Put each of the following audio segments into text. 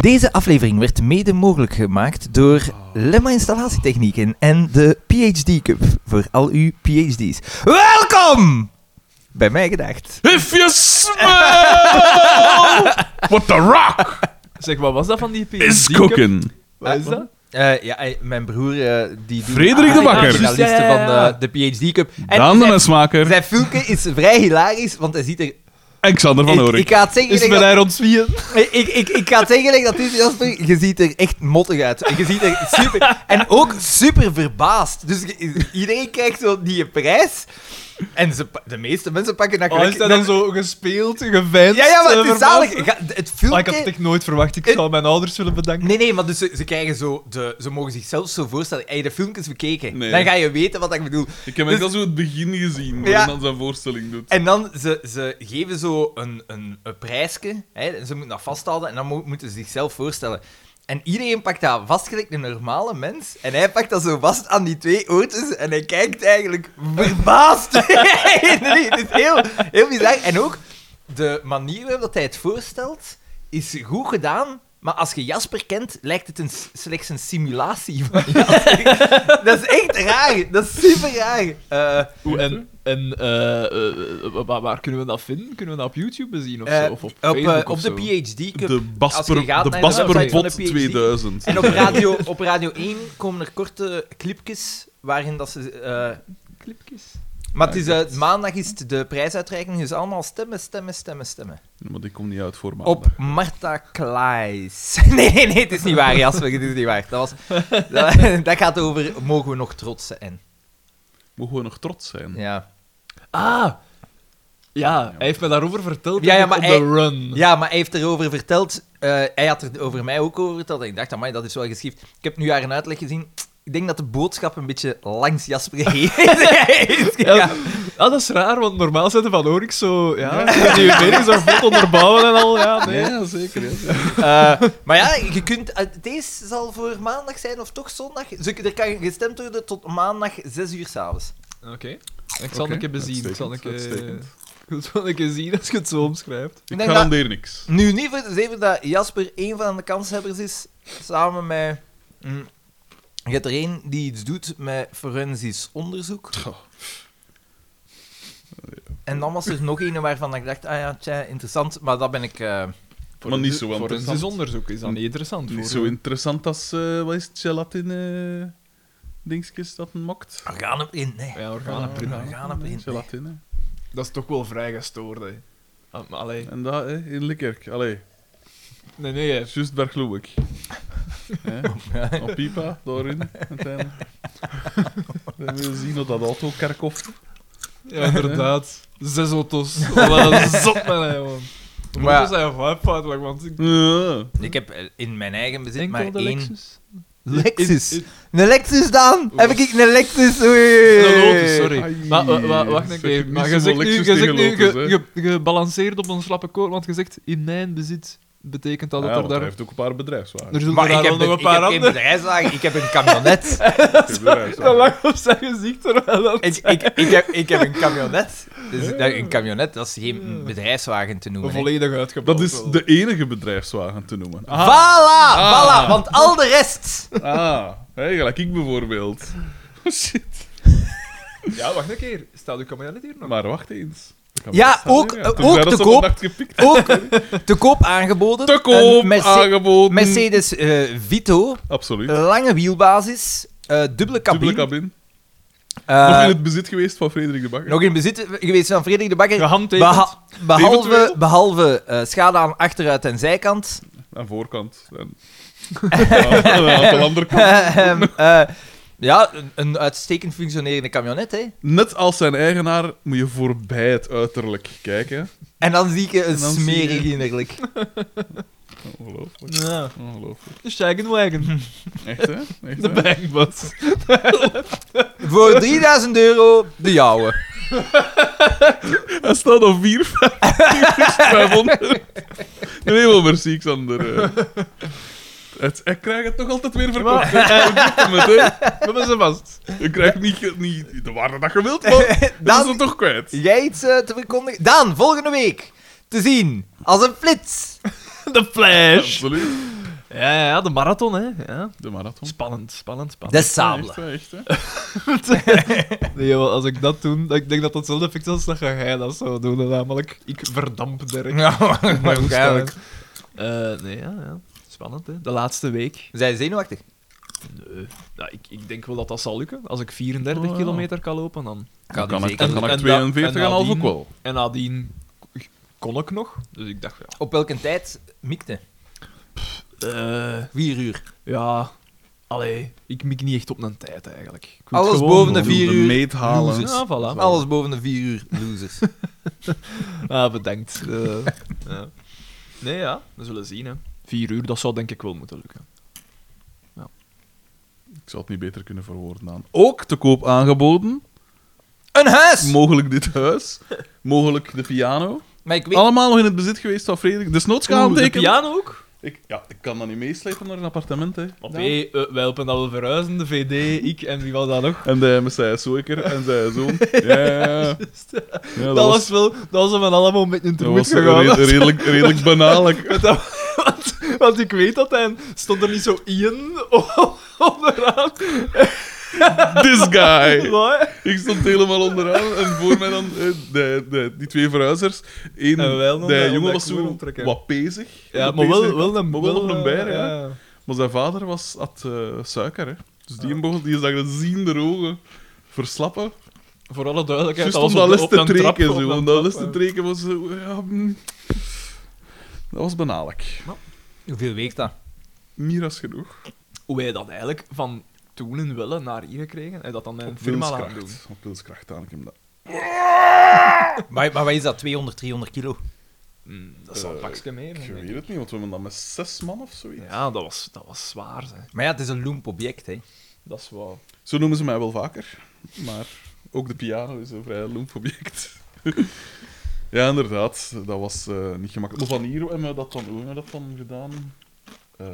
Deze aflevering werd mede mogelijk gemaakt door Lemma Installatietechnieken en de PhD Cup voor al uw PhD's. Welkom! Bij mij gedacht. If you smell what the rock Zeg, wat was dat van die PhD? is cooking. Wat is dat? Eh, ja, eh, mijn broer... eh, die doet- Frederik de Ah, Bakker. ja, journaliste Ja, ja, ja, ja. van eh, de PhD Cup. En Dan de zijn, mesmaker zijn filmpje is vrij hilarisch, want hij ziet er... en Xander van Ik, ik Oorik. ga Oh, het zeggen... Is gelijk bij dat- haar ontzwieën? Ik, Eh, ik, ik, ik ga het zeggen gelijk dat is, Jasper. Je ziet er echt mottig uit. Je ziet er super... En ook super verbaasd. Dus je- iedereen krijgt zo die prijs. En ze, pa- de meeste mensen pakken dat Oh, is gelijk... dat dan zo gespeeld, geveinsd? Ja, ja, maar het eh, is verbaasd? zalig. Ga- Het Ah, ik had het filmpje... echt nooit verwacht. Ik Het- zal mijn ouders willen bedanken. Nee, nee, maar dus ze, ze krijgen zo... De, ze mogen zichzelf zo voorstellen. Heb je de filmpjes bekeken? Nee. Dan ga je weten wat ik bedoel. Ik heb Dus- echt al zo het begin gezien, waar Ja. hij dan zijn voorstelling doet. En dan, ze, ze geven zo een, een, een prijsje. Hè, ze moeten dat vasthouden en dan mo- moeten ze zichzelf voorstellen. En iedereen pakt dat vast gelijk een normale mens. En hij pakt dat zo vast aan die twee oortjes. En hij kijkt eigenlijk verbaasd. nee, het is heel, heel bizar. En ook, de manier waarop hij het voorstelt, is goed gedaan. Maar als je Jasper kent, lijkt het een, s- slechts een simulatie van Jasper. dat is echt raar. Dat is super raar. Eh, Oeh, en en eh, eh, eh, waar, waar kunnen we dat vinden? Kunnen we dat op YouTube bezien of Eh, zo? Of op, op, eh, Facebook op of de zo? PhD Cup. als De je gaat Basper, de naar de Basper website van de Bot PhD. 2000. En op radio, op radio 1 komen er korte clipjes waarin dat ze. eh, Clipjes. maar het is, eh, maandag is het de prijsuitreiking, dus allemaal stemmen, stemmen, stemmen, stemmen. Want ik kom niet uit voor maandag. Op Marta Klaes. Nee, nee, nee, het is niet waar, Jasper, het is niet waar. Dat, was, dat, dat gaat over mogen we nog trots zijn. Mogen we nog trots zijn? Hm. Ja. Ah! Ja, hij heeft me daarover verteld Ja, ja, op maar de hij- run. ja, maar hij heeft erover verteld, eh, hij had er over mij ook over verteld en ik dacht, amai, dat is wel geschikt. Ik heb nu haar een uitleg gezien. Ik denk dat de boodschap een beetje langs Jasper heen is gegaan. Ja. Ah, dat is raar, want normaal zetten Van Orik zo... Ja, die je mening zo goed onderbouwen en al. Ja, nee. Ja, zeker. ja, zeker. Eh, maar ja, je kunt, eh, deze zal voor maandag zijn of toch zondag. Ze- Er kan gestemd worden tot maandag 6 uur s'avonds. Oké. Ik zal Oké, een keer bezien. Ik zal een keer... uitstekend, uitstekend. Ik zal een keer zien als je het zo omschrijft. Ik Ik denk garandeer niks. Nu niet voor zeven dat Jasper één van de kanshebbers is, samen met... Mm, je hebt er één die iets doet met forensisch onderzoek. Oh. En dan was er nog een waarvan ik dacht, ah ja, tja, interessant, maar dat ben ik... eh, Voor Maar een- niet zo Voor een interessant. onderzoek is dat niet interessant Niet voor zo u. interessant als, eh, wat is het, gelatine dingetjes dat een mokt? we gaan hem in, nee. Ah, Ja, organenprima. Ja. organenprint, hè. Gelatine. Dat is toch wel vrij gestoord, hè. Ah, maar Allee. En dat, hè, in Likkerk. Allee, Nee, nee, hè. juist Bergloewek. Hè? Op Pipa, daarin, uiteindelijk. Dan wil je zien hoe dat auto kerkhof. Ja, inderdaad. Zes auto's. Oh, Wat een zot, man, hè, man. Maar ja. Maar zijn vibe foutelijk, want ik... Ja. Ik heb eh, in mijn eigen bezit maar de één... Lexus. Lexus. Is- is- Een Lexus dan? Heb ik een Lexus? Oei. Een Lotus, sorry. Ai, maar wa- wa- wacht een zeg keer. niet Maar zo'n je zegt nu, Lexus je zegt tegen nu Lotus, ge- ge- gebalanceerd op een slappe koor, want je zegt in mijn bezit. Betekent dat Ah, dat ja, want er hij daar... heeft ook een paar bedrijfswagens. Er zullen Maar daar ik heb, wel een, nog een ik heb paar geen andere... bedrijfswagen, ik heb een camionet. Geen bedrijfswagens. Dat lag op zijn gezicht, terwijl dat... ik, ik, ik, heb, ik heb een camionet. Dus dat- een camionet, dat is geen bedrijfswagen te noemen. hè. Volledig uitgebouwd. Dat is wel. de enige bedrijfswagen te noemen. Ah, Voilà, Ah. voilà, want al de rest... ah hè, gelijk ik bijvoorbeeld. Oh, shit. Ja, wacht een keer. Staat uw camionet hier nog? Maar wacht eens. Dat kan Ja, best zijn, ook- eh, hè, ook Tenzij dat te ze koop. Eh, vannacht gepikt Ook te koop aangeboden. Te Een koop, Merce- aangeboden. Mercedes eh, Vito, Absoluut. lange wielbasis, eh, dubbele cabine. Dubbele cabine. eh, Nog in het bezit geweest van Frederik de Bakker. nog in bezit geweest van Frederik de Bakker. Gehandtekend. Beha- behalve Eventueel. behalve eh, schade aan achteruit en zijkant. Aan voorkant. En... Ja, aan de andere kant. Ehm, eh, ja, een, een uitstekend functionerende camionet, hè. Net als zijn eigenaar moet je voorbij het uiterlijk kijken. En dan zie ik je een En dan zie je- smerig innerlijk. Ongelooflijk. Ja. Ongelooflijk. De Wagen. Echt, hè? Echt, De hè? bankbus. Voor 3000 euro, de jouwe. Hij staat op 4, 500. Nee, maar merci, Xander. eh. Het, ik krijg het toch altijd weer verkocht. hè. We hebben ze vast. Ik krijg niet, niet de waarde dat je wilt, maar dat is Dan, het toch kwijt. jij iets eh, te verkondigen? Dan, volgende week, te zien, als een flits. De Flash. Absoluut. Ja, ja, ja, de marathon, hè. Ja. De marathon. Spannend, spannend, spannend. De sabelen. Echt, hè, echt, hè. Nee, joh, als ik dat doe, ik denk dat dat hetzelfde effect is als dat ga jij dat zou doen. Namelijk, ik verdamp Dirk. Ja, waarschijnlijk. Eh, nee, ja, ja. Spannend, hè. De laatste week. Zijn zenuwachtig? Nee. Ja, ik, ik denk wel dat dat zal lukken. Als ik 34 Oh, ja. kilometer kan lopen, dan... Dan kan ik, zeker. dan kan En- ik en 42 en dat- en half ook nadien- wel. En nadien kon ik nog. Dus ik dacht, ja... Op welke tijd mikte? eh, Vier uur. ja... Allee, ik mik niet echt op een tijd, eigenlijk. Ik wil het Alles gewoon boven de Ik bedoel, vier de uur. meet Ah, halen. losers. Ja, voilà. Zo. Alles boven de vier uur, losers. Ah, bedankt. Eh, ja. Nee, ja, we zullen zien. Hè. Vier uur, dat zou denk ik wel moeten lukken. Ik zou het niet beter kunnen verwoorden aan. Ook te koop aangeboden. Een huis! Mogelijk dit huis. Mogelijk de piano. Maar ik weet... Allemaal nog in het bezit geweest van Frederik. Dus noods gaan de tekenen. piano ook? Ik, ja, ik kan dat niet meeslepen naar een appartement. Hè. Want hey, eh, wij helpen dat we verhuizen, de VD, ik en wie was dat nog? En de, met zijn zoeker en zijn zoon. Ja, ja, ja. ja. dat, dat, was, was wel, dat was hem allemaal met een dat troep was gegaan. re- redelijk, redelijk banaal. Ik- want, want ik weet dat hij stond er niet zo in onderaan. This guy! Maar, Ik stond helemaal onderaan en voor mij dan eh, de, de, die twee verhuizers. Eén, En wij nog, eh, de omdat jongen ik was moet zo onttrekken. wat bezig. ja, Wat maar bezig. wel, wel een Maar wel op wel, een eh, bijer, ja. Maar zijn vader was, had eh, suiker, hè. Dus die bocht, die zag de ziende ogen verslappen. Voor alle duidelijkheid, Juist dat was om dat op, les op te een trap, treken, op zo. een Om dat trap, les te eh. treken was zo... Ja, mm. dat was banalig. Hoeveel weegt dat? Meer als genoeg. eh. Hoe hij dat eigenlijk van toen en willen naar hier gekregen, en dat dan mijn Op firma laten doen. wilskracht. Op wilskracht aan ik hem dat. Maar, maar wat is dat? 200, 300 kilo? Mm, dat is wel een pakje meer. Eh, Ik denk ik. weet het niet, want we hebben dan met zes man of zoiets. Ja, dat was, dat was zwaar. Hè. Maar ja, het is een loemp object, hè. Dat is wel. Zo noemen ze mij wel vaker. Maar ook de piano is een vrij lomp object. ja, inderdaad. Dat was eh, niet gemakkelijk. Maar van hier hebben we dat dan, hoe hebben we dat dan gedaan? Eh,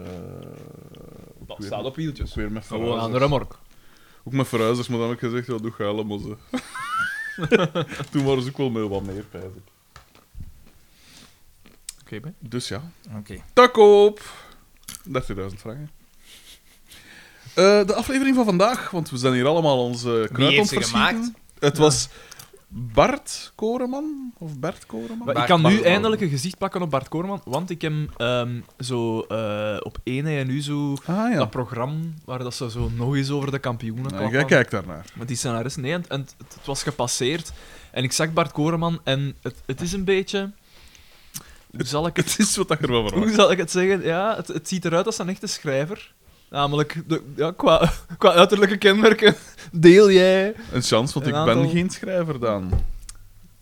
Dat staat op wieltjes. Ook weer met Gewoon aan de verhuizers. remork. Ook met verhuizers, maar dan heb ik gezegd, ja, doe geile moze. Toen waren ze ook wel met wat meer, pijs ik. Oké, ben. Dus ja, Oké. tak op! 13.000 franken. Eh, de aflevering van vandaag, want we zijn hier allemaal onze kruid Wie aan heeft het ze verschieten. gemaakt? Het was Bart Koreman of Bert Koreman. Wat- ik Bart kan nu Koreman. eindelijk een gezicht pakken op Bart Koorman, want ik heb ehm, zo eh, op één en nu zo Ah ja. dat programma waar dat ze zo nog eens over de kampioenen Nee, jij klappen. kijkt daarnaar. Met die scenaristen. Nee, en, en het, het was gepasseerd. En ik zag Bart Koreman en het, het is een beetje... Hoe zal ik het Het is wat ik ervan Hoe verwacht. zal ik het zeggen? Ja, het, het ziet eruit als een echte schrijver. Namelijk, de, ja, qua, qua uiterlijke kenmerken deel jij. Een chance, want Een ik aantal- ben geen schrijver dan.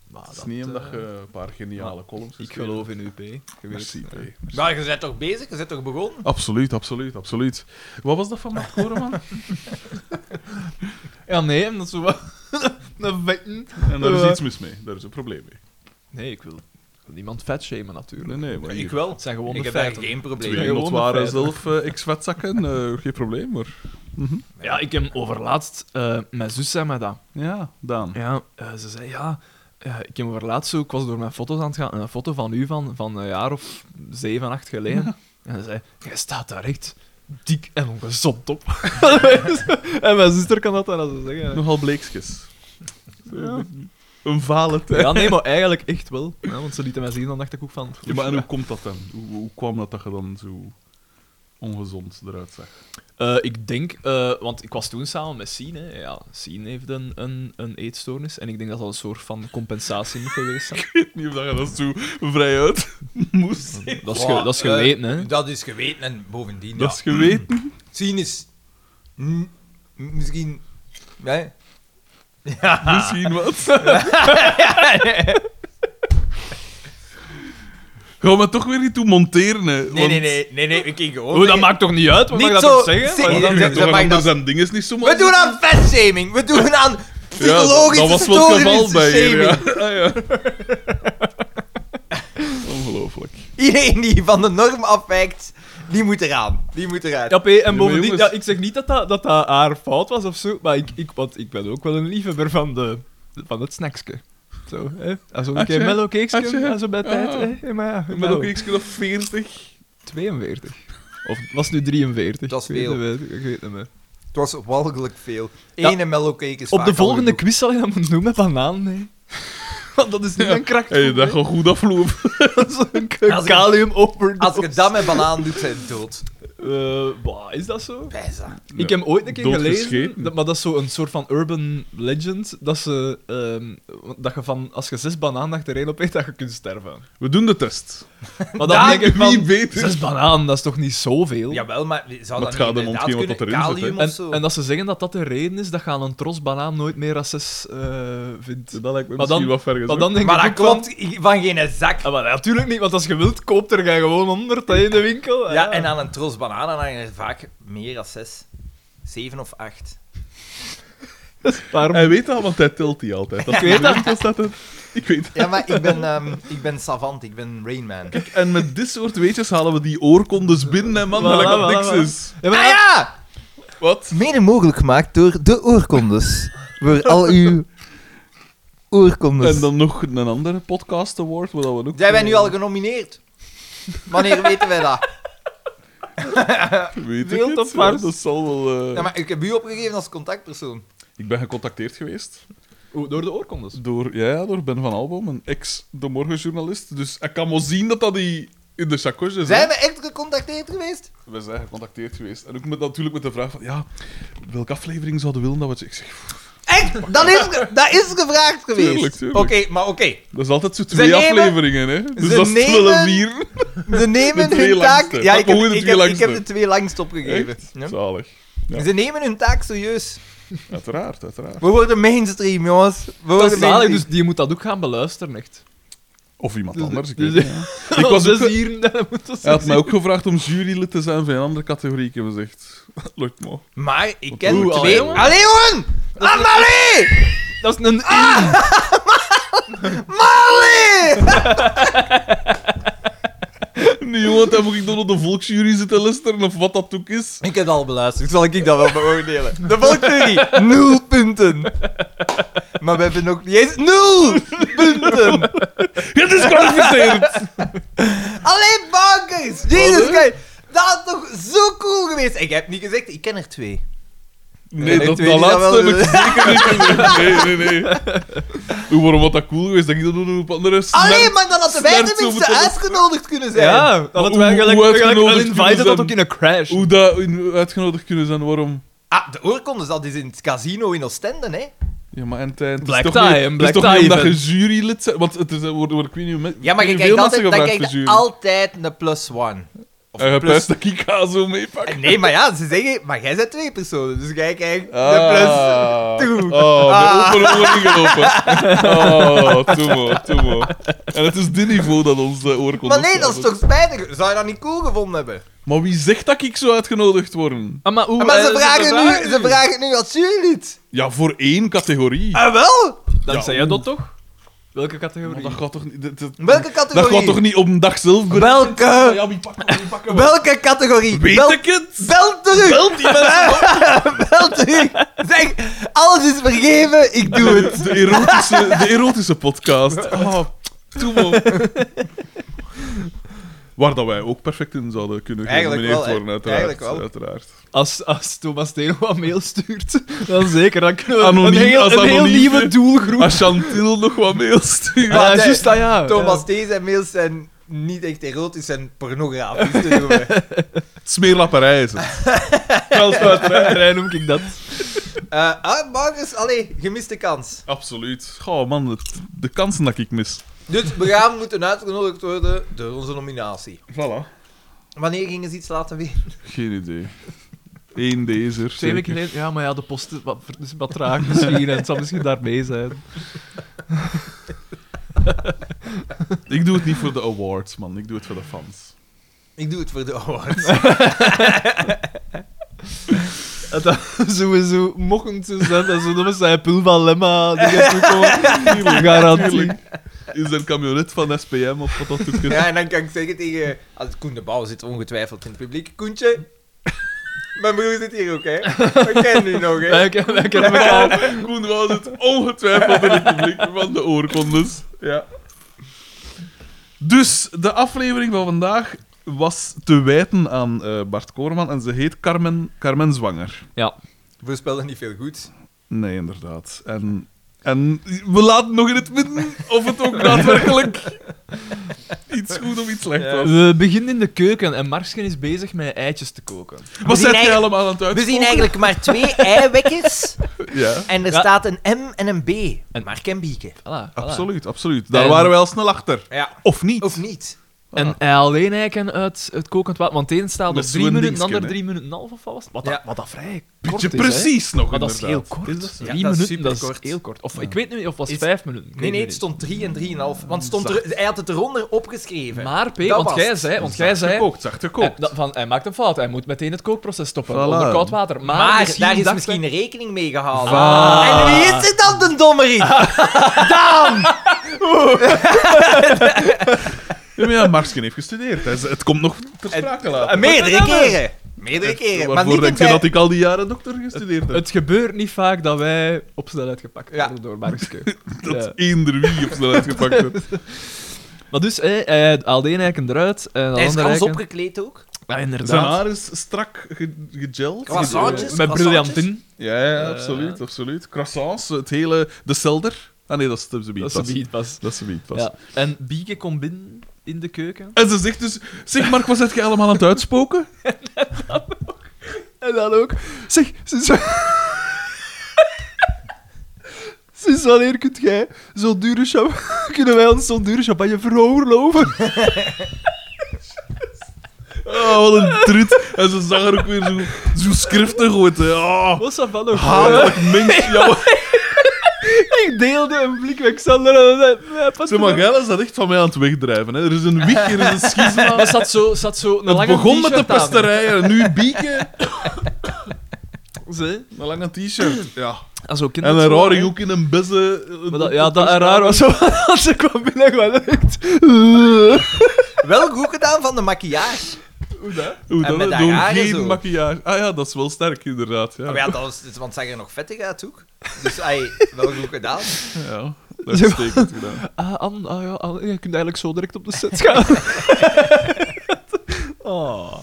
Maar Het is niet omdat eh, je een paar geniale columns Ik geschreven geloof in UP. hebt. Merci, P. Merci. Maar je bent toch bezig? Je bent toch begonnen? Absoluut, absoluut, absoluut. Wat was dat van Bart Koreman? Ja, nee, omdat zo wat... een vetten. en daar is Eh. iets mis mee. Daar is een probleem mee. Nee, ik wil, ik wil niemand vetshamen Nee, natuurlijk. nee, maar Ik hier. wel. Het zijn gewoon Ik de heb daar feiten. geen probleem Twee mee. Gewoon de notwaren feiten. zelf eh x-vetzakken, eh, geen probleem hoor. Ja, ik heb overlaatst... eh, mijn zus zei mij dat. Ja, Daan. Ja, eh, ze zei ja. eh, ik heb overlaatst zo, ik was door mijn foto's aan het gaan, en een foto van u van, van een jaar of zeven, acht geleden. En ze zei, jij staat daar echt dik en ongezond op. en mijn zuster kan dat dan als ze zeggen. Nogal bleekjes. Ja. Een vale tijd. Ja, nee, maar eigenlijk echt wel. Ja, want ze lieten mij zien, dan dacht ik ook van... Ja, maar en hoe komt dat dan? Hoe, hoe kwam dat dat je dan zo ongezond eruit zag? Eh, ik denk, eh, want ik was toen samen met Sien. Hè. Ja, Sien heeft een, een, een eetstoornis. En ik denk dat dat een soort van compensatie moet geweest zijn. Ik weet niet of dat je dat zo vrij uit moest. Dat is, ge- dat is geweten, hè? Dat is geweten en bovendien, Dat ja. is geweten. Zien is... mm, misschien... Nee. Misschien wat. Gaan we toch weer niet toe monteren, hè? Nee, nee, nee, nee, nee, ik ging gewoon... Oh, dat maakt toch niet uit? Wat Niet mag ik zo dat toch zeggen? zin- Mag ik dat Nee, Dan dat- dat mag dat- zijn dingen niet zo We doen aan fatshaming, we doen aan dat, psychologische dat was wel het geval bij hier, ja. shaming. Ah, ja. Ongelooflijk. Iedereen die van de norm afwijkt, die moet eraan. Die moet eruit. Ja, P, en maar bovendien, jongens. ja, ik zeg niet dat dat, dat dat haar fout was of zo, maar ik, ik, want ik ben ook wel een liefhebber van, de, van het snacksje. Zo, hè? Als een Had keer je? mellowcakesje, Had je? als zo bij tijd, Ah. hè? Ja, Maar ja, Ik nou, ben ook x of 40. 42. Of was het nu 43? Dat is Ik weet veel. het niet meer, Ik weet het niet meer. Het was walgelijk veel. Ja. Ene mellowcake is Op vaak de al volgende genoeg. quiz zal je dat moeten doen met banaan, nee. Want dat is niet een kracht. Hé, dat gaat goed aflopen. Dat is een Als ik- kalium Als je dat met banaan doet, zijn dood. Eh, is dat zo? Bijza. Ik heb ooit een keer gelezen, Doodgescheten. dat, maar dat is zo een soort van urban legend, dat, ze, ehm, want dat je van, als je zes bananen achtereen opeet, dat je kunt sterven. We doen de test. Maar dan Ja, denk ik van, wie weet het. zes bananen, dat is toch niet zoveel? Jawel, maar zou Maar dat het gaat niet hem om inderdaad hetgeen wat kunnen? dat erin zit, Kalium en, of zo? en dat ze zeggen dat dat de reden is dat je aan een tros banaan nooit meer als zes eh, vindt. Dat lijkt me Maar dan- misschien wat ver Maar dan denk maar dat ik ook van- komt van geen zak. Ah, maar natuurlijk niet, want als je wilt, koopt er jij gewoon 100 hè, in de winkel. Ah, Ja, en aan een tros bananen hangen er vaak meer dan zes. Zeven of acht. Waarom? Eh, Hij weet dat, want hij tilt die altijd. Dat Ik weet dat. dat staat het. Ik weet dat. Ja, maar ik ben, ehm, ik ben savant, ik ben Rainman. Kijk, en met dit soort weetjes halen we die oorkondes binnen, hè, man. Voilà, dat dat voilà, niks voilà. is. Ja, maar- Ah ja! Wat? Mede mogelijk gemaakt door de oorkondes. Voor al uw oorkondes. En dan nog een andere podcast award, waar dat we ook... Zijn wij nu eh, al genomineerd? Wanneer weten wij dat? Weet ik Wild het, op ja, Mars? dat zal wel... eh, Ja, maar ik heb u opgegeven als contactpersoon. Ik ben gecontacteerd geweest Oeh, door de oorkondes. door, ja, ja, door Ben van Alboom, een ex-De Morgenjournalist. Dus ik kan wel zien dat dat die in de chakosje is. hè. Zijn we echt gecontacteerd geweest? We zijn gecontacteerd geweest. En ook met, natuurlijk met de vraag van, ja, welke aflevering zouden we willen dat we... het- Ik zeg, pff, Echt? Dat is, ge- dat is gevraagd geweest. Tuurlijk, tuurlijk. Oké, maar oké. dat is altijd zo twee nemen- afleveringen, hè. Dus ze dat is nemen- wel een vier. Ze nemen De twee hun taak... langste. Ja, Pak ik heb, maar goed, de ik, twee heb, ik heb de langste. twee langst opgegeven. Echt? Ja. Zalig. Ja. Ze nemen hun taak serieus. Uiteraard, uiteraard. We worden mainstream, jongens. We Dat is worden zalig, mainstream. dus die moet dat ook gaan beluisteren, echt. Of iemand Dus- anders, ik dus- weet het niet. Ik was dus ook- hier, dat moet dat Hij had zo mij zien. ook gevraagd om jurylid te zijn van een andere categorie. Ik heb gezegd, lukt me. dus- Maar ik ken Oeh, allee, twee... jongen. Allee, jongen! Amalie! Ah! Dat is een... Malie! Nu jongen, dan moet ik dan op de volksjury zitten luisteren of wat dat ook is. Ik heb het al beluisterd, zal ik dat wel beoordelen. De volksjury, nul punten. Maar we hebben ook niet eens nul punten. Het is kwalificeerd! Allee, bankers! Jezus, kijk, dat is toch zo cool geweest. Ik heb niet gezegd, ik ken er twee. Nee, ik dat, weet dat niet, dat laatste wel- heb ik zeker niet gezegd. Nee, nee, nee. Hoe, waarom had dat cool geweest? Dat ik dat doen op andere Allee, snert- maar dan hadden wij snert zo tenminste moeten- uitgenodigd kunnen zijn. Ja, dat hoe- hadden wij eigenlijk hoe eigenlijk wel uitgenodigd invited kunnen dat ook in een crash. Hoe dat in- uitgenodigd kunnen zijn, waarom? Ah, de oorkondes, dat is in het casino in Oostende, hè? Ja, maar en tijd. Black is toch tie, niet- een het black is toch tie niet omdat event. je jurylid bent? Want het is, er worden, worden, ik weet niet, hoe men- Ja, maar ik je weet kijkt niet altijd, hoeveel dan mensen krijg je gevraagd voor jury. altijd een plus one. Of En je plus- pijst dat ik haar zo meepak. Eh, Nee, maar ja, ze zeggen, maar jij bent twee personen, dus jij krijgt de Ah. plus. toe. Oh, Ah. de open oren gelopen. Oh, toemo, toemo. En het is dit niveau dat ons de oor kon Maar nee, dat is toch spijtig? Zou je dat niet cool gevonden hebben? Maar wie zegt dat ik zo uitgenodigd word? Ah, maar hoe, maar eh, ze vragen, nu, ze nu. vragen nu als jurylid. Ja, voor één categorie. Ah, wel? Dan Ja, zei jij dat toch? Welke categorie? Maar dat gaat toch niet... dat- dat- Welke Dat categorie? gaat toch niet op een dag zelf... be- Welke? Ja, wie pakken we, wie pakken we? Welke categorie? Weet Bel, ik het? bel terug! Wel die mensen. Bel terug! Zeg, alles is vergeven, ik doe het. De erotische, de erotische podcast. Oh, toemo. Waar dat wij ook perfect in zouden kunnen Eigenlijk genomineerd wel, hè. worden, uiteraard. Eigenlijk wel. uiteraard. Als, als Thomas Teno wat mail stuurt, dan zeker. Dan kunnen we Anoniem, een heel, als een heel anoniem, nieuwe hè. doelgroep. Als Chantil nog wat mail stuurt. Maar ja, nee, juist dat, ja. Thomas T. zijn mails zijn niet echt erotisch en pornografisch te noemen. Smeerlapperij is het. Veldsluiterij noem ik dat. Eh, ah, Marcus, allee, gemiste kans. Absoluut. Goh, man, het- de kansen dat ik mis. Dus we gaan moeten uitgenodigd worden door onze nominatie. Voilà. Wanneer gingen ze iets laten weten? Geen idee. Eén deze. Twee zeker. weken geleden, ja, maar ja, de post is wat, is wat traag misschien. En het zal misschien daarmee zijn. Ik doe het niet voor de awards, man. Ik doe het voor de fans. Ik doe het voor de awards. Dat sowieso mochten ze zijn, dat ze met zijn pul van Lemma die gaat toekomen. Garantie. Is er een camionet van SPM of wat dat ook is? Ja, en dan kan ik zeggen tegen... Als Koen de Bouw zit ongetwijfeld in het publiek. Koentje, mijn broer zit hier ook, hè. We kennen u nog, hè. Wij, ken- wij kennen elkaar. Koen was het ongetwijfeld in het publiek van de oorkondes. Ja. Dus, de aflevering van vandaag was te wijten aan eh, Bart Koorman en ze heet Carmen, Carmen Zwanger. Ja. Voorspelde niet veel goed. Nee, inderdaad. En, en we laten nog in het midden of het ook daadwerkelijk iets goed of iets slecht Ja. was. We beginnen in de keuken en Marsken is bezig met eitjes te koken. We Wat zien zet jij eigenlijk- allemaal aan het We uitkomen? zien eigenlijk maar twee eiwekkers Ja, en er Ja. staat een M en een B. En Mark en Bieke. Voilà, voilà. absoluut, absoluut. Daar En- waren wij al snel achter. Ja. Of niet. Of niet. En hij alleen eiken uit het kokend water, want het een staat op Met drie zo'n minuten, de dingetje, ander hè. drie minuten en een half of wat was het? Wat, Ja. dat, wat dat vrij kort Beetje is, hè. precies nog, Maar dat is heel inderdaad. kort. Is dat zo? Drie Ja, dat is minuten, dat is superkort. heel kort. Of ik weet niet, of was het Is- vijf minuten? Ik Nee, weet nee, niet. het stond 3 en 3,5. Want stond er, hij had het eronder opgeschreven. Maar P, Dat want was jij het. zei, want jij Zacht zei gekookt, zacht hij, gekookt. dat- van, hij maakt een fout, hij moet meteen het kookproces stoppen Voilà. onder koud water. Maar, Maar, misschien daar is dacht misschien hij- rekening mee gehaald. Ah. En wie is Ah, het dan, de dommerie? Ja, maar ja, Marsken heeft gestudeerd. Hij is- Het komt nog ter sprake later. Meerdere keren. Meerdere keren. Maar Waarvoor niet denk je bij- dat ik al die jaren dokter gestudeerd heb? Het gebeurt niet vaak dat wij op snelheid gepakt Ja. worden door Markske. dat Ja. eender wie op snelheid gepakt werd. Maar dus, eh, hij haalt één eiken eruit en de Hij is andere kans eiken... opgekleed ook. Ja, Zijn inderdaad. haar is strak ge- gegeld. Croissantjes? Met briljantin. Ja, ja, Eh. absoluut, absoluut. Croissants, het hele... De celder. Ah nee, dat is de beat Dat is een pas. Dat is de beat pas. Ja. En Bieke komt binnen in de keuken. En ze zegt dus... Zeg, Mark, wat zet jij allemaal aan het uitspoken? En dan ook. Zeg, sinds, sinds wanneer kunt jij zo'n dure champagne. kunnen wij ons zo'n dure champagne veroorloven? Oh, wat een trut. En ze zag er ook weer zo, zo schriftig uit. hè. Ah, Was dat van nog? hatelijk mens. Ja, maar- Ik deelde een blik met Xander en hij zei, "Nee, pas Zeg op." maar, Gijl is dat echt van mij aan het wegdrijven. Hè. Er is een wieg, er is een schisma. Maar zat zo, zat zo een Het lange begon met de t-shirt aan. pesterijen, en nu bieken. Ze- Een lange t-shirt. Ja. Als ook En een kinderen- rare hoek in een bizze. Maar dat, ja, dat en raar was zo. Als ze kwam binnen, gewoon echt. "Eh." Wel goed gedaan van de maquillage. Hoe dat? Hoe En dat? met dat Door rare geen zo. Ah, maquillage. Ah ja, dat is wel sterk, inderdaad. Ja. Maar ja, dat was, want het zag er nog vettig uit ook. Dus ai, wel goed gedaan. Ja, dat is uitstekend gedaan. Ah, Anne, ah, ja, Anne, je kunt eigenlijk zo direct op de set gaan. oh.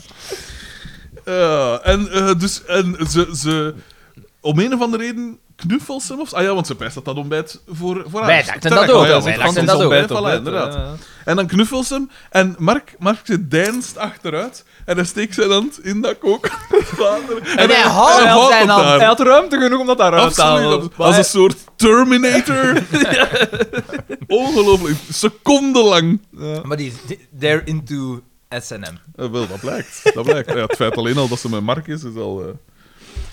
Ja, en eh, dus, en ze, ze... Om een of andere reden knuffelt ze hem of... Ah ja, want ze pijst dat dat ontbijt voor, voor haar. Wij dachten Terecht, dat ook, ah ja, wij want dachten het dat is ook. ontbijt, voilà, inderdaad. En dan knuffelt ze hem en Mark, Mark zit deinst achteruit en hij steekt zijn hand in dat kokend water. En, hij houdt en op zijn op hand. haar. Hij had ruimte genoeg om dat daaruit te Absoluut. halen. absoluut. Als een soort Terminator. Ongelooflijk. Secondenlang. Maar die, die- they're into S&M. Eh, wel, dat blijkt. Dat blijkt. Ja, het feit alleen al dat ze met Mark is, is al, eh,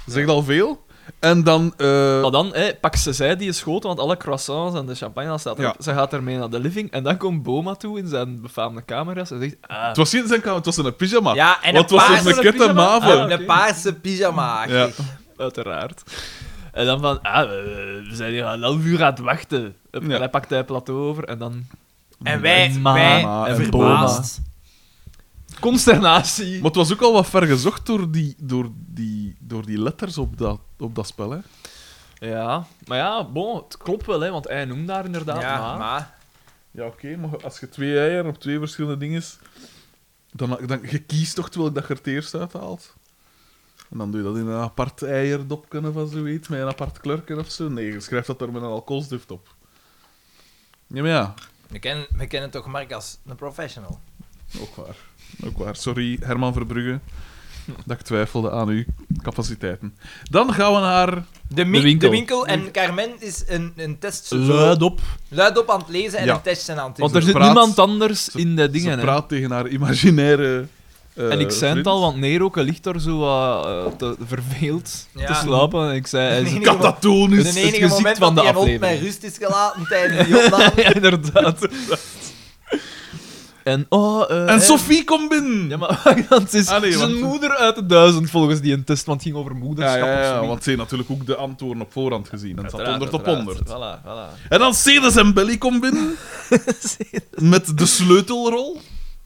zegt al veel. En dan... eh, Maar dan hè, pak ze zij die schoten, want alle croissants en de champagne dat staat erop. Ja. Ze gaat ermee naar de living en dan komt Boma toe in zijn befaamde camera's en zegt... Ah, het was geen zijn kamer, het was een pyjama. Ja, en Want een Ah, het Ah. was paarse een kette pyjama. mavo. Ah, Een paarse pyjama Ja. uiteraard. En dan van... Ah, we we zijn hier al een half uur aan het wachten. Hup, Ja. Hij pakt hij plateau over en dan... En wij, En wij mama en verbaasd. Consternatie. Maar het was ook al wat ver gezocht door die, door die, door die letters op dat, op dat spel. Hè. Ja, maar ja, bon, het klopt wel, hè, want hij noemt daar inderdaad Ja, maar. maar... Ja, oké, maar als je twee eieren op twee verschillende dingen is, dan, dan je kiest toch welk dat je er het eerst uithaalt. En dan doe je dat in een apart eierdopje of zoiets, met een apart kleurken of zo. Nee, je schrijft dat er met een alcoholstift op. Ja, maar ja, We kennen, we kennen toch Mark als een professional. ook waar. Ook waar. Sorry, Herman Verbrugge, dat ik twijfelde aan uw capaciteiten. Dan gaan we naar... De, mi- De winkel. de winkel. En Carmen is een, een test zo- Luid op. luid op aan het lezen en Ja. een test aan het Want ze er doen. zit praat- niemand anders in de dingen. ze hè. praat tegen haar imaginaire... eh, en ik zei het vriend. al, want Neroke ligt daar zo wat, eh, te, verveeld Ja. te slapen. En ik zei, hij is Nee, nee. Katatonis! dus Het De enige gezicht moment van dat de hij hond met aflevering. rust is gelaten tijdens die opname. ja, inderdaad. en oh, eh, En hè. Sophie komt binnen! Ja, maar want het is Ah, nee, zijn want- moeder uit de duizend volgens die een test, want het ging over Ja, moederschap. ja, ja, of zoiets. want ze heeft natuurlijk ook de antwoorden op voorhand gezien. En het zat Uiteraard, 100 op uiteraard. 100. Voilà, voilà. En dan Cedes en Belly komt binnen. met de sleutelrol.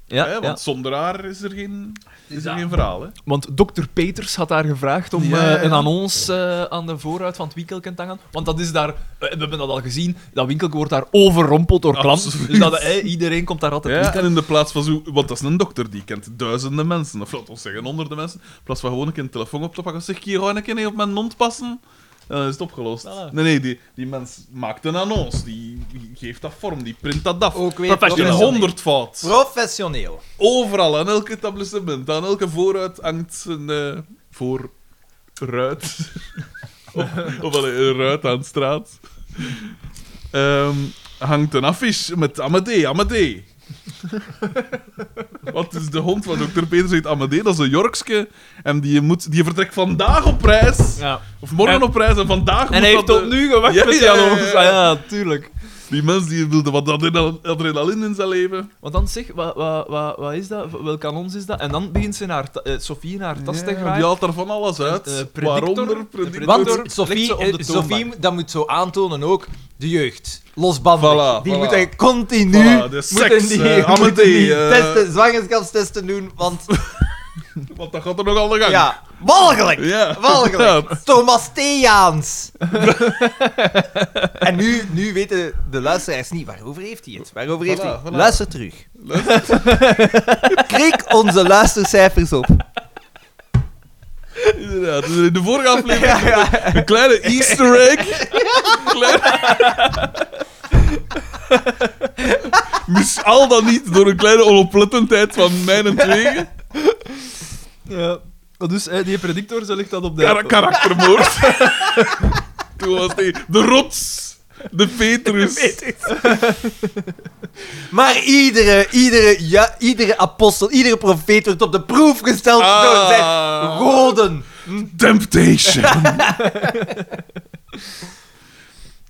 Ja, hè, want ja. zonder haar is er geen, is er Ja. geen verhaal. Hè? Want dokter Peters had haar gevraagd om Ja, eh, ja, ja. een annons eh, aan de vooruit van het winkelkent te hangen. Want dat is daar, eh, we hebben dat al gezien, dat winkelkent wordt daar overrompeld door klanten. Absoluut. Dus dat, eh, iedereen komt daar altijd Ja, winkelen. en in de plaats van zo, want dat is een dokter die kent duizenden mensen, of laat ons zeggen honderden mensen, in plaats van gewoon een keer een telefoon op te pakken, zeg ik hier gewoon een keer niet op mijn mond passen. En dan is het opgelost. Voilà. Nee, nee, die, die mens maakt een annons, die die geeft dat vorm, die print dat af. Ook weer dat is een professioneel. honderd fout. Professioneel. Overal, aan elk etablissement, aan elke vooruit hangt een eh, voorruit. of of allee, een ruit aan de straat. Ehm, hangt een affiche met Amadee, Amadee. Wat is de hond van dokter Peter zegt Amadee, dat is een Jorkske. En die, moet, die vertrekt vandaag op reis. Ja. Of morgen En- op reis en vandaag moet En hij dat heeft de- tot nu gewacht Ja, met die ja, ja, annons. ja. Ah, ja, tuurlijk. Die mens die wilde wat adrenal- adrenaline in zijn leven. Want dan zeg, wat, wat, wat, wat is dat? Welk annons is dat? En dan begint ze naar Sofie in haar tas te Ja, die graaien. haalt er van alles uit. Eh, predictor. Waaronder De predictor. Door- Want legt Sophie, ze op de eh, toonbank. Sophie, dat moet zo aantonen ook, de jeugd. Losbandig. Voilà, die voilà. moeten continu Voilà, de dus, seks, moeten die, eh, moeten Amadee, die eh. testen, zwangerschapstesten doen, want Want dat gaat er nog aan de gang. ja, walgelijk. Ja, Walgelijk. inderdaad. Thomas Theaans. en nu, nu weten de luisteraars niet, waarover heeft hij het? Waarover heeft Voilà, hij voilà. Luister terug. Krik onze luistercijfers op. Inderdaad. Dus in de vorige aflevering Ja, ja. een kleine easter egg. Kleine... Mis al dan niet door een kleine onoplettendheid van mijn en twee. Ja. Dus eh, die predictor, ze legt dat op de... Kar karaktermoord. Toen was die de rots. De Petrus. Maar iedere, iedere, ja, iedere apostel, iedere profeet wordt op de proef gesteld door zijn Ah, goden. temptation.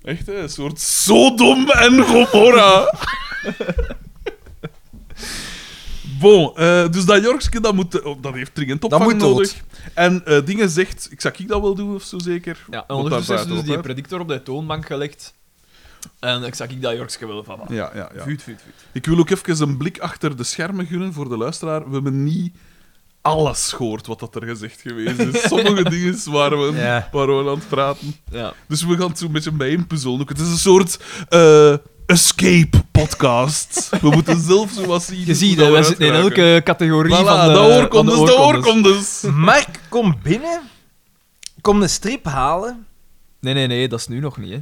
Echt hè, een soort Sodom en Gomorra. Bon, eh, dus dat Jorkske, dat, moet, oh, dat heeft dringend opvang moet dood. nodig. En eh, dingen zegt, ik zou ik dat wel doen of zo zeker. Ja, en Want ondertussen daar is dus buiten die op, hè. predictor op de toonbank gelegd. En ik zag ik dat Jorkske wel van. ah, ja, ja, ja. Vuut, vuut, vuut. Ik wil ook even een blik achter de schermen gunnen voor de luisteraar. We hebben niet alles gehoord wat dat er gezegd geweest is. Sommige dingen waren we, Ja. waren we aan het praten. Ja. Dus we gaan het zo'n beetje bijeenpuzzelen. ook. Het is een soort eh, escape-podcast. we moeten zelf zo wat zien. Je ziet, hoe hè, dat wij we zitten in uitgeraken. elke categorie Voilà, van de, de van de oorkondes, de oorkondes. oorkondes. Mark, kom binnen. Kom een strip halen. Nee, nee, nee, dat is nu nog niet, hè.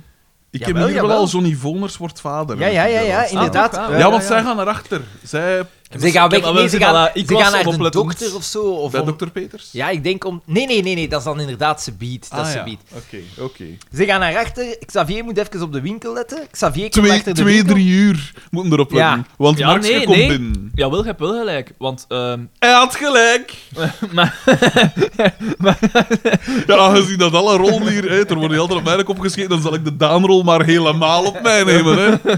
Ik heb Jawel, hier wel jawel. al Johnny Voners wordt vader. Ja, ja, ja, ja, inderdaad. Ah, toch, Ja, ja, want ja. zij gaan erachter. Zij Ze gaan Ik heb weg, al nee, wel ze gezien, gaan, voilà, ik ze was gaan naar de onoplettend. dokter of zo. Of bij om- dokter Peters. Ja, ik denk om... Nee, nee, nee, nee, dat is dan inderdaad ze biedt. Dat Ah, ze ja. biedt. Oké, oké. Ze gaan naar achter. Xavier moet even op de winkel letten. Xavier komt Twee, achter de twee winkel. drie uur moeten erop Ja. letten. Want Ja, Marx nee, komt nee. binnen. Jawel, je hebt wel gelijk, want... ehm, Hij had gelijk. Ja, aangezien dat alle rollen hier... Hè, er worden altijd op mij opgeschreven, dan zal ik de Daanrol maar helemaal op mij nemen. Hè.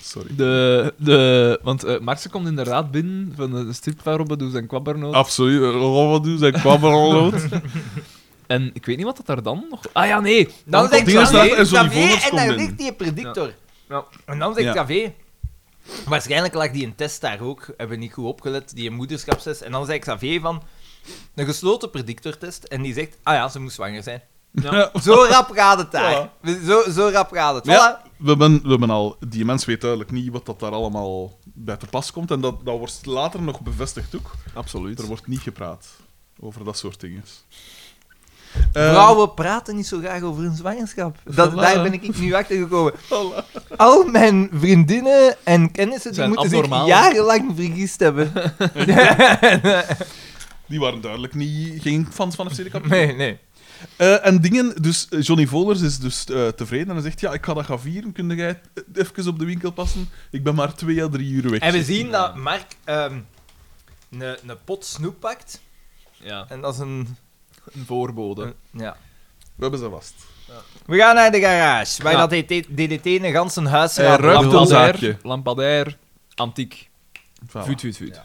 Sorry. de, de, want eh Marse komt inderdaad binnen van de strip van Robbe Does en Kwabbernoot. Absoluut. Eh, Wat doen zij? Kwabberlood. En ik weet niet wat dat daar dan nog... Ah ja, nee. Dan komt zegt dingen Xavier- staat Xavier, en Johnny Xavier Voners en komt daar in. ligt die predictor. Ja. En dan zegt Ja. Xavier... Waarschijnlijk lag die een test daar ook. Hebben we niet goed opgelet, die een moederschapstest. En dan zei Xavier van... Een gesloten predictortest. En die zegt... Ah ja, ze moest zwanger zijn. Ja. Zo rap gaat het daar. Ja. Zo, zo rap gaat het. Voilà. Ja, we hebben, we hebben al... Die mens weet duidelijk niet wat dat daar allemaal bij te pas komt. En dat, dat wordt later nog bevestigd ook. Absoluut. Er wordt niet gepraat over dat soort dingen. Vrouwen praten niet zo graag over hun zwangerschap. Dat, Voilà. Daar ben ik nu achter gekomen. Al mijn vriendinnen en kennissen die Zijn moeten abnormaal. zich jarenlang vergist hebben. Eh, Die waren duidelijk niet, geen fans van FC de Kampioen. nee, nee. Eh, en dingen, dus eh, Johnny Volers is dus eh, tevreden en hij zegt: Ja, ik ga dat gaan vieren. Kun jij eh, even op de winkel passen? Ik ben maar twee à drie uur weg. En we zien dat Mark ehm, een een pot snoep pakt. Ja, En dat is een... een voorbode. een- ja. We hebben ze vast. We gaan naar de garage, waar Ja. dat DDT DDT een ganse huis Hij gaat ruikt lappen. ons aan. Lampadair, zaakje. Ah. lampadair, antiek. Voilà. Vuut, vuut, vuut.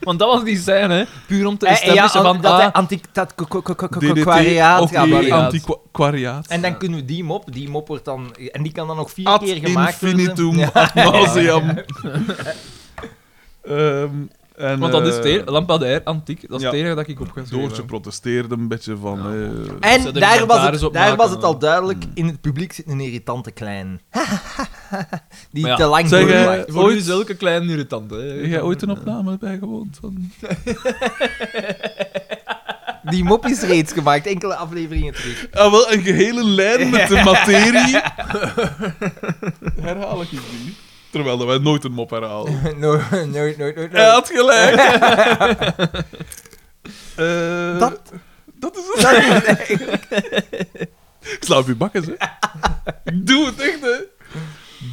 Want dat was die zijn, hè. Puur om te Eh, eh, ja, establishen an- van... dat ah, hij antiek... Dat ko- ko- ko- ko- ko- DDT, kwariaat ook gaat die Oh, maken. variaat. antiquariaat. En dan Ja. kunnen we die mop, die mop wordt dan... En die kan dan nog vier Ad keer gemaakt infinitum worden. ad nauseam. Ehm, en, Want dat is het eh, enige- lampadair, antiek, dat is ja. het enige dat ik op ga schrijven. Doortje protesteerde een beetje van... Ja. eh, En Zou er daar commentaar was, eens het, op daar maken, was het dan? al duidelijk, Hmm. in het publiek zit een irritante klein. Die Maar ja, te lang zeg, eh, doorwaait. Voor Ooit- u zulke kleine irritant, hè. heb jij ooit een opname bijgewoond? Van... Die mop is reeds gemaakt, enkele afleveringen terug. Ah, wel, een gehele lijn met de materie. Herhaal ik die. Terwijl wij nooit een mop herhalen. No- Nooit, nooit, nooit, Hij nooit. had gelijk. Eh, Dat- dat is het. Ik sla op je bakken, hè. Ik doe het echt, hè.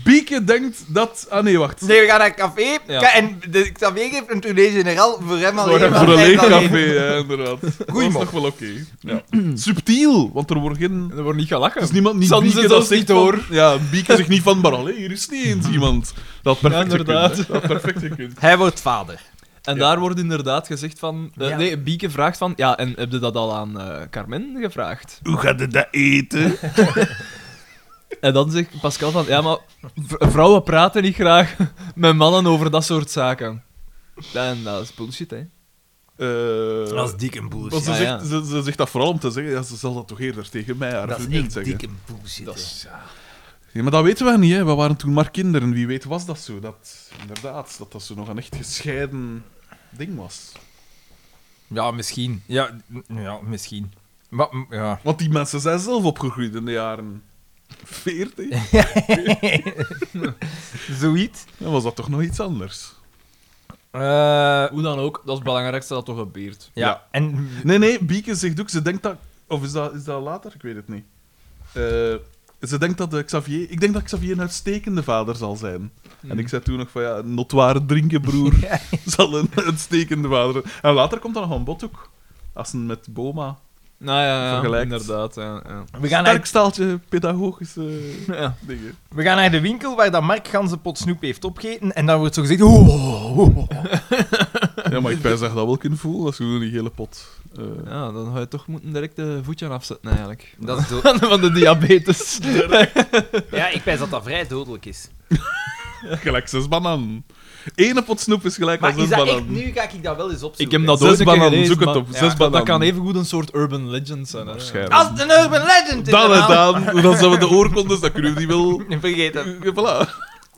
Bieke denkt dat... Ah, nee, wacht. Nee, we gaan naar een café. Ja. Ka- En de café geeft een tournee generaal voor hem alleen. Voor, want voor een hij leeg is alleen. café, ja, inderdaad. dat is mop. nog wel oké. Ja. Subtiel, want er wordt geen... Er wordt niet gelachen. Er is niemand niet Zal ze Bieke zelfs dat zegt niet van- hoor. ja, Bieke zegt niet van, maar allee, hier is niet eens iemand. Dat had perfect Ja, inderdaad. gekund, hè. Dat had perfect gekund. Hij wordt vader. En Ja. daar wordt inderdaad gezegd van... eh, Ja. Nee, Bieke vraagt van... Ja, en heb je dat al aan eh, Carmen gevraagd? Hoe gaat het dat eten? En dan zegt Pascal van... Ja, maar v- vrouwen praten niet graag met mannen over dat soort zaken. En dat is bullshit, hè. Eh, Dat is dik een bullshit. Maar ze, Ja, ja. Zegt, ze, ze zegt dat vooral om te zeggen, ja, ze zal dat toch eerder tegen mij haar dat is vriendin echt zeggen. dik een bullshit. Dat hè. is... Ja, maar dat weten we niet, hè. we waren toen maar kinderen. Wie weet was dat zo, dat inderdaad, dat dat zo nog een echt gescheiden ding was. Ja, misschien. Ja, m- ja misschien. Maar, m- ja. Want die mensen zijn zelf opgegroeid in de jaren 40. Zoiets. Dan was dat toch nog iets anders. Eh, Hoe dan ook, dat is het belangrijkste dat toch gebeurt. ja. Ja. en Nee, nee, Bieke zegt ook, ze denkt dat... Of is dat, is dat later? Ik weet het niet. Eh, ze denkt dat eh, Xavier... Ik denk dat Xavier een uitstekende vader zal zijn. Mhm. En ik zei toen nog van, ja, een notwaar drinken, broer. Zal een uitstekende vader zijn. En later komt dat nog aan bod ook. Als een met Boma. Nou ja, ja Vergelijkt. inderdaad. Ja, ja. we gaan, Sterk naar, staaltje pedagogische Ja. dingen. we gaan naar de winkel waar dat Mark gans een pot snoep heeft opgegeten. En dan wordt zo gezegd... "Oh, oh, oh, oh." Ja, maar ik ben zeg dat wel kunnen voelen. Dat is gewoon die hele pot. Eh, Ja, dan ga je toch moeten direct de voetje afzetten, eigenlijk. Dat is do- Van de diabetes. ja, ik wijs dat dat vrij dodelijk is. Gelijk zes bananen. Ene pot snoep is gelijk Maar aan zes is dat bananen. echt... Nu ga ik dat wel eens opzoeken. Ik heb dat Zes ooit een keer bananen, gelezen, zoek het maar- op, zes dat- Dat bananen. kan evengoed een soort urban legend zijn. hè. Waarschijnlijk. Als het een urban legend is, Dan en dan- dan. Dan zijn we de oorkondes, dan kunnen we die wel... Vergeet het. Ja, voilà.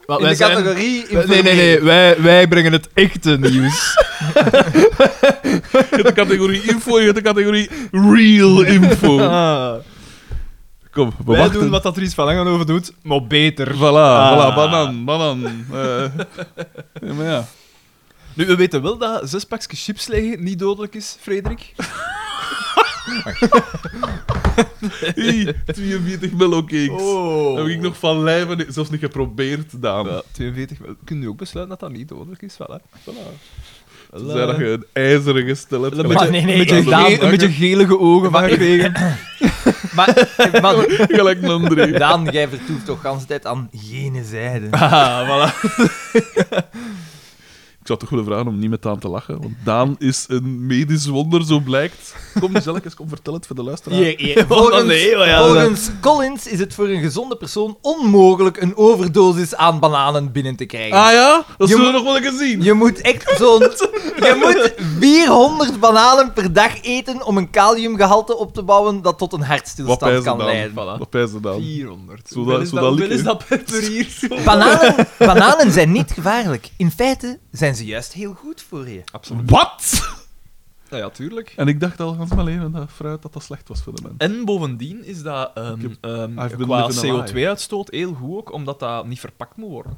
Wel, In wij de zijn- categorie... wij- Nee, nee, nee. Wij, wij brengen het echte nieuws. Je hebt de categorie info, je hebt de categorie real info. Ah, Kom, we wij wachten. doen wat dat Ries van Langenhoven doet, maar beter. Voilà, Ah. voilà, banan, banan. Eh, ja, maar ja. Nu, we weten wel dat zes pakjes chips leggen niet dodelijk is, Frederik. Hey, 42 mellowcakes. Oh. Heb ik nog van lijf en zelfs niet geprobeerd, dame. Ja, 42. wel. Kunnen nu ook besluiten dat dat niet dodelijk is? Voilà. Voilà. Voilà. Ze zijn dat je een ijzeren gestel hebt. Een gelijk- beetje, Ah, nee, nee, een beetje ik- ge- Daan, een beetje gelige ogen van Maar ik- gekregen. Maar, maar Gelijk een André. Daan, jij vertoeft toch de hele tijd aan gene zijde. Ah, voilà. Ik zou toch willen vragen om niet met Daan te lachen, want Daan is een medisch wonder, zo blijkt. Kom, zelf eens, kom, vertel het voor de luisteraar. Hier, hier. Wat Volgens, dan? Nee, maar ja, volgens Collins is het voor een gezonde persoon onmogelijk een overdosis aan bananen binnen te krijgen. Ah ja? Dat Je zullen we moet- nog wel een keer zien. Je moet echt zo'n... Je moet 400 bananen per dag eten om een kaliumgehalte op te bouwen dat tot een Wat hartstilstand pijzen kan dan? leiden. voilà. Wat pijzen dan? 400. Zo dat- Hoeveel is zo dat, dat hoeveel likken. is dat per, per hier? Bananen, bananen zijn niet gevaarlijk. In feite zijn ze juist heel goed voor je. Absoluut. Wat? Ja, ja, tuurlijk. En ik dacht al gans mijn leven dat fruit dat dat slecht was voor de mens. En bovendien is dat ehm, ehm, I've been qua living a lie. CO2-uitstoot heel goed ook, omdat dat niet verpakt moet worden.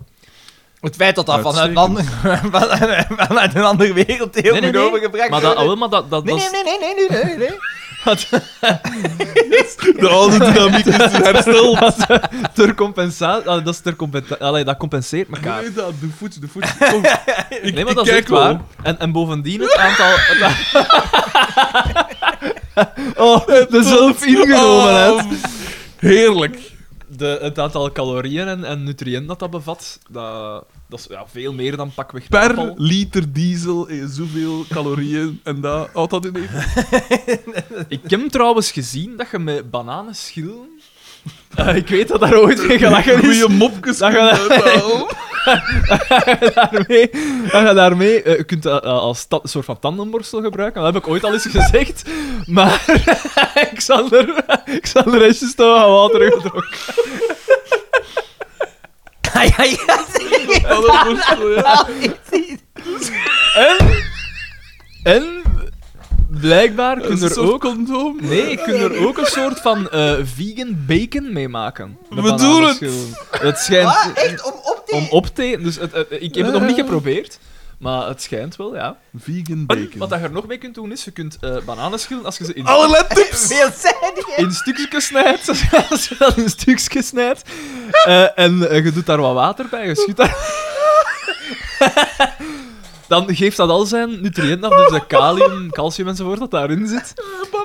Het feit dat dat vanuit, Uitstekend. landen- vanuit- vanuit een andere wereld heel Nee, nee, goed nee. overgebracht Maar dat, ah, worden. wel, maar dat, dat, Nee, dat is- nee, nee, nee, nee, nee, nee, nee. De oude dynamiek is hersteld. ter compensatie... dat is ter compensa- allee, dat compenseert elkaar. Nee, dat, de voet, de voet. Kom, ik, Nee, maar ik dat is kijk echt wel. waar. En, en bovendien het aantal... oh, de zelfingenomenheid. Oh, heerlijk. De, het aantal calorieën en, en nutriënten dat dat bevat, dat, dat is ja, veel meer dan pakweg een Per appel. liter diesel eh, zoveel calorieën en dat houdt dat in even. Ik heb trouwens gezien dat je met bananen schillen... Eh, ik weet dat daar ooit mee gelachen is. Goeie mopjes. Dat je, uithalen. daarmee, dat je daarmee eh, je kunt dat eh, als ta- soort van tandenborstel gebruiken. Dat heb ik ooit al eens gezegd. Maar Xander, Xander is just al wat water gedronken. ja, ja, ja. Tandenborstel, ja. En, en blijkbaar Dat is kun een er soort ook... condoom. Nee, je kunt er ook een soort van eh, vegan bacon mee maken. Met We doen bananenschillen. Het schijnt... Wat? Echt? Om op te... Om op te eten. Dus het, het- ik heb het nog niet geprobeerd. Maar het schijnt wel, ja. Vegan En bacon. wat dat je er nog mee kunt doen is, je kunt eh bananen schillen als je ze in, Allerlei tips! Veelzijdig. in stukjes snijdt. als je dat in stukjes snijdt. eh, en eh, je doet daar wat water bij, je schudt daar... Dan geeft dat al zijn nutriënten af, dus dat kalium, calcium enzovoort dat daarin zit.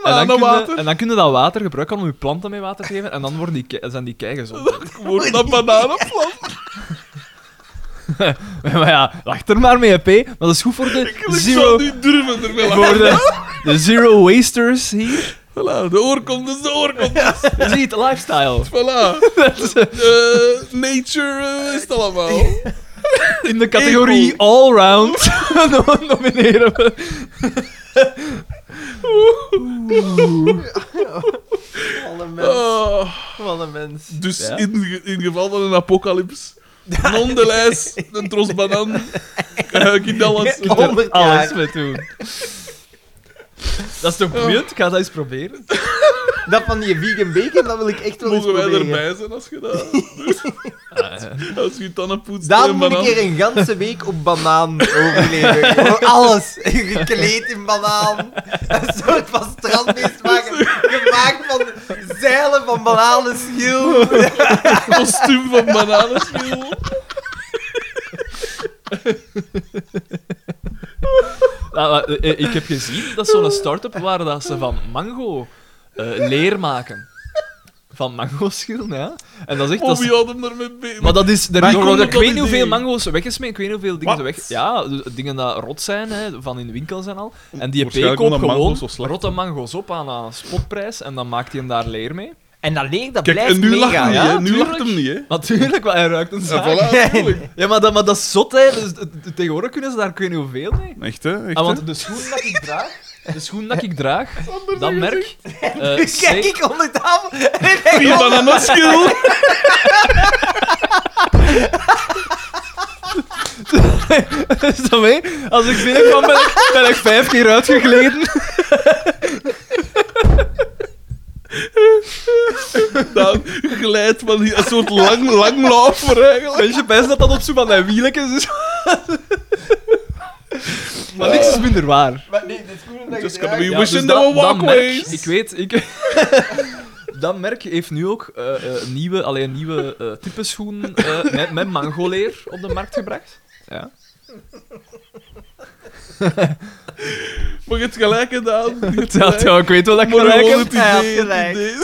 En dan, kun je, Bananenwater. en dan kun je dat water gebruiken om je planten mee water te geven en dan worden die, ke- zijn die keigezond. Wordt dat bananenplant? maar ja, wacht er maar mee, P. Maar dat is goed voor de Ik zero... zou niet durven er wel aan. Voor de, de zero wasters hier. Voilà, de oorkondes, de oorkondes. Je ziet, lifestyle. Voilà. Eh, nature eh, is het allemaal. In de categorie allround no- nomineren we. Wat een mens. Ah, Wat een mens. dus Ja. in, ge- in geval van een apocalyps. Non de lijst, een tros banaan. Eh, Kan ik in alles. Ja. Honderd jaar. Alles mee doen. Dat is toch boeiend? Ik ga dat eens proberen. Dat van die vegan bacon, dat wil ik echt wel eens Mogen wij proberen. erbij zijn als je dat... Ah. Als je je tanden poetst Daarom en moet ik banaan... hier een ganse week op banaan overleven. Gewoon alles. Gekleed in banaan. Een soort van strandbeest maken. Gemaakt van zeilen van bananenschil. kostuum van bananenschil. Nou, maar, eh, eh, ik heb gezien dat zo'n start-up waar dat ze van mango eh, leer maken. Van mango-schillen, Oh, ja. En dat is echt... Dat Bobby is, houdt hem ermee bezig. maar dat is... Maar Er, komt worden- ik dat weet idee? niet hoeveel mango's weggesmeten, ik weet niet hoeveel dingen ze Wat? weg... Ja, dus dingen dat rot zijn, hè, van in de winkels en al. En die P Waarschijnlijk koopt omdat mango's gewoon zo slecht rotte mango's op aan een spotprijs en dan maakt hij hem daar leer mee. En dat leer, dat Kijk, blijft en nu lacht mega. hem niet, ja. hè. Nu tuurlijk. lacht hem niet, hè. Natuurlijk, want hij ruikt een En zaak. voilà, natuurlijk. Ja, maar dat, maar dat is zot, hè. Dus, eh, eh, tegenwoordig kunnen ze daar ik weet niet hoeveel mee. Echt, hè? Echt, Ah, hè? want de schoen dat ik draag, de schoen dat ik draag, dat merk... eh, Kijk C- ik onder tafel en ik denk, Vier bananenschil. Is dat mee? Als ik binnenkwam ben, ik- ben ik vijf keer uitgegleden. Dan glijdt van die, een soort lang, langloper eigenlijk. Mensen best dat dat op zoek van mijn wielekjes is. dus- Maar niks is minder waar. Maar nee, dit schoenen dat Just je gonna be draagt... Ja, wishing there dus dat- were dat merk, walkways. ik weet, ik... dat merk heeft nu ook eh, eh, nieuwe, alleen nieuwe eh type schoenen eh, met, met mangoleer op de markt gebracht. Ja. Maar je hebt gelijk gedaan. Ja, ja, ik weet wel dat ik Maar gelijk gewoon het heb. Hij had idee. het gelijk. idee.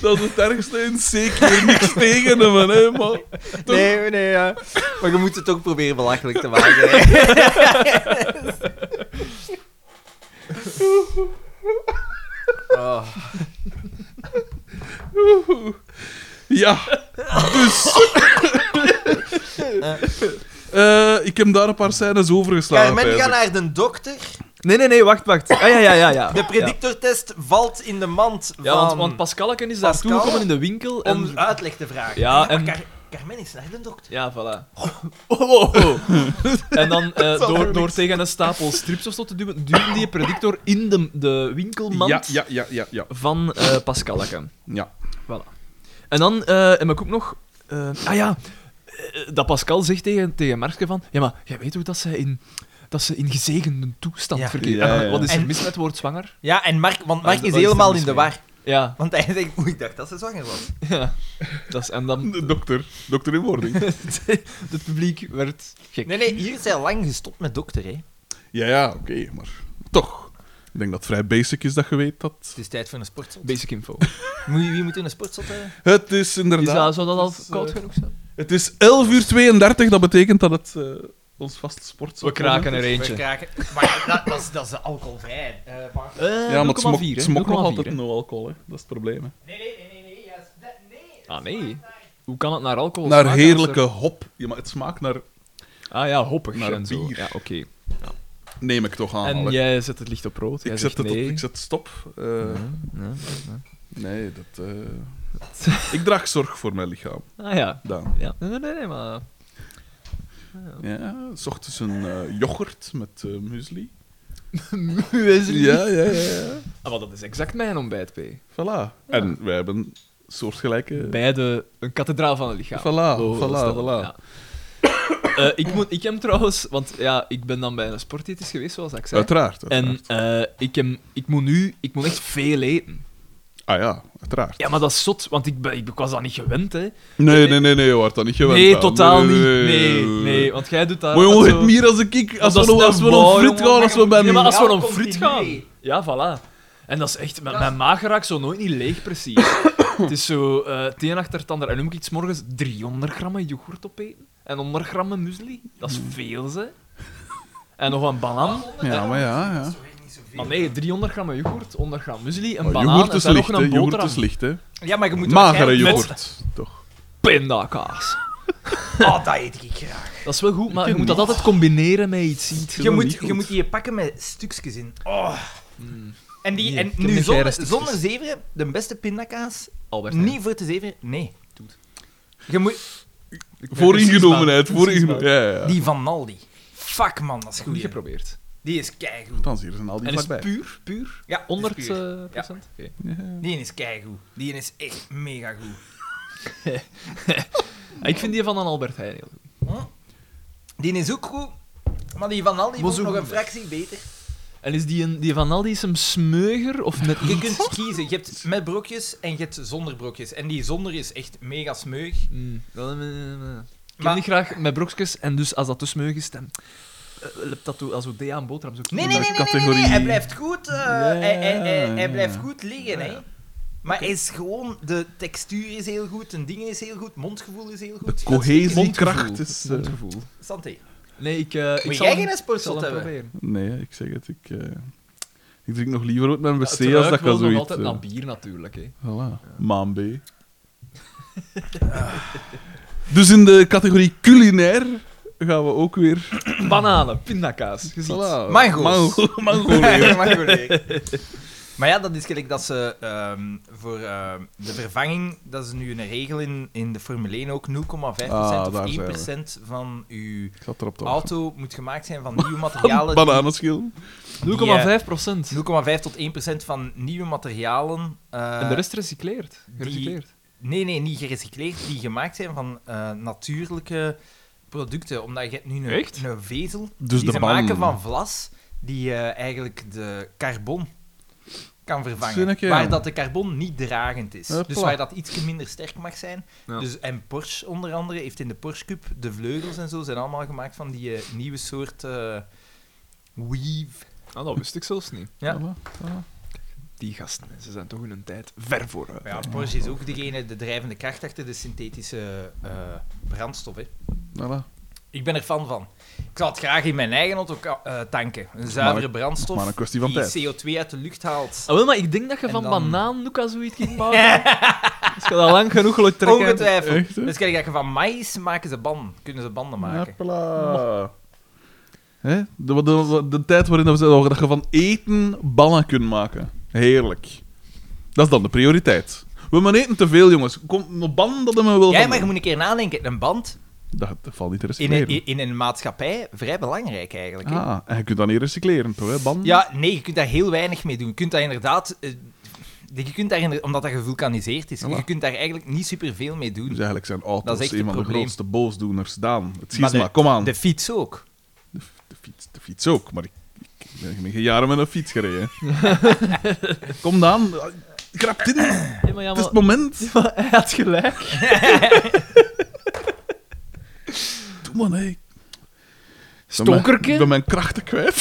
Dat is het ergste en zeker niks tegen hem, hè, man. Nee, nee, ja. Maar je moet het ook proberen belachelijk te maken. hè. Oh. Ja, dus. Eh, ik heb daar een paar scènes over geslagen. Carmen gaat eigenlijk. naar de dokter. Nee, nee, nee, wacht, wacht. Ah, ja, ja, ja, ja. De predictortest valt in de mand Ja, van... want, want Pascalken is daar Pascal? toegekomen in de winkel. En... om uitleg te vragen. Ja, maar en- Car- Carmen is naar de dokter. Ja, voilà. Oh, oh, oh. En dan eh, zal door, er door niks. tegen een stapel strips of zo te duwen, duwde die predictor in de, de winkelmand Ja, ja, ja, ja, ja. van eh Pascalke. ja. En dan eh heb ik ook nog... eh, ah ja, eh, dat Pascal zegt tegen, tegen Marske van... Ja, maar jij weet hoe dat ze in... Dat ze in gezegende toestand Ja. verkeert. Ja, ja, ja. Wat is er En- mis met het woord zwanger? Ja, en Mark, want Mark Ah, is dat is helemaal er in de mis mee. war. Ja, Want hij denkt, oei, ik dacht dat ze zwanger was. ja. Dat is, en dan... De dokter. Dokter in wording. het publiek werd gek. Nee, nee, hier is hij lang gestopt met dokter, hè. Ja, ja, oké, maar toch. Ik denk dat het vrij basic is dat je weet dat. Het is tijd voor een sportzot. Basic info. Moet je- Wie moet in een eh? sportzot hebben? Het is Is inderdaad. dat, zou dat al Dus, eh, koud genoeg zijn? Het is 11 uur 32, dat betekent dat het eh, ons vaste sport We kraken er We eentje. kraken. Maar dat, dat, is, dat is alcoholvrij. eh, maar- Eh, Ja, maar het smok, 0,4, hè. smok nog 0,4, altijd hè. no alcohol, hè. dat is het probleem. Hè. Nee, nee, nee, nee, nee. Yes. Dat, nee. Ah nee. Hoe kan het naar alcohol Naar smaken als heerlijke hop. Ja, maar het smaakt naar... er- Ah ja, hoppig naar en zo. bier. Ja, oké. Neem ik toch aan. en Alec. jij zet het licht op rood. Jij ik, zegt zet het op- nee. ik zet stop. Eh, Ja, ja, ja. Nee, dat... eh, ik draag zorg voor mijn lichaam, Ah ja. Daan. ja. Nee, nee, nee, nee, maar... Ja, s ochtends een eh, yoghurt met eh muesli. Wesley. Ja, ja, ja. ja. Ah, maar dat is exact mijn ontbijt, P. Voilà. En wij hebben soortgelijke... Beide een kathedraal van het lichaam. Voilà, Zo voilà, is dat. voilà. Ja. Eh, ik, moet, ik heb trouwens, want ja, ik ben dan bij een sportdiëtist geweest, zoals ik zei. Uiteraard, En uiteraard. eh, ik, heb, ik moet nu ik moet echt veel eten. Ah ja, uiteraard. Ja, maar dat is zot, want ik, ben, ik, ik was dat niet gewend, hè? Nee, nee, nee, nee, je wordt dat niet gewend. nee, aan. totaal niet. Nee, nee, want jij doet daar. Maar jongen, altijd het zo- meer als ik... Als we Dat is- nog- dat als is we waar, nog frit jongen, gaan, als we bij... Ja, maar als we Ja, nog continu. fruit gaan. Ja, voilà. En dat is echt, mijn, mijn maag raakt zo nooit niet leeg, precies. het is zo, eh het een achter het ander. En nu moet ik iets morgens 300 gram yoghurt opeten. En 100 gram muesli. Dat Mm. is veel, ze. En nog een banaan. Ja, maar ja, ja. Maar Ah, nee, 300 gram yoghurt, 100 gram muesli, een Maar banaan yoghurt en is dan licht, nog hè. een Yoghurt is boterham. licht, hè. Ja, maar je moet Magere waarschijnlijk yoghurt, toch. Pindakaas. met- Ah, dat eet ik graag. Dat is wel goed, maar je moet dat niet. altijd combineren met iets ziet. is Je wel moet, niet goed. je moet die pakken met stukjes in. Oh. En, die, Nee, en ik heb nu geen zonder, stukjes. zonder zeveren, de beste pindakaas, Albert, hè. niet voor te zeveren, nee. Je moet, Voor ingenomenheid, precies voor ingenomenheid. Ja, ja, ja. die van Naldi. Fuck man, dat is Goed goed. hè. geprobeerd. Die is keigoed. Dan hier zijn al die En is het vlakbij. puur, puur? Ja, 100 is puur. eh, procent? Oké. Ja. Die is keigoed. Die is echt mega goed. Ah, Ik vind die van een Albert Heijn heel goed. Hm? Die is ook goed, maar die van Aldi Maar was zo nog goed een fractie beter. En is die, een, die van Aldi is hem smeuger of net Je niet? kunt kiezen. Je hebt met brokjes en je hebt zonder brokjes. En die zonder is echt mega smeug. Mm, dat- eh, eh, eh. Ik Maar- heb niet graag met brokjes en dus als dat te smeug is, dan eh, lep dat toe als een DA aan boterham. Zo Nee, nee, In nee, welke nee, nee, nee, categorie? Hij blijft goed, eh, hij, hij, hij, ja, hij ja. blijft goed liggen, hè. Ja. Maar hij is gewoon... De textuur is heel goed, de dingen is heel goed, mondgevoel is heel goed. De Dat is- cohesiekracht is... eh, Mondgevoel. Santé. Nee, ik, eh ik Moet zal jij hem- geen ik zal sportshot hem hebben? proberen. Nee, ik zeg het, ik... eh, Ik drink nog liever uit mijn wc Ja, het als dat ruikt ik al wel nog zoiets... altijd eh, naar bier natuurlijk. Hè. Voilà. Maan B. Dus in de categorie culinair gaan we ook weer... Bananen, pindakaas, je ziet. Voilà. Mango's. Mango- mango Ja, weer. maar goed, hè. Maar ja, dat is gelijk dat ze ehm, voor ehm, de vervanging, dat is nu een regel in, in de Formule 1 ook, 0,5% Ah, daar zijn we. of 1% van uw Ik zat erop te wachten. auto moet gemaakt zijn van nieuwe materialen. die- Bananenschil. 0,5 procent. 0,5 tot 1% van nieuwe materialen. eh, En de rest recycleert. die- Gerecycleerd. Nee, nee, niet gerecycleerd. Die gemaakt zijn van eh, natuurlijke producten. Omdat je hebt nu een, Echt? een vezel. Dus die de ze ban. maken van vlas. Die eh, eigenlijk de carbon kan vervangen. Zinnetje, ja. waar dat de carbon niet dragend is. Hopla. Dus waar dat iets minder sterk mag zijn. Ja. Dus, en Porsche onder andere heeft in de Porsche Cup de vleugels en zo zijn allemaal gemaakt van die eh, nieuwe soort eh, weave. Ah, dat wist ik zelfs niet. Ja. Voilà, voilà. Die gasten, ze zijn toch in hun tijd ver vooruit. Ja, Porsche is ook degene, de drijvende kracht achter de synthetische eh, brandstof. Hè. Voilà. Ik ben er fan van. Ik zou het graag in mijn eigen auto ka- eh, tanken. Een zuivere brandstof maar een kwestie van die tijd. CO2 uit de lucht haalt. Ah, wel, maar ik denk dat je En van dan- banaan ook al zoiets kunt maken. Als je dat lang genoeg laat trekken. Ongetwijfeld. Echt, hè? Dus kijk, dat je van maïs maken ze banden. Kunnen ze banden maken. Hopla. Hè? De, de, de tijd waarin we zeiden dat je van eten ballen kunt maken. Heerlijk. Dat is dan de prioriteit. We moeten eten te veel, jongens. Kom, op banden dat we wel Jij, van- maar je moet een keer nadenken. Een band Dat valt niet te in een, recycleren. in een maatschappij, vrij belangrijk eigenlijk. hè. Ah, en je kunt dat niet recycleren, toch? Hè? Banden? Ja, nee, je kunt daar heel weinig mee doen. Je kunt daar inderdaad... eh, je kunt daar inder- omdat dat gevulkaniseerd is. Voilà. Je kunt daar eigenlijk niet superveel mee doen. Dus eigenlijk zijn auto's Dat is echt een het van de probleem. grootste boosdoeners. Daan, het Maar schisma, kom aan. De De, fiets ook. de fiets, de fiets ook, maar ik, ik ben- ik ben geen jaren met een fiets gereden. kom Daan, grap dit. Het Ja, maar ja, is maar, het moment. maar hij had gelijk. Doe man, hé. Ik ben mijn- Ik ben Stokerke? mijn krachten kwijt.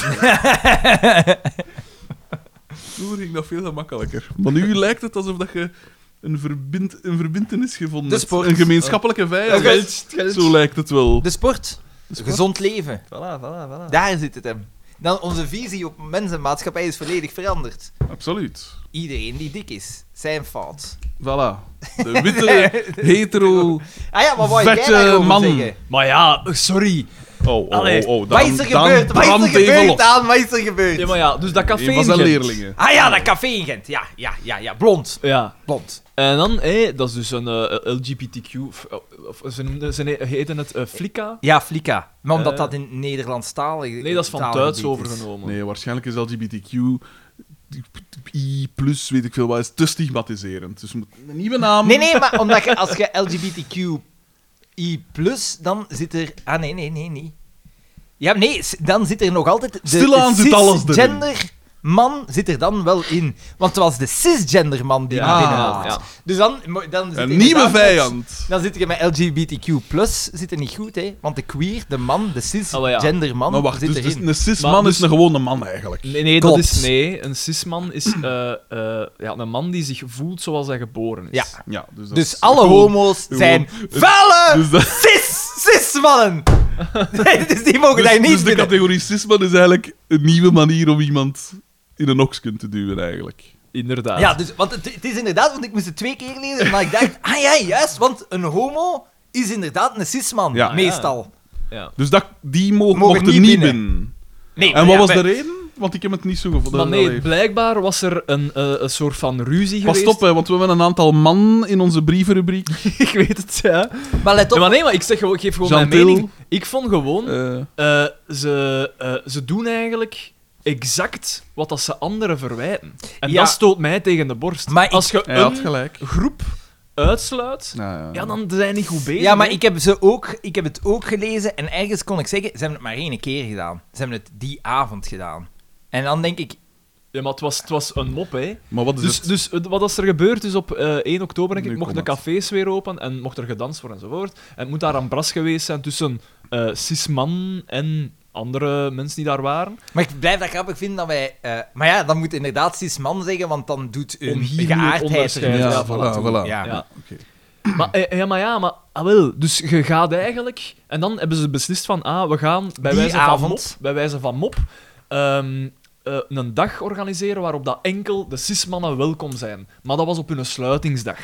Vroeger ging dat veel gemakkelijker. Maar nu lijkt het alsof dat je een, verbind, een verbintenis gevonden De hebt. sport. Oh. Een gemeenschappelijke vijand. Oké. Zo lijkt het wel. De sport. Dus Gezond leven. Voilà, voilà, voilà. Daar zit het hem. dan onze visie op mensen en maatschappij is volledig veranderd. Absoluut. Iedereen die dik is, zijn fout. Voilà. De witte, hetero... Ah ja, maar wat jij Vette daarover man. zeggen? Maar ja, sorry. Oh, oh, oh. Allee, oh, Dan, Wat is er dan gebeurd? Wat brandt is er even los. gebeurd, Daan? Wat is er gebeurd? Ja, maar ja, dus dat café Een van zijn in Gent. leerlingen. Ah ja, dat café in Gent. Ja, ja, ja, ja. Blond. Ja. Blond. En dan, hé, dat is dus een eh, LGBTQ... Of, oh, of- ze, noemden- ze he- heten het eh, Flika. Ja, Flika. Maar omdat Eh. dat in Nederlandstalig Nee, dat is van taalgebied Duits is. overgenomen. Nee, waarschijnlijk is LGBTQ... I plus, weet ik veel wat, is te stigmatiserend. Dus we moeten een nieuwe naam... Nee, nee, maar omdat je, als je LGBTQI dan zit er... Ah, nee, nee, nee, nee. Ja, nee, s- dan zit er nog altijd... De Stilaan zit alles erin. cisgender man zit er dan wel in. Want het was de cisgender man die Ja. ja. Ah, binnenhaalt. ja. Dus dan, mo- dan zit Een je nieuwe inderdaad met- vijand. Dan zit je met LGBTQ+, zit er niet goed, hè. Want de queer, de man, de Ah, maar ja. cisgender man Maar wacht, zit dus, erin. dus een Maar cis-man dus- is een gewone man eigenlijk. Nee, nee, dat Klopt. is... Nee, een cisman is eh, eh, ja, een man die zich voelt zoals hij geboren is. Ja. Ja, dus, dat Dus is alle gewoon- homo's gewoon- zijn vuile Dus dat- cis, cis mannen. dus die mogen Dus, daar niet dus de binnen. categorie cisman is eigenlijk een nieuwe manier om iemand in een oksken te duwen, eigenlijk. Inderdaad. Ja, dus, want het, het is inderdaad, want ik moest het twee keer lezen, maar ik dacht, ah ja, juist, want een homo is inderdaad een cisman, Ja. meestal. Ja. Dus dat, die mo Mogen mochten niet niet binnen. binnen. Nee, En ja, wat was de maar- reden? Want ik heb het niet zo gevonden. Maar nee, Allee. blijkbaar was er een, eh, een soort van ruzie Pas geweest. op, hè, want we hebben een aantal man in onze brievenrubriek. Mhm. ik weet het, ja. Maar let op, Ja, maar nee, maar ik, zeg, gewoon- ik geef gewoon mijn Gentil. mening. Ik vond gewoon, Eh, eh, ze, eh, ze doen eigenlijk exact wat dat ze anderen verwijten. En Ja. dat stoot mij tegen de borst. Maar ik- Als je hij had een gelijk. groep uitsluit, Nou, ja. ja, dan zijn die niet goed bezig. ja, maar hè. ik heb, ze ook, ik heb het ook gelezen en ergens kon ik zeggen, ze hebben het maar één keer gedaan. Ze hebben het die avond gedaan. En dan denk ik, Ja, maar het was, het was een mop, hè. Maar wat is Dus, het? dus eh, wat is er gebeurd is op eh, 1 oktober, denk ik, Nu mochten de komt het. cafés weer open en mocht er gedanst worden enzovoort. En het moet daar een bras geweest zijn tussen eh cis-man en andere mensen die daar waren. Maar ik blijf dat grappig vinden dat wij... eh, maar ja, dan moet inderdaad cis-man zeggen, want dan doet een Onhier geaardheid er onderscheid. ja, niet ja, toe. voilà, voilà. Ja. Ja. Oké. Maar, eh, ja, maar ja, maar ah, wel. Dus je gaat eigenlijk... En dan hebben ze beslist van, ah, we gaan bij Die wijze van mop, avond. bij wijze van mop ehm, eh, een dag organiseren waarop dat enkel de cis-mannen welkom zijn. Maar dat was op hun sluitingsdag.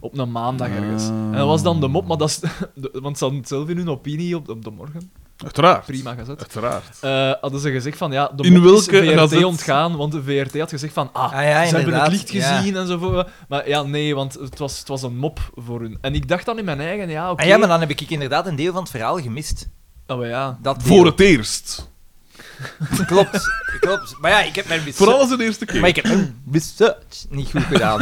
Op een maandag ergens. Ah. En dat was dan de mop, maar dat is... de- want ze hadden het zelf in hun opinie op, op de morgen. Uiteraard. Prima gezet. Uiteraard. eh, hadden ze gezegd van ja, de In mop welke is VRT gazet? ontgaan, want de VRT had gezegd van ja, ah, ze hebben het inderdaad, licht ja. gezien enzovoort. Maar ja, nee, want het was, het was een mop voor hun. En ik dacht dan in mijn eigen, ja, oké. Ah ja, maar dan heb ik inderdaad een deel van het verhaal gemist. Oh, maar ja. Dat deel. Voor het eerst. Klopt, klopt. Maar ja, ik heb mijn Voor research, alles de eerste keer. maar ik heb mijn research niet goed gedaan.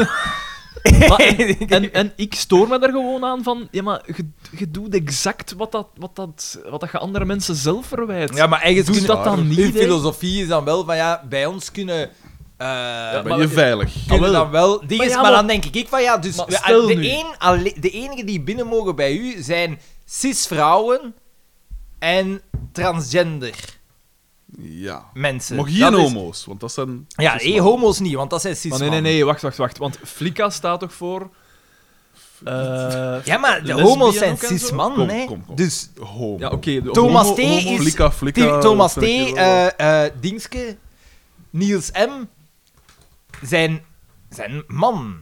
Maar en, en, en ik stoor me daar gewoon aan van, ja, maar je, je doet exact wat, dat, wat, dat, wat dat je andere mensen zelf verwijt. ja, maar ergens Doe kunnen- dat dan niet, Hun hè? filosofie is dan wel van ja, bij ons kunnen... eh, Dan maar- ben je veilig. kunnen Ah, wel. dan wel dingen, Maar maar, ja, maar- dan denk ik ik van ja, dus Maar we- stel de, nu. een, alle- de enige die binnen mogen bij u zijn cis-vrouwen en transgender Ja. mensen. Maar Dus Dat geen is- homo's, want dat zijn... Ja, cis-mannen. eh, homo's niet, want dat zijn cis Maar nee, nee, nee, wacht, wacht, wacht. Want Flika staat toch voor... eh, Ja, maar de lesbian homo's zijn ook en zo? cis-man, Kom, hè. kom, kom. Dus Homo. Ja, oké. de Thomas homo- T. is- Flika, flika, Tim- Thomas T, vind ik wel. eh, eh, Dingske, Niels M. zijn, zijn man.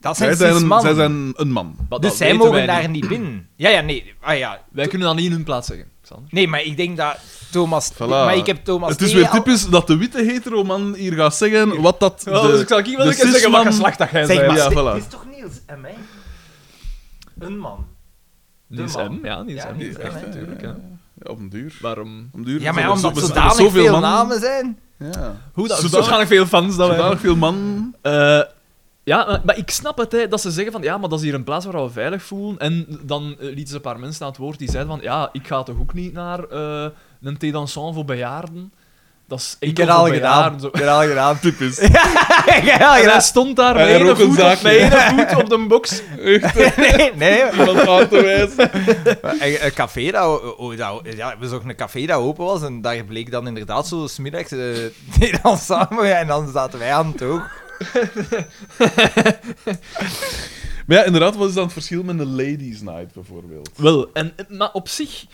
Dat zijn Zij cis zijn, man. zij zijn een man. Maar dat dus zij weten mogen wij daar niet. niet binnen. Ja, ja, nee. Ah, ja. Wij kunnen dat niet in hun plaats zeggen, Xander. Nee, maar ik denk dat Thomas... Voilà. Maar ik heb Thomas Het is T weer al- typisch dat de witte heteroman hier gaat zeggen wat dat Oh, de, dus dus hier de cisman- dat jij Zeg maar, Ja, het voilà. is toch Niels M, hè? Een man. Niels de man. M, ja, Niels Ja, M. Niels Ja, M, hè. natuurlijk, hè. Ja, op een duur. Waarom? Op een duur Ja, maar zijn ja, er omdat er zo- er zodanig zijn veel man- namen zijn. Ja. Hoe dat? Zodanig- Zodanig veel fans dat wij... Zodanig veel man. Eh, ja, maar, maar ik snap het, hè, dat ze zeggen van ja, maar dat is hier een plaats waar we veilig voelen. En dan eh, lieten ze een paar mensen aan het woord die zeiden van ja, ik ga toch ook niet naar eh, een thé dansant voor bejaarden. Dat is Ik enkel heb al voor gedaan. bejaarden, zo. Ik heb al gedaan. Typisch. Ik heb al En hij gedaan. stond daar Hij met ene rook een voet, op- zaakje. met ene voet op de box. Nee, nee. Iemand aan te wijzen. Eh, Een, een café dat, o- o- dat- ja, we zochten een café dat open was en daar bleek dan inderdaad zo smiddags eh die dan samen en dan zaten wij aan het oog. Maar ja, inderdaad, wat is dan het verschil met een ladies night bijvoorbeeld? Wel, en, maar op zich...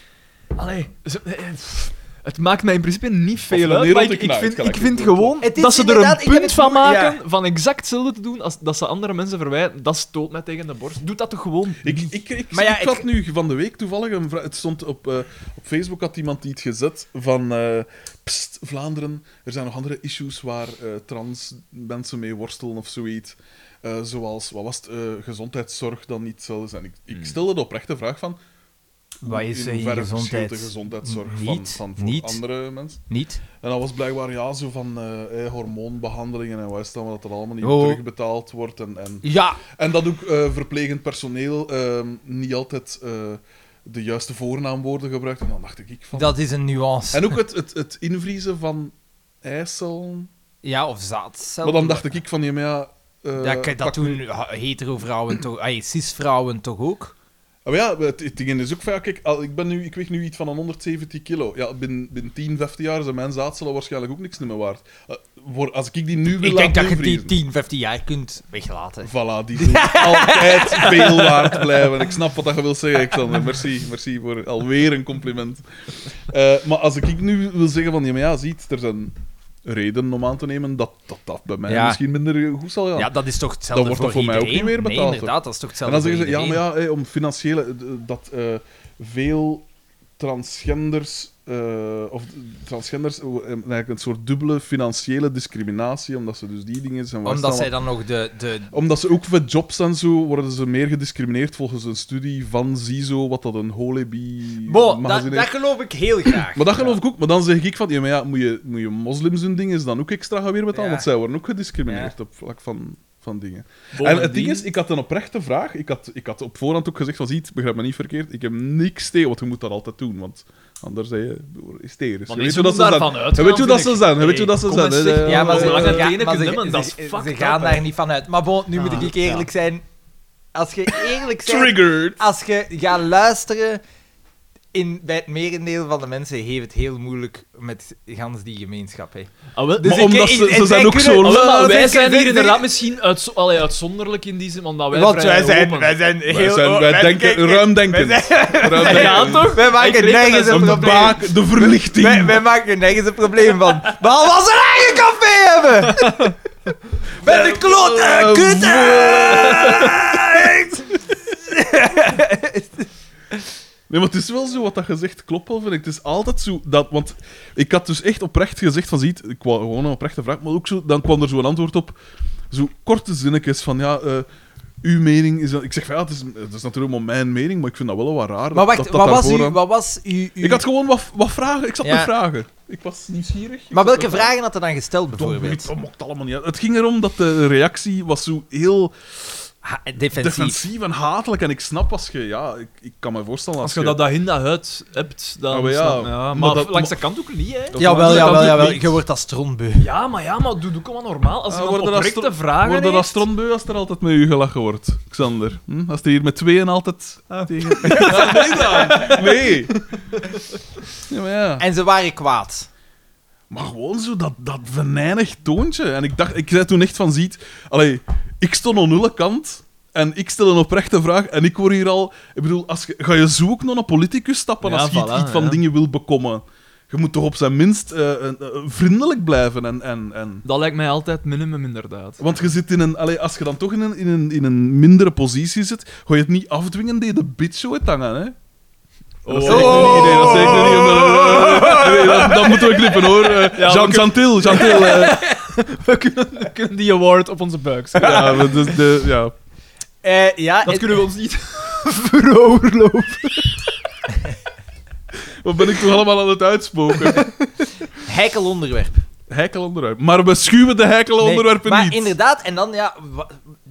Allee, ze- eh, pff, Het maakt mij in principe niet veel de uit, wereld maar ik, te ik knijpen, vind, kan ik ik vind niet goed gewoon Het is dat ze er inderdaad- ik een heb punt het van moe- ja. maken van exact hetzelfde te doen als dat ze andere mensen verwijten. Dat stoot mij tegen de borst. Doe dat toch gewoon. Ik, Mm. ik, ik, Maar ja, ik ik- had nu van de week toevallig een vraag. Het stond op, eh, op Facebook, had iemand iets gezet van. eh, Pst, Vlaanderen, er zijn nog andere issues waar eh, trans mensen mee worstelen of zoiets. Eh, zoals, wat was het, eh, gezondheidszorg dan niet zo zijn. Ik, ik stelde de oprechte vraag van. Mm. Wat is in er in hoeverre verschilt gezondheid? de gezondheidszorg van, Niet, van voor niet. andere mensen? Niet? En dat was blijkbaar ja, zo van eh, eh, hormoonbehandelingen en wat is het allemaal, dat er allemaal niet Oh. terugbetaald wordt. En, en Ja. en dat ook eh, verplegend personeel ehm, niet altijd eh, de juiste voornaamwoorden gebruikt. En dan dacht ik, ik van. Dat is een nuance. En ook het, het, het invriezen van IJssel. Ja, of zaadcel. Maar dan dacht ik, ik van, ja, maar ja. eh, Ja, kijk, dat pak doen ha- hetero-vrouwen toch... ay, cis-vrouwen toch ook? Ah, maar ja, het, het ding is ook van, ja, kijk, al- ik, ben nu, ik weeg nu iets van een 170 kilo. Ja, binnen, binnen 10, 15 jaar zijn mijn zaadselen waarschijnlijk ook niks meer waard. Eh, voor, als ik die nu wil Ik denk dat laten je die invriezen- 10, 15 jaar kunt weglaten. Voilà, die zullen altijd veel waard blijven. Ik snap wat dat je wil zeggen, Xander. Merci, merci voor alweer een compliment. Eh, maar als ik nu wil zeggen van, ja, maar ja, ziet, er zijn redenen om aan te nemen dat dat, dat bij mij Ja. misschien minder goed zal gaan. Ja, dat is toch hetzelfde Dan wordt voor, dat voor mij ook iedereen? niet meer betaald, Nee, hoor. inderdaad, dat is toch en hetzelfde dan zeggen ze, voor ja, maar iedereen? ja, eh, om financiële... eh, dat eh, veel transgenders... eh, of transgenders, eh, eigenlijk een soort dubbele financiële discriminatie, omdat ze dus die dingen zijn... waar ze Omdat zij allemaal- dan nog de... de omdat ze ook voor jobs en zo worden ze meer gediscrimineerd volgens een studie van ZISO, wat dat een Holebi Bo, dat, magazine dat is. geloof ik heel graag. Maar dat geloof ik ook. Maar dan zeg ik van, ja, maar ja, moet je, moet je moslims hun dingen dan ook extra gaan weer betalen? Ja. Want zij worden ook gediscrimineerd op vlak van, van dingen. en het ding is, ik had een oprechte vraag. Ik had, ik had op voorhand ook gezegd van, ziet, begrijp me niet verkeerd, ik heb niks tegen, want je moet dat altijd doen, want anders zijn je hysterisch. Je Want weet mensen hoe dat ze zijn. moeten daarvan Je uitgaan, weet hoe dat vind ze ik. zijn. Je weet hoe dat Nee, ze kom zijn. eens, zeg. hè. Ja, maar Eh, ze- eh, maar ze- eh, ene maar kunnen, ze- maar dat is ze- fucked Ze up, gaan hè. daar niet van uit. Maar bon, nu moet Ah, ik eerlijk zijn. Als je eerlijk bent... Triggered. Als je gaat luisteren, in, bij het merendeel van de mensen heeft het heel moeilijk met gans die gemeenschap. Hè. Dus Ah, wel, Maar ik- omdat ik- ze, ik- ze zijn wij ook kunnen- zo Ah, wel, maar laag. wij Kijk, zijn dit- hier dit- inderdaad misschien uitzo- allee, uitzonderlijk in die zin, omdat wij Want wij vrij zijn, open- wij zijn heel... oh, Wij, Oh, zijn, wij wij- denken, kijk, kijk, ruimdenkend. wij Ruimdenkend. Ja, toch? Wij maken kreeg nergens dat een Een de probleem. baak, de verlichting. Wij, wij maken er nergens een probleem van. Behalve als ze een eigen café hebben! Met een klote Eh, kutte! Nee, maar het is wel zo wat dat gezegd klopt wel, vind ik. Het is altijd zo dat... Want ik had dus echt oprecht gezegd van, ziet, ik wou gewoon een oprechte vraag, maar ook zo, dan kwam er zo'n antwoord op. Zo korte zinnetjes van, ja... eh, uw mening is... Ik zeg van, ja, het is, het is natuurlijk maar mijn mening, maar ik vind dat wel wat raar. Maar wacht, dat- dat, dat wat was, daarvoor u, aan- wat was u, uw- Ik had gewoon wat, wat vragen. Ik zat Ja. met vragen. Ik was nieuwsgierig. Ik Maar zat welke met vragen had er dan gesteld, bijvoorbeeld? Bijvoorbeeld. Dat mocht allemaal niet uit. Het ging erom dat de reactie was zo heel Ha- defensief. defensief en hatelijk. En ik snap als je... Ja, ik, ik kan me voorstellen als, Als je dat daarin dat uit hebt, Ja, Ah, dan... maar ja. snap- maar, Maar dat- langs de kant ook niet, hè. Jawel, Dat jawel, doet jawel. niks. Je wordt als strontbeu. Ja, maar ja, maar doe doe ook wel normaal. Als Ah, iemand worden dat oprechte stro- vragen Worden dat heeft- strandbeu als er altijd met u gelachen wordt, Xander? Hm? Als er hier met tweeën altijd Ah, tegen... nee dan! Nee! Ja, maar ja. En ze waren kwaad. Maar gewoon zo dat, dat venijnig toontje. En ik dacht, ik zei toen echt van, ziet... Allee, ik stond aan nulle kant... En ik stel een oprechte vraag en ik word hier al... Ik bedoel, als je, ga je zo ook nog een politicus stappen Ja, als je voilà, iets van ja. dingen wil bekomen? Je moet toch op zijn minst eh, eh, eh, vriendelijk blijven en... en, en... Dat lijkt mij altijd minimum, inderdaad. Want je zit in een, allee, als je dan toch in een, in, een, in een mindere positie zit, ga je het niet afdwingen die de bitch zo het hangen, hè? Oh. Dat zeg ik nu niet, nee, dat zeg ik nu niet. Omdat, nee, dat, dat moeten we knippen, hoor. Eh, Ja, Jean oké. Chantil, Chantil. eh, We kunnen, we kunnen die award op onze buik zetten. ja, we- dus de, ja. Eh, ja, Dat en- kunnen we ons niet veroorloven. Wat ben ik toch allemaal aan het uitspoken? heikel onderwerp. Heikel onderwerp. Maar we schuwen de heikel Nee, onderwerpen maar niet. inderdaad, en dan, ja, wa-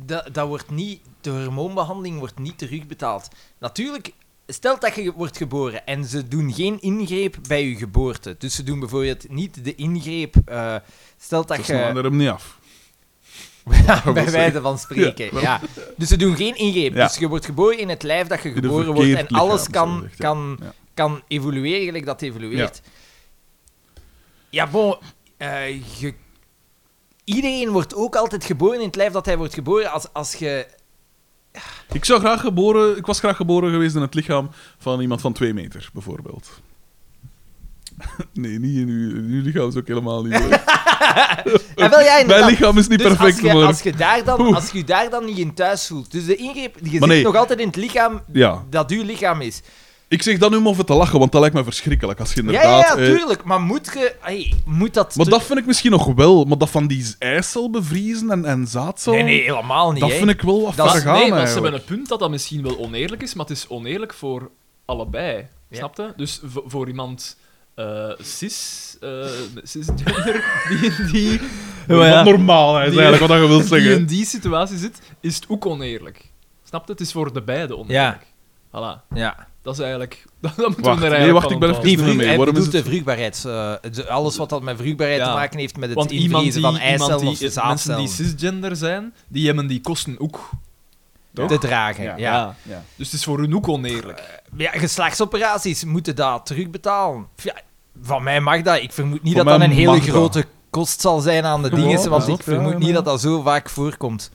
da- dat wordt niet, de hormoonbehandeling wordt niet terugbetaald. Natuurlijk, stel dat je wordt geboren en ze doen geen ingreep bij je geboorte. Dus ze doen bijvoorbeeld niet de ingreep, eh stel dat Dat je... snijden we hem niet af. wil bij zeggen. wijze van spreken, ja. Dus ze doen geen ingreep. Ja. Dus je wordt geboren in het lijf dat je een geboren wordt en verkeerd lichaam, alles kan, zo gezegd, ja. kan, Ja. kan evolueren gelijk dat evolueert. Ja, bon, eh, je- iedereen wordt ook altijd geboren in het lijf dat hij wordt geboren. Als, als je... Ik, zou graag geboren, ik was graag geboren geweest in het lichaam van iemand van twee meter, bijvoorbeeld. Nee, niet in uw, in uw lichaam is ook helemaal niet. leuk. En Ah, wel, ja, Mijn inderdaad. lichaam is niet Dus perfect als je, geworden. als, je daar dan, Oeh. als je daar dan niet in thuis voelt. Dus de ingreep, je zit Maar nee. nog altijd in het lichaam Ja. dat uw lichaam is. Ik zeg dat nu om over te lachen, want dat lijkt me verschrikkelijk. Als je Ja, inderdaad... ja, ja, eh, tuurlijk. Maar moet je... Hey, moet dat... maar te- dat vind ik misschien nog wel. Maar dat van die eicel bevriezen en, en zaadcel... Nee, nee, helemaal niet. dat hè. vind ik wel wat Dat ver is- gaan, nee, maar ze eigenlijk. hebben een punt dat dat misschien wel oneerlijk is, maar het is oneerlijk voor allebei. Ja. Snap je? Dus v- voor iemand eh, cis, eh, cisgender, die, die, Wat Oh, normaal is Die- eigenlijk wat je wil die in zeggen. die situatie zit, is het ook oneerlijk. Snap je? Het is voor de beide oneerlijk. Voilà. Ja. Dat is eigenlijk... Dat, dat moeten Wacht, we er nee, eigenlijk wacht, van ik ben even- Die onthouden. doen we vrucht, mee. hij Waarom is bedoelt de vruchtbaarheid. eh, de- alles wat dat met vruchtbaarheid Ja. te maken heeft met het Want iemand invriezen die, van iemand eicellen of die mensen die zaadcellen cisgender zijn, die hebben die kosten ook. toch? te dragen. Ja. Ja. Ja. Ja. Dus het is voor hun ook oneerlijk. geslachtsoperaties moeten dat terugbetalen. Ja, van mij mag dat. Ik vermoed niet Van dat dat mij een hele mag dat. grote kost zal zijn aan de Ja, dingen, want ja, ik ja, vermoed ja. niet dat dat zo vaak voorkomt.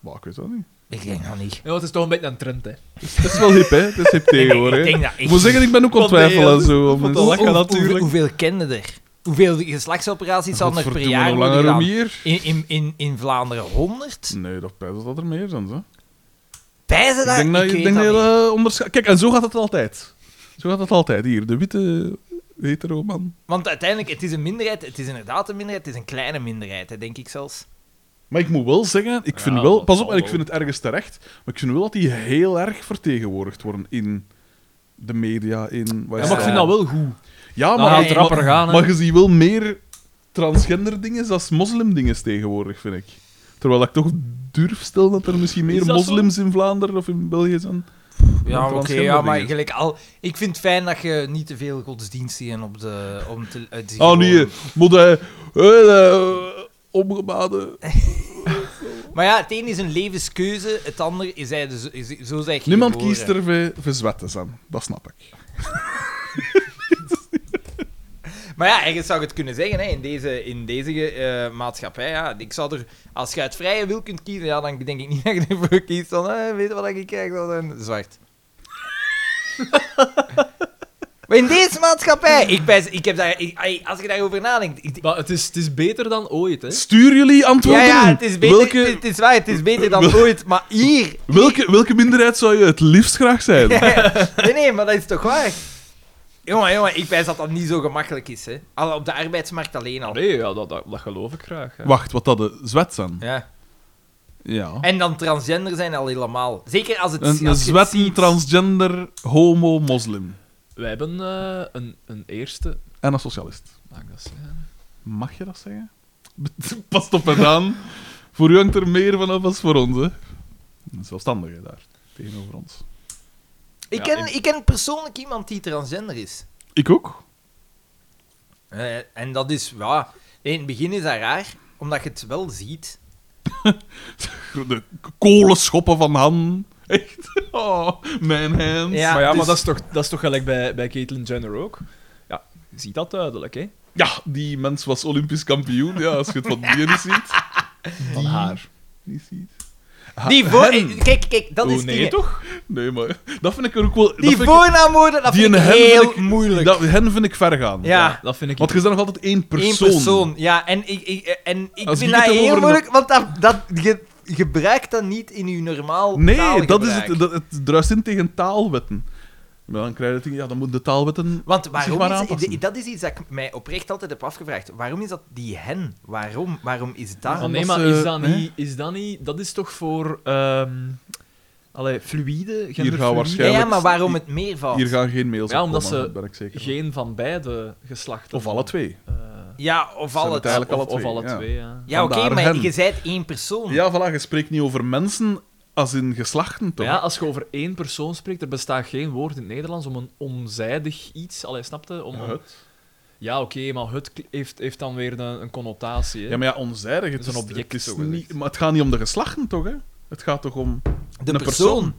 Maar ik weet dat niet. Ik denk dat niet. Ja, het is toch een beetje een trend, Oh, hè. Het is wel hip, hè. Het is hip tegenwoordig. Ik hè. denk dat Ik echt moet zeggen, ik ben ook aan het Want nee, twijfelen. dat- zo, dat mensen. lachen Hoe- hoe- natuurlijk. hoe- Hoeveel kenden er? Hoeveel geslachtsoperaties zal er per Godverdomme, jaar hoe worden langer, hoe gedaan? meer. In, in, in, in Vlaanderen 100? Nee, dat pijs dat er meer zijn, zo. Bij ze dat? ik denk dat, Nou, Ik je- weet denk dat dat je niet. dat onderschat. Kijk, en zo gaat het altijd. Zo gaat het altijd. Hier, de witte hetero man. Want uiteindelijk, het is een minderheid. Het is inderdaad een minderheid. Het is een kleine minderheid, hè, denk ik zelfs. Maar ik moet wel zeggen, ik vind Ja, wel... dat Pas op, zal en ik wel. vind het ergens terecht, maar ik vind wel dat die heel erg vertegenwoordigd worden in de media, in... wat Ja, is maar ik vind dat? Nou, dat wel goed. Ja, Dan maar... gaat het maar- rapper gaan, hè. Maar je ziet wel meer transgender dingen dan moslim dingen tegenwoordig, vind ik. Terwijl ik toch durf stel dat er misschien Is meer dat moslims in Vlaanderen of in België zijn. Ja, oké. transgender ja, maar dingen. gelijk al... Ik vind het fijn dat je niet te veel godsdiensten op de... Om te, eh, te Ah nee, gewoon- moet hij... eh, eh, Omgebaden. Maar ja, het een is een levenskeuze. Het ander is... Hij de, is zo zeg je Niemand geboren. kiest er voor- voor zwet te zijn, dat snap ik. Maar ja, ergens zou ik het kunnen zeggen, hè, in deze, in deze eh, maatschappij. Ja. Ik zou er, als je uit vrije wil kunt kiezen, ja, dan denk ik niet dat je ervoor kiest van, eh, weet je wat ik krijg, dan een zwart. maar in deze maatschappij, ik, ben, ik heb daar, ik- ai, als je daarover nadenkt... Ik, Maar het is, het is beter dan ooit, hè. Stuur jullie ja, antwoorden. ja, het is, beter, Welke, het, is, het is waar, het is beter dan Wel- ooit, maar hier... welke, welke minderheid zou je het liefst graag zijn? nee, nee, maar dat is toch waar? Jongen, jongen, ik wijs dat dat niet zo gemakkelijk is, hè. Al op de arbeidsmarkt alleen al. Nee, ja, dat, dat, dat geloof ik graag. hè. Wacht, wat dat de zwet zijn? Ja. Ja. En dan transgender zijn al helemaal. Zeker als het... Een, een als je zwet, het ziet. transgender, homo, moslim. Wij hebben eh, een, een eerste... En een socialist. Mag ik dat zeggen? Mag je dat zeggen? Pas op en aan. Voor u hangt er meer vanaf als voor ons, hè. Een zelfstandige daar, tegenover ons. Ik, Ja, ken, ik- ik... ken persoonlijk iemand die transgender is. Ik ook. Eh, en dat is... Ja, in het begin is dat raar, omdat je het wel ziet. De kolenschoppen van Han. Echt. Oh, mijn hands. Ja, maar ja, het maar is- dat is toch, dat is toch gelijk bij, bij Caitlyn Jenner ook? Ja, je ziet dat duidelijk, hè. Ja, die mens was Olympisch kampioen. Ja, als je het van die niet ziet. Van haar. Niet ziet. Ha- die voor... hen. eh, Kijk, kijk, dat Oeh, is nee, dingen. toch? Nee, maar dat vind ik er ook wel... dat Die vind ik- voornaamwoorden, dat die vind en ik hen heel vind ik- moeilijk. Dat, hen vind ik ver gaan. Ja. dat vind ik... Want je bent nog altijd één persoon. Eén persoon. Ja, en ik, ik, eh, en ik Als vind ik dat het heb heel over- moeilijk, want dat, dat, je gebruikt dat niet in je normaal Nee, dat taalgebruik. is het, dat, het druist in tegen taalwetten. Maar dan krijg je het ding, ja, dan moeten de taalwetten... Want Zich waarom maar is, aanpassen. de- dat is iets dat ik mij oprecht altijd heb afgevraagd. Waarom is dat die hen? Waarom, waarom is het daar? Maar Ah, nee, Omdat maar ze- is dat, hè? niet, is dat niet... Dat is toch voor... ehm allee, fluïde, gaan genderfluïde? Ja, waarschijnlijk- ja, maar waarom het meervoud? Hier gaan geen mails Ja, op omdat komen, ze ben ik zeker van. Geen van beide geslachten. Of alle twee. Eh, Ja, of al Zijn het. het eigenlijk of, alle of twee, alle ja. twee, ja. Ja, oké, Vandaar maar hen. je bent één persoon. Ja, voilà, je spreekt niet over mensen als in geslachten, toch? Maar ja, als je over één persoon spreekt, er bestaat geen woord in het Nederlands om een onzijdig iets. Allee, snapte? Om, Het. Ja, oké, maar het kl- heeft, heeft dan weer een, een connotatie. Hè? Ja, maar ja, onzijdig. Het Dat is een object, het is zo gezegd. niet, Maar het gaat niet om de geslachten, toch, hè? Het gaat toch om... de een persoon. persoon.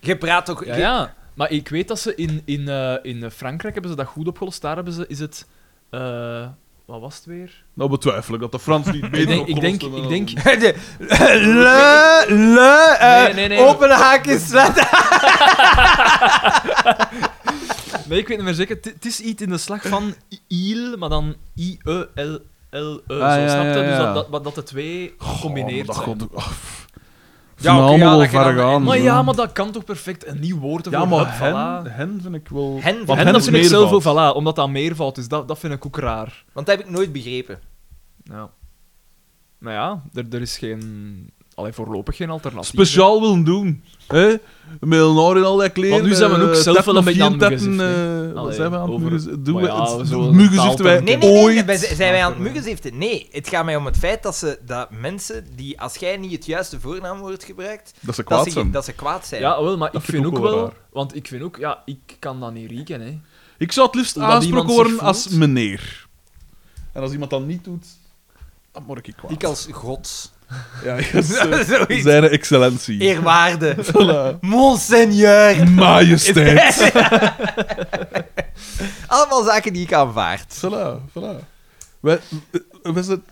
Je praat toch. ja, je- ja. Maar ik weet dat ze in, in, eh, in Frankrijk hebben ze dat goed opgelost. Daar hebben ze, is het... eh, wat was het weer? Nou, betwijfel ik dat de Frans niet beter ik denk... Ik opgelost denk, hebben ik dan- denk De- le, le, eh, Nee, nee, nee. open haakjes. sluit- Nee, ik weet niet meer zeker. Het- Het is iets in de slag van il, maar dan I-E-L-L-E. Ah, zo, ja, snap je? ja, Dus ja. dat, dat, maar dat de twee maar gecombineerd dat zijn. gaat- ah, pff. Ja, oké, Van ja, allemaal dat je ver dan- gaan, Maar zo. ja, maar dat kan toch perfect een nieuw woord Ja, ervoor. maar Hup, hen, voilà. hen vind ik wel... Hen, Want hen En hen dat is vind ik zelf ook, meervoud. voilà, omdat dat meervoud is. Dat, dat vind ik ook raar. Want dat heb ik nooit begrepen. Ja. Maar ja, er, er is geen... Allee, voorlopig geen alternatief. Speciaal willen doen. Hè? Met een haar in al dat kleren. Want nu zijn we ook eh, zelf tappen wel een of beetje geen aan het tappen, muggenziften, eh, Allee, Wat zijn we aan het over- muggen- doen? Maar we ja, het- zo een Muggenziften taal- wij Nee, nee, nee. ooit. wij- zijn wij aan het maken, muggenziften? Nee, het gaat mij om het feit dat, ze, dat mensen die, als jij niet het juiste voornaamwoord gebruikt, Dat ze dat kwaad ze, zijn. dat ze kwaad zijn. Ja, wel, maar Dat ik vind ook wel wel... raar. Want ik vind ook... Ja, ik kan dat niet rieken, hè. Ik zou het liefst Hoe dat aangesproken iemand worden zich als voelt. meneer. En als iemand dat niet doet, dan word ik oh. kwaad. Ik als gods. Ja, yes, eh, Zoiets. zijn excellentie. Eerwaarde. Voilà. Monseigneur. Majesteit. Allemaal zaken die ik aanvaard. Voilà, voilà. Wij, wij eh, zijn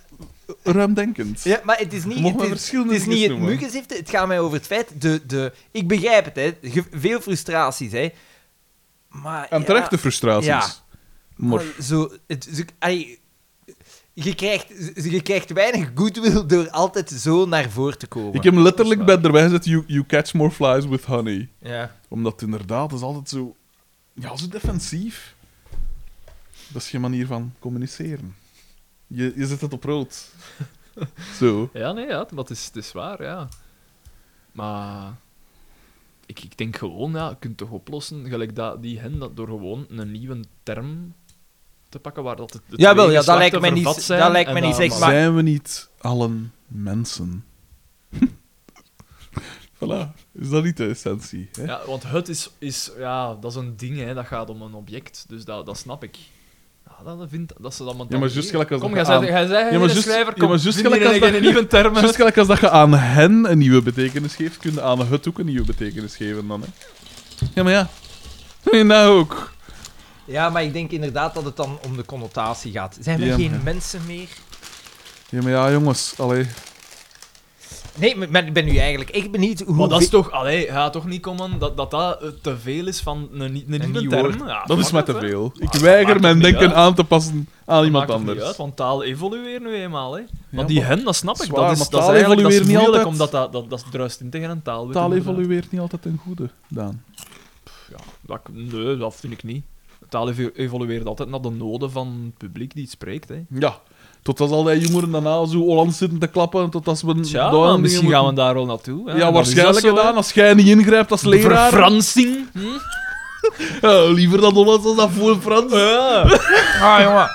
ruimdenkend. Ja, maar het is We niet mogen het, maar is, verschillende het is niet dingen het noemen. muggenziften, het gaat mij over het feit... De, de, ik begrijp het, hè. ge- Veel frustraties, hè. Maar, En ja, terechte frustraties. Ja. Maar maar zo... Het, zo- allee, je, krijgt, je krijgt weinig goodwill door altijd zo naar voren te komen. ik heb letterlijk Dat is bij erbij gezet, you, you catch more flies with honey. Ja. Omdat het inderdaad is altijd zo... Ja, zo defensief. Dat is geen manier van communiceren. Je, je zet het op rood. zo. Ja, nee, ja, dat is, het is waar, ja. Maar ik, ik denk gewoon, ja, je kunt toch oplossen, gelijk dat, die hen, dat door gewoon een nieuwe term te pakken waar dat het, de Jawel, twee ja, dat lijkt geslachten mij niet- vervat zijn dat lijkt en mij niet dat- zeg maar- Zijn we niet allen mensen? voilà. Is dat niet de essentie? Hè? Ja, want het is, is, ja, dat is een ding, hè, dat gaat om een object, dus dat, dat snap ik. Ja, dat, vindt, dat ze dat maar Ja, maar juist gelijk als Kom, dat jij je aan- zei, jij zei, Ja, maar een juist- schrijver, ja, kom, maar juist vind gelijk hier als een- dat- een nieuwe term. Juist gelijk als dat je aan hen een nieuwe betekenis geeft, kun je aan het ook een nieuwe betekenis geven dan, hè. Ja, maar ja. Nee, nou ook. ja, maar ik denk inderdaad dat het dan om de connotatie gaat. Zijn we Ja, geen maar- mensen meer? Ja, maar ja, jongens. Allee. Nee, maar- maar ik ben nu eigenlijk echt benieuwd hoe... Maar dat is toch, allee, gaat toch niet komen dat dat, dat eh, te veel is van een, nie- een, nieuwe nieuw term? woord. Ja, Dat is fuck maar it, te hè. Ah, veel. Ik dat weiger maakt mijn het niet denken uit. aan te passen aan Dat iemand maakt het anders. Niet uit, want taal evolueert nu eenmaal. Hè. Ja, Want die maar hen, dat snap ik. zwaar, dat is, maar dat is taal eigenlijk dat is evolueert niet moeilijk, altijd. omdat dat, dat, dat druist in tegen een taal. weet Taal je, inderdaad. evolueert niet altijd ten goede, Daan. Dat, nee, dat vind ik niet. Taal evo- evolueert altijd naar de noden van het publiek die het spreekt. Hè. Ja. Totdat al die jongeren daarna zo Hollands zitten te klappen, totdat we... Tja, daar maar dingen misschien moeten- gaan we daar wel naartoe. hè. Ja, Dan waarschijnlijk is dat zo, hè. gedaan. Als jij niet ingrijpt als De leraar... Verfransing. Hm? Ja, liever dan Hollands als dat voor Frans. Ah, jongen.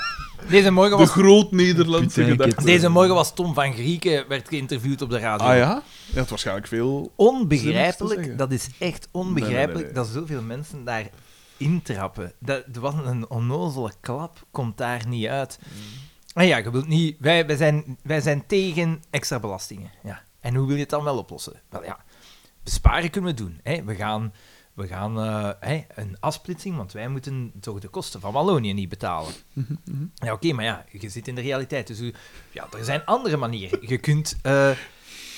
Deze morgen De was... groot-Nederlandse gedachte. Deze morgen was Tom van Grieken, werd geïnterviewd op de radio. Ah ja? Je had waarschijnlijk veel... Zinnig te Onbegrijpelijk, zeggen. dat is echt Nee, onbegrijpelijk nee, nee, nee. dat zoveel mensen daar intrappen. Dat, er was een onnozele klap, komt daar niet uit. Mm. En ja, je wilt niet, wij, wij, zijn, wij zijn tegen extra belastingen. Ja. En hoe wil je het dan wel oplossen? Wel ja, besparen kunnen we doen. Hè? We gaan, we gaan eh, hè, een afsplitsing, want wij moeten toch de kosten van Wallonië niet betalen. Mhm, Ja, oké, maar ja, je zit in de realiteit. Dus hoe- ja, er zijn andere manieren. Je kunt... eh,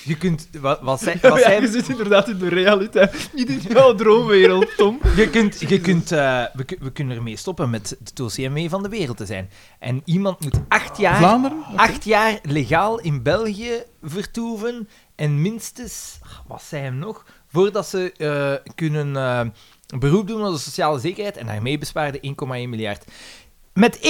je kunt... Wat, wat, zij- wat Ja, zij- je zit inderdaad in de realiteit. Niet in jouw droomwereld, Tom. Je kunt, je kunt, eh, we, kun- we kunnen ermee stoppen met het OCMW van de wereld te zijn. En iemand moet acht jaar, Vlaanderen? acht jaar legaal in België vertoeven. En minstens, ah, wat zijn hem nog, voordat ze eh, kunnen eh, beroep doen op de sociale zekerheid. En daarmee bespaarde 1,1 miljard. Met 1,1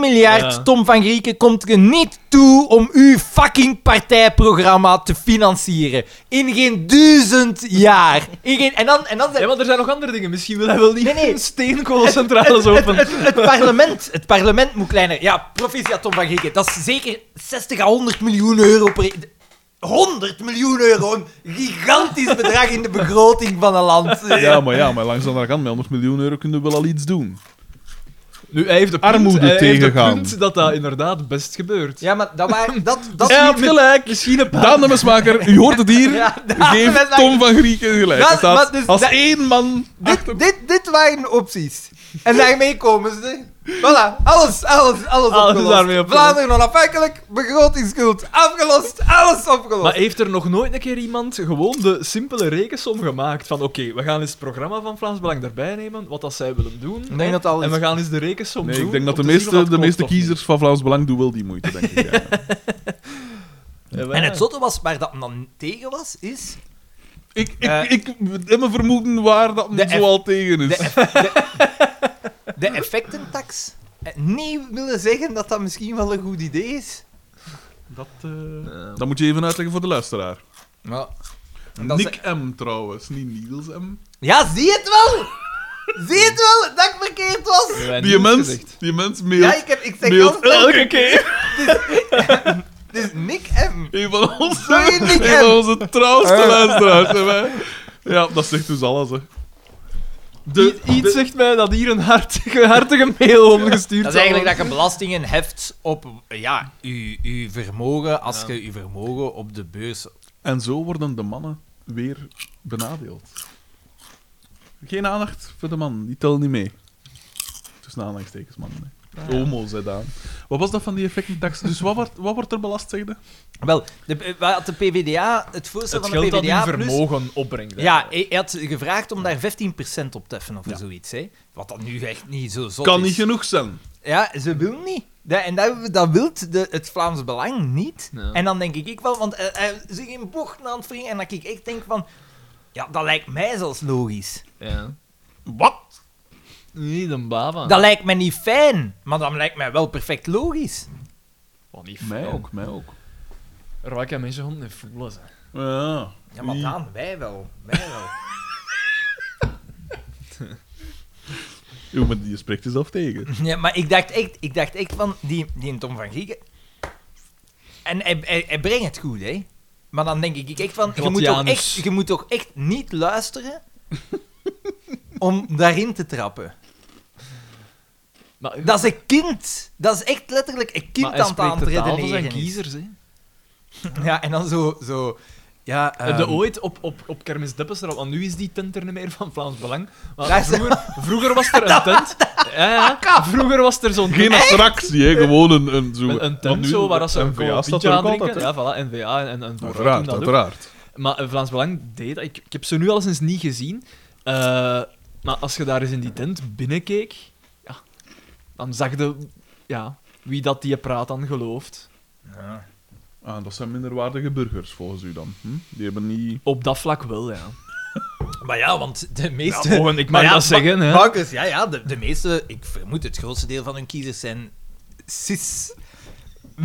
miljard, Ja. Tom van Grieken, komt je niet toe om uw fucking partijprogramma te financieren. In geen duizend jaar. In geen, en dan, en dan zijn Ja, want er zijn nog andere dingen. Misschien wil hij wel niet Nee, nee. steenkolencentrales open. het parlement, het parlement moet kleiner. Ja, proficiat Tom van Grieken. Dat is zeker 60 à 100 miljoen euro per... 100 miljoen euro! Een gigantisch bedrag in de begroting van een land. Eh, Ja, maar ja, maar langs de andere kant, met 100 miljoen euro kunnen we wel al iets doen. Nu, hij heeft de punt, Armoede hij heeft de tegengaan. punt dat dat inderdaad best gebeurt. Ja, maar dat waren... Dat, dat, Ja, hebt gelijk. Misschien een paar... Daan de Mesmaker, u hoort het hier. Ja, Daan de Geef Mesmaker. Tom van Grieken gelijk. Dat- Hij staat maar dus als dat- één man... dit, dit, dit waren opties. En daarmee komen ze... Voilà, alles, alles, alles, Alles opgelost. daarmee opgelost. Vlaanderen onafhankelijk, begrotingsschuld afgelost, alles opgelost. Maar heeft er nog nooit een keer iemand gewoon de simpele rekensom gemaakt van oké, we gaan eens het programma van Vlaams Belang erbij nemen, wat dat zij willen doen, Ik denk dat dat al en is. we gaan eens de rekensom Nee, doen. ik denk dat de om te zien of meeste, de klopt meeste of niet. kiezers van Vlaams Belang doen wel die moeite, denk ik. Ja. Ja, wel. En het zotte was, waar dat hem dan tegen was, is... ik, ik, Eh. ik heb mijn vermoeden waar dat De men F- zo al tegen is. de De effectentax. Eh, Nee, willen zeggen dat dat misschien wel een goed idee is. dat, eh, dat moet je even uitleggen voor de luisteraar. Ja. Nick M trouwens, niet Niels M. Ja, zie het wel! zie het wel dat ik verkeerd was! Hebben wij Die niets mens, gezegd. die mens Ja, mailt, ik, heb, ik zeg mailt altijd... Eh. elke keer Het is Nick M. een van onze, Sorry, Nick een M. van onze trouwste luisteraars. hè, wij. Ja, dat zegt dus alles. Hè. De, I- Iets zegt mij dat hier een hartige, hartige mail omgestuurd Dat is eigenlijk dat je belastingen heft op ja, uw, uw vermogen, als je uw vermogen op de beurs... En zo worden de mannen weer benadeeld. Geen aandacht voor de man, die telt niet mee. Tussen aanhalingstekens, man. hè. Homo's, hè, Daan. Wat was dat van die effectentax? Dus wat wordt, wat wordt er belast, zegde? Wel, de, eh, wat de PvdA, het voorstel Het van de geld dat PvdA hun plus... vermogen opbrengt. Ja, hij hij had gevraagd om daar 15% op te heffen of Ja. zoiets. Hè? Wat dat nu echt niet zo zot Kan is. niet genoeg zijn. Ja, ze wil niet. Da- en dat, dat wil het Vlaams Belang niet. Ja. En dan denk ik ik wel, want eh, eh, ze zich in bochten aan het wringen en dat ik echt denk van... Ja, dat lijkt mij zelfs logisch. Ja. Wat? Niet een baba. Dat lijkt mij niet fijn, maar dat lijkt mij wel perfect logisch. Wat Oh, niet Mij fijn. ook, mij ook. Er waren geen mensen gewoon niet voelen. Ze. Ja, Ja, maar Wie- Daan, wij wel. Wij wel. Jo, maar je spreekt jezelf tegen. Ja, maar ik dacht echt, ik dacht echt van die, die Tom van Gieken. En hij, hij, hij brengt het goed, hè? Maar dan denk ik echt van: je moet, toch Gladianus. echt, je moet toch echt niet luisteren om daarin te trappen. Maar, Dat is een kind. Dat is echt letterlijk een kind maar hij aan het spreekt aan de het taal van redeneren. zijn is. kiezers. Hè. Ja, en dan zo. zo ja, Heb je ehm, ooit op, op, op Kermis Deppes erop, want nu is die tent er niet meer van Vlaams Belang. Daar Maar is- vroeger, vroeger was er een tent. Ja, ja, vroeger was er zo'n Geen tent. attractie, hè? gewoon een, een, zo, Een, een want tent nu- zo waar als ze een NVA staat koffietje er ook aan drinken. altijd, hè. Ja, voilà, NVA en, en, en vooruit doen Uiteraard, dat ook. uiteraard. Maar eh, Vlaams Belang deed dat. Ik, ik heb ze nu alleszins niet gezien. Eh, maar als je daar eens in die tent binnenkeek, ja, dan zag je ja, wie dat die praat dan gelooft. ja. Ah, dat zijn minderwaardige burgers, volgens u dan. Hm? Die hebben niet... Op dat vlak wel, ja. Maar ja, want de meeste. Ja, mogen- ik mag Maar ja, dat zeggen, hè. Marcus, ja, ja, de, de meeste, ik vermoed het grootste deel van hun kiezers zijn cis.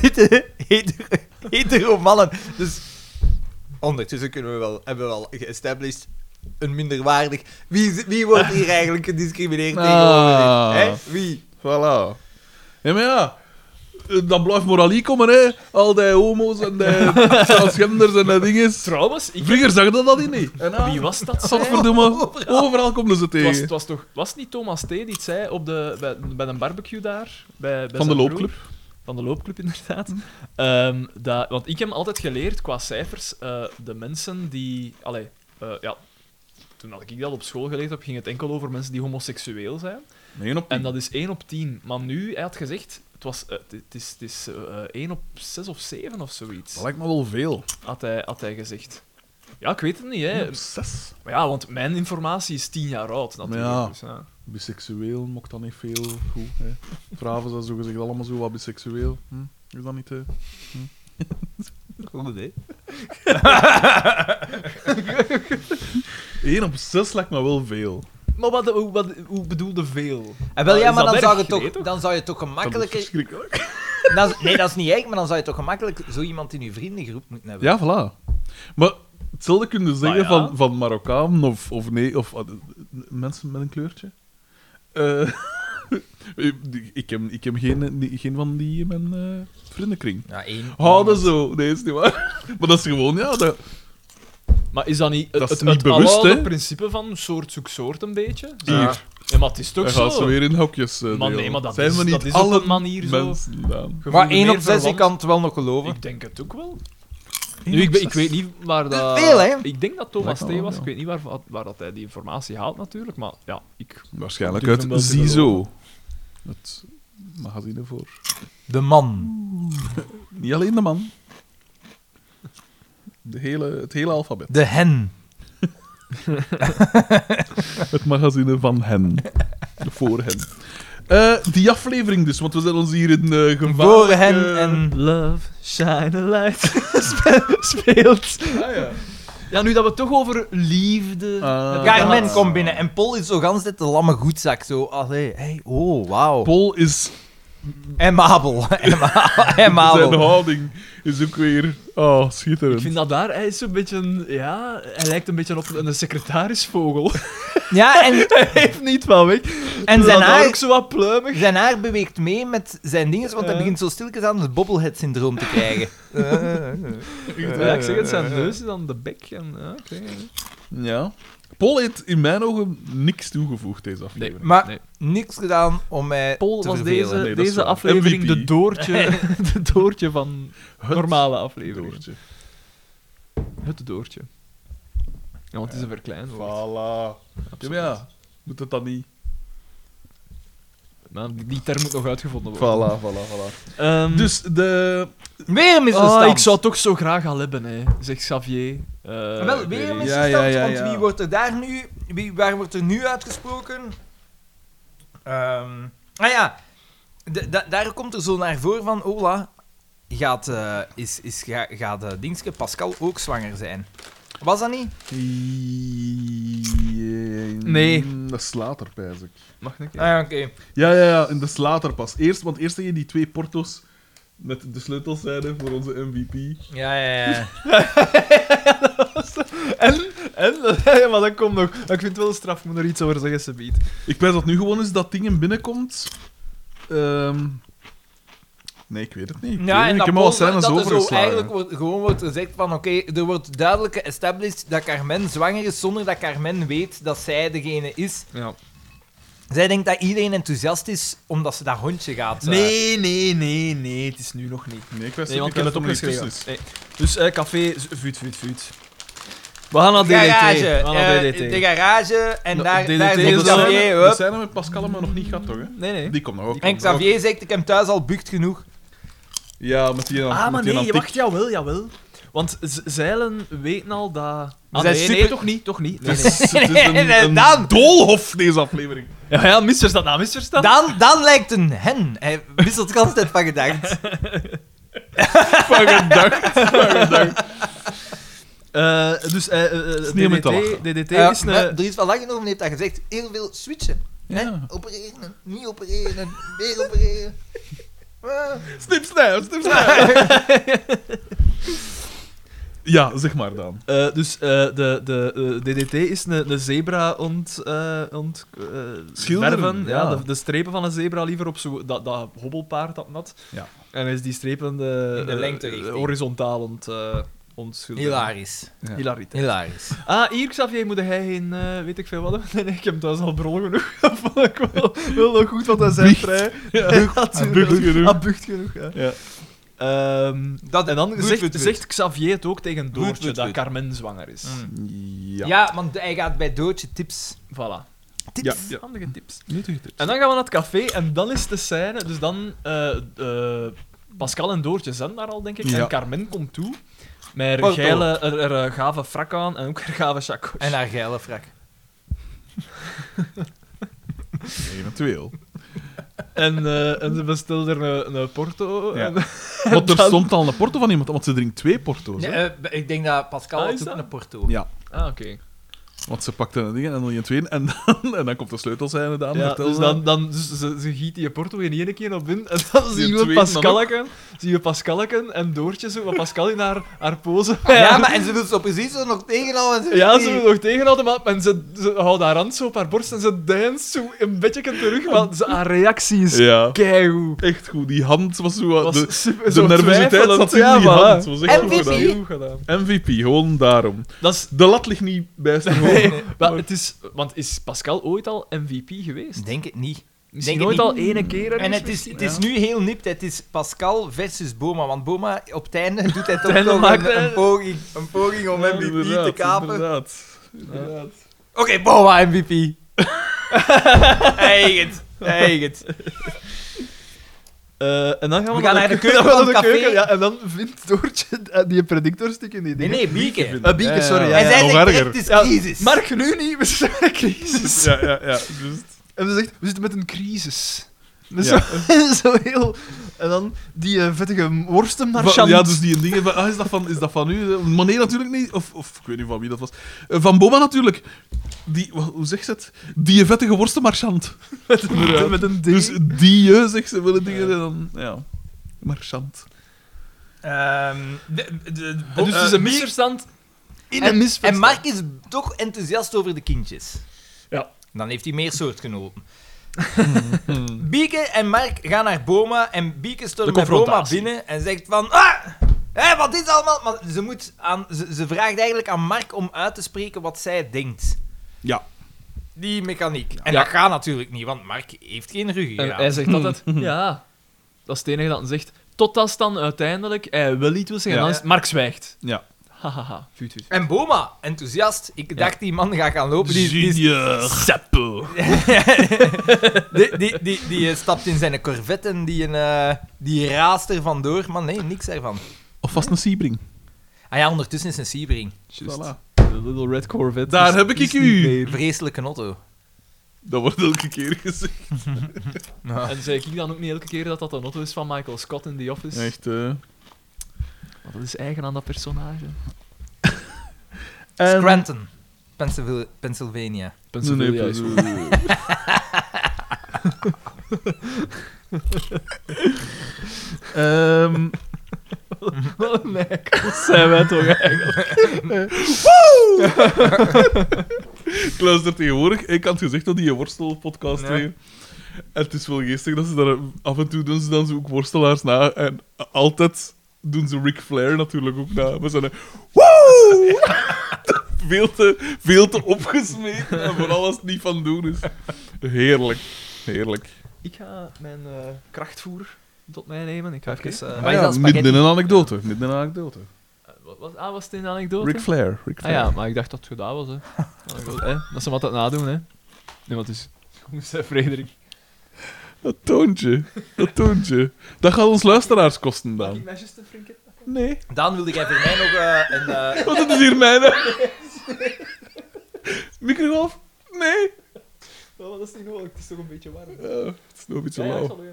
witte, hetero, hetero mannen. Dus ondertussen kunnen we wel, hebben we al geëstablished een minderwaardig. Wie, is- wie wordt hier eigenlijk gediscrimineerd Ah. tegenover? Hè? Wie? Voilà. Ja, maar ja. eh, Dat blijft moralie komen, hè. Al die homo's en die transgenders en dat ding is. Trouwens, ik, Vroeger zag dat dat niet. En ah, wie was dat? zei? Godverdomme. Overal komen ze Het was, het tegen. was toch, was het niet Thomas T. die het zei op de, bij, bij een barbecue daar? Bij, Van bij de zijn loopclub. Mm. broer? Van de loopclub, inderdaad. Ehm, dat, want ik heb altijd geleerd, qua cijfers, eh, de mensen die... Allee, eh, ja, toen had ik dat op school geleerd heb, ging het enkel over mensen die homoseksueel zijn. Nee, op En dat is 1 op 10. Maar nu, hij had gezegd, het, was, eh, het, het is, het is eh, eh, 1 op 6 of 7 of zoiets, Dat lijkt me wel veel. had hij, had hij gezegd. Ja, ik weet het niet, hè. Eén op Zes. Maar ja, want mijn informatie is 10 jaar oud, natuurlijk. Ja. Dus, ja. Biseksueel mocht dat niet veel. Goed, hè. Vrouwen zijn zogezegd allemaal zo wat biseksueel. Hm? Is dat niet... eh? Goed, hè? Eén op zes lijkt me wel veel. Maar wat, hoe, wat, hoe bedoelde veel? En Eh, wel, ja, Ah, Is maar dat dan erg? zou, je Nee, toch, toch? dan zou je toch Dat is gemakkelijker. verschrikkelijk. dan is- nee, dat is niet erg, maar dan zou je toch gemakkelijk zo iemand in je vriendengroep moeten hebben. Ja, voilà. Maar hetzelfde kun je dus zeggen Maar Ah, ja. van, van Marokkaan of, of nee, of eh, mensen met een kleurtje. Eh, ik, heb, ik heb geen, die- geen van die in mijn eh, vriendenkring. Ja, één. Houden zo. Nee, is niet waar. Maar dat is gewoon, ja. Dat, Maar is dat niet Dat het, is het, niet het bewust, aloude hè? principe van soort zoek soort een beetje? Zo. hier. Ja, maar het is toch Dan zo? gaan ze weer in hokjes. eh, Maar delen. nee, maar dat Zijn is- we niet dat is op alle een manier zo. mensen dan? Je Maar voelde 1 meer op 6, ik verwant. kan het wel nog geloven. Ik denk het ook wel. Eén Nu, op ik, ben- ik zes. weet niet waar is dat... veel, hè? Ik denk dat Thomas Lijkt T. me wel, was. ja. Ik weet niet waar, waar dat hij die informatie haalt, natuurlijk. Maar ja, ik... Waarschijnlijk Durf uit hem wel te Zizo. geloven. het magazine voor. De man. Niet alleen de man. De hele, het hele alfabet. De hen. Het magazine van hen. Voor hen. Eh, die aflevering dus, want we zijn ons hier in eh gevaarlijke... Voor hen en... Love, shine a light spe- speelt. Ah, ja. Ja, nu dat we het toch over liefde Ah. hebben Carmen gehad. komt binnen en Paul is zo gans dit de lamme goedzak. Zo, allee, hey, oh, wauw. Paul is... En Mabel. En, Ma- en Zijn Mabel. houding is ook weer... Oh, schitterend. Ik vind dat daar, hij is zo'n beetje, een- ja, hij lijkt een beetje op een secretarisvogel. Ja, en, hij heeft niet van weg. en Dat zijn, daar ook haar, zo wat pluimig. zijn haar beweegt mee met zijn dinges, want hij begint zo stilletjes aan het bobblehead-syndroom te krijgen. Ja, ik zeg het, zijn neus is dan de bek. En, ja, oké. Ja. Paul heeft in mijn ogen niks toegevoegd deze aflevering. Maar Nee. niks gedaan om mij Paul te was vervelen. deze, Nee, dat is deze waar. aflevering MVP. de doortje, de doortje van Het normale afleveringen. doortje. Het doortje. Ja, want het is een verkleinwoord. Voilà. Ja, maar ja, moet het dan niet... Maar die, die term moet nog uitgevonden worden. Voilà, voilà, voilà. Ehm, Dus de... Weer een misverstand. ah, ik zou het toch zo graag al hebben, hè, zegt Xavier. Eh, Ah, Wel, weet weer een ik. mis- misverstand, Ja, ja, ja, ja. want wie wordt er daar nu... Wie, waar wordt er nu uitgesproken? Ehm ah ja, d- da- daar komt er zo naar voren van... Ola, gaat, eh, is, is, ga, gaat eh, Dingske Pascal ook zwanger zijn? Was dat niet? Nee. Dat is later, pijs ik. Mag ik? Ah, oké. Ja, ja, ja, en dat is later pas. Eerst, want eerst had je die twee porto's met de sleutels zeiden voor onze MVP. Ja, ja, ja. En, en ja, maar dat komt nog. Maar Ik vind het wel straf, ik moet er iets over zeggen, Sabiet. Ik pijs dat nu gewoon eens dat ding binnenkomt. Ehm, Nee, ik weet het niet. Ik weet het Ja, niet. en ik dat, heb al Paul- dat scènes er zo overgeslagen. eigenlijk wordt, gewoon wordt gezegd van... Oké, er wordt duidelijk geëstablished dat Carmen zwanger is... zonder dat Carmen weet dat zij degene is. Ja. Zij denkt dat iedereen enthousiast is omdat ze dat hondje gaat... eh, Nee, nee, nee, nee, het is nu nog niet. Nee, ik weet Nee, want ik ik heb het nog niet opgeschreven. tussen is. Nee. Dus eh, café, z- vuut, vuut, vuut. We gaan naar DDT. garage. We Ah, gaan naar eh, DDT. de garage. En Nou, daar, DDT daar is zit Want de dat- Xavier. scène- hup. de scène met Pascal hebben we nog niet gehad, toch? Hè? Nee, nee. Die komt nog ook. En komt nog ook. Xavier zegt, ik heb thuis al bukt genoeg. Ja, met die Ah, maar met die nee, antiek- wacht, jawel, jawel. Want z- zeilen weten al dat... Ah, zijn nee, nee, super- toch niet, toch niet. Dus- Nee, Het nee. is, het is Nee, een, nee, een dan. doolhof, deze aflevering. Ja, ja, misverstand, nou, misverstand. Dan, dan lijkt een hen. Hij wisselt de hele tijd van gedacht. Van gedacht. Eh, dus eh, eh, eh, is niet om in te DDT, lachen. DDT Eh, is maar een... Er is van Langenhoven heeft dat gezegd. Heel veel switchen. hè. Ja. Opereren, niet opereren, weer opereren. Ah. Snip, snap, snip, snap. Ja, zeg maar dan. Eh, dus eh, de, de eh, DDT is een, een zebra ont, eh ont eh, Schilderen, verven. ja. Ja. de, de strepen van een zebra liever op zo, dat, dat hobbelpaard dat nat. Ja. En hij is die strepen de, In de eh, lengterichting. horizontaal ont, eh ontschilderen. Hilarisch. Ja. Hilariteit. Hilarisch. Ah, hier, Xavier, moet hij geen, eh, weet ik veel wat hebben? Nee, nee, ik heb thuis al brol genoeg. Vond ik wel, wel nog goed, want hij zijn Bucht. vrij. Ja. Hij had Ah, zo- bucht genoeg. Ah, bucht genoeg, ja. Ja. Ehm, Dat- en dan Goed, zegt, goed, goed. zegt Xavier het ook tegen Doortje Goed, goed, dat goed. Carmen zwanger is. Mm. Ja. Ja. want hij gaat bij Doodje tips. Voilà. Ja. Tips. ja. Handige tips. Nuttige tips. En dan gaan we naar het café en dan is de scène. Dus dan eh, eh, Pascal en Doortje zijn daar al, denk ik. Ja. Oh, En Carmen komt toe. Met haar Porto. geile, er, er, eh, gave frak aan en ook haar gave chacos. En haar geile frak. Eventueel. En, eh, en ze bestelde er een, een porto. Ja. En, Want er dan- stond al een porto van iemand, want ze drinkt twee porto's. Nee, hè. eh, ik denk dat Pascal Ah, had is ook dat? een porto. Ja, ah, oké. want ze pakte een ding en dan je twee en dan, en dan komt de sleutel zijn en dan Ja, vertel dus ze. dan, dan ze, ze, ze giet die Porto in één keer op in. En dan zien we tweede dan Pascalken. Zien we Pascalken en Doortje zo. Want Pascal in haar, haar pose. Ja, maar en ze wil zo precies zo nog tegenhouden. en Ja, wil ze niet. wil nog tegenhouden, maar en ze, ze houdt haar hand zo op haar borst en ze deinst zo een beetje terug, want ze, haar reactie is Ja, keigoed. echt goed. Die hand was zo... Was de super- de zo nervositeit twijfelend, zat in die voilà. hand. Was echt En goed Vivi. gedaan. Heel goed gedaan. MVP, gewoon daarom. Dat is... De lat ligt niet bij zijn hoofd. Nee, maar het is... Want is Pascal ooit al MVP geweest? Ik Denk het niet. Misschien denk ooit het al ene keer ergens En het is, misschien? het is Ja. nu heel nipt. Het is Pascal versus Boma. Want Boma, op het einde doet hij het toch einde nog maakt een, hij- een, poging, een poging om Ja, MVP te inderdaad, kapen. Oké, Inderdaad. inderdaad. Boma MVP. Hij het. Eigen. Eh, en dan gaan we, We gaan naar de keuken dan gaan van we het café. ja, en dan vindt Doortje eh, die predictorstick in die Nee, dingen. nee, bieken. Eh, Bieke, sorry. Ja, Hij ja, zei nog dat erger. het is Ja, crisis. Mark, nu niet. We zijn in een crisis. Ja, ja, ja. Dus, En ze zegt, we zitten met een crisis. Ja. Dus Zo, zo heel... En dan die eh, vettige Van- worstenmarchand. ja, dus die dingen. van- Ah, is, dat van, is dat van u? Maar nee, natuurlijk niet. Of, of ik weet niet van wie dat was. Eh, Van Boma natuurlijk. Die, wa- hoe zegt ze het? Die vettige worstenmarchant. met, een, met een D. Dus die, eh, zegt ze, willen dingen. En dan, ja, marchant. Ehm, de- de- de- En dus het is eh, een misverstand. in een misverstand. En Mark is toch enthousiast over de kindjes. Ja. Dan heeft hij meer soortgenoten. Bieke en Mark gaan naar Boma en Bieke stormt De bij Boma confrontatie. binnen en zegt van... Ah! Hé, wat is dat allemaal? Maar ze, moet aan, ze, ze vraagt eigenlijk aan Mark om uit te spreken wat zij denkt. Ja. Die mechaniek. En Ja. dat gaat natuurlijk niet, want Mark heeft geen En ruggengraat. Eh, hij zegt altijd, ja. Dat is het enige dat hij zegt. Tot als dan uiteindelijk hij wil iets wil zeggen. Ja. En dan is Mark zwijgt. Ja. Hahaha. Vuut, vuut. En Boma, enthousiast. Ik dacht, die man gaat gaan lopen. Die, die, Junior. Seppo. die, die, die, die, eh, stapt in zijn corvette en die, eh, die raast er vandoor. Maar nee, niks ervan. Of vast een Sebring. Ah ja, ondertussen is een Sebring. Voilà. De Little Red Corvette. Daar is- heb ik is ik niet u. mee. Vreselijke auto. Dat wordt elke keer gezegd. En zei ik dan ook niet elke keer dat dat een auto is van Michael Scott in The Office? Echt, eh. Want dat is eigen aan dat personage. Scranton, Pennsylvania. Pennsylvania. Nee, Pennsylvania is nee, goed. nee. Ehm, Wat een eikels zijn wij toch eigenlijk. Ik luister tegenwoordig. Ik had gezegd dat die een worstelpodcast Ja. nee. En het is wel geestig dat ze daar... Af en toe doen ze dan zo ook worstelaars na. En altijd doen ze Ric Flair natuurlijk ook na. Maar ze zijn... Woe! veel, te, veel te opgesmeed. En vooral als het niet van doen is. Heerlijk. Heerlijk. Ik ga mijn eh, krachtvoer tot mij nemen. Ik ga even... eh, Maar is dat spaghetti? midden in een anekdote. Midden in een anekdote. wat, wat, ah, was het in de anekdote? Ric Flair. Ric ah Flair. ja, maar ik dacht dat het gedaan was. Hè. Ah, wel, hè. Dat ze hem altijd nadoen, hè. Nee, wat is... Hoe zei Frederik? Dat toontje. Dat toontje. Dat gaat ons luisteraars kosten, dan. mij just een frinkje? Nee. Daan wilde jij voor mij nog eh, een... eh, Want dat is hier mijn... hè. Microgolf? Nee. dat is niet nodig. Het is toch een beetje warm. Eh, het is nog een beetje lauw. in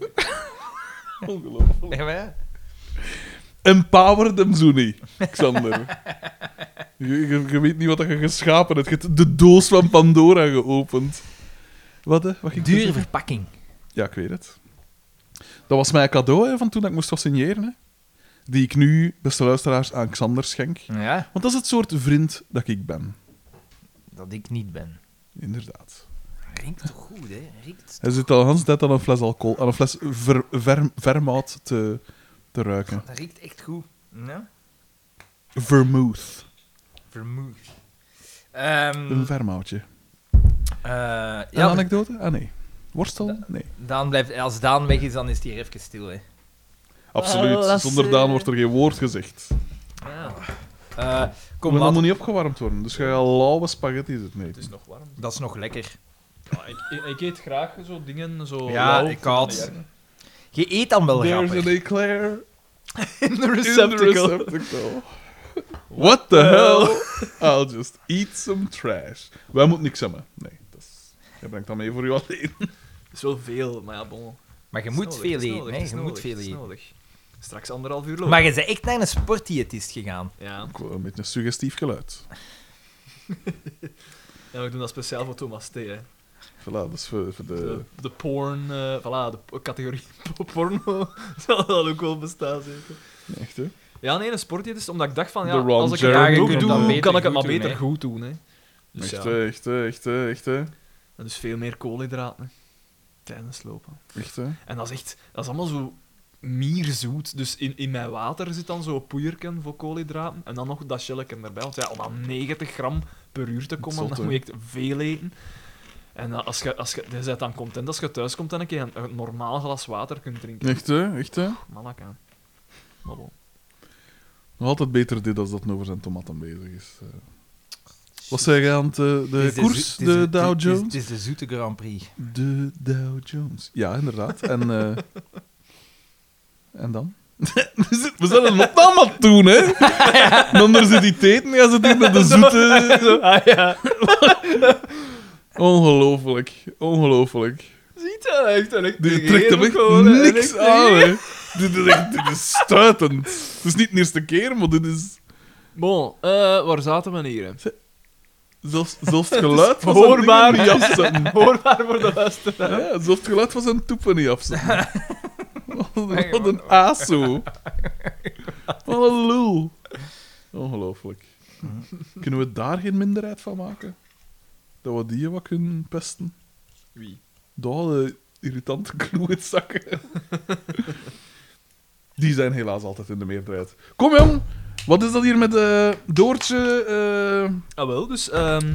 een... Ongelooflijk. ja, maar ja. Empower them zo niet, Xander. je, je- je weet niet wat je geschapen hebt. Je hebt de doos van Pandora geopend. Wat, hè? Wat ging Dure verpakking. Ja, ik weet het. Dat was mijn cadeau hè, van toen dat ik moest gaan signeren. Hè. Die ik nu, beste luisteraars, aan Xander schenk. Ja, Want dat is het soort vriend dat ik ben. dat ik niet ben. Inderdaad. Rinkt toch goed, hè? Rinkt... Hij zit al hans tijd aan een fles alcohol, aan een fles ver, ver- vermaat te, te ruiken. Dat rinkt echt goed. Ja? Vermouth. Vermoed. Mm. Ehm, Een vermoutje. eh, Ja, ja, een anekdote? Ah, nee. Worstel? Eh, Nee. Daan blijft, als Daan weg is, dan is hij hier even stil, hè. Absoluut. dat is, Zonder eh, Daan wordt er geen woord gezegd. Eh, kom, Ah. Maar dat laat... moet niet opgewarmd worden. Dus je gaat lauwe spaghetti zitten eten. Het is nog warm. Dat is nog lekker. Ja, ik, ik, ik eet graag zo dingen zo... Ja, lauw. ik had- Je eet dan wel There's grappig. an eclair in de in the receptacle. receptacle. What the hell? I'll just eat some trash. Wij moeten niks hebben. Nee, dat is... Jij brengt dat mee voor u alleen. Het is wel veel, maar ja, bon. Maar je moet Nodig, veel is eten, nodig, hè. is Je nodig, moet veel is eten. nodig. Straks anderhalf uur lopen. Maar je bent echt naar een sportdiëtist gegaan. Ja. Ik wil een beetje een suggestief geluid. ja, we doen dat speciaal voor Thomas T. Hè. Voilà, dat is voor, voor de... De, de porn, eh voilà, de po- categorie porno zal dat ook wel bestaan, zeker. Echt, hè? Ja, nee, een sportdiëtist, omdat ik dacht van, De ja, Ron als ik Jeremy het kan goed dat doe, beter kan goed ik het maar doen, beter hè. goed doen, hè. Dus echt, eh, ja, hè, echt, hè, echt, hè, echt, hè. en dus veel meer koolhydraten tijdens lopen. Echt, hè. En dat is echt, dat is allemaal zo mierzoet. Dus in, in mijn water zit dan zo'n poeierken voor koolhydraten. En dan nog dat shelleken erbij. Want ja, om aan 90 gram per uur te komen, Zot, hè. dan moet je echt veel eten. En dan als je, als je, je bent dan content als je thuis komt en een keer een, een normaal glas water kunt drinken. Echt, hè, echt, hè. Malaka. Maar bon. Nog altijd beter dit als dat nu over zijn tomaten bezig is. eh. Wat zeg je aan het, eh, de Het is koers? zo- het De, is- het is- Dow het is- Jones? Het is de zoete Grand Prix. De Dow Jones. Ja, inderdaad. En, eh, en dan? We zijn een opname aan het doen, hè? En Anders zit die teten, ja, zit hier met de zoete... Ah ja. Ongelooflijk. Ongelooflijk. Ziet je? Echt, echt. Die trekt hem echt niks aan, hè. Dit is echt dit is stuitend. Het is niet de eerste keer, maar dit is... Bon, eh, waar zaten we hier? hè? Zelfs, zelfs het geluid van zijn hoorbaar. dingen niet afzetten. Hoorbaar voor de luisteraar. Ja, zelfs het geluid van zijn toepen niet afzetten. Wat een aso. Wat een lul. Ongelooflijk. Kunnen we daar geen minderheid van maken? Dat we die wat kunnen pesten? Wie? Daar de irritante kloetzakken. Die zijn helaas altijd in de meerderheid. Kom jong, wat is dat hier met eh Doortje? eh Ah wel, dus ehm,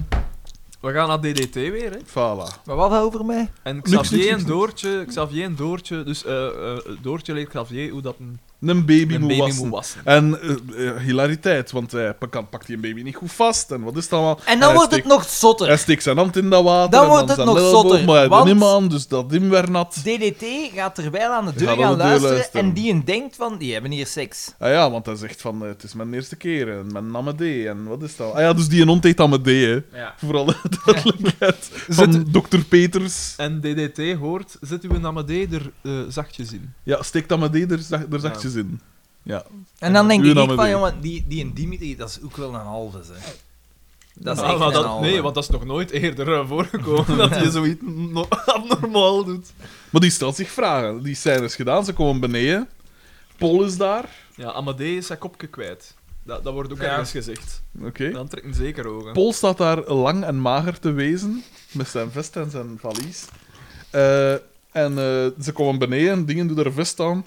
we gaan naar DDT weer, hè. Fala. Maar wat over mij? En niks, niks, Xavier en niks. Doortje, Xavier en Doortje, dus eh, eh, Doortje leert Xavier hoe dat een, Een baby, een moet, baby wassen. moet wassen. En eh, eh, hilariteit, want hij pak- pakt die een baby niet goed vast. En wat is het allemaal? En hij dan wordt het steekt- nog Hij zotter. steekt zijn hand in dat water. Dan en wordt het zijn nog elleboog, zotter, Maar hij doet want- hem aan, dus dat ding werd nat. DDT gaat terwijl aan de Gaat deur aan de gaan deur luisteren, luisteren. en die een denkt van, die hebben hier seks. Ah ja, want hij zegt van, eh, het is mijn eerste keer. En mijn Amadee. En wat is dat? Ah ja, dus die een hond heet Amadee, hè. Ja. Vooral de duidelijkheid van Zit- dokter Peters. En DDT hoort, zet uw Namadee er eh, zachtjes in. Ja, steekt Amadee er, zag- er zachtjes in. Ja. En dan denk Uw ik naam van, is- jongen, die, die een Dimitri, dat is ook wel een halve, zeg. Dat is Ah, echt maar een dat- halve. nee, want dat is nog nooit eerder eh, voorgekomen dat je zoiets no- abnormaal doet. Maar die stelt zich vragen. Die scène is gedaan, ze komen beneden. Paul is daar. Ja, Amadee is zijn kopje kwijt. Dat, dat wordt ook Ja. ergens gezegd. Oké. Dan trekken zeker ogen. Paul staat daar lang en mager te wezen, met zijn vest en zijn valies. Eh, en eh, ze komen beneden, dingen doen er vest aan.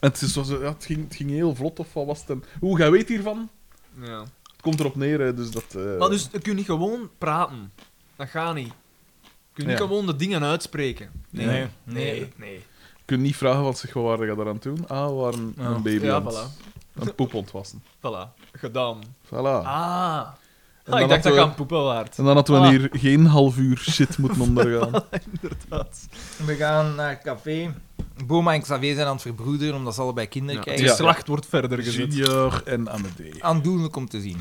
En het, is zo, zo- ja, het, ging, het ging heel vlot, of wat was het? En, Hoe, jij weet hiervan? Ja. Het komt erop neer, hè, dus dat... eh, Maar dus, je kunt niet gewoon praten. Dat gaat niet. Je kunt niet Ja. gewoon de dingen uitspreken. Nee. Nee. Nee, nee. Je kunt niet vragen van zich, wat waren je daaraan toen? Ah, we waren Ja. een baby Ja, aan het- voilà. Een poep ontwassen. Voilà. Gedaan. Voilà. Ah. dan Ah, ik hadden dacht dat we- je aan poepen waard. En dan hadden Voilà. we hier geen half uur shit moeten ondergaan. We gaan naar café. Boma en Xavier zijn aan het verbroederen, omdat ze allebei kinderen het krijgen. Ja. geslacht wordt verder gezet. Junior en Amadee. Aandoenlijk om te zien.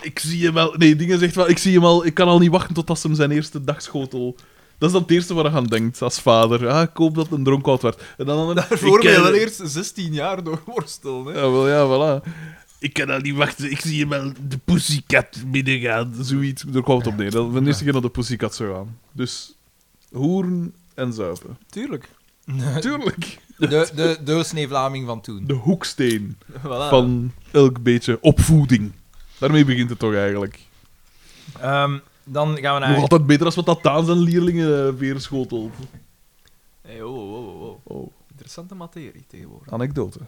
Ik zie hem wel. Nee, dingen zegt wel. Ik zie hem al. Ik kan al niet wachten totdat ze hem zijn eerste dagschotel. Dat is dan het eerste waar hij aan denkt als vader. Ah, ik hoop dat een dronkout werd. En dan dan Daarvoor ik eh, ben je ken- wel eerst 16 jaar door worstelen. Hè. Ja, wel, ja, voilà. Ik kan al niet wachten. Ik zie hem wel de pussycat binnengaan. Zoiets. Daar kwam het op neer. Dat we de eerste keer naar de pussycat zou gaan. Dus hoeren en zuipen. Tuurlijk. Tuurlijk. De, de doorsnee Vlaming van toen. De hoeksteen Voilà. van elk beetje opvoeding. Daarmee begint het toch eigenlijk. Ehm, dan gaan we naar... Nog altijd beter als wat dat aan zijn leerlingen eh, weer schotelt. Hey, oh, oh, oh, oh. Oh. Interessante materie tegenwoordig. Anekdote.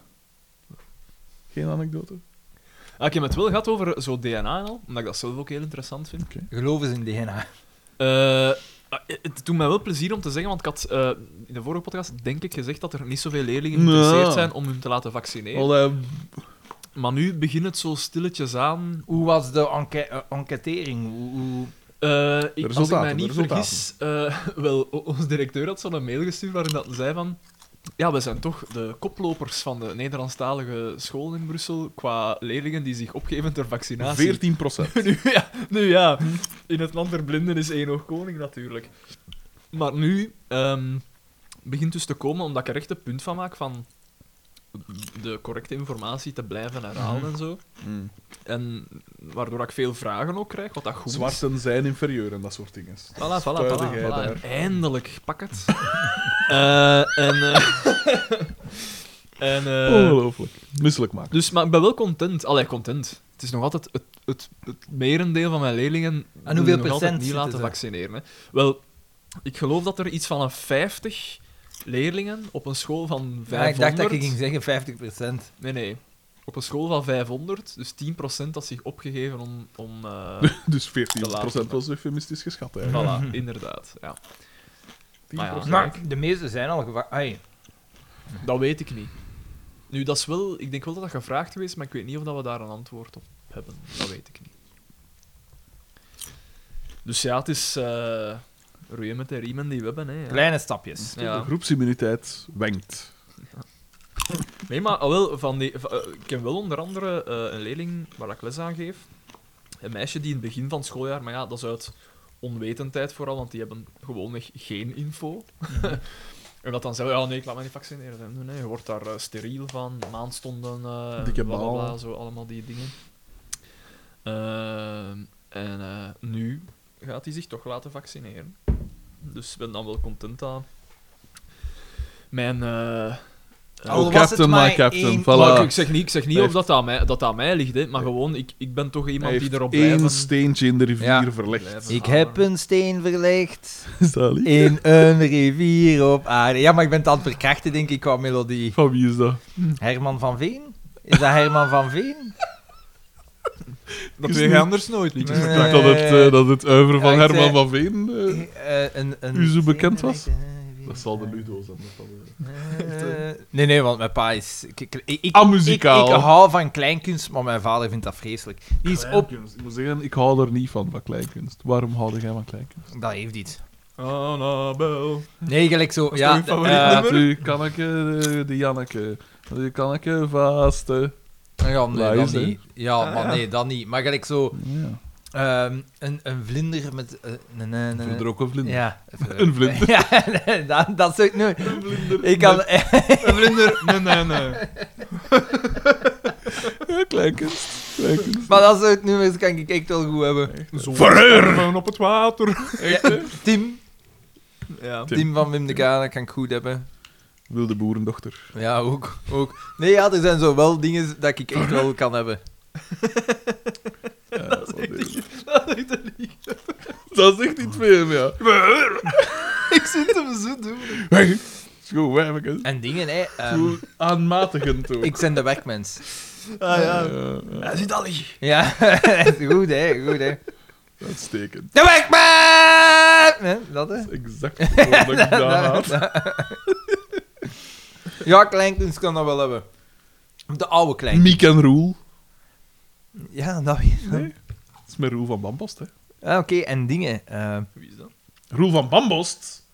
Geen anekdote? Ah, ik heb het wel gehad over zo DNA en al, omdat ik dat zelf ook heel interessant vind. Geloof eens in DNA. Eh, ah, het doet mij wel plezier om te zeggen, want ik had eh, in de vorige podcast denk ik gezegd dat er niet zoveel leerlingen Nou. geïnteresseerd zijn om hun te laten vaccineren. Want hij- Maar nu begint het zo stilletjes aan. Hoe was de enque eh, enquêtering? Hoe, hoe... Eh, ik, resultaten, als ik mij de niet resultaten. vergis, eh, wel, o- ons directeur had zo'n mail gestuurd waarin dat hij zei van... Ja, we zijn toch de koplopers van de Nederlandstalige scholen in Brussel qua leerlingen die zich opgeven ter vaccinatie. 14 procent. nu, ja, nu ja, in het land der blinden is één oog koning natuurlijk. Maar nu ehm, begint dus te komen, omdat ik er echt het punt van maak van de correcte informatie te blijven herhalen Mhm. en zo. Mm. En waardoor ik veel vragen ook krijg, wat dat goed is. Zwarten zijn inferieur en dat soort dingen. Voilà, voilà, voilà, Spijtigheid voilà. daar. Eindelijk, pak het. Eh, en... eh, en eh, Oh. Ongelooflijk. Misselijk maken. dus, maar ik ben wel content. Allee, content. Het is nog altijd het, het, het merendeel van mijn leerlingen... En hoeveel nog altijd procent niet zitten laten ze? vaccineren. Hè. Wel, ik geloof dat er iets van een 50 leerlingen op een school van 500... Ja, Ah, ik dacht dat je ging zeggen 50%. Nee, nee. Op een school van 500, dus 10% had zich opgegeven om... om eh, Dus De 14 laatste. procent was eufemistisch geschat eigenlijk. voilà, inderdaad. Ja. 10 Maar ja. Maar de meeste zijn al gewacht. Dat weet ik niet. Nu, dat is wel... Ik denk wel dat dat gevraagd geweest, maar ik weet niet of dat we daar een antwoord op hebben. Dat weet ik niet. Dus ja, het is eh roeien met de riemen die we hebben. Hè, ja. Kleine stapjes. Ja. De groepsimmuniteit wenkt. Nee, maar ah, wel, van die, van, eh, ik ken wel onder andere eh, een leerling waar ik les aan geef. Een meisje die in het begin van het schooljaar, maar ja, dat is uit onwetendheid vooral, want die hebben gewoonweg geen info. Mhm. en dat dan zeggen, ja nee, ik laat me niet vaccineren. Nee, nee, je wordt daar eh, steriel van, maandstonden, eh Dikke bla, bla, bla, baal. zo allemaal die dingen. Ehm, en eh, nu gaat hij zich toch laten vaccineren. Dus ik ben dan wel content dat mijn... eh, Al was Oh, het captain, maar my captain. één- maar ik- Voilà. ik zeg niet, ik zeg niet Hij of dat aan mij, dat aan mij ligt, hè, maar gewoon, ik, ik ben toch Hij iemand heeft die erop blijft. één steentje in de rivier Ja. verlegd. Ik heb een steen verlegd Is dat lief? in een rivier op aarde. Ja, maar ik ben het aan het verkrachten, denk ik, qua melodie. Van wie is dat? Herman van Veen? Is dat Herman van Veen? Dat is weet niet- je anders nooit niet. Nee. Ik dacht dat het, eh, dat het uiveren van Ja, ik zei- Herman van Veen... eh, Eh, een, een U zo bekend steen was? verlegd, eh, dat zal de Ludo zijn. dat zal de- Eh, nee, nee, want mijn pa is... Ik, ik, ik, Ah, ik, Amuzikaal. ik hou van kleinkunst, maar mijn vader vindt dat vreselijk. Die is op... Kleinkunst. Ik moet zeggen, ik hou er niet van, van kleinkunst. Waarom hou jij van kleinkunst? Dat heeft iets. Annabel. Nee, gelijk zo... is ja, toch je favoriet eh, nummer? Nu kan ik eh, de Janneke. Nu kan ik eh, vaste. Ja, nee, Lies, dat hè? niet. Ja, Ah, maar nee, dat niet. Maar gelijk zo... Ja. ehm, een, een vlinder met... eh, nee, nee, nee, Vind je nee. er ook een vlinder? Ja. even- Een vlinder. Ja, nee, dat, dat zou ik nooit... Ik kan... Een vlinder. Nee, nee, nee. Ja, kleinkunst. kleinkunst. Maar dat soort nummers kan ik echt wel goed hebben. Verheur! op het water. Tim. Ja. Tim. Tim van Wim de Kane kan ik goed hebben. Wilde boerendochter. Ja, ook. ook. Nee, ja, er zijn zo wel dingen dat ik echt wel kan hebben. Ja, dat, is dat is echt niet veel, ja. Ik zit hem zo doen. Goed, wijfjes. En dingen, hè. ehm, Goed, aanmatigend ook. ik ben de werkmens. Ah ja. Ja, ja, Hij zit al hier. Ja, goed, hè. Goed, hè. uitstekend. De werkman! Nee, dat, hè. Exact wat ik daar had. Ja, kleinkunst kan dat wel hebben. De oude kleinkunst. Miek en Roel. Ja, dat weet ik. Nee. Dat is met Roel van Bambost, hè. Ah, Oké, en dingen. eh, Wie is dat? Roel van Bambost,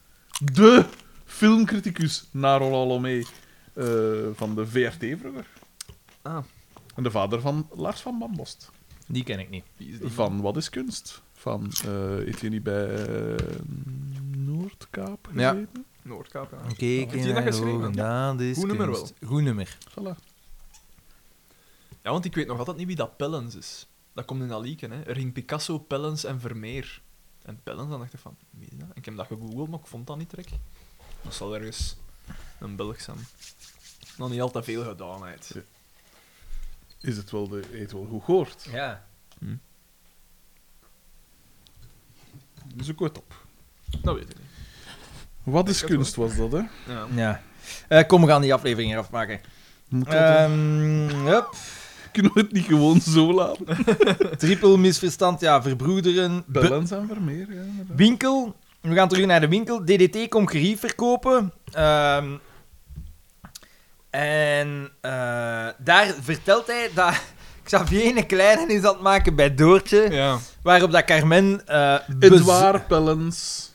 de filmcriticus na Rollalomé eh, van de VRT vroeger. Ah. En de vader van Lars van Bambost. die ken ik niet. Wie is die? Van Wat is Kunst? Van, eh eet je niet bij eh, Noordkaap Ja. gezeten? Noordkaap, ja. Oké, Heeft hij dat geschreven? Dat is Goed nummer kunst. Goed nummer. Voilà. Ja, want ik weet nog altijd niet wie dat Pellens is. Dat komt in Alieken, hè. Ring Picasso, Pellens en Vermeer. En Pellens, dan dacht ik van, wie is dat? Ik heb dat gegoogeld, maar ik vond dat niet direct. Dat zal ergens een Belg zijn. Nog niet al te veel gedaan, uit. Is het wel, de, heeft wel goed gehoord? Ja. Dus ook wat op. Dat weet ik niet. Wat is kunst was dat, hè? Ja. ja. Eh, kom, we gaan die aflevering eraf maken. Moet dat, Eh, hè? Ehm hup. Kunnen we het niet gewoon zo laten? Triple misverstand, ja, verbroederen. Be- Balans en Vermeer, ja. inderdaad. winkel. We gaan terug naar de winkel. DDT komt gerief verkopen. Ehm, en eh, daar vertelt hij dat Xavier een kleine is aan het maken bij Doortje. ja. Waarop dat Carmen... eh bez- Edouard Pellens.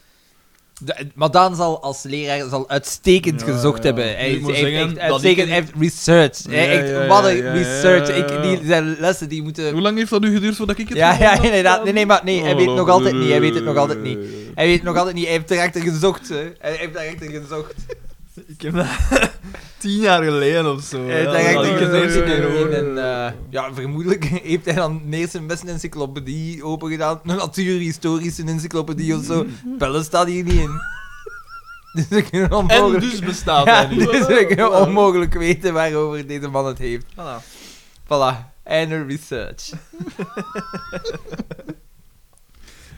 De- Maar Daan zal als leraar zal uitstekend Ja, gezocht ja. hebben. Hij, Ik moet hij heeft zeggen echt dat uitstekend, ik- hij heeft research. Hij Ja, echt, ja, wat een ja, ja, research. ja, ja. Ik, die, zijn lessen die moeten... Hoe lang heeft dat nu geduurd voordat ik het Eh, Ja, gevonden ja, had? Oh, inderdaad. Nee, nee, maar nee, hij weet het nog altijd niet. Hij weet het nog altijd niet. Hij weet het nog altijd niet. Hij heeft erachter gezocht. Hè. Hij heeft erachter gezocht. Ik heb dat tien jaar geleden of zo. Hij heeft Ja, erachter dat- ik- gezocht. ja, ja, ja, in- ja. in een, eh, Ja, vermoedelijk heeft hij dan eerst zijn beste encyclopedie opengedaan. Een natuurhistorische encyclopedie of zo. Pelle staat hier niet in. Dus ik kan En onmogelijk... dus bestaat Ja, hij nu. dus we kunnen onmogelijk weten waarover deze man het heeft. Voilà. Voilà, einde research.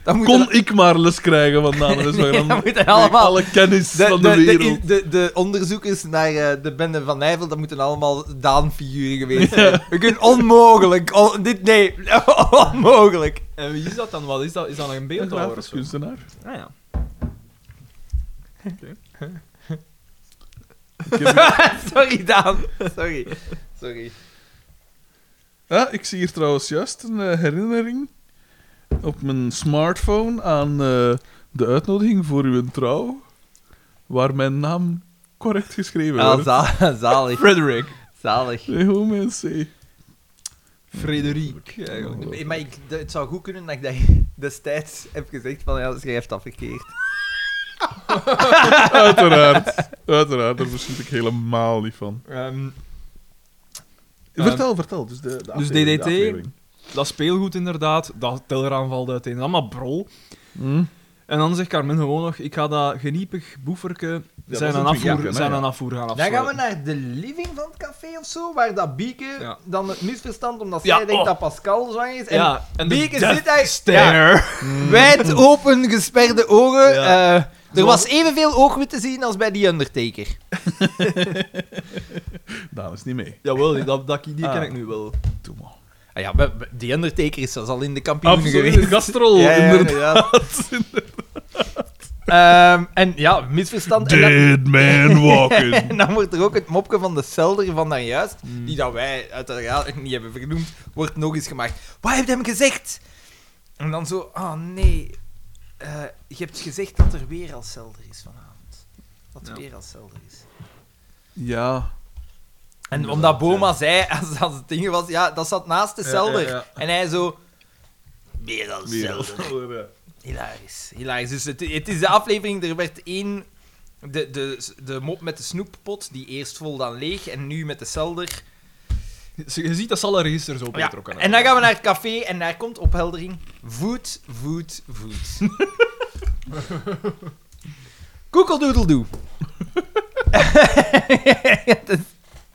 dat moet Kon er- ik maar les krijgen van Namen Nee, dan dat moeten allemaal- alle kennis de, van de, de, de, wereld. de- de onderzoekers naar eh, de bende van Nijvel, dat moeten allemaal Daan-figuren geweest zijn. We kunnen onmogelijk... on- dit, nee, onmogelijk. En wie is dat dan? Wat is dat? Is dat nog een Een beeldhouwer of grafisch zo? kunstenaar. Ah ja. Ik, heb- Sorry, Daan. Sorry. Sorry. Ah, ik zie hier trouwens juist een eh, herinnering op mijn smartphone aan eh, de uitnodiging voor uw trouw, waar mijn naam correct geschreven Ah, wordt. za- zalig. Frederick. Zalig. Nee, gewoon met een C. Frederik. Nee, maar ik, d- het zou goed kunnen dat ik dat destijds heb gezegd van ja, schrijf dat verkeerd. Uiteraard. Uiteraard, daar verschiet ik helemaal niet van. Ehm, vertel, vertel. Dus, de, de aflevering, de DDT? aflevering. Dat speelgoed inderdaad, dat telraam valt uiteen. Allemaal brol. Hm? En dan zegt Carmen gewoon nog, ik ga dat geniepig boeverke dat zijn, is aan het afvoer, geniepige, hè, zijn ja. aan afvoer gaan dan afsluiten. gaan we naar de living van het café of zo, waar dat Bieke Ja. dan het misverstand omdat Ja, zij denkt oh. dat Pascal zwanger is. En Ja, en de Bieke Death zit daar- Stare. wijd open gesperde oren. Ja. eh, er was evenveel oogwit te zien als bij die Undertaker. Daan is niet mee. Jawel, die, dat, dat, die ken Ah. ik nu wel. Doe maar. Ah ja, we- we- die Undertaker is zelfs al in de kampioen Absoluut, geweest. de gastrol. Ja, ja, inderdaad. inderdaad. Ehm, en ja, misverstand. En dan, Dead man walking. en dan wordt er ook het mopje van de celder van daarjuist, die dat wij uiteraard niet hebben vernoemd, wordt nog eens gemaakt. Wat heb je hem gezegd? En dan zo, ah nee, eh, je hebt gezegd dat er weer al celder is vanavond. Dat er Ja. weer al celder is. ja. En omdat Boma zei, als dat het ding was, ja, dat zat naast de celder. ja. En hij zo... Meer dan Weer. zelder. Hilarisch, hilarisch. Dus het, het is de aflevering, er werd één... De, de, de mop met de snoeppot, die eerst vol dan leeg, en nu met de celder. Je je ziet dat ze alle registers Ja, opgetrokken En dan gaan we naar het café, en daar komt opheldering. Voet, voet, voet. Koekeldoedeldoe.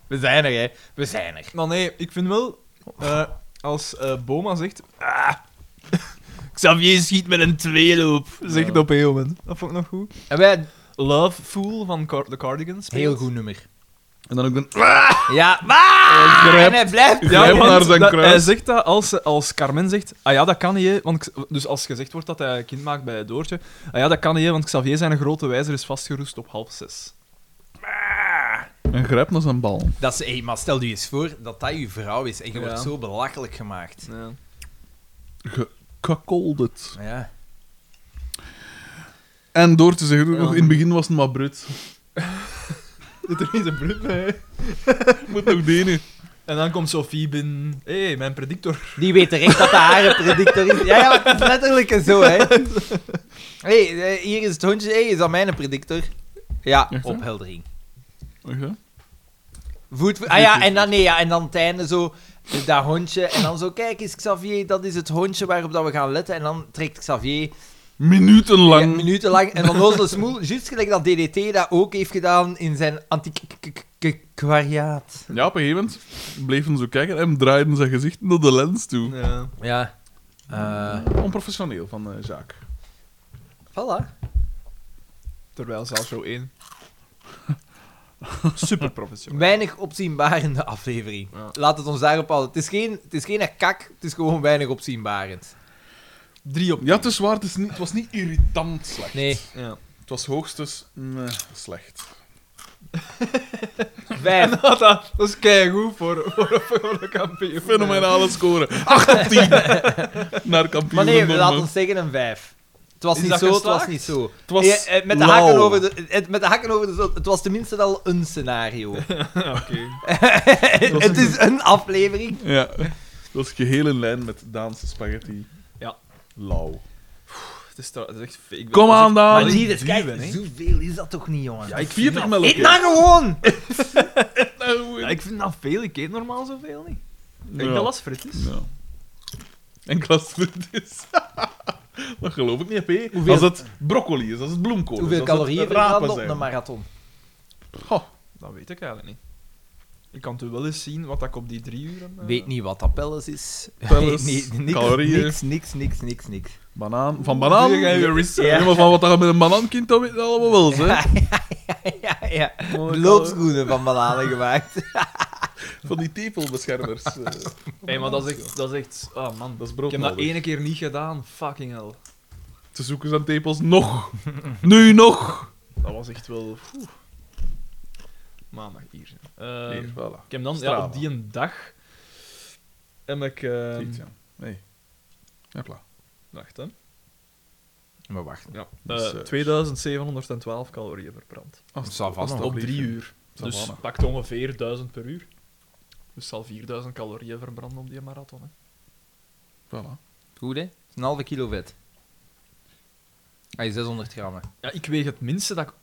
we zijn er, hè. We zijn er. Maar nee, ik vind wel, eh, als eh, Boma zegt... "Ah, Xavier schiet met een tweeloop, zegt Ja. op een gegeven moment. Dat vond ik nog goed. En wij... Love Fool van Car- The Cardigans. speelt. Heel goed nummer. En dan ook een... Ja, maar! grijpt- en hij blijft. Ja, Ja, want naar zijn dat- kruis. Hij zegt dat als, als Carmen zegt, ah ja, dat kan niet, hè, want, ik- dus als gezegd wordt dat hij kind maakt bij Doortje, ah ja, dat kan niet, hè, want Xavier zijn grote wijzer is vastgeroest op half zes. En grijp naar zijn bal. Dat is, hey, maar stel je eens voor dat dat je vrouw is en je Ja. wordt zo belachelijk gemaakt. Gekolderd. Ja. En door te zeggen, ook Ja. nog, in het begin was het maar Brut. Zit er niet een brut bij, Moet nog denen. En dan komt Sophie binnen, hé, hey, mijn predictor. Die weet terecht dat de haren predictor is. Ja, ja, het is letterlijk zo, hè. hey, eh, hier is het hondje. hey, is dat mijn predictor? Ja, Echt, hè? opheldering. Oké. Voet, voet- ah ja, en dan, nee, ja, en dan het einde zo, dat hondje. En dan zo, kijk eens, Xavier, dat is het hondje waarop dat we gaan letten. En dan trekt Xavier Minutenlang. Ja, minuten lang. En Van Ozele Smoel, juist gelijk dat DDT dat ook heeft gedaan in zijn antiquariaat. Ja, op een gegeven moment bleven ze kijken en draaiden zijn gezicht naar de lens toe. Ja. Ja. Eh Onprofessioneel van eh Jaak. voilà. Terwijl zelfs zo één. Super professioneel. Weinig opzienbarende aflevering. Ja. Laat het ons daarop houden. Het is geen, het is geen kak, het is gewoon weinig opzienbarend. Drie op Ja, het is waar, het, is niet, het was niet irritant slecht. Nee, Ja. Het was hoogstens meh, slecht. vijf. Dat, dat is keigoed voor, voor, voor een kampioen. Fenomenale score. 8 op 10. Naar kampioen. Maar nee, we Norman. laten ons zeggen een vijf. Het was Is niet dat zo, het was geslaagd? niet zo. Het was Eh, eh, met, de lauw. hakken over de, het, met de hakken over de zon, het was tenminste al een scenario. Oké. het is een aflevering. Ja. Dat is geheel in lijn met Daanse spaghetti. Ja. Lauw. Het is, trouw- het is echt fake. Kom Dat is aan, echt- Daan. maar Maar die- zie je, dus die ben, kijk, hè. zoveel is dat toch niet, jongen? Ja, Oh, ik vind 40 dat- melk. Eet maar gewoon! Ja, ik vind dat veel. Ik eet normaal zoveel niet. Ik dat Ja. las fritjes. Ja. En klasfruit is. dat geloof ik niet, hè? Hoeveel- Als het broccoli is, als het bloemkool Hoeveel is. calorieën verbrand verbranden op een marathon? Dat weet ik eigenlijk niet. Ik kan toen wel eens zien wat ik op die drie uur... eh, Weet niet wat dat pelles is. Weet Pelles, niet- niks, calorieën. Niks, niks, niks, niks, niks. Banaan. Van banaan? Doe jij je Ja. Ja, maar van wat dat met een banaankind, dat weet je allemaal wel, hè? Ja, ja. Mooi, Loopschoenen van bananen gemaakt. Van die tepelbeschermers. eh, Hey, maar dat is echt... Dat is echt oh man. dat is Ik brood heb dat nodig. ene keer niet gedaan. Fucking hell. Te zoeken zijn tepels nog. nu nog. Dat was echt wel... oeh. Maandag hier. Ehm, Hier, voilà. ik heb dan ja, Strava. op die een dag... Heb ik... ehm, Ziet, ja. Nee. Hopla. Wacht, hè. Maar wacht. Ja, Eh, 2712 calorieën verbrand. Het zal vast Alsnog. wel. Op drie uur. Dat is Dus wel, hè. pakt ongeveer 1000 per uur. Dus zal 4000 calorieën verbranden op die marathon. Hè. Voilà. Goed, hè? Het is Een halve kilo vet. Ah, 600 gram. hè. Ja, ik weeg het minste dat ik...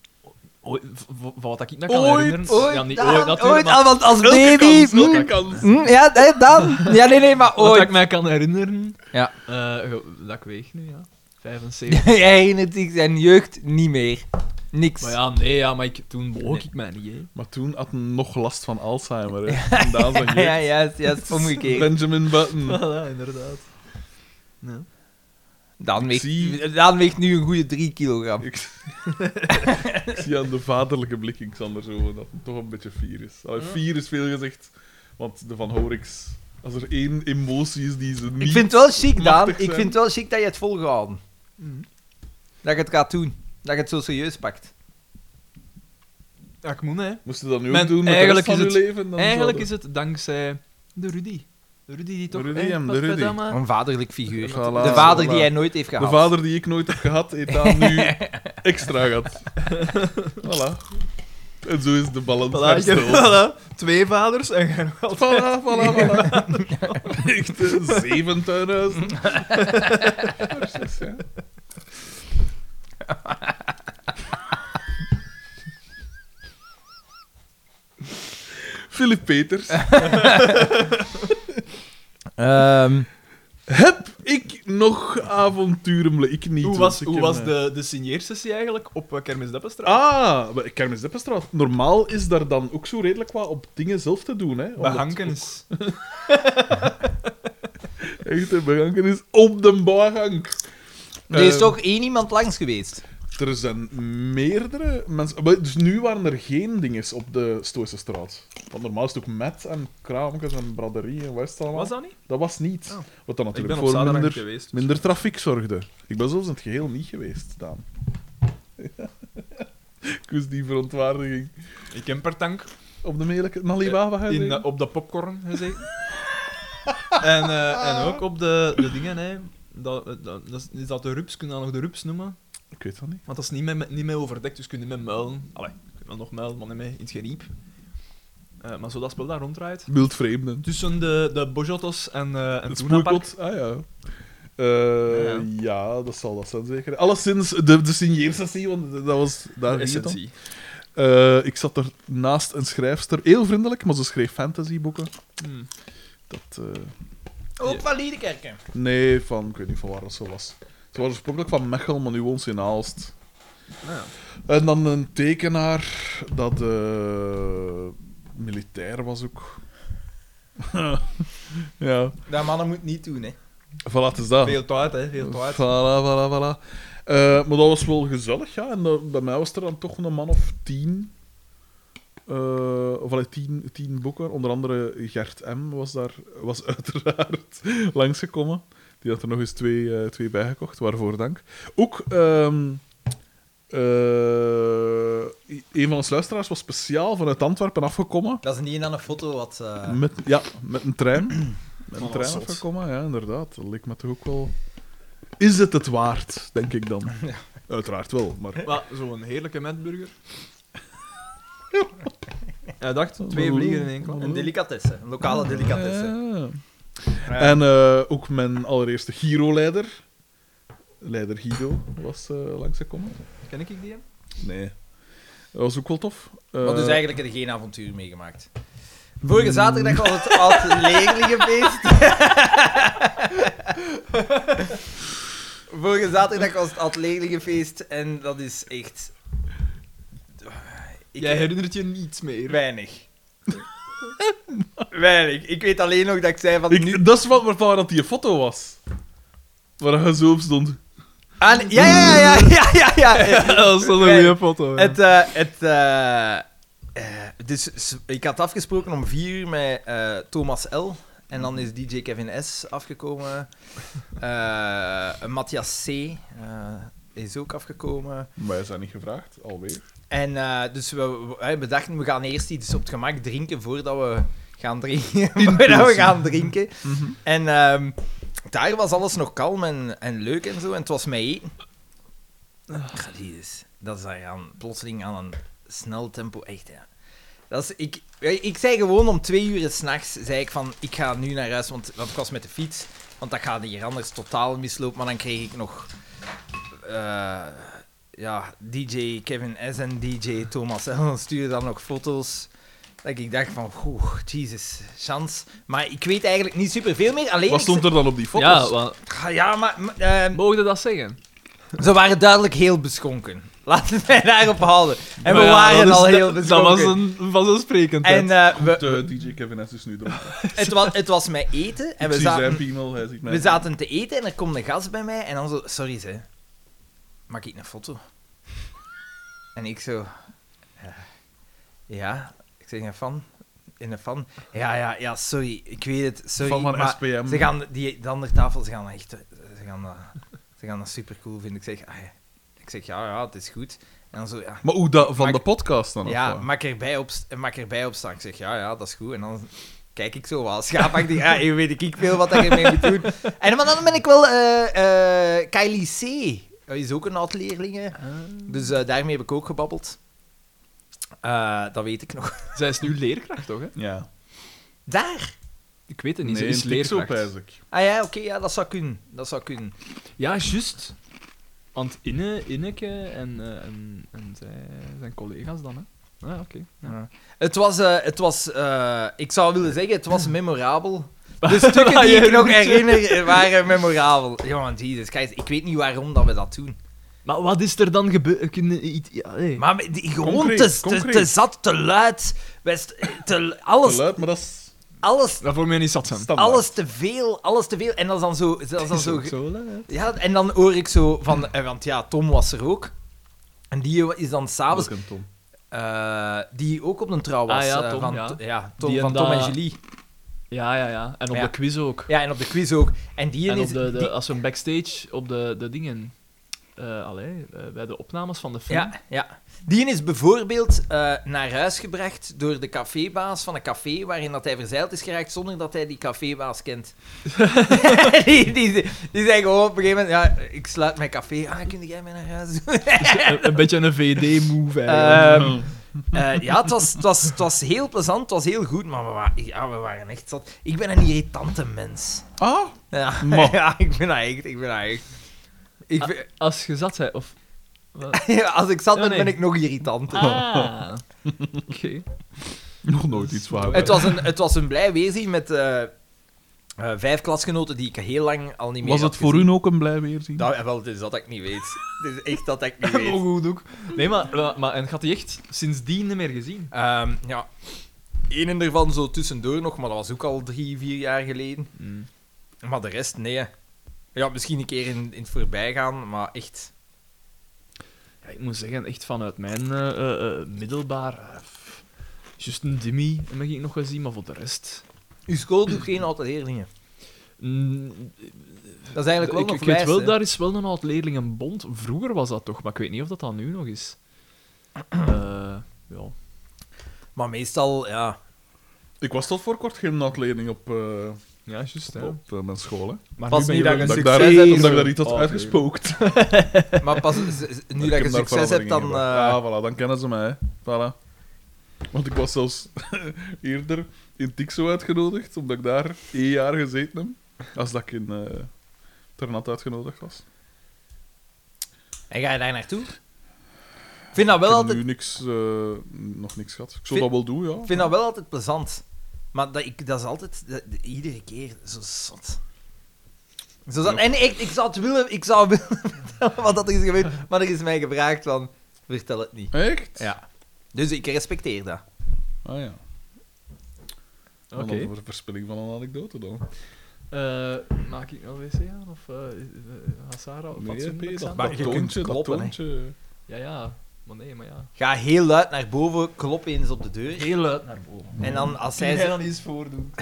Ooit, v- v- van wat ik me kan herinneren... ja, niet ooit, dan, natuurlijk, maar ah, want als Elke baby... kans, elke mm, kans. mm, ja, hè, dan. Ja, nee, nee, maar Wat ik ooit. mij kan herinneren... Ja. eh, ge- dat ik weeg nu, ja. 75. Jij in het ik zijn jeugd niet meer. Niks. maar ja, nee, ja, maar ik, toen woog ik mij niet, hè. Maar toen had hij nog last van Alzheimer. Hè. En daar zijn ja, je. juist, juist, omgekeerd. Benjamin Button. ja, inderdaad. Dan zie- weegt, dan weegt nu een goede 3 kilogram. Ik, ik zie aan de vaderlijke blik in Xander zo dat het toch een beetje fier is. Allee, fier is veel gezegd, want de Van Horix... Als er één emotie is die ze niet... Ik vind het wel chic, Daan. machtig Ik vind zijn. Mhm. het wel chic dat je het volgehouden. Dat je het gaat doen. Dat je het zo serieus pakt. Ja, ik moet, hè. Moest je dat nu ook Men- doen met de rest eigenlijk van is je het- leven? Dan Eigenlijk zou is het dankzij de Rudy. De Rudy die toch... Rudy, hè, hem, de wat Rudy. Oh, verdamme- Een vaderlijk figuur. Voilà, de vader voilà. die jij nooit heeft De gehad. vader die ik nooit heb gehad, heeft daar nu extra gehad. voilà. En zo is de balans Voilà, ik heb, hersteld. voilà, twee vaders en jij nog altijd. Voilà, voilà, voilà. Echt eh, zeven tuinhuizen. Precies, ja. Philip Peters. Ehm, Heb ik nog avonturen? bl- Ik niet. Hoe want was, ik hoe heb, was eh, de, de signeersessie eigenlijk op eh, Kermis Deppenstraat? Ah, maar Kermis Deppenstraat. Normaal is daar dan ook zo redelijk wat op dingen zelf te doen. Hè? Bij Omdat- Hankens. Echt, hè, behanken is op de bouwgang. er is Ehm, toch één iemand langs geweest. Er zijn meerdere mensen. maar Dus nu waren er geen dinges op de Stoische straat. Want normaal is het ook met en kraamkes en braderie en wat is het allemaal. Was dat niet? Dat was niet. Wat dan Ik natuurlijk ben op voor zaterdag minder, niet geweest. dus- minder trafiek zorgde. Ik ben zelfs in het geheel niet geweest, Daan. Ik wist die verontwaardiging. Ik heb per tank Op de mailijke... Naliwawa, ga je in, zeggen? eh, op de popcorn gezeten. en, eh, en ook op de, de dingen, hè. Dat, dat, dat is- is dat de rups? Kun je dat nog de rups noemen? Ik weet dat niet. Want dat is niet meer, met- niet meer overdekt, dus kun je niet meer muilen. Allee, je kunt wel nog muilen, maar niet meer in het geriep. Eh, maar zodat het spel daar ronddraait. Wildvreemden. Tussen de, de Bojottos en, eh en Het Tuna Park. spookot. Ah ja. Eh, ja. dat zal dat zijn zeker. Alleszins de, de signeersessie, want dat was daar De ging het om. essentie. Eh, ik zat er naast een schrijfster, heel vriendelijk, maar ze schreef fantasyboeken. Hmm. Dat, eh, Ook van Liedekerken. nee, van, ik weet niet van waar dat zo was. Ze was oorspronkelijk van Mechel, maar nu woont ze in Aalst. Nou ja. En dan een tekenaar dat eh, militair was ook. ja, Dat mannen moet niet doen, hè. voilà, het is dat. Veel tijd, hè. Veel tijd. Voilà, voilà, voilà. Eh, maar dat was wel gezellig, ja. En dat- bij mij was er dan toch een man of tien. Eh, of allee, tien, tien boeken. Onder andere Gert M. was daar was uiteraard langsgekomen. Die had er nog eens twee, eh, twee bijgekocht, waarvoor dank. Ook ehm, eh, een van ons luisteraars was speciaal vanuit Antwerpen afgekomen. Dat is niet aan een foto wat... eh, Met, ja, met een trein. Met een Ah. Oh, trein zot. afgekomen, ja, inderdaad. Dat leek me toch ook wel... Is het het waard, denk ik dan? Uiteraard wel, maar... Maar zo'n heerlijke metburger. Hij dacht, twee vliegen in één klap. Een delicatesse. Een lokale delicatesse. Ja. Ja. En eh, ook mijn allereerste Giro-leider, leider Guido, was eh langsgekomen. Ken ik die hem? Nee. Dat was ook wel tof. Eh, Want dus eigenlijk heb je geen avontuur meegemaakt. Vorige zaterdag was het oud leerlingenfeest. Vorige zaterdag was het oud leerlingenfeest en dat is echt... Ik Jij heb herinnert je niets meer. weinig. Weinig. Ik weet alleen nog dat ik zei van... ik- nu... Dat is wat waarvan waar dat die foto was. Waar je zo op stond. Ah, nee, ja, ja, ja, ja, ja, ja, ja. dat is wel Wij- een goede foto. hè. Het, eh, het, eh, eh, dus s- ik had afgesproken om vier uur met eh, Thomas L. En dan is DJ Kevin S. afgekomen. Eh Matthias C. eh, is ook afgekomen. Maar je zijn niet gevraagd, alweer. En eh, dus we, we, hè, we dachten, we gaan eerst iets op het gemak drinken voordat we gaan drinken. voordat we gaan drinken. En ehm, daar was alles nog kalm en, en leuk en zo. En het was mij eten. Ah, Jezus. Dat is daar aan, plotseling aan een snel tempo. Echt, ja. Dat is, ik, ik zei gewoon om twee uur s'nachts, zei ik van, ik ga nu naar huis, want, want ik was met de fiets. Want dat gaat hier anders totaal mislopen. Maar dan kreeg ik nog... eh, ja, DJ Kevin S. en DJ Thomas L. stuurden dan nog foto's. Dat ik dacht van, oeh, Jesus, chance. Maar ik weet eigenlijk niet superveel meer. Alleen Wat ik- stond er dan op die foto's? Ja, wa- Ah, Ja, maar... maar, ehm, mogen we dat zeggen? ze waren duidelijk heel beschonken. Laten we mij daarop houden. En we Maar ja, waren dat is- Ah al dat- heel Dat beschonken. was een vanzelfsprekend. En eh, we, De DJ Kevin S is dus nu dronken. het, was, het was met eten. En Ik we zie zijn zaten, piemel, hij ziet mij. we zaten te eten en er komt een gast bij mij. En dan zo... Sorry, ze. Maak ik een foto? En ik zo... eh, ja, ik zeg een fan. In een fan. Ja, ja, ja, sorry. Ik weet het. Sorry, Fan van maar SPM. Ze gaan... Die, de andere tafel, ze gaan dat echt... eh, Ze gaan dat, ze gaan dat supercool vinden. Ik zeg... ah, ja. ik zeg, ja, ja, het is goed. En dan zo... Ja, Maar hoe dat, van Maar- de podcast dan? of Ja, wat? maak erbij, op, maak erbij op staan. Ik zeg, ja, ja, dat is goed. En dan kijk ik zo wel schaapachtig. Ja, "Ah, hier weet ik veel wat ik ermee moet doen. En maar dan ben ik wel... eh, eh, Kylie C. Dat is ook een oud-leerling. Dus eh, daarmee heb ik ook gebabbeld. Eh, dat weet ik nog. Zij is nu leerkracht, toch? Hè? Ja. Daar! Ik weet het niet, Nee, ze is een leerkracht. leerkracht. eigenlijk. Ah ja, oké, ja, dat zou kunnen. Dat zou kunnen. Ja, juist. Want Inne, Inneke en, eh, en, en zij zijn collega's dan, hè? Ah, oké. Ja. Ja. Het was... eh, het was eh, ik zou willen zeggen, het was memorabel. De Dus Ah, stukken die ik nog herinner eh, waren memorabel. Jongen, Jesus Christ, ik weet niet waarom dat we dat doen. Maar wat is er dan gebeurd? Kunnen- iets- ja, hey. Maar met die, gewoon Concreet, te, te- concreet. te zat, te luid, best, eh, te, Te alles, luid, maar dat is alles, Dat voor mij niet zat zijn. standaard. alles te veel, alles te veel. En dat is dan zo... Dat is dan Is zo ook zo, hè? ja, en dan hoor ik zo van... eh, Want ja, Tom was er ook. En die is dan s'avonds... Welkom, Tom. eh die ook op een trouw was. Ah ja, eh, Tom, van, ja. To- Tom, Die van en Tom en dat- Julie. Ja, ja, ja. En op Ja. de quiz ook. Ja, en op de quiz ook. En die en op is... de, de, die- als we backstage op de, de dingen... eh allee, eh, bij de opnames van de film. ja, ja. Die is bijvoorbeeld eh, naar huis gebracht door de cafébaas van een café waarin dat hij verzeild is geraakt zonder dat hij die cafébaas kent. die, die, die zei gewoon op een gegeven moment, ja, ik sluit mijn café. Ah, kun jij mij naar huis doen? een, een beetje een VD-move, eigenlijk. Ehm, eh, ja, het was, het, was, het was heel plezant, het was heel goed, maar we, wa- ja, we waren echt zat. Ik ben een irritante mens. Ah, Ja, Ma. ja ik ben dat echt, ik ben dat echt. Ik Ah. ben- Als je zat, zei... Of... wat? als ik zat Ja, ben, nee. ben ik nog irritanter. Ah. Oké. nog nooit iets waar. Het was een, het was een blij weerzien met eh, eh, vijf klasgenoten die ik heel lang al niet meer Was had het voor gezien. u ook een blij weerzien? Nou, eh, wel, het is dat ik niet weet. Het is echt dat ik niet weet. Oh, goed ook. Nee, maar, maar, maar en gaat die echt sindsdien niet meer gezien? Ehm, ja. Eén ervan zo tussendoor nog, maar dat was ook al drie, vier jaar geleden. Mm. Maar de rest, nee. Ja, misschien een keer in, in het voorbijgaan, maar echt... Ja, ik moet zeggen, echt vanuit mijn eh, eh, eh, middelbaar... eh, pff, Juist een Dimmy mag ik nog wel zien, maar voor de rest... Uw school doet geen altijd leerlingen. Mm, Dat is eigenlijk wel ik, nog ik weet wijs, wel, hè. daar is wel een oud-leerlingenbond. Vroeger was dat toch, maar ik weet niet of dat dan nu nog is. Eh, ja. Maar meestal, ja... Ik was tot voor kort gymnaatleerling op, eh, ja, juist. op eh, mijn school. Hè. Maar Pas ben niet je dat je Omdat een ik daar, succes hebt. omdat ik daar iets had Oh, nee. uitgespookt. Maar pas z- z- nu Ik dat heb je daar succes hebt, dan... veranderingen eh, gebracht. Ah, voilà, dan kennen ze mij. hè. Voilà. Want ik was zelfs eerder in Tixo uitgenodigd, omdat ik daar één jaar gezeten heb, als dat ik in eh Ternat uitgenodigd was. En ga je daar naartoe? Ik vind dat Nou, wel ik heb altijd, nu niks, eh, nog niks gehad. Ik Vind- zou dat wel doen, ja. ik vind dat wel altijd plezant. Maar dat, ik, dat is altijd, dat- dat- iedere keer, zo zot. Zo zot. Ja. En echt, ik zou het willen, ik zou willen vertellen wat dat er is gebeurd, maar er is mij gevraagd van, vertel het niet. Echt? Ja. Dus ik respecteer dat. Ah ja. Oké. Wat een ver- verspilling van een anekdote dan. Eh, maak ik nog wc aan? Of eh, eh, gaat Sarah? Of Nee, fatsoenlijk P, dat, dat zijn? Maar je kunt toontje, dat kloppen, hè. toontje. Ja, ja. Maar nee, maar ja. Ga heel luid naar boven, klop eens op de deur. Heel luid naar boven. En dan als Kun Ah, zij... jij ze- dan iets voordoen?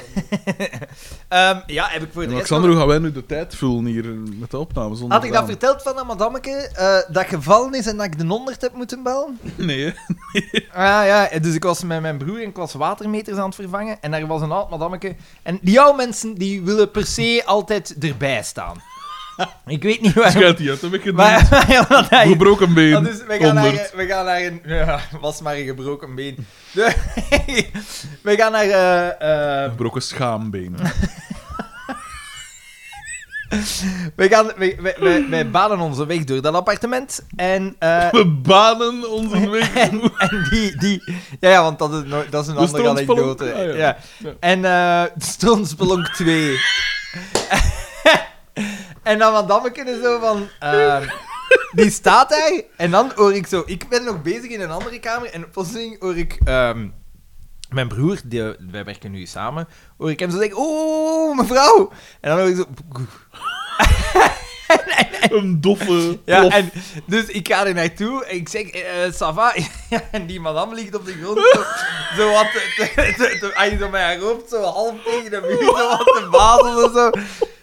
Ehm, ja, heb ik voor de rest En Alexander, hoe gaan wij nu de tijd vullen hier met de opname? Zonder Had ik dat Daan? verteld van dat madameke, eh, dat gevallen is en dat ik de 100 heb moeten bellen? Nee, hè? Ah ja, dus ik was met mijn broer en ik was watermeters aan het vervangen en daar was een oud madameke. En die oude mensen, die willen per se altijd erbij staan. Ik weet niet waarom. schuilt die uit. Heb ik Maar, gedaan. ja, want hij- Gebroken been. want dus, we, gaan naar, 100. eh, we gaan naar een... Ja, was maar een gebroken been. De- we gaan naar... eh, eh, Gebroken schaambeen. we, gaan, we, we, we- wij banen onze weg door dat appartement en... eh, We banen onze weg. En, en die, die... Ja, ja, want dat is, nooit- dat is een De andere stroomspelonk. anekdote. Ah, ja. ja. En eh de Stroomspelonk 2. en dan wat kunnen zo van... eh, die staat daar en dan hoor ik zo... Ik ben nog bezig in een andere kamer en plotseling hoor ik... ehm, mijn broer, die, wij werken nu samen, hoor ik hem zo zeggen, oh, mevrouw. En dan hoor ik zo... Een doffe. Ja, plof. en, dus ik ga er naartoe en ik zeg, eh Sava. en die madame ligt op de grond. Zo, zo wat. Te, te, te, te- ah, zo met haar hoofd zo half tegen de muur. Zo wat te bazelen zo.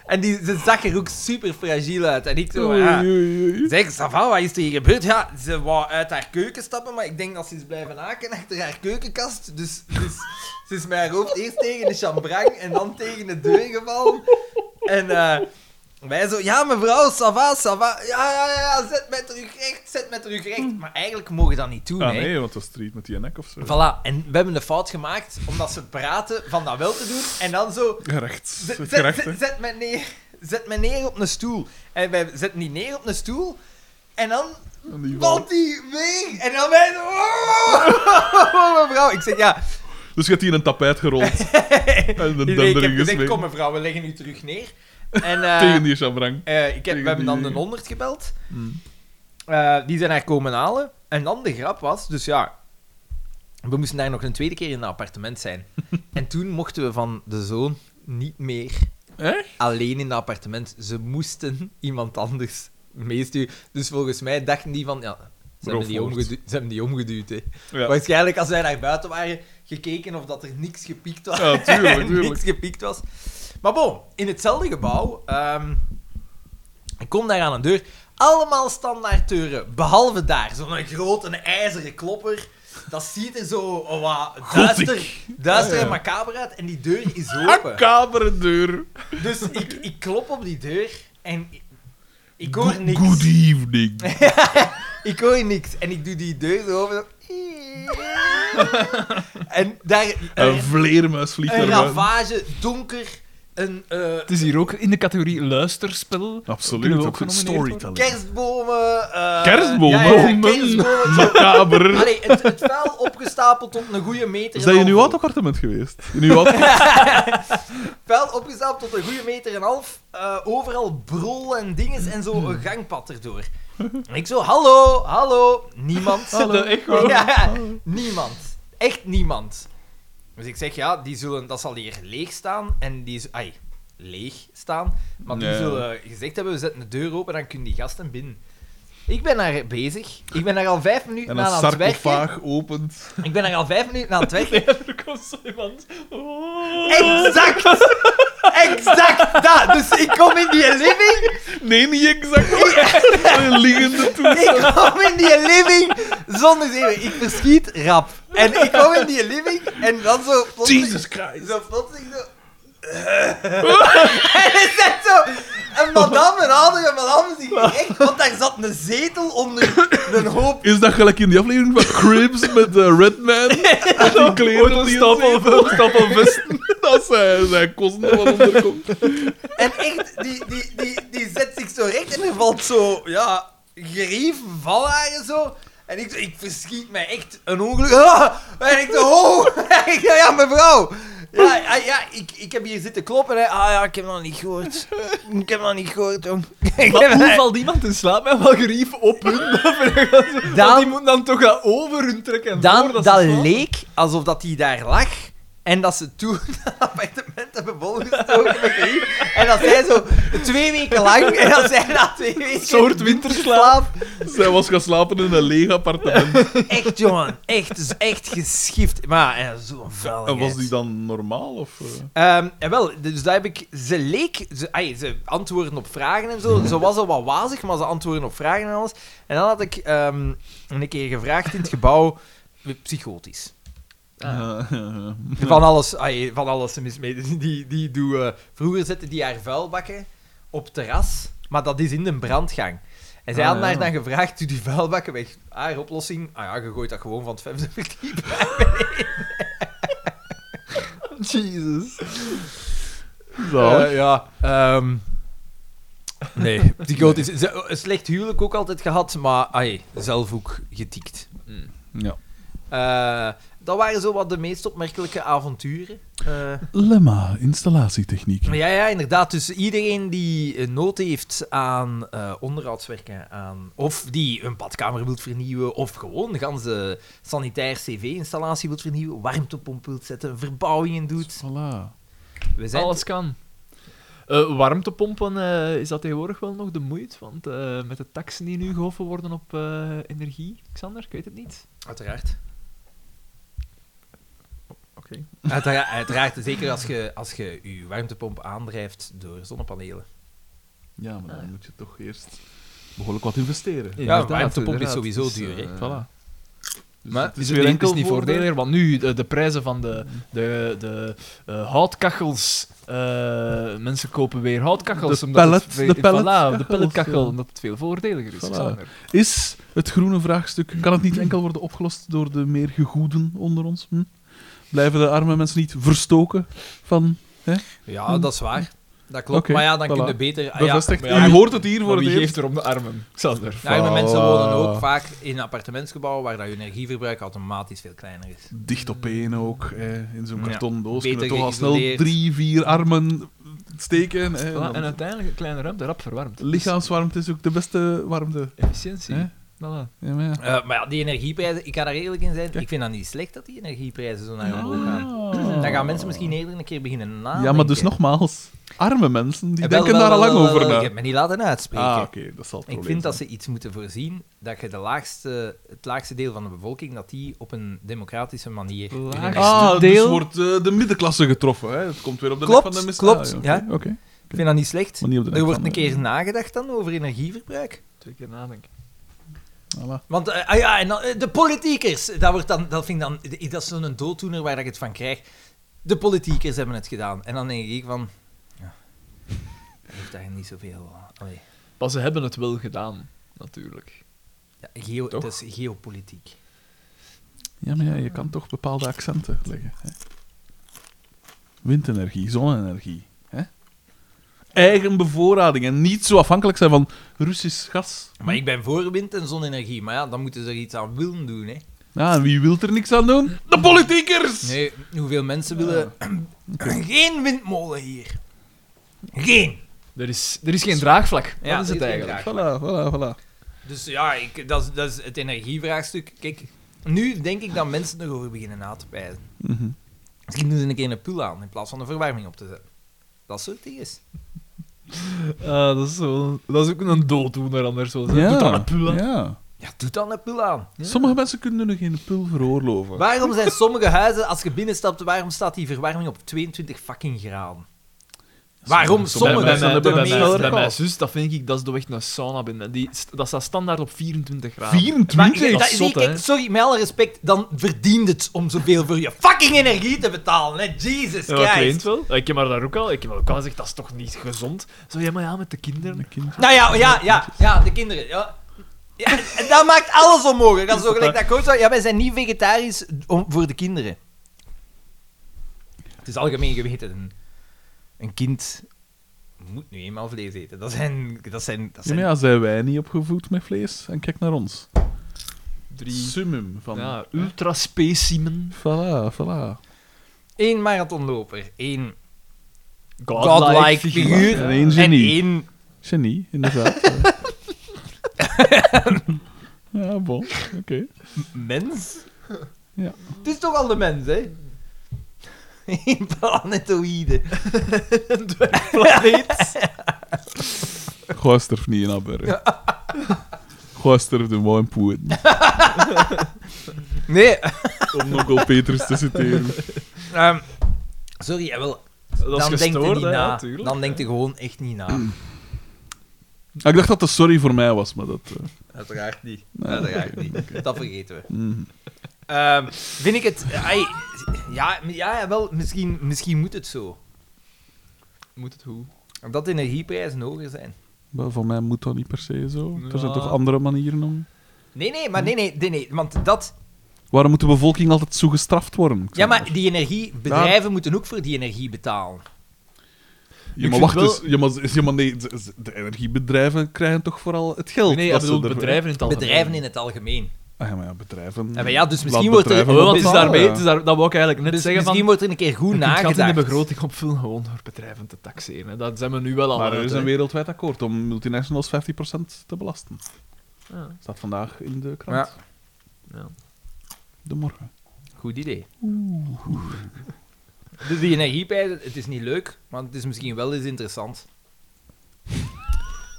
En die, ze zag er ook super fragiel uit. En ik zo, Oei, ja. oei, oei. Zeg, Sava, wat is er hier gebeurd? Ja, ze wou uit haar keuken stappen, maar ik denk dat ze is blijven haken achter haar keukenkast. Dus, dus ze is met haar hoofd eerst tegen de chambrang en dan tegen de deur gevallen. En eh, wij zo, ja mevrouw, Sava, Sava. Ja, ja, ja, ja, zet mij terug recht, zet mij terug recht. Maar eigenlijk mogen we dat niet doen, Ah hè. nee, want dat is street met die nek of zo. Voilà, en we hebben de fout gemaakt omdat ze praten van dat wel te doen en dan zo Gerecht. Zet, Het zet, gerecht, zet, hè. zet mij neer. Zet mij neer op een stoel. En wij zetten die neer op een stoel. En dan En die valt valt. die weg. En dan wij zo... Oh, mevrouw. Ik zeg, ja... Dus je hebt hier een tapijt gerold. en de Ik, ik heb dendering gezegd, gesmeed. kom mevrouw, we leggen u terug neer. En eh, Tegen die chabrang. eh, ik heb, tegen we hebben dan die- de 100 gebeld. Mm. Eh, die zijn haar komen halen. En dan de grap was, dus ja... We moesten daar nog een tweede keer in het appartement zijn. en toen mochten we van de zoon niet meer Echt? alleen in dat appartement. Ze moesten iemand anders meesturen. Dus volgens mij dachten die van, ja, ze, hebben die, Roofwoord. omgedu- ze hebben die omgeduwd. Hè. Ja. Waarschijnlijk als wij naar buiten waren, gekeken of dat er niks gepiekt was. Ja, tuurlijk, En tuurlijk. niks gepiekt was. Maar bon, in hetzelfde gebouw, ehm, ik kom daar aan een deur, allemaal standaard deuren, behalve daar, zo'n grote ijzeren klopper. Dat ziet er zo oh, wat duister, duister Ja, ja. en macaber uit. En die deur is open. Een kamerendeur. Dus ik, ik klop op die deur en ik, ik hoor niks. Good evening. Ik hoor niks en ik doe die deur zo open. zo. En daar eh, Een vleermuis vliegt een naar buiten. ravage, donker, een eh, Het is hier ook in de categorie luisterspel. Kunnen we Absoluut. ook ook genomineerd worden? Storytelling. eh, kerstbomen. eh, Kerstbomen? Ja, ja, kerstbomen. zo. Kamer. Allee, het, het vuil opgestapeld op een goede meter. Is en dat in half uw hoog. oud appartement geweest? In uw oud Vuil opgestapeld tot een goede meter en half. eh, overal brol en dinges en zo een gangpad erdoor. En ik zo, hallo, hallo. Niemand. Ja, ja, niemand. Echt niemand. Dus ik zeg, ja, die zullen, dat zal hier leeg staan. En die... z- Ai, leeg staan. Maar die Ja. zullen gezegd hebben, we zetten de deur open, dan kunnen die gasten binnen. Ik ben daar bezig. Ik ben daar al vijf minuten En aan een aan het werken. sarcofaag opent. Ik ben daar al vijf minuten aan het werken. Er komt zo iemand. Oh. Exact! Exact dat! Dus ik kom in die living Nee, niet exact. Een liggende toe. Ik kwam in die living zonder zeven. Ik verschiet rap. En ik kwam in die living en dan zo... plotseling- Jesus Christ. Zo plotseling zo... en het is echt zo... Een madame, een andere madame, zich echt... Want daar zat een zetel onder een hoop... Is dat gelijk in die aflevering van Cribs met de Redman? Met die kleren die Stapel, stapel vesten. Dat zijn, zijn kosten wat onderkomt. En echt, die, die, die, die zet zich zo recht en er valt zo... Ja, gerief, valhaar en zo... En ik, ik verschiet mij echt een ongeluk. Ah! En ik zo, oh! En ik zo, ja, mevrouw! Ja, ja, ja ik, ik heb hier zitten kloppen. Hè. Ah ja, ik heb nog niet gehoord. Ik heb nog niet gehoord, jong. Ik Maar heb- hoe valt iemand in slaap met wat gerief op hun? Want die Daan, moet dan toch dat over hun trekken. Daan, voordat dat, ze slapen. leek alsof dat hij daar lag En dat ze toen een appartement hebben volgestoken met griep. En dat zij zo twee weken lang, en dat zij na twee weken... soort winterslaap. Zij was gaan slapen in een leeg appartement. Echt, jongen. Echt, dus echt geschift. Maar ja, zo'n vuil. En was die dan normaal? Of, eh? Ehm, en wel, dus daar heb ik... Ze leek... Ze, ai, ze antwoorden op vragen en Mhm. zo. Ze was al wat wazig, maar ze antwoorden op vragen en alles. En dan had ik ehm, een keer gevraagd in het gebouw... Psychotisch. Eh, eh, Van alles, ai, van alles mis mee. Dus Die, die doe, eh, vroeger zette die haar vuilbakken op terras, maar dat is in de brandgang. En zij Ah, hadden ja. haar dan gevraagd, doe die vuilbakken weg. Haar oplossing, ah ja, je gooit dat gewoon van het vijfde verdiep. Jesus. zalig. Eh, ja, ehm, nee, psychotisch. Ze- Een slecht huwelijk ook altijd gehad, maar ai, zelf ook getikt. ja. Eh, dat waren zo wat de meest opmerkelijke avonturen. Eh, Lemma, installatietechniek. Ja, ja, inderdaad. Dus iedereen die eh, nood heeft aan eh, onderhoudswerken, aan, of die een badkamer wilt vernieuwen, of gewoon een ganse sanitair cv-installatie wilt vernieuwen, warmtepomp wilt zetten, verbouwingen doet. Voilà. We zijn... Alles kan. Eh, warmtepompen, eh, is dat tegenwoordig wel nog de moeite? Want eh, met de taxen die nu gehoffen worden op eh, energie, Xander, ik weet het niet. Uiteraard. Oké. Uiteraard, uiteraard zeker als je als je je warmtepomp aandrijft door zonnepanelen. Ja, maar dan moet je toch eerst behoorlijk wat investeren. een warmtepomp is sowieso duur, hè. Voilà. Dus Maar het het is, weer enkel niet voor de- voordeliger, want nu de, de prijzen van de, de, de eh, houtkachels. eh, mensen kopen weer houtkachels. De omdat het pellet- veel- de pelletkachels, voilà, de pelletkachel, ja. omdat het veel voordeliger is. Voilà. Xander. Is het groene vraagstuk, kan het niet enkel worden opgelost door de meer gegoeden onder ons? Hm? Blijven de arme mensen niet verstoken van... Ja, dat is waar. Dat klopt. Hm. Oké, maar ja, dan voilà. kun je beter... ah, ja, Bevestigd. maar ja, U hoort het hier voor Maar het wie eerst. geeft er om de armen, Xander? arme mensen Voilà. wonen ook vaak in appartementsgebouwen waar dat je energieverbruik automatisch veel kleiner is. Dicht op één ook, eh, in zo'n Ja. karton doos. Beter kunnen toch al snel geïsoleerd. drie, vier armen steken. eh, Voilà, en dan- uiteindelijk een kleine ruimte, rap verwarmd. Lichaamswarmte is ook de beste warmte. Dus efficiëntie. Hè? Voilà. Ja, maar ja. Eh, maar ja, die energieprijzen, ik ga daar eerlijk in zijn, Kijk. ik vind dat niet slecht dat die energieprijzen zo naar Ah. omhoog gaan. Dan gaan mensen misschien eerder een keer beginnen nadenken. Ja, maar dus nogmaals, arme mensen, die Eh, wel, denken wel, daar al wel, lang wel, wel, over Ik na. heb me niet laten uitspreken. Ah, oké, dat zal het ik probleem vind dat zijn. ze iets moeten voorzien dat je de laagste, het laagste deel van de bevolking, dat die op een democratische manier... Laagste erin- Ah, Ah, deel- dus wordt eh, de middenklasse getroffen, hè? Het komt weer op de Klopt, nek van de mis- klopt, Ah, ja. Oké, oké. Ik vind dat niet slecht. Maar niet op de nek Er wordt van een de- keer nagedacht dan over energieverbruik. Twee keer nadenken. Voilà. Want eh, ah ja, en dan, eh, de politiekers, dat, wordt dan, dat vind ik dan, eh, dat is zo'n dooddoener waar ik het van krijg. De politiekers hebben het gedaan. En dan denk ik van, ja, dat heeft daar niet zoveel aan. Allee. Maar ze hebben het wel gedaan, natuurlijk. Ja, geo, Toch? dat is geopolitiek. Ja, maar ja, je kan toch bepaalde accenten leggen. Hè? Windenergie, zonne-energie. Hè? Eigen bevoorrading en niet zo afhankelijk zijn van Russisch gas. Maar ik ben voor wind- en zonne-energie, maar ja, dan moeten ze er iets aan willen doen. Hè. Ja, en wie wil er niks aan doen? De politiekers! Nee, hoeveel mensen willen... Geen windmolen hier. Geen. Er is, er is geen draagvlak. Ja, dat is er het is geen eigenlijk. Voilà, voilà, voilà. Dus ja, ik, dat, is, dat is het energievraagstuk. Kijk, nu denk ik dat mensen erover beginnen na te pijzen. Mhm. Misschien doen ze een keer een pul aan in plaats van de verwarming op te zetten. Dat soort dingen. Ah, dat, is zo, dat is ook een dooddoener anders. Zo. Ja, Doet aan een pula. ja. Ja, doe dan een pul aan. Sommige mensen kunnen er geen pul veroorloven. Waarom zijn sommige huizen, als je binnenstapt, waarom staat die verwarming op 22 fucking graden? Waarom Bij, sommige sommige bij, mensen bij, de bij, mijn- meeste- bij mijn zus, dat vind ik, dat is de weg naar sauna binnen. Die, dat staat standaard op 24 graden. 24? Maar, ik- Dat dat- is zot, nee, kijk, hè? sorry, met alle respect, dan verdient het om zoveel voor je fucking energie te betalen, hè? Jesus Ja, ik weet Christ. het wel. Ik heb maar daar ook al, ik heb ook al gezegd, dat is toch niet gezond? Zo, ja, maar ja, met de kinderen. Een kind. nou ja, ja, ja, ja, de kinderen. Ja. Ja, en dat maakt alles onmogelijk. Dat is zo gelijk dat ik ook zou- Ja, wij zijn niet vegetarisch om, voor de kinderen. Het is algemeen geweten. Een, een kind moet nu eenmaal vlees eten. Dat zijn... Dat zijn, dat Ja, zijn maar ja, zijn wij niet opgevoed met vlees? En kijk naar ons. Drie. Summum van... Ja, ultraspecimen. Voilà, voilà. Één marathonloper. één Godlike, godlike figuur. En één genie. En één Genie, inderdaad. ja, bon. Oké. mens. Ja. Het is toch al de mens, hè? Een planetoïde. Goh, sterf niet in Abberg. Goh, sterf de wou in Poeten. Nee, Om nogal Petrus te citeren. ehm, sorry, jawel. Dat Dan denkt is hij gestoord, niet hè, na. ja, tuurlijk. Dan denkt hij gewoon echt niet na. Ah, ik dacht dat dat sorry voor mij was, maar dat... eh, Uiteraard niet. Uiteraard niet. Dat vergeten we. mhm. Ehm, vind ik het... ai, ja, ja, wel, misschien, misschien moet het zo. Moet het hoe? Dat de energieprijzen hoger zijn. Maar voor mij moet dat niet per se zo. Er zijn Ja. toch andere manieren om... Nee, nee, maar nee, nee, nee, nee want dat... Waarom moet de bevolking altijd zo gestraft worden? Ja, maar die energiebedrijven moeten ook voor die energie betalen. Ja, maar vind wacht wel- eens. Ja, maar, ja, maar nee, ze- ze- de energiebedrijven krijgen toch vooral het geld? Nee, nee, ik dat ze bedoel ervoor- bedrijven in het algemeen. Bedrijven in het algemeen. Ah, ja, maar ja, bedrijven... Ja, maar ja, dus Laat misschien wordt er- bedrijven Oh, maar want het is betalen, daarmee, ja. het is daar, dat wou ik eigenlijk net Dus zeggen misschien van... wordt er een keer goed je kunt gat nagedacht. in de begroting opvullen gewoon door bedrijven te taxeren. hè. Dat zijn we nu wel al Maar aan er het, is hè. een wereldwijd akkoord om multinationals 50% te belasten. Ja. Staat vandaag in de krant. Ja. De morgen. Goed idee. Dus die energieprijzen, het is niet leuk, maar het is misschien wel eens interessant.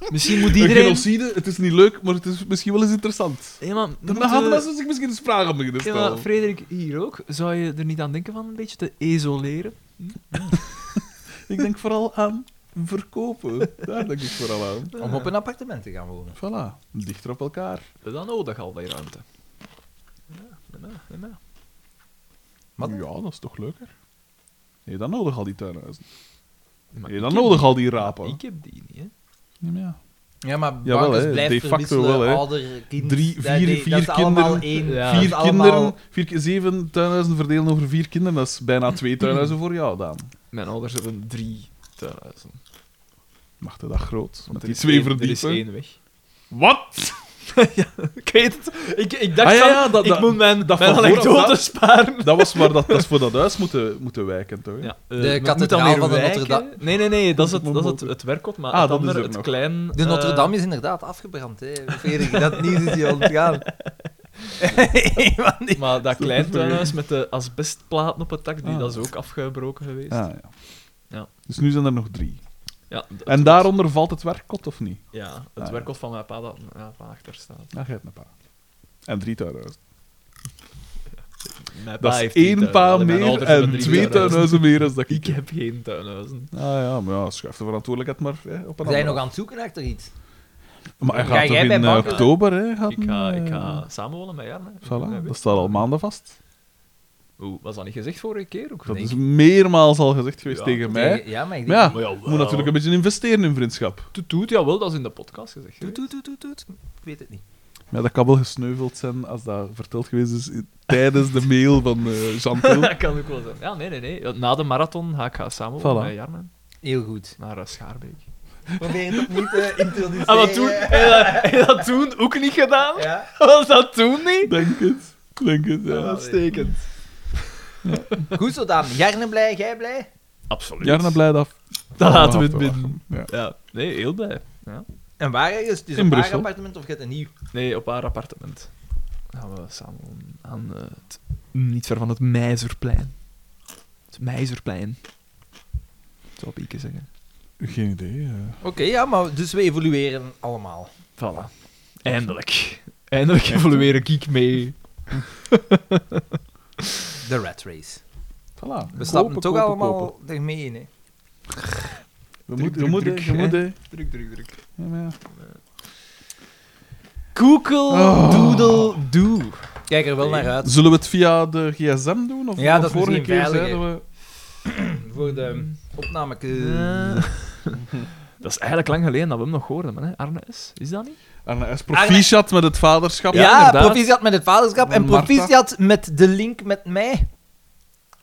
Misschien moet Een iedereen... genocide, het is niet leuk, maar het is misschien wel eens interessant. Hey, maar, Dan moeten- hadden mensen zich misschien eens vragen om beginnen Ja, stellen. maar Frederik, hier ook. Zou je er niet aan denken van een beetje te isoleren? Ik denk vooral aan verkopen. Daar denk ik vooral aan. Om op een appartement te gaan wonen. Voilà, dichter op elkaar. Dan nodig al die ruimte. Ja, ja, ja, ja. Wat? Ja, dat is toch leuker? Nee, dan nodig al die tuinhuizen. Maar Nee, ik dan heb- nodig al die rapen. Ik heb die niet, hè. Ja, maar ja. Ja, maar Jawel, bankers hè, blijft de facto verwisselen, wel, hè. ouder, kind. Drie, dat- vier- nee, dat vier is allemaal kinderen, één. ja. dat is Vier allemaal- kinderen, vier, keer zeven tuinhuizen verdelen over vier kinderen, dat is bijna twee tuinhuizen voor jou, Daan. Mijn ouders hebben drie tuinhuizen. Mag dat groot? Met er die is twee één- Er is verdiepen. één weg. Wat? Ik weet het. Ik, ik dacht Ah, ja, van, ja, dat- ik dat- moet mijn, dat mijn van vooraf, anekdote dat- sparen. Dat was waar dat, dat is voor dat huis moeten, moeten wijken, toch? Ja, eh, De moet kathedraal dan weer van de wijken? Notre Nee, nee, nee, dat is het, Moet dat is het, mogen. het werkkot, maar Ah, het dat is andere, er het nog. klein... De Notre eh, Dame is inderdaad afgebrand, hè. Frederik, dat nieuws is hier ontgaan. Iemand die- Maar dat klein tuinhuis met de asbestplaten op het dak, die, Ah. dat is ook afgebroken geweest. Ah, ja. Ja. Dus nu zijn er nog drie. Ja, d- het En wordt- daaronder valt het werkkot, of niet? Ja, het Ah, ja. werkkot van mijn pa dat ja, van achter staat. Ja, je hebt een paar. En drie tuinhuizen. Mijn Dat pa is Ah, heeft drie één pa tuinhuizen. Mijn meer ouders hebben en drie twee tuinhuizen meer dan dat ik Ik heb. heb geen tuinhuizen. Ah ja, maar ja, schuif de verantwoordelijkheid maar hè, op een We zijn andere. nog aan het zoeken achter iets. Maar hij Ga gaat toch jij in bij eh, banken? oktober, hè? Gaat Ik ga, hem, ik eh, ga samenwonen met Jarne. Ik doe dat Voilà, weer. dat staat al maanden vast. Oeh, was dat niet gezegd vorige keer ook? Dat denk is ik? meermaals al gezegd geweest Ja, tegen mij. Tegen- Ja, maar ik Maar denk... ja, Maar jawel. moet natuurlijk een beetje investeren in vriendschap. Toet, toet, jawel, dat is in de podcast gezegd. Toet, geweest. toet, toet, toet, toet. Ik weet het niet. Maar ja, dat kan wel gesneuveld zijn als dat verteld geweest is i- tijdens de mail van eh Chantal. dat kan ook wel zijn. Ja, nee, nee, nee. Na de marathon ga ik gaan samenwonen Voilà. met Jarne Heel goed. naar eh, Schaarbeek. Probeer het niet te introduceren. Ah, wat toen? Heb je dat, heb je dat toen ook niet gedaan? Ja. Was dat toen niet? Denk het. Denk het, ja. Ja. Uitstekend. Goed zo, Daan. Jarne blij, jij blij? Absoluut. Jarna blij af. Dan laten we Af het te binnen. wachten. Ja. Ja, nee, heel blij. En waar ergens? Het is In een paar Brussel. appartement of je hebt een nieuw? Nee, op haar appartement. Dan gaan we samen wonen aan eh, het, niet ver van het Meizerplein. Het Meizerplein. Zou Bieke zeggen. Geen idee. eh. Oké, ja, maar dus we evolueren allemaal. Voilà. Eindelijk. Eindelijk evolueer ik mee. De rat race. Voilà. We stappen Kopen, toch kopen, allemaal kopen. ermee in, hè. We moeten, we druk, moeten, druk, we hè. moeten. Druk, druk, druk. Ja, maar ja. Google Oh. Doodle Doo. Kijk er wel Oké. naar uit. Zullen we het via de gsm doen? Of Ja, of dat is vorige misschien keer veiliger. zeiden we... Voor de opname. dat is eigenlijk lang geleden dat we hem nog hoorden, maar hè, Arne S. Is dat niet? En Ah, hij is proficiat met het vaderschap. Ah, Ja, inderdaad. proficiat met het vaderschap en Martha. proficiat met de link met mij.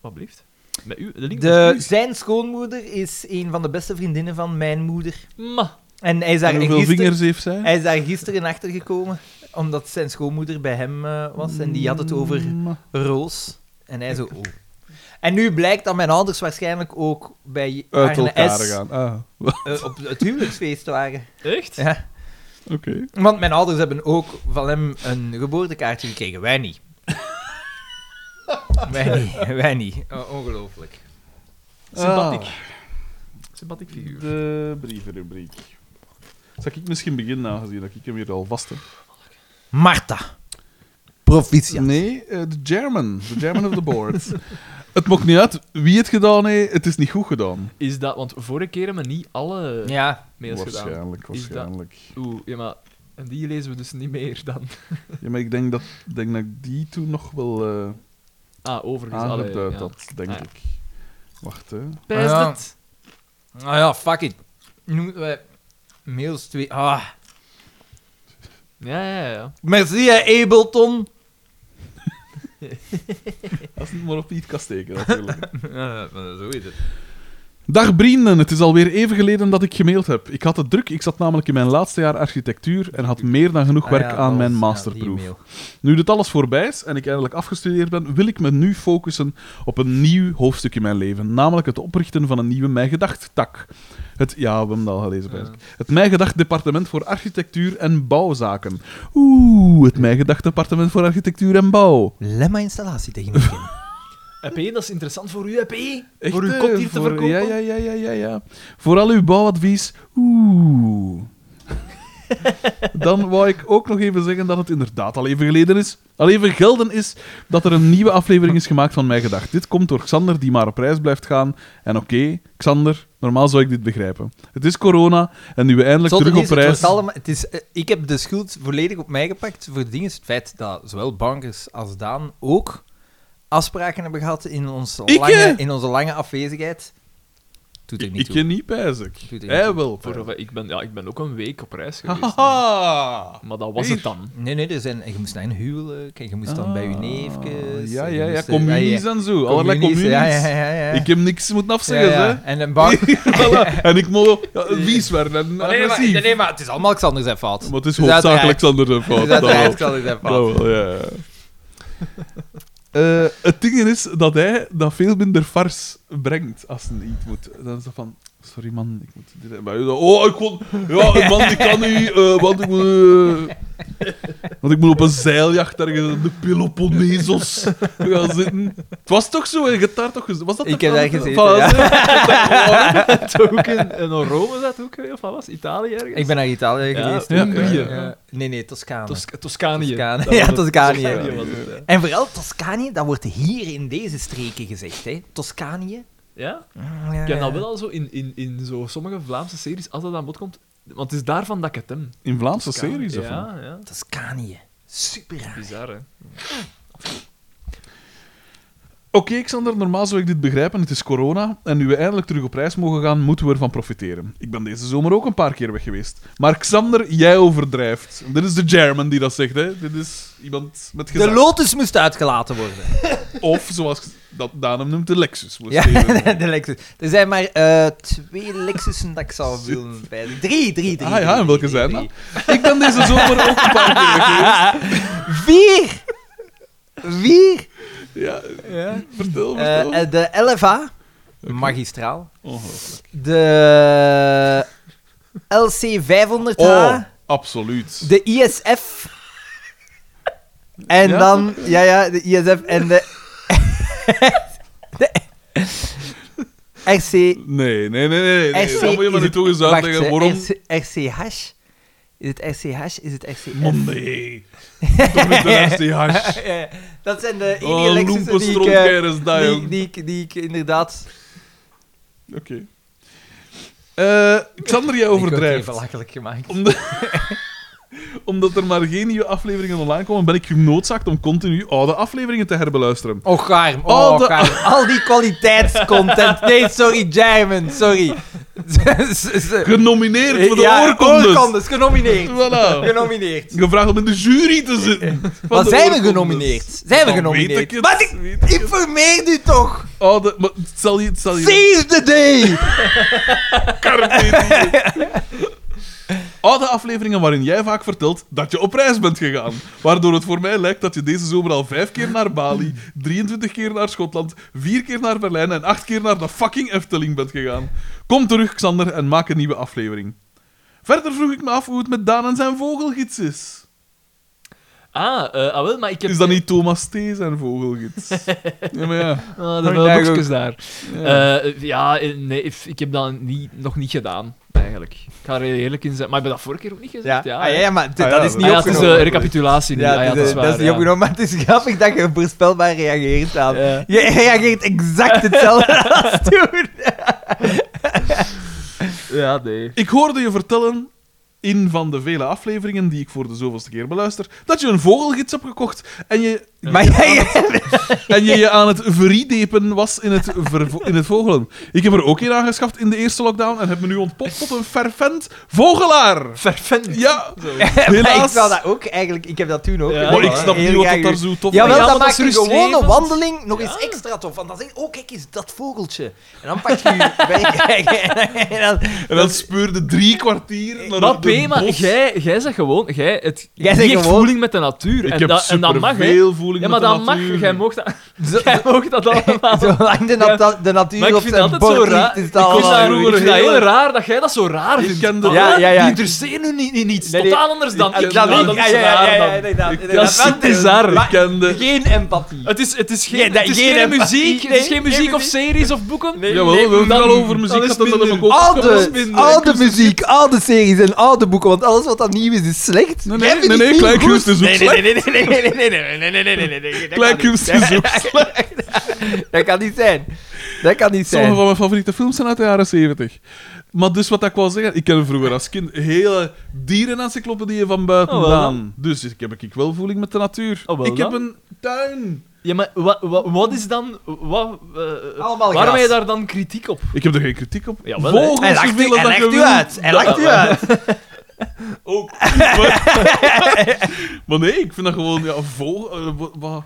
Wat blieft? Met u, de link De, met zijn schoonmoeder is een van de beste vriendinnen van mijn moeder. u. Ma. En hij is daar En hoeveel gisteren- vingers heeft zij? Hij is daar gisteren achter gekomen, omdat zijn schoonmoeder bij hem eh, was en die had het over Mm, Roos. En hij zo, oh. En nu blijkt dat mijn ouders waarschijnlijk ook bij Uit Arne elkaar S. gaan. Ah, eh, op het huwelijksfeest waren. Echt? Ja. oké. Want mijn ouders hebben ook van hem een geboortekaartje gekregen. Wij niet. wij niet, wij niet. O- Oh, ongelooflijk. Sympathiek. Sympathiek figuur. Ah, De brievenrubriek. Zal ik misschien beginnen, aangezien dat ik hem hier al vast heb? Marta. Proficiat. Nee, eh, de German. De German of the board. het maakt niet uit wie het gedaan heeft, het is niet goed gedaan. Is dat, want vorige keer hebben we niet alle Ja. mails gedaan. waarschijnlijk, Is dat- waarschijnlijk. Oeh, ja, maar en die lezen we dus niet meer dan. Ja, maar ik denk dat, ik denk dat ik die toen nog wel eh Ah, overigens. alle, aangeduid ja. had, denk Ah, ja. ik. Wacht, hè. Pijs Ah, ja. het. Nou ja, fuck it. Noemen wij mails twee. Ah. Ja, ja, ja. Merci, hè, Ableton. Als het maar op niet kan steken, natuurlijk. Ja, maar zo is het. Dag vrienden, het is alweer even geleden dat ik gemaild heb. Ik had het druk, ik zat namelijk in mijn laatste jaar architectuur en had meer dan Ah genoeg werk aan mijn masterproef. nu dit alles voorbij is en ik eindelijk afgestudeerd ben, wil ik me nu focussen op een nieuw hoofdstuk in mijn leven, namelijk het oprichten van een nieuwe Mijn Gedacht-tak. Het, ja, we hebben het al gelezen. Ja. bijna. Het Mijn Gedacht-departement voor architectuur en bouwzaken. Oeh, het Mijn Gedacht-departement voor architectuur en bouw. Lemma installatietechniek in. EP, dat is interessant voor u, EP. Echt, voor uw eh, kot hier te voor- verkopen. Ja, ja, ja, ja, ja, ja. Voor al uw bouwadvies, oeh. Dan wou ik ook nog even zeggen dat het inderdaad al even geleden is, al even gelden is, dat er een nieuwe aflevering is gemaakt van Mijn Gedacht. Dit komt door Xander, die maar op reis blijft gaan. En oké, Xander, normaal zou ik dit begrijpen. Het is corona, en nu we eindelijk Zotte terug op is, het reis... wordt allemaal- het is, eh, ik heb de schuld volledig op mij gepakt voor dingen. Het feit dat zowel bankers als Daan ook afspraken hebben gehad in, ons Ik, lange, hè? in onze lange afwezigheid. Doet er Ik, niet ik toe. ken niet, pijs ik. Doet er niet Hij toe. wel. Voor zover- ik, ben, ja, ik ben ook een week op reis geweest. Haha! Maar dat was Hier. het dan. Nee, nee, er zijn, je moest naar een huwelijk en je moest dan bij je neefjes. Ah, Ja, en ja, je ja, moest, eh, communies en zo. Allerlei communies, communies. Ja, ja, ja, ja. Ik heb niks moeten afzeggen, Ja, ja. hè. En een bank... Voilà. En ik moet ja, vies werden en Maar nee, maar, agressief. nee, nee, maar het is allemaal Xander zijn fout. Maar het is Dus hoofdzakelijk uiteraard- Sander zijn fout. dus dat wel. uiteraard Xander zijn fout. Dat wel, ja. ja. Eh, het ding is dat hij dat veel minder fars brengt als hij iets moet. Dan is dat van... Sorry man, ik moet dit hebben. Maar hij zegt, Oh, ik kon... Ja, man, ik kan niet... eh, want, ik moet, eh, want ik moet op een zeiljacht ergens in de Peloponnesos gaan zitten. Het was toch zo? Je hebt daar toch gez- Was dat Ik de heb daar Frans- gezeten, Van- ja. ook in, in Rome zat ook, of wat was Italië ergens? Ik ben naar Italië Ja, geweest. ja, ook, ja, hè. ja. Ja. Nee, nee, Toscane. Tosca- Toscanië. Toscane. Dat was Ja, het. Toscanië. was het, ja. En vooral Toscanië, dat wordt hier in deze streken gezegd, hè. Toscanië. Ja? Ja, Ik heb dat wel al zo in, in, in zo sommige Vlaamse series, als dat aan bod komt... Want het is daarvan dat ik het hem. In Vlaamse series, of wat? Ja, ja. Toscanië. Super raar. Bizar, hè. Oké, Xander, normaal zou ik dit begrijpen. Het is corona. En nu we eindelijk terug op reis mogen gaan, moeten we ervan profiteren. Ik ben deze zomer ook een paar keer weg geweest. Maar Xander, jij overdrijft. Dit is de German die dat zegt, hè? Dit is iemand met De gezag. Lotus moest uitgelaten worden. Of zoals dat Daan hem noemt, de Lexus. moest Ja, even- de Lexus. Er zijn maar eh, twee Lexussen dat ik zou willen bij. Drie, drie, drie. Ah drie, ja, en welke drie, zijn dat? drie. Ik ben deze zomer ook een paar keer weg geweest. Vier! Vier! Ja, vertel, Eh, vertel. Oh, eh, de LFA, magistraal. Ongelooflijk. De LC500H. Oh, absoluut. De ISF. En Ja? dan, ja, ja, de ISF en de. de RC. Nee, nee, nee, nee. nee. RC Dat moet je is maar niet het- toch eens wacht, uitleggen. hè, Waarom? RC RCH? Is het RCH? Is het RCF? Man, nee. Toch niet de RC hash. Ja, ja. dat zijn de Oh, enige Lexussen die ik, eh, loempenstrondgeer is dat, die, jong. die, ik- die ik inderdaad... Oké. Eh, Xander, jij Ik word overdrijft. even belachelijk gemaakt. Omdat, omdat er maar geen nieuwe afleveringen online komen, ben ik genoodzaakt om continu oude afleveringen te herbeluisteren. Och, Garm. Al Oh, de- Garm. Al die kwaliteitscontent. Nee, sorry, German. Sorry. Genomineerd voor de Ja, Eh, oorkondes. oorkondes, genomineerd. Voilà. Genomineerd. Gevraagd om in de jury te zitten. van Maar de zijn we oorkondes. genomineerd? Zijn we Dan genomineerd? Weet ik het. Maar ik- weet ik het. Informeer nu toch. Oude, maar het zal je, het zal je Seize the day. Oude afleveringen waarin jij vaak vertelt dat je op reis bent gegaan. Waardoor het voor mij lijkt dat je deze zomer al vijf keer naar Bali, 23 keer naar Schotland, vier keer naar Berlijn en acht keer naar de fucking Efteling bent gegaan. Kom terug, Xander, en maak een nieuwe aflevering. Verder vroeg ik me af hoe het met Daan en zijn vogelgids is. Ah, eh, ah wel, maar ik heb... Is dat niet Thomas T. zijn vogelgids? ja, maar ja. Ah, de Ik denk boekjes ook. daar. ja. Eh, ja, eh, nee, if- ik heb dat niet, nog niet gedaan, eigenlijk. Ik ga er heel eerlijk in zijn. Maar ik heb dat vorige keer ook niet Ja, gezegd. ja, hè. ah, ja, ja, maar dit- Ah, ja, dat is dat- niet Ah, ja, het is opgenomen. een recapitulatie nu. Ja, Ah, ja, dit- dat is eh, waar. dat is niet ja. opgenomen, maar het is grappig dat je voorspelbaar reageert aan. Ja. Je reageert exact hetzelfde als toen. Ja, nee. Ik hoorde je vertellen in van de vele afleveringen die ik voor de zoveelste keer beluister, dat je een vogelgids hebt gekocht en je Maar jij... en je, je aan het veriedepen was in het, vervo- in het vogelen. Ik heb er ook een aangeschaft in de eerste lockdown en heb me nu ontpopt tot een fervent vogelaar. Vervent. Ja, Maar ik helaas. zou dat ook eigenlijk... Ik heb dat toen ook Ja, gedaan, maar ik hè. snap Heel niet wat graag dat daar doen. zo tof Jawel, Ja, dat maar dat maakt is een gewone rustgevend. wandeling nog eens extra tof. Want dan zeg je, oh kijk eens, dat vogeltje. En dan pak je je werk en dan- En dan speurde drie kwartier naar Maar dat B, maar jij, jij zegt gewoon... Jij, het, Jij jij zegt gewoon- voeling met de natuur. Ik en, heb dat, en dat mag, hè. superveel voeling Ja, maar met de dat mag. natuur. Jij mag dat, jij mag dat allemaal. Zolang de, nat- de Maar natuur ik op vind dat zijn altijd zo bord raar. ligt, Ik is vind dat dat, allemaal ik goed. vind dat Heel heel raar dat jij dat zo raar Ik vindt. ken dat. Ja, ja, ja. Die interesseert nu niet in iets Nee, nee. totaal anders dan Ik ik. ken dat Ja, niet. dat Ja, is ja, raar ja, ja, dan. inderdaad. Ik- inderdaad. dat is Want- bizar. Ik maar kende- Geen empathie. Het is, het is geen, Nee, dat- het is geen geen, empathie, muziek, het nee, is geen geen muziek of muziek. series of boeken. Jawel, we hebben het al over muziek dat is gehad en dat minder. heb ik ook Oude, opgekomen. oude muziek, oude series en oude boeken, want alles wat dan nieuw is, is slecht. Jij Nee, nee, vindt nee, het nee, niet Klein goed. Kunst is ook Nee, slecht. nee, nee, nee, nee, nee, nee, nee, nee, nee, nee, nee, nee, nee, nee, dat Klein kan niet. Kunst is ook Dat kan niet zijn. Dat kan niet Sommige zijn. van mijn favoriete films zijn uit de jaren 70. Maar dus wat ik wou zeggen, ik ken vroeger als kind hele dierenencyclopedieën van buiten Oh, wel dan. aan. Dus ik heb ik wel voeling met de natuur. Oh, wel ik heb dan. een tuin. Ah, Ja, maar wat, wat, is dan... Wat, eh, Allemaal waarom gras. heb je daar dan kritiek op? Ik heb er geen kritiek op. Jawel, hè. Vogels Hij lacht, u, zoveel hij dat je lacht u wilt. uit. Hij lacht u uit. Ook. Maar- maar nee, ik vind dat gewoon... Ja, vogel... eh, wa- wa-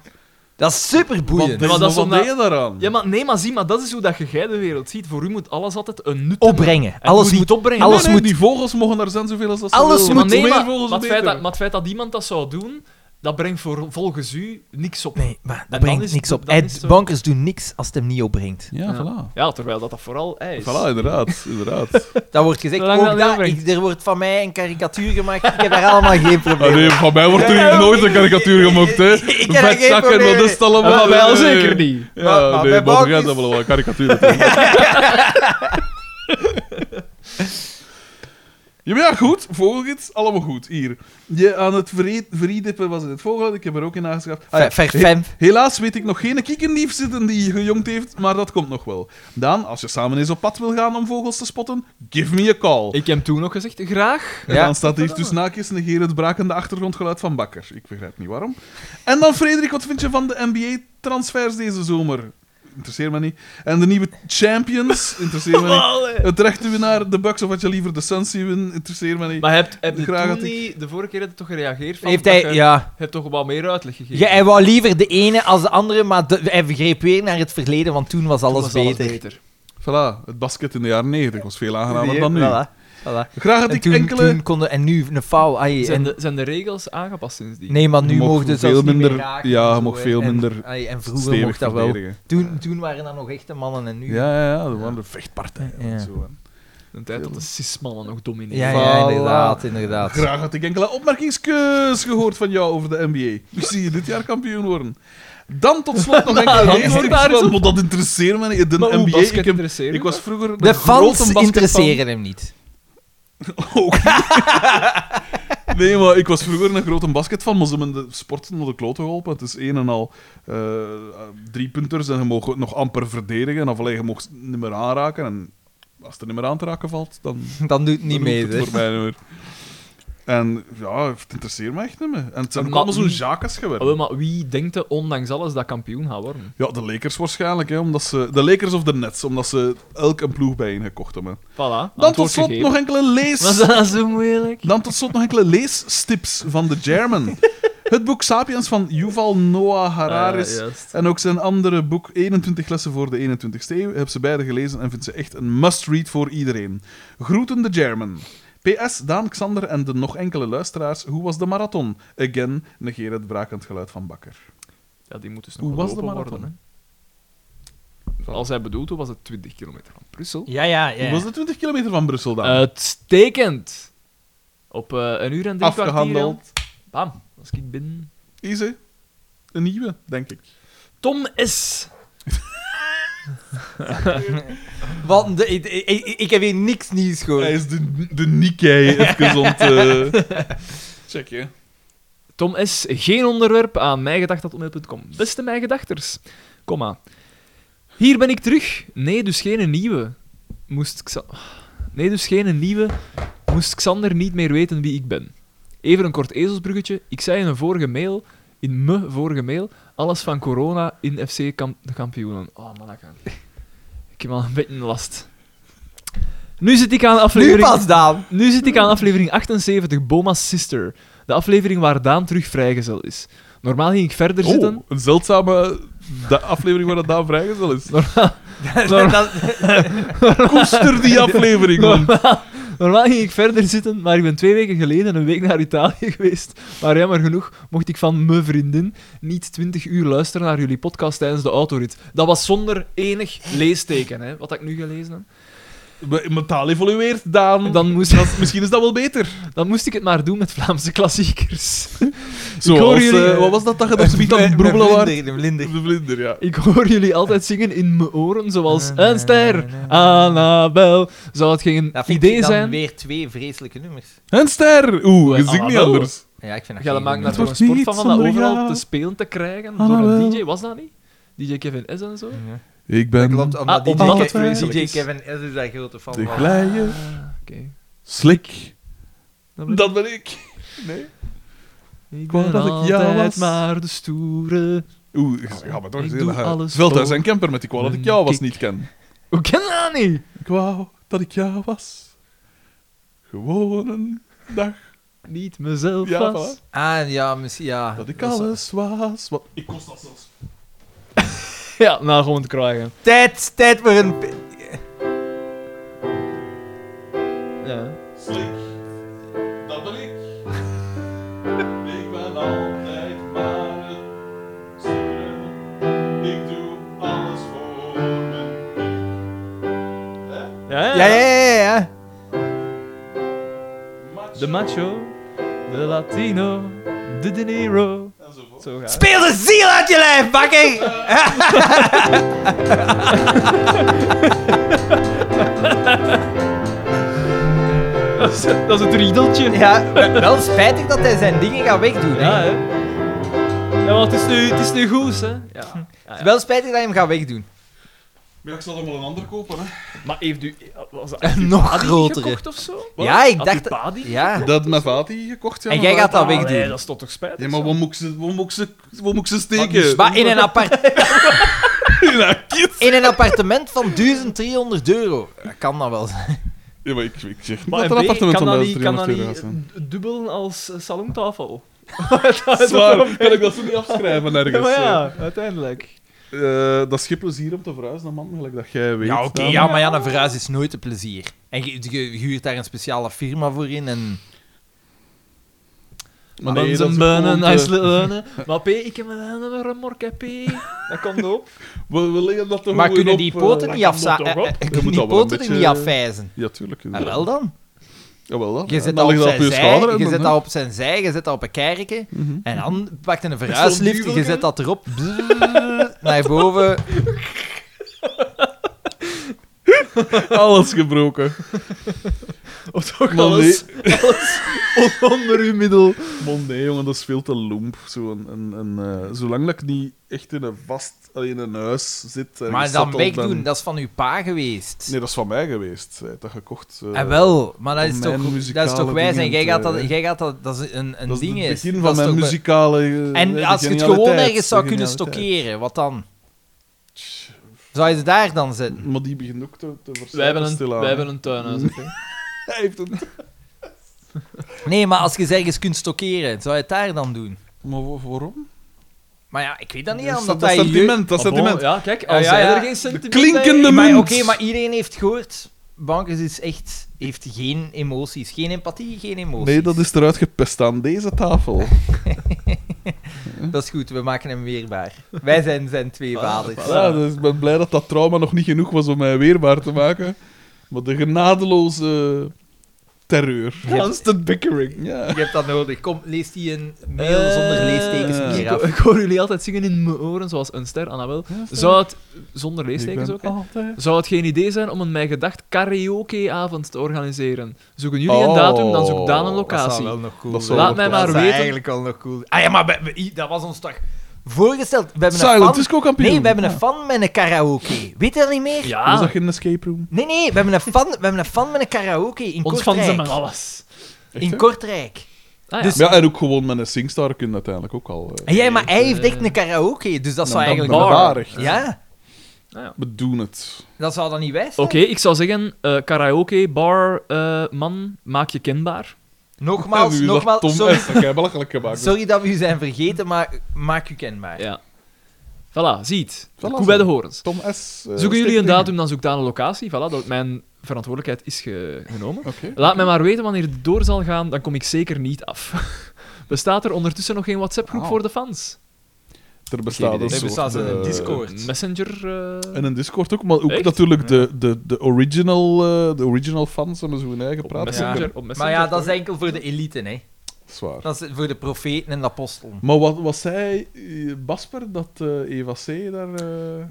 Dat is super wat boeiend. deed- Maar dat is wat omdat- deed je daaraan? Ja, maar nee, maar zie, maar dat is hoe dat je jij de wereld ziet. Voor u moet alles altijd een nut Opbrengen. hebben. Het Alles moet niet opbrengen. alles nee, nee, moet- Die vogels mogen er zijn zoveel als dat ze Alles willen. Maar moet- nee, meer maar, vogels, maar het feit beter. dat, maar het feit dat iemand dat zou doen, dat brengt voor, volgens u niks op. Nee, maar dat dan brengt is- niks op. dan Ed, is het zo- Bonkers doen niks als het hem niet opbrengt. Ja, voilà. Ja, terwijl dat, dat vooral hij is. Voilà, inderdaad. inderdaad. Dat wordt gezegd. Zolang Ook dat dat, opbrengt. ik- er wordt van mij een karikatuur gemaakt. Ik heb daar allemaal geen probleem Ah, nee, van mij wordt er hier nooit een karikatuur gemaakt, hè. Ik heb daar Vet geen zak en probleem dat is het mee. allemaal. Maar wij al Nee, nee, zeker nee. niet. Ja, Maar- maar nee, bij Bob gaat Balkis- dat wel een karikatuur. doen. Ja, maar ja, goed. Vogelgids, allemaal goed. Hier. Je aan het verrie- verriedepen was in het vogel. Ik heb er ook in aangeschaft. Ah, ja. Ver- ver- fem. Helaas weet ik nog geen kiekendief zitten die gejongd heeft, maar dat komt nog wel. Daan, als je samen eens op pad wil gaan om vogels te spotten, give me a call. Ik heb hem toen nog gezegd, graag. En Ja. dan staat hier dus naakjes negeer het brakende achtergrondgeluid van Bakker. Ik begrijp niet waarom. En dan, Frederik, wat vind je van de NBA-transfers deze zomer? Interesseer me niet. En de nieuwe champions? Interesseer me niet. Het rechte winnaar, de Bucks, of wat je liever de Suns zien winnen? Interesseer me niet. Maar hebt, hebt je Graag toen had ik- niet, de vorige keer heb je toch gereageerd van Heeft dat hij, je ja. hebt toch wat meer uitleg gegeven. Ja, hij wou liever de ene als de andere, maar de- hij greep weer naar het verleden, want toen was alles, Toen was beter. Voilà, het basket in de jaren 90 was veel aangenamer dan nu. Voilà, voilà. Graag dat En ik toen, enkele... toen konden, en nu een foul. ai, Zijn, en- de, zijn de regels aangepast sindsdien? nee, maar nu Je mocht mogen ze veel zelfs niet minder- meer raken. ja, en je mocht hè. veel En- minder ai, en vroeger stevig mocht dat wel. verdedigen. Toen, toen waren dat nog echte mannen en nu... Ja, ja, ja, dat waren de vechtpartijen. en Ja. Zo, hè. De tijd dat de cismannen nog ja, domineerden. ja, Voilà. inderdaad, inderdaad. Graag had ik enkele opmerkingskeus gehoord van jou over de NBA. Ik zie je dit jaar kampioen worden. Dan tot slot nog enkele dan regels. zit daar eens op. Maar dat interesseert me niet. De Maar hoe NBA, basket ik, heb- interesseert ik was vroeger een De grote fans basketfan. interesseren hem niet. Ook niet. Nee, maar ik was vroeger een grote basketfan, maar ze hebben de sporten naar de klote geholpen. Het is een en al eh, drie punters en je mag het nog amper verdedigen. Of alleen je mag het niet meer aanraken. En als het er niet meer aan te raken valt, dan Dan doet het niet dan mee. dus. hoeft het hè. voor mij niet meer. En ja, het interesseert me echt niet meer. En het zijn ook Maar allemaal zo'n wie- jakas Ah, wel, geworden. maar wie denkt er ondanks alles dat kampioen gaat worden? Ja, de Lakers waarschijnlijk, hè, omdat ze, de Lakers of de Nets, omdat ze elk een ploeg bijeen gekocht hebben. Voilà. Dan antwoord tot slot gegeven. nog enkele lees... Was nou dat zo moeilijk? Dan tot slot nog enkele leesstips van de German. Het boek Sapiens van Yuval Noah Harari Ah, juist. en ook zijn andere boek 21 lessen voor de 21ste eeuw heb ze beide gelezen en vindt ze echt een must-read voor iedereen. Groeten de German. PS, Daan, Xander en de nog enkele luisteraars. Hoe was de marathon? Again, negeer het brakend geluid van Bakker. Ja, die moet dus nog Hoe was de gelopen marathon? worden, hè. Als hij bedoelt, hoe was het 20 kilometer van Brussel? Ja, ja, ja. Hoe was de 20 kilometer van Brussel, Daan? Uitstekend! Op eh, een uur en drie kwartier. Afgehandeld. ja. Bam, was ik binnen. Is hè? Een nieuwe, denk ik. Tom S. Want de- ik, ik, ik heb hier niks nieuws Hij gehoord. is de, de Nikkei even ont... eh, Check je. Tom S. Geen onderwerp aan mijgedacht.com. Beste mijgedachters, komma. Hier ben ik terug. Nee, dus geen nieuwe. Moest Xa- Nee, dus geen nieuwe. Moest Xander niet meer weten wie ik ben. Even een kort ezelsbruggetje. Ik zei in een vorige mail, in me vorige mail, alles van corona in FC kam- de kampioenen. Oh man, dat kan. Ik heb al een beetje last. Nu zit ik aan Nu aflevering... pas, Daan. Nu zit ik aan aflevering 78, Boma's Sister. De aflevering waar Daan terug vrijgezel is. Normaal ging ik verder Oh, zitten. een zeldzame da- aflevering waar dat daar vrijgezel is. Dat- dat- Koester die aflevering, man. Normaal, normaal ging ik verder zitten, maar ik ben twee weken geleden een week naar Italië geweest. Maar jammer genoeg mocht ik van mijn vriendin niet 20 uur luisteren naar jullie podcast tijdens de autorit. Dat was zonder enig leesteken, hè, wat ik nu gelezen heb. Me- Mijn taal evolueert, Daan. Dan moest, Dat- misschien is dat wel beter. dan moest ik het maar doen met Vlaamse klassiekers. hoor Zoals, jullie, eh, eh, wat was dat dat je dat zoiets aan Met- het met broebelen waart? vlinder, met vlinder. De vlinder, ja. Ik hoor jullie altijd zingen in mijn oren, zoals een ster, Annabel. Zou het geen Dat vind idee ik dan zijn? weer twee vreselijke nummers. Een ster! Oeh, je zingt niet Annabel. anders. Ja, ik vind dat Ja, dat geen maakt goed daar toch een Het wordt sport van, niet van dat zonder overal jou. te spelen te krijgen door Annabel. een DJ. Was dat niet? DJ Kevin S en zo? nummer. Ja. Ik Dat ben klopt, omdat Ah, omdat het DJ, Ke- vreselijk DJ is. Kevin S is dus daar grote fan de van. glije Ah, Oké. slik. Dan ben ik- Dat ben ik. Nee? Ik wou ben dat ik jou altijd was. maar de stoere... Oeh, je gaat me toch Ik eens doe heel hard. alles Veldhuis voor en Kemper met die kwal dat ik een jou was kick. niet ken. Hoe ken je dat niet? Ik wou dat ik jou was. Gewoon een dag Niet mezelf Ja, was. Ah, ja, misschien, ja. dat ik is- alles was. Wat... Ik kost dat zelfs. Ja, nou gewoon te krijgen. Tijd, tijd voor een... p- Ja. Slik. Dat ben ik. ik ben altijd maar het zingeren. Ik doe alles voor mijn kind. Hè? Ja, Ja, ja, ja, ja. Macho. De macho, de latino, de De Niro. Enzovoort. Zo gaat het. Speel de ziel uit je lijf, bakker! Dat is, dat is het riedeltje. Ja, wel spijtig dat hij zijn dingen gaat wegdoen. hè. Ja, hè. Ja, want het is nu, het is nu goed, hè. Ja. Het is Wel spijtig dat hij hem gaat wegdoen. Maar ik zal hem wel een ander kopen, hè. Maar heeft u... Was dat Nog Adi grotere. gekocht of zo? Ja, ik Had u dacht... Padi? Ja. Dat met Vati gekocht, ja. En maar jij waar- gaat dat Allee, wegdoen. dat is toch toch spijtig? Ja, maar zo? wat moet ik ze, wat moet ik ze, wat moet ik ze steken? Maar in een, apart, Ja, kind. in een appartement van 1300 euro. Dat kan dat wel zijn. Ja, maar ik, ik zeg niet Maar dat een een B, appartement kan van dat niet, kan 1300 dat euro niet gaat zijn. eh, dubbelen als eh, salontafel? Zwaar, kan ik dat zo niet afschrijven Ja, ergens? maar ja, uiteindelijk. Eh, dat is geen plezier om te verhuizen, man, gelijk dat jij weet. Ja, oké. Dan- ja, maar ja, een verhuis is nooit een plezier. En je, je huurt daar een speciale firma voor in en... Maar Dan nee, dat zijn is benen, gewoon, hij eh, is leunen. Maar P, ik heb een een remork, hè, P. Dat komt op. We, we leggen dat toch Maar gewoon kunnen op, die eh, poten niet dat kan afza- toch eh, op? eh, Je Kunnen moet die dat wel een poten er beetje- niet afwijzen? Ja, tuurlijk. Ah, inderdaad. wel dan. Jawel dan. Je En zet dan dat op ligt zijn schouder en zij, je dan, zet hè. dat op zijn zij, je zet dat op een kerken. Mhm. En dan pakt een Met verhuislift, zo'n je zet dat erop. bzzz, naar boven. Mhm. Alles gebroken. Oh, Of toch Maar alles, alles onder uw middel. Bon, nee, jongen, dat is veel te lomp. Zo een, een, een, eh, zolang dat ik niet echt in een vast, alleen in een huis zit. Maar en dan gezetteld wegdoen, ben- dat is van uw pa geweest. Nee, dat is van mij geweest. Hij heeft dat gekocht. eh, En wel, maar dat om is toch, mijn dat is toch muzikale wijs en dingen jij gaat te- dat, jij gaat dat, dat is een, een dat is ding het is. Dat begin van is mijn toch- muzikale. eh, En als je het gewoon genialiteit, ergens zou de kunnen genialiteit. stockeren, wat dan? Zou je ze daar dan zetten? Maar die begint ook te, te Wij hebben verslaan. een, wij hebben een tuinhuis, hè, P. Hij heeft een... Nee, maar als je ze ergens kunt stockeren, zou je het daar dan doen? Maar wa- waarom? Maar ja, ik weet dat niet, Dat is omdat dat, dat hij... Ah, sentiment, dat Maar Ah, bon, sentiment. Ja, kijk, als Ja, ja, jij ja. er geen sentiment klinkende bij- Maar oké, munt. maar iedereen heeft gehoord, Bankers is echt, heeft geen emoties. Geen empathie, geen emoties. Nee, dat is eruit gepest aan deze tafel. Dat is goed, we maken hem weerbaar. Wij zijn zijn twee vaders. Ja, dus ik ben blij dat dat trauma nog niet genoeg was om mij weerbaar te maken. Maar de genadeloze terreur. Constant bickering. Ja. Je hebt dat nodig. Kom, lees die een mail zonder leestekens Eh, meer Ik, af. ik hoor jullie altijd zingen in mijn oren, zoals een ster, Annabel. Zou het, zonder leestekens ook, hè? altijd... zou het geen idee zijn om een mijn gedacht karaokeavond te organiseren? Zoeken jullie een Oh, datum, dan zoek Daan een Dat zou locatie. wel nog cool Dat zijn. zou wel Laat mij Dat maar zou weten. eigenlijk wel nog cool zijn. Ah ja, maar bij- bij- dat was ons toch voorgesteld. We hebben een Silent fan... Disco kampioen. Nee, we hebben Ja. een fan met een karaoke. Weet je dat niet meer? Was dat Ja, geen escape room? Nee, nee, we hebben een fan, we hebben een fan met een karaoke in ons van Kortrijk. zijn met alles. Echt, in hè? Kortrijk. Ah, ja. Dus- Ja, en ook gewoon met een Singstar kun je uiteindelijk ook al... eh, En jij, maar hij heeft echt eh, een karaoke, dus dat dan- zou dan- eigenlijk... dan Bar. daar echt. Ja, We doen het. dat zou dan niet wijs Oké, zijn. ik zou zeggen, eh, karaoke, bar, eh, man, maak je kenbaar. Nogmaals, Nu is dat Tom nogmaals, sorry, echt, dat jij belachelijk gemaakt. sorry dat we u zijn vergeten, maar maak u kenbaar. Ja. Voilà, ziet. Voilà, Koe bij de zo. horens. Tom S. eh, Zoeken jullie een steekregel. datum, dan zoek daar een locatie. Voilà, dat mijn verantwoordelijkheid is ge- genomen. Oké. Laat mij maar weten wanneer het door zal gaan, dan kom ik zeker niet af. Bestaat er ondertussen nog geen WhatsApp-groep Ah. voor de fans? Er bestaat een Er bestaat soort, een eh, Discord. Messenger? eh, En een Discord ook, maar ook Echt? natuurlijk de, de, de, original, eh, de original fans hebben zo hun eigen op, praat. messenger Ja. op Messenger? Maar ja, dat is toch? enkel voor de elite, hè. Zwaar. Dat is voor de profeten en de apostelen. Maar wat, wat zei eh, Basper dat eh, Eva C. daar. eh,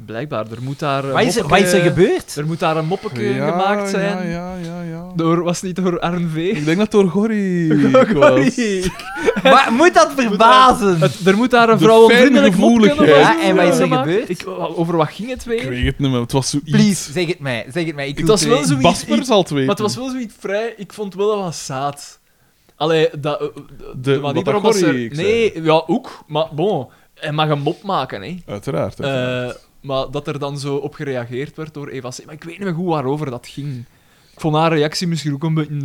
Blijkbaar, er moet daar... een Wat is er, wat moppeke- is er gebeurd? Er moet daar een moppeke ja, gemaakt zijn. Ja, ja, ja. ja. Door, was het niet door RNV? Ik denk dat door Gorry. was. Maar moet dat verbazen? Het, er moet daar een De vrouwenvriendelijk mopje fijngevoeligheid. of zo Ja, en wat is er gemaakt. gebeurd? Ik, over wat ging het Ik weer? weet het niet meer, het was zoiets. Please, zeg het mij. Zeg het mij. Ik Het wil was wel weten. zoiets- Basper zal het weten. Maar het was wel zoiets vrij... Ik vond wel dat wat zaad. Allee, dat... eh, eh, De- manier wat dat waarop dat Gorrie, ze- ik Nee, ja, ook. Maar bon, hij mag een mop maken, hè. Uiteraard. uiteraard. Eh, maar dat er dan zo op gereageerd werd door Eva C. Maar ik weet niet meer goed waarover dat ging. Ik vond haar reactie misschien ook een beetje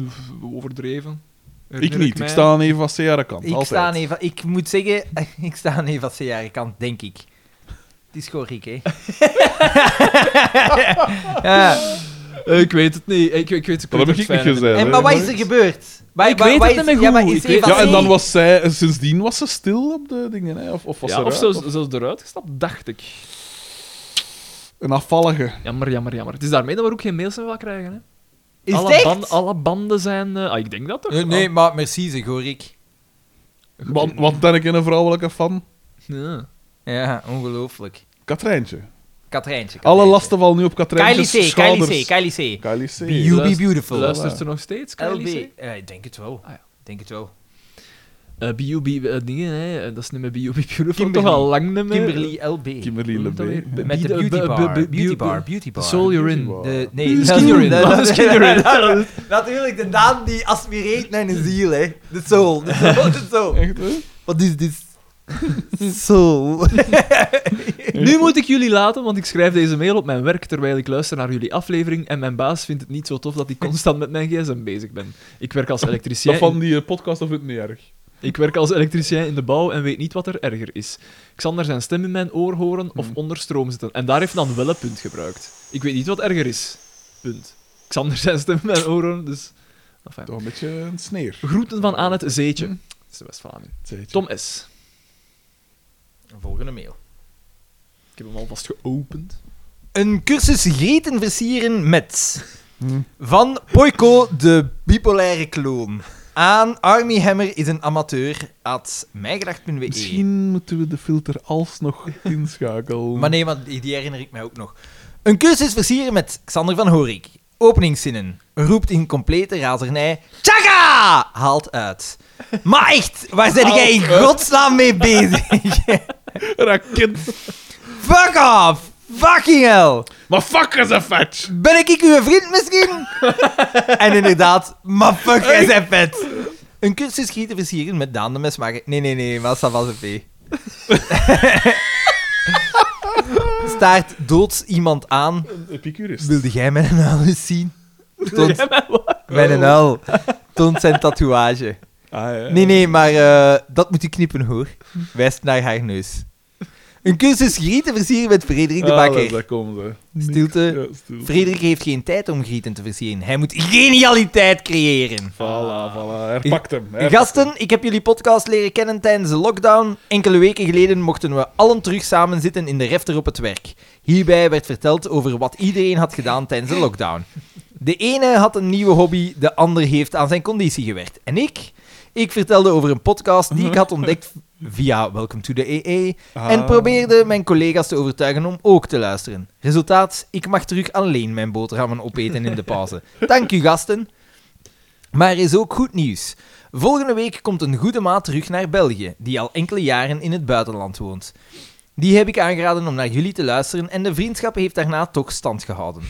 overdreven. ik Herinner niet, mij. ik sta aan Eva C. haar kant. Ik altijd. sta aan Eva... Ik moet zeggen, ik sta aan Eva Sejaar kant, denk ik. Het is gewoon Riek, hè. ja. Eh, ik weet het niet. Ik, ik weet, ik Dat heb ik weet het niet fijne gezegd. En, hè. maar wat is er gebeurd? Wat- Ik wat- weet wat het is- niet meer Ja, maar goed. is Ik weet- Eva Ja, en C- dan was zij, en sindsdien was ze stil op de dingen, hè? Of, of was Ja, ze of eruit, zelfs, zelfs eruit gestapt, dacht ik. Een afvallige. Jammer, jammer, jammer. Het is daarmee dat we ook geen mails meer van krijgen. Hè? Is het alle, echt? ban- alle banden zijn... eh, ah, ik denk dat toch? Nee, nee, maar merci, zeg hoor ik. Want, want dan heb ik een vrouwelijke fan. Ah, ja. Ja, ongelooflijk. Katrijntje. Katrijntje. Alle Katrijntje. lasten vallen nu op Katrijntjes Kylie C, Kylie schouders. C, Kylie C. Kylie C. Bio- You be Luist- beautiful. Luistert ze nog steeds, LB. Kylie C? Eh, ik denk het wel. Ah, ja. Ik denk het wel. Eh, B.U.B. eh, dingen, hè. eh, dat is niet meer B.U.B. Beautiful, toch Kimberly. al lang niet meer. Kimberly LB. Kimberly Hoe moet dat Lebe. weer? Met de Be- beauty be- bar. be- be- Beauty be- bar, beauty bar. Soul you're in. Bar. De, Skin nee, you're in. dat- dat- Skin you're in. dat- Natuurlijk, de naam die aspireert naar een ziel, hè. De soul. De soul, de soul. Echt, hè? Wat is dit? Soul. Nu moet ik jullie laten, want ik schrijf deze mail op mijn werk terwijl ik luister naar jullie aflevering en mijn baas vindt het niet zo tof dat ik constant met mijn gsm bezig ben. Ik werk als elektricien, Dat van die eh, podcast, dat vindt het niet erg. ik werk als elektricien in de bouw en weet niet wat er erger is. Xander zijn stem in mijn oor horen of onder stroom zitten. En daar heeft dan wel een punt gebruikt. Ik weet niet wat erger is. Punt. Xander zijn stem in mijn oor horen, dus... Enfin. Toch een beetje een sneer. Groeten van aan het zeetje. Dat is de West-Vlaming. Zeetje. Tom S. Volgende mail. Ik heb hem alvast geopend. Een cursus reten versieren met... Hm. Van Poiko, de bipolaire kloon. Aan Army Hammer is een amateur. At mijgedacht.be. Misschien moeten we de filter alsnog inschakelen. Maar nee, want die die herinner ik mij ook nog. Een cursus versieren met Xander van Horik. Openingszinnen. Roept in complete razernij. Tjaga! Haalt uit. Maar echt, waar zijn jij in godsnaam mee bezig? Raket. Fuck off! Fucking hell! Maar fuck is een fetch. Ben ik ik uw vriend misschien? en inderdaad, maar fuck, jij zijn vet. Een cursus gieten versieren met Daan de Mesmaker. Nee, nee, nee, maar ça va, c'est fait. Staart doods iemand aan Een epicurist. Wilde jij mijn naal eens zien? Toont... Oh. Mijn naal. Toont zijn tatoeage. Ah, ja. Nee, nee, maar eh, dat moet u knippen hoor. Wijst naar haar neus. Een cursus griet te versieren met Frederik de Ah, dat- Bakker. Eh, Daar komen ze. Stilte. Ja, stil. Frederik heeft geen tijd om grieten te versieren. Hij moet genialiteit creëren. Voilà, voilà. Hij pakt hem. Hij Gasten, ik heb jullie podcast leren kennen tijdens de lockdown. Enkele weken geleden mochten we allen terug samen zitten in de refter op het werk. Hierbij werd verteld over wat iedereen had gedaan tijdens de lockdown. De ene had een nieuwe hobby, de ander heeft aan zijn conditie gewerkt. En ik? Ik vertelde over een podcast die ik had ontdekt via Welcome to the EE en Ah. probeerde mijn collega's te overtuigen om ook te luisteren. Resultaat, ik mag terug alleen mijn boterhammen opeten in de pauze. Dank u gasten. Maar er is ook goed nieuws. Volgende week komt een goede maat terug naar België, die al enkele jaren in het buitenland woont. Die heb ik aangeraden om naar jullie te luisteren en de vriendschap heeft daarna toch stand gehouden.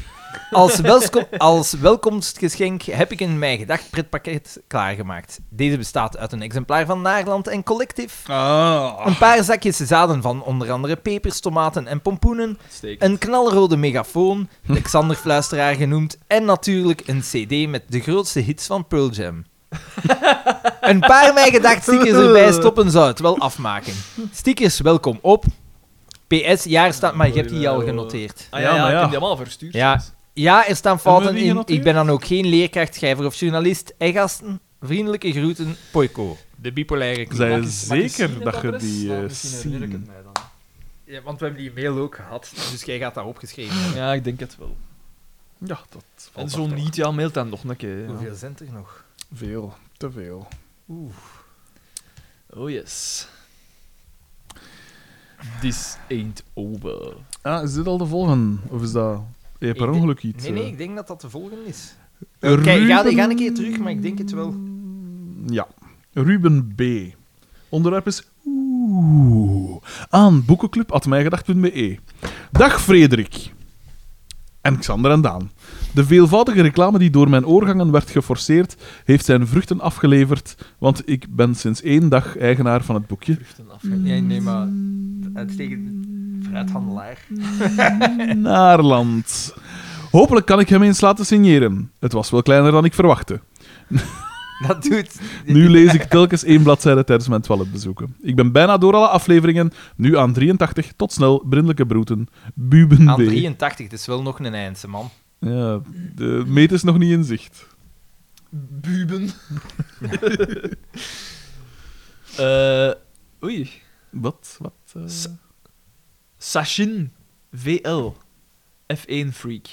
Als, welsko- als welkomstgeschenk heb ik een Mijn Gedacht pretpakket klaargemaakt. Deze bestaat uit een exemplaar van Naarland en Collective, Ah. een paar zakjes zaden van onder andere pepers, tomaten en pompoenen, Steek. een knalrode megafoon, de Xander-fluisteraar genoemd, en natuurlijk een cd met de grootste hits van Pearl Jam. een paar mijn gedacht stickers erbij stoppen zou het wel afmaken. Stickers, welkom op. PS, jaar staat, maar je hebt die al genoteerd. Ah ja, ja, Ja, maar ik ja. heb die allemaal verstuurd. dus Ja. Ja, er staan fouten Hebben we die in. genoteerd? Ik ben dan ook geen leerkracht, schrijver of journalist. Hey gasten, vriendelijke groeten, Poiko. De bipolaire Zij zeker dat je die eh, zien. Ja, want we hebben die mail ook gehad, dus jij gaat dat opgeschreven hebben. Ja, ik denk het wel. Ja, dat En valt zo af. niet, ja, mailt dan nog een keer. ja. Hoeveel zijn er nog? Veel, te veel. Oh yes. This ain't over. Ah, is dit al de volgende? Of is dat... Je hebt per Ik denk- ongeluk iets... Nee, eh, nee, ik denk dat dat de volgende is. Kijk, ga, Ruben- ga een keer terug, maar ik denk het wel. Ja. Ruben B. Onderwerp is... Oeh. Aan boekenclub.mijgedacht.be e. Dag Frederik. En Xander en Daan. De veelvoudige reclame die door mijn oorgangen werd geforceerd, heeft zijn vruchten afgeleverd, want ik ben sinds één dag eigenaar van het boekje. Vruchten af. Nee, nee, maar uitstekend fruithandelaar. Naarland. Hopelijk kan ik hem eens laten signeren. Het was wel kleiner dan ik verwachtte. Dat doet. Nu lees ik telkens één bladzijde tijdens mijn toiletbezoeken. Ik ben bijna door alle afleveringen, nu aan 83. Tot snel, brindelijke broeten. Buben Aan B. 83, dat is wel nog een eindse man. Ja, de meet is nog niet in zicht. Buben. Eh, oei. Wat? Wat? eh? S- Sachin VL. F1 Freak.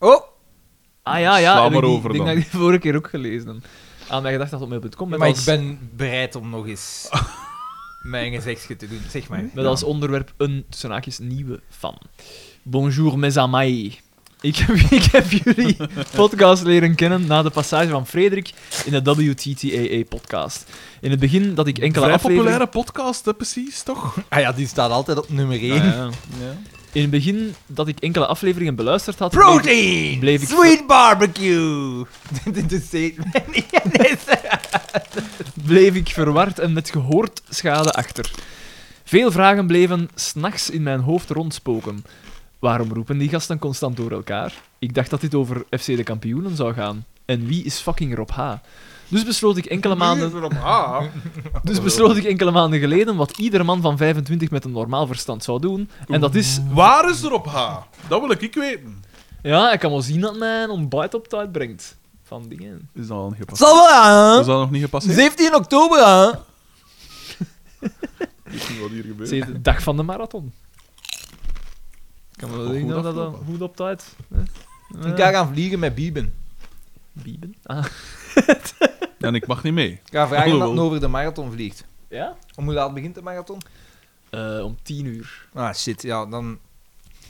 Oh, Ah ja, ja. Sla heb ik maar die- over Ik denk dan. dat ik die vorige keer ook gelezen heb. Aan mijn gedacht dat op mail.com. Met, maar ik als- ben bereid om nog eens mijn gezegdje te doen. Zeg maar. met als onderwerp een tussen haakjes nieuwe fan. Bonjour mes amis. Ik heb, ik heb jullie podcast leren kennen na de passage van Frederik in de WTTAA-podcast. In het begin dat ik enkele Vrij afleveringen... populaire podcast, hè, precies, toch? Ah ja, die staat altijd op nummer 1. Ah, ja. In het begin dat ik enkele afleveringen beluisterd had... Protein! Bleef ik- Sweet barbecue! Dit is statement. bleef ik verward en met gehoord schade achter. Veel vragen bleven s'nachts in mijn hoofd rondspoken. Waarom roepen die gasten constant door elkaar? Ik dacht dat dit over FC de kampioenen zou gaan. En wie is fucking Rob H? Dus besloot ik enkele maanden... Dus besloot ik enkele maanden geleden wat ieder man van 25 met een normaal verstand zou doen. En dat is... Waar is er op H? Dat wil ik ik weten. Ja, ik kan wel zien dat mijn ontbijt op tijd brengt. Van dingen. Is dat al niet gepasseerd? Zal wel Is aan! dat nog niet gepasseerd? 17 oktober aan! Ik weet niet wat hier gebeurt. Het is de dag van de marathon. Ik kan wel Oh, Goed zien dat dat afgelopen. goed op tijd... hè? Eh, Ik ga gaan vliegen met Bieben. Bieben? Ah. En ik mag niet mee. Ik ga vragen dat Alhoewel. hij over de marathon vliegt. Ja? Om hoe laat begint de marathon? Eh, om tien uur. Ah shit, ja, dan,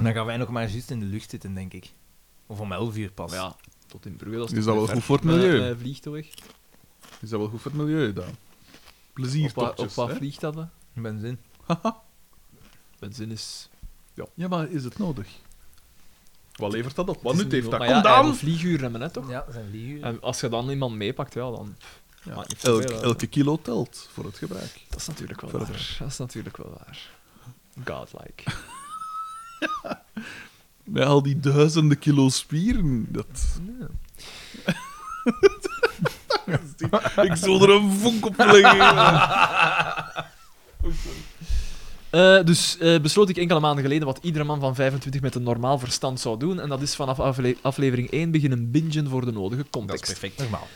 dan gaan wij nog maar juist in de lucht zitten, denk ik. Of om 11 uur pas. Maar ja, tot in Brugge. Dat is, Is toch dat wel ver goed voor het met- milieu? met vliegtuig. Is dat wel goed voor het milieu, dan? Op, wat- op Pleziertochtjes, wat hè? vliegt dat? dan? Ik ben zin. Benzine is... Ja, maar is het nodig? Wat levert dat op? Wat het is nut niet heeft goed. dat? Maar Kom ja, dan! hij heeft vlieguren hebben, hè, toch? Ja, zijn vlieguur. En als je dan iemand meepakt, ja, dan... Ja, maakt niet elk- zoveel uit. elke kilo telt voor het gebruik. Dat is natuurlijk wel Verder. waar. Dat is natuurlijk wel waar. Godlike. Met al die duizenden kilo spieren. Dat... ik zal er een vonk op leggen. Eh, dus eh, besloot ik enkele maanden geleden wat iedere man van 25 met een normaal verstand zou doen. En dat is vanaf afle- aflevering 1 beginnen bingen voor de nodige Dat is context. perfect normaal.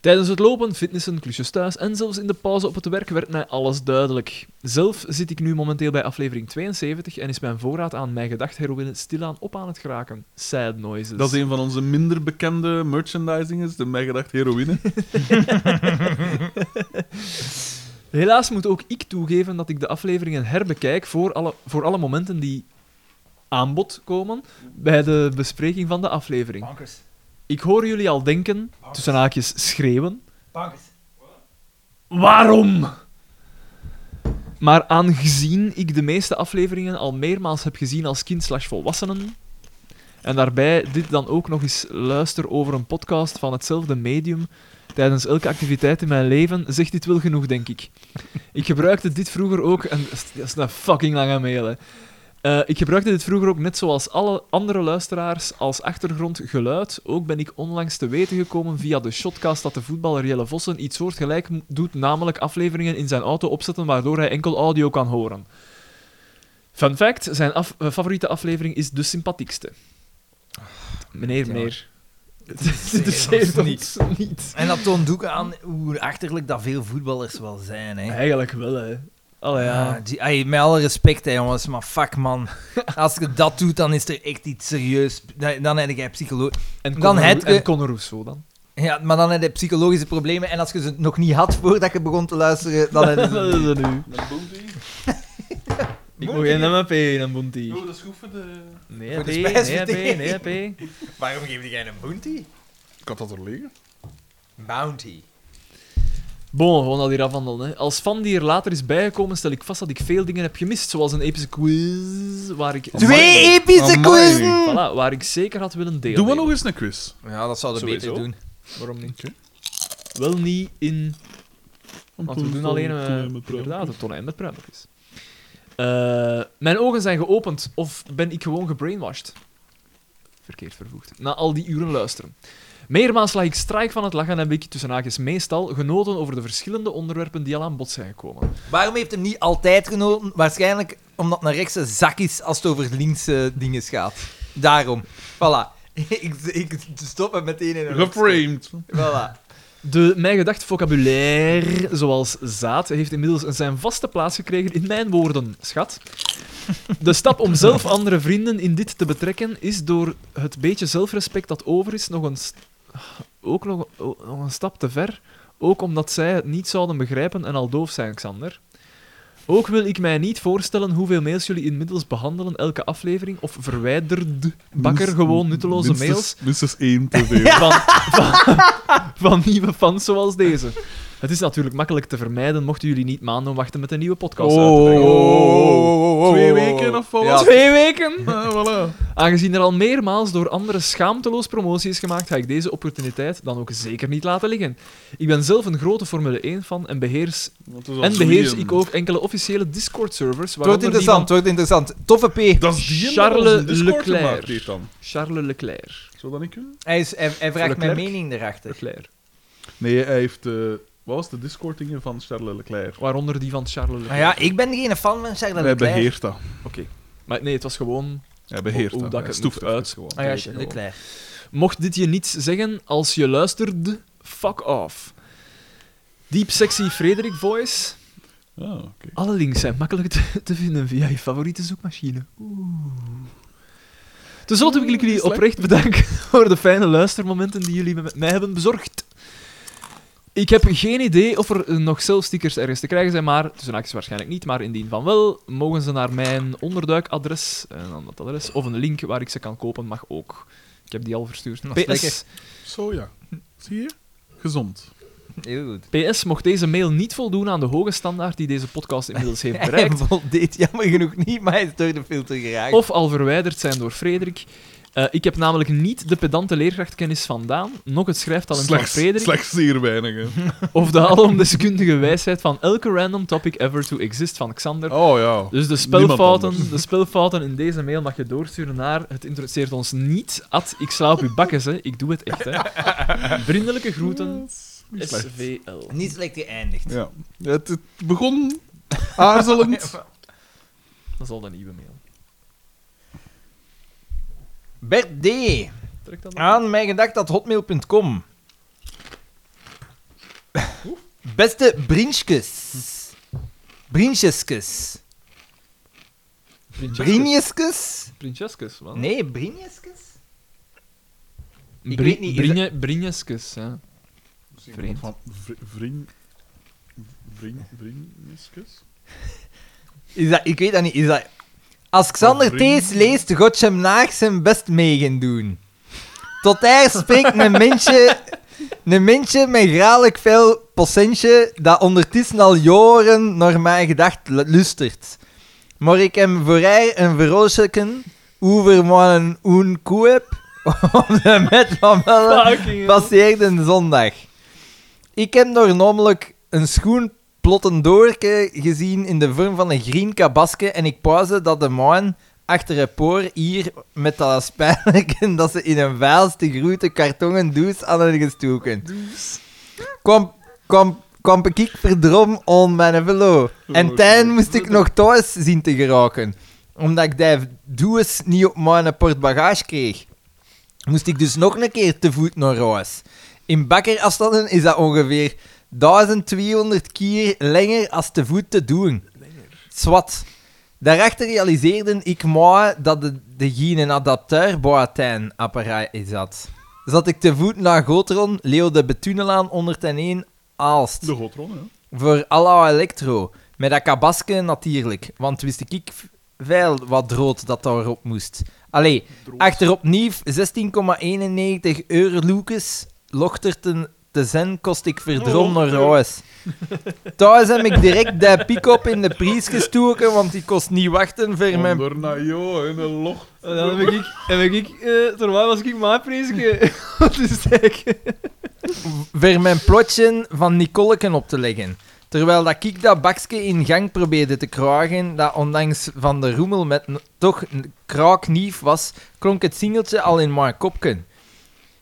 Tijdens het lopen, fitnessen, klusjes thuis en zelfs in de pauze op het werk werd mij alles duidelijk. Zelf zit ik nu momenteel bij aflevering 72 en is mijn voorraad aan mijn gedacht heroïne stilaan op aan het geraken. Sad noises. Dat is een van onze minder bekende merchandising, de mijgedacht heroïne. Helaas moet ook ik toegeven dat ik de afleveringen herbekijk voor alle, voor alle momenten die aanbod komen bij de bespreking van de aflevering. Bankers. Ik hoor jullie al denken, Bankers. tussen haakjes schreeuwen, Bankers. Waarom? Maar aangezien ik de meeste afleveringen al meermaals heb gezien als kind slash volwassenen, en daarbij dit dan ook nog eens luister over een podcast van hetzelfde medium tijdens elke activiteit in mijn leven, zegt dit wel genoeg, denk ik. Ik gebruikte dit vroeger ook, en dat is een fucking lange mail, hè. Eh, ik gebruikte dit vroeger ook net zoals alle andere luisteraars als achtergrondgeluid. Ook ben ik onlangs te weten gekomen via de shotcast dat de voetballer Jelle Vossen iets soortgelijk m- doet, namelijk afleveringen in zijn auto opzetten waardoor hij enkel audio kan horen. Fun fact, zijn af- eh, favoriete aflevering is de sympathiekste. Meneer, Ja. meneer. Ah, Het interesseert interesseert ons ons niet. En dat toont ook aan hoe achterlijk dat veel voetballers wel zijn. Hè. Eigenlijk wel, hè. Allee, Oh ja. Ah, die- ay, met alle respect, hè, jongens, maar fuck man. Als je dat doet, dan is er echt iets serieus. Dan, dan heb jij psycholo En Dan Conor- het- en Conor Rousseau dan. ja, maar dan heb je psychologische problemen. En als je ze nog niet had voordat je begon te luisteren, dan heb je ze- Dat is het nu. Dan boomt hij. Ik mag geen MAP in een boentie. Oh, dat is goed voor de... Nee, Voor P, de nee, P, spijsvertering. nee, P. Waarom geef jij een bounty? Ik had dat er liggen. Bounty. Bon, gewoon al hier afhandelen. Hè. Als fan die er later is bijgekomen, stel ik vast dat ik veel dingen heb gemist, zoals een epische quiz, waar ik, Amai. Twee epische Amai. quizzen! voilà, waar ik zeker had willen delen. Doen we nog eens een quiz? Ja, dat zouden we Sowieso. beter doen. Waarom niet? Oké. Wel niet in... Want we doen alleen een eh, inderdaad, een tonijn met pruimpjes. Eh, mijn ogen zijn geopend, of ben ik gewoon gebrainwashed? Verkeerd vervoegd. Na al die uren luisteren. Meermaals lag ik strijk van het lachen en heb ik tussen haakjes meestal genoten over de verschillende onderwerpen die al aan bod zijn gekomen. Waarom heeft hem niet altijd genoten? Waarschijnlijk omdat naar rechts een zak is als het over linkse dingen gaat. Daarom. Voilà. Ik, ik stop hem meteen in een Geframed. Voilà. De mijn gedacht vocabulaire, zoals zaad, heeft inmiddels zijn vaste plaats gekregen in mijn woorden, schat. De stap om zelf andere vrienden in dit te betrekken is door het beetje zelfrespect dat over is nog een, st- ook nog, o- nog een stap te ver. Ook omdat zij het niet zouden begrijpen en al doof zijn, Xander. Ook wil ik mij niet voorstellen hoeveel mails jullie inmiddels behandelen elke aflevering of verwijderd bakker gewoon nutteloze Minstens- mails Minstens één te veel. van, van, van nieuwe fans zoals deze. Het is natuurlijk makkelijk te vermijden mochten jullie niet maanden wachten met een nieuwe podcast uit te brengen. Twee weken of wat? Oh. Ja. Twee weken! Ah, voilà. Aangezien er al meermaals door anderen schaamteloos promotie is gemaakt, ga ik deze opportuniteit dan ook zeker niet laten liggen. Ik ben zelf een grote Formule 1 fan en beheers, Dat is al en beheers drieën. ik ook enkele officiële Discord-servers. Het wordt waaronder die interessant, het wordt interessant. Toffe P. Dat is die Charles Charles Leclerc. Leclerc. Gemaakt, heeft dan. van Charles Leclerc. Zou dat niet kunnen? Hij, is, hij, hij vraagt mijn Leclerc. mening erachter. Leclerc. Nee, hij heeft... eh, wat was de discord van Charles Leclerc? Waaronder die van Charles Maar Leclerc. Ah ja, ik ben geen fan van Charles hij Leclerc. beheert dat. Oké. Maar nee, het was gewoon Hij beheert Hoe dat. Hij dat ik het stoeft moet uit- het gewoon. Ah ja, Zeker. Leclerc. Mocht dit je niet zeggen, als je luisterde, fuck off. Deep Sexy Frederik Voice. Ah, oké. Alle links zijn makkelijk te, te vinden via je favoriete zoekmachine. Oeh. Ten slotte wil ik jullie oprecht bedanken voor de fijne luistermomenten die jullie met mij hebben bezorgd. Ik heb geen idee of er eh, nog zelfstickers ergens te krijgen zijn, maar tussen haakjes waarschijnlijk niet. Maar indien van wel, mogen ze naar mijn onderduikadres, en dan dat adres, of een link waar ik ze kan kopen mag ook. Ik heb die al verstuurd. Dat is lekker. PS, Zo ja. Zie je? Gezond. Heel goed. PS, mocht deze mail niet voldoen aan de hoge standaard die deze podcast inmiddels heeft Hij bereikt, voldeed jammer genoeg niet, maar hij is door de filter geraakt. of al verwijderd zijn door Frederik. eh, ik heb namelijk niet de pedante leerkrachtkennis vandaan, nog het schrijftalent Slechts, van Frederik, slechts zeer weinig. hè. of de alomdeskundige wijsheid van elke random topic ever to exist van Xander. Oh ja. Dus de Niemand spelfouten, anders. de spelfouten in deze mail mag je doorsturen naar het interesseert ons niet. At, ik sla op uw bakkes, hè. ik doe het echt. Hè. Vriendelijke groeten, Niet slecht. SVL. Niet slecht geëindigd. Ja. Het, het begon aarzelend. Dat is al de nieuwe mail. Bert D. Trek dat op. Ah, Aan mijn gedacht dat hotmail.com. Beste Brinskes. Brinskes. Brinjeskes? Prinsjeskus, man. Nee, Brinjeskes? Bri- ik weet niet, is Brinje- Brinjeskus, ja. Vreemd. Van vri- vriend. Vriend. Vriendjeskus? Is dat, ik weet dat niet. Is dat... Als Xander Brin- Thees leest, God hem naag zijn best mee gaan doen. Tot daar spreekt een mensje, een mensje met gralijk veel procentje dat ondertussen al jaren naar mijn gedacht lu- lustert. Maar ik hem voor haar een verroosjeken over mijn een koe heb, om de met van wel passeerde zondag. Ik heb nog namelijk een schoen plotten doorke gezien in de vorm van een green kabaske en ik pauze dat de man achter een poor hier met dat spijnlijken dat ze in een vaas te groeten kartongen doos aan hen gestoken. Kwam, kwam, kwam ik verdrom on mijn velo. En tijn moest ik nog thuis zien te geraken, omdat ik die doos niet op mijn portbagage kreeg. Moest ik dus nog een keer te voet naar huis. In bakkerafstanden is dat ongeveer 1200 kier langer als te voet te doen. Zwat. Daarachter realiseerde ik me dat de, de geen een adapteur boatijn apparaat is dat. Zat ik te voet naar Gotron, Leo de Betunelaan 101 Aalst. De Gotron, ja. Voor alla electro. Met dat kabaske natuurlijk. Want wist ik ik veel wat rood dat daarop moest. Allee, Ah, achteropnieuw 16,91 euro Lucas. Lochter ten, te zen kost ik verdrom naar huis. Thuis heb ik direct de pick-up in de prijs gestoken, want die kost niet wachten voor mijn... Onder naar joh, in een loch. En dan heb ik, heb ik eh terwijl was ik maar prijsje. Wat is het eigenlijk? ver mijn plotje van Nicoleken op te leggen. Terwijl dat ik dat bakje in gang probeerde te kragen, dat ondanks van de roemel met n- toch een kraaknief was, klonk het singeltje al in mijn kopken.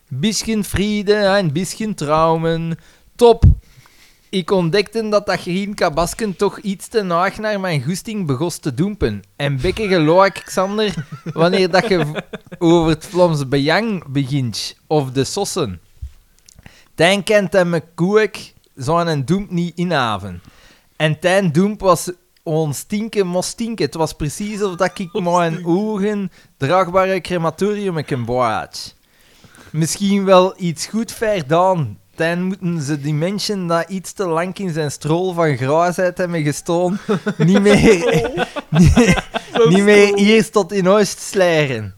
Bisschen vriende en bisschen traumen. Top! Ik ontdekte dat dat green kabasken toch iets te naag naar mijn goesting begos te doempen. En bekken geloak, Xander, wanneer dat je v- over het Vlaams bejang begint, of de sossen. Tijn kent hem een koek, zo'n doemp niet inhaven. En Tijn doemp was ons stinken, mos stinken. Het was precies of dat ik mijn ogen draagbare crematorium kan boaat. Misschien wel iets goed verdaan. Tijn moeten ze die mensen dat iets te lang in zijn strol van gruisheid hebben gestolen, niet meer, niet, niet meer eerst tot in huis sleren.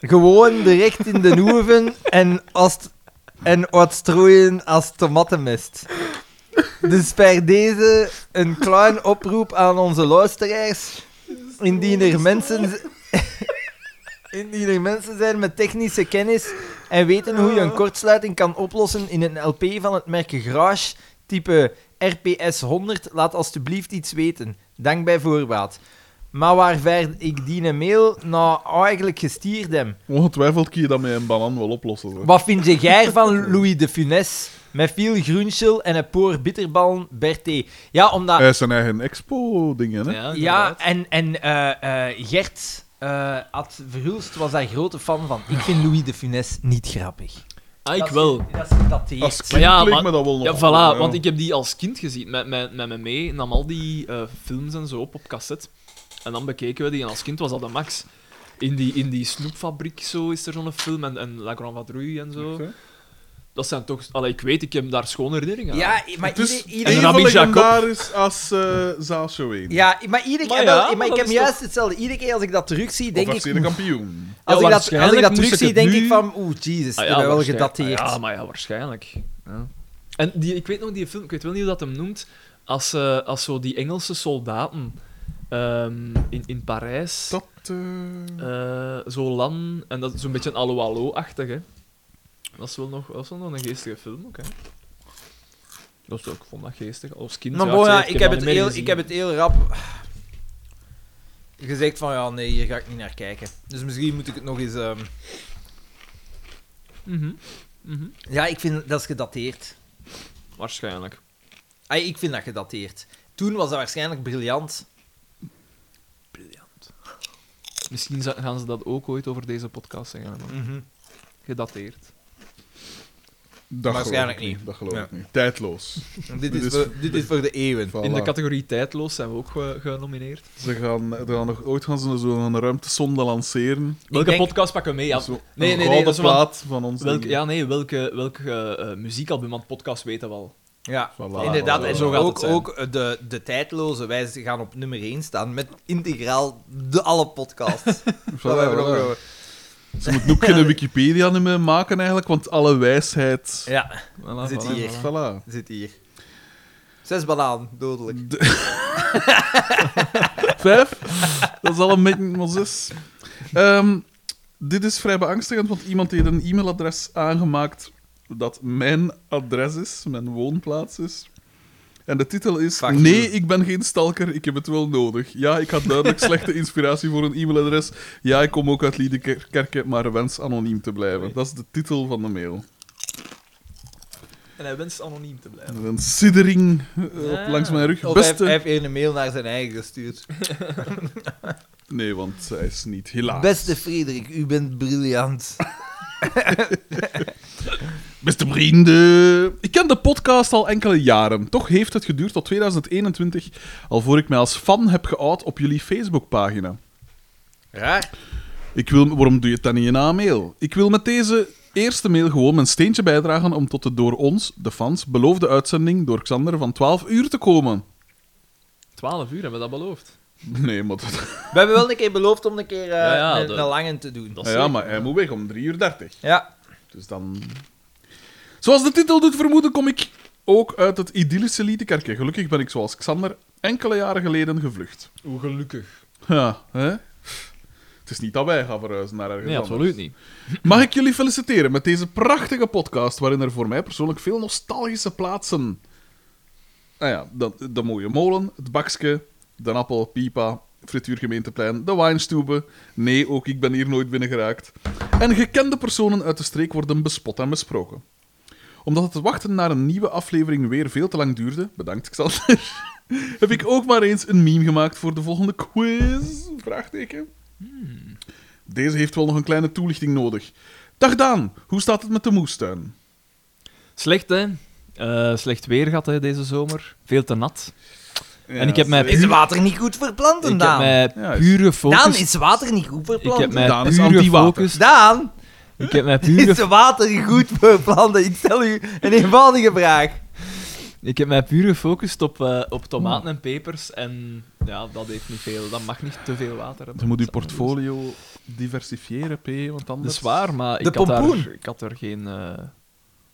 Gewoon direct in de oeven en als het en wat strooien als tomatenmist. Dus per deze een klein oproep aan onze luisteraars. Indien er mensen, z- indien er mensen zijn met technische kennis en weten hoe je een kortsluiting kan oplossen in een LP van het merk Garage, type RPS 100, laat alstublieft iets weten. Dank bij voorbaat. Maar waarver ik die mail nou eigenlijk gestuurd heb, Ongetwijfeld kun je dat met een banaan wel oplossen. Zeg. wat vind je jij van Louis de Funès? Met veel groenschil en een poor bitterballen Berté. Ja, omdat... Hij is zijn eigen expo-dingen, hè? ja, en, en eh, eh, Gert eh had Verhulst was daar grote fan van. Ik vind Louis de Funès niet grappig. Ah, ik Dat is- wel. Dat is gedateerd. Als kind Maar ja, leek maar- me dat wel nog. Ja, wel, voilà, want ik heb die als kind gezien. Met, met, met me mee nam al die eh, films en zo op op cassette. En dan bekeken we die en als kind was dat de max. In die, in die snoepfabriek zo is er zo'n film en, en La Grande Vadrouille en zo. Oké. Dat zijn toch... Allee, ik weet, ik heb daar schone herinneringen aan. Ja, maar Het is iedereen... ieder, En even Rabbi Jacob. legendarisch als eh Zaasje Ween. ja, maar iedere Maar eh, wel, ja, maar maar ik dat heb is juist hetzelfde. Iedere keer als ik dat terugzie, denk of ik... FC de kampioen. Als, Ja, ik dat, als ik waarschijnlijk dat moest ik terugzie, het denk ik nu- van... Oeh, jezus, Ah, ik ben wel waarschijn- gedateerd. Ah, ja, maar ja, waarschijnlijk. Ja. En die, ik weet nog die film, ik weet wel niet hoe dat hem noemt, als, eh, als zo die Engelse soldaten ehm, in, in Parijs... Dat... eh, Eh, zo lan, en dat is zo'n beetje een allo allo-achtig, hè. Dat is wel nog, dat is wel nog een geestige film, ook, hè. Dat is ook, ik vond dat geestig, als kind. Nou, ja, bon, ik ja, zei ik, heb dat het niet meer heel, gezien. ik heb het heel rap gezegd van ja, nee, hier ga ik niet naar kijken. Dus misschien moet ik het nog eens. ehm, Mhm, mhm. Ja, ik vind dat is gedateerd. Waarschijnlijk. Ai, ik vind dat gedateerd. Toen was dat waarschijnlijk briljant. Briljant. Misschien za- gaan ze Mhm. dat ook ooit over deze podcast zeggen, hè, man. Gedateerd. Dat Waarschijnlijk geloof ik niet. Dat geloof Ja. ik niet. Tijdloos. Dit Dit is, is- voor, dit is voor de eeuwen. Dus Voilà. In de categorie tijdloos zijn we ook ge- genomineerd. Ze gaan, er gaan nog, ooit gaan ze zo'n ruimtesonde lanceren. Welke denk- podcast pakken we mee? Ja, Zo, een nee, nee, gouden dat is wel- plaat van ons. welk, ding. ja nee, welke, welk eh, eh, muziekalbum, want podcast weten we al. Ja, Voilà, inderdaad. voilà. En Zo gaat het ook, zijn. ook de, de tijdloze, wij gaan op nummer 1 staan met integraal de alle podcasts. Voilà, Dat hebben we voilà. nog over. Ze moeten ook geen Wikipedia-nummer maken eigenlijk, want alle wijsheid... Ja, Voilà, Zit voilà, hier. voilà. Voilà. zit hier. Zes banaan, dodelijk. Vijf? Dat is al een beetje maar zes. Ehm, dit is vrij beangstigend, want iemand heeft een e-mailadres aangemaakt dat mijn adres is, mijn woonplaats is. En de titel is... Fuck nee, you. ik ben geen stalker, ik heb het wel nodig. Ja, ik had duidelijk slechte inspiratie voor een e-mailadres. Ja, ik kom ook uit Liedekerken, maar wens anoniem te blijven. Dat is de titel van de mail. En hij wenst anoniem te blijven. Een siddering eh, op Ah. langs mijn rug. Of hij, Beste... heeft- hij heeft eerder een mail naar zijn eigen gestuurd. Nee, want zij is niet, helaas. Beste Frederik, u bent briljant. Beste vrienden, ik ken de podcast al enkele jaren. Toch heeft het geduurd tot 2021, alvorens ik mij als fan heb geout op jullie Facebookpagina. Raar. Ik wil, waarom doe je het dan niet in een mail? Ik wil met deze eerste mail gewoon mijn steentje bijdragen om tot de door ons, de fans, beloofde uitzending door Xander van 12 uur te komen. 12 uur hebben we dat beloofd. Nee, maar, dat, We hebben wel een keer beloofd om een keer eh, Ja, ja, een, dat- een lange te doen. Dat is ja, zeker. maar hij moet weg om 3 uur 30. Ja, Dus dan... Zoals de titel doet vermoeden, kom ik ook uit het idyllische Liedekerken. Gelukkig ben ik, zoals Xander, enkele jaren geleden gevlucht. Hoe gelukkig. Ja, hè? Het is niet dat wij gaan verhuizen naar ergens Nee, anders. absoluut niet. Mag ik jullie feliciteren met deze prachtige podcast, waarin er voor mij persoonlijk veel nostalgische plaatsen... Nou ja, dat, de mooie molen, het bakske, de appel, pipa, frituurgemeenteplein, de wijnstoebe. Nee, ook ik ben hier nooit binnengeraakt. En gekende personen uit de streek worden bespot en besproken. Omdat het wachten naar een nieuwe aflevering weer veel te lang duurde, bedankt Xander, heb ik ook maar eens een meme gemaakt voor de volgende quiz. Vraagteken. Deze heeft wel nog een kleine toelichting nodig. Dag Daan, hoe staat het met de moestuin? Slecht, hè? Eh, slecht weer gehad hè, deze zomer. Veel te nat. En ik heb mij- is water niet goed voor planten, Ik heb Daan? mij Ja, is- puur Daan, gefocust... is water niet goed voor Ik heb planten? mij Daan is puur anti-water. gefocust... Daan, Ik heb mij puur is water goed voor planten? Ik stel u een eenvoudige vraag. Ik heb mij puur gefocust op, eh, op tomaten en pepers. En ja, dat heeft niet veel. Dat mag niet te veel water hebben. Je moet je portfolio diversifiëren, P, want Dat anders... is waar, maar De ik had, daar, pompoen. ik had er geen, eh,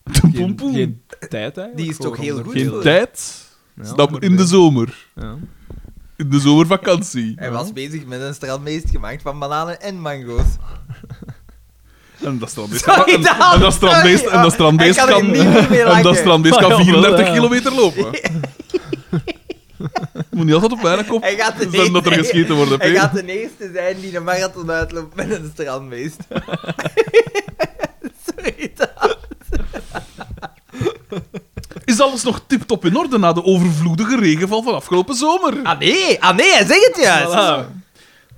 De geen, pompoen. geen tijd eigenlijk. Die is toch voor heel om er goed veel- Geen voor. tijd. Ja, Snap, maar in de nee. zomer. Ja. In de zomervakantie. Hij was bezig met een strandmeest gemaakt van bananen en mango's. En dat strandbeest kan, Sorry, en, Daan, en dat strandbeest, sorry. en dat strandbeest Hij kan er kan, niet meer mee en dat lachen. strandbeest Maar kan jawel, 34 ja. kilometer lopen. Moet niet altijd op mijn kop Hij gaat de zijn dat er eerste- geschieten wordt, Hij P. gaat de eerste zijn die een marathon uitloopt met een strandmeest. Sorry, Daan. Is alles nog tip-top in orde na de overvloedige regenval van afgelopen zomer? Ah nee, ah nee, hij zegt het juist. Voilà.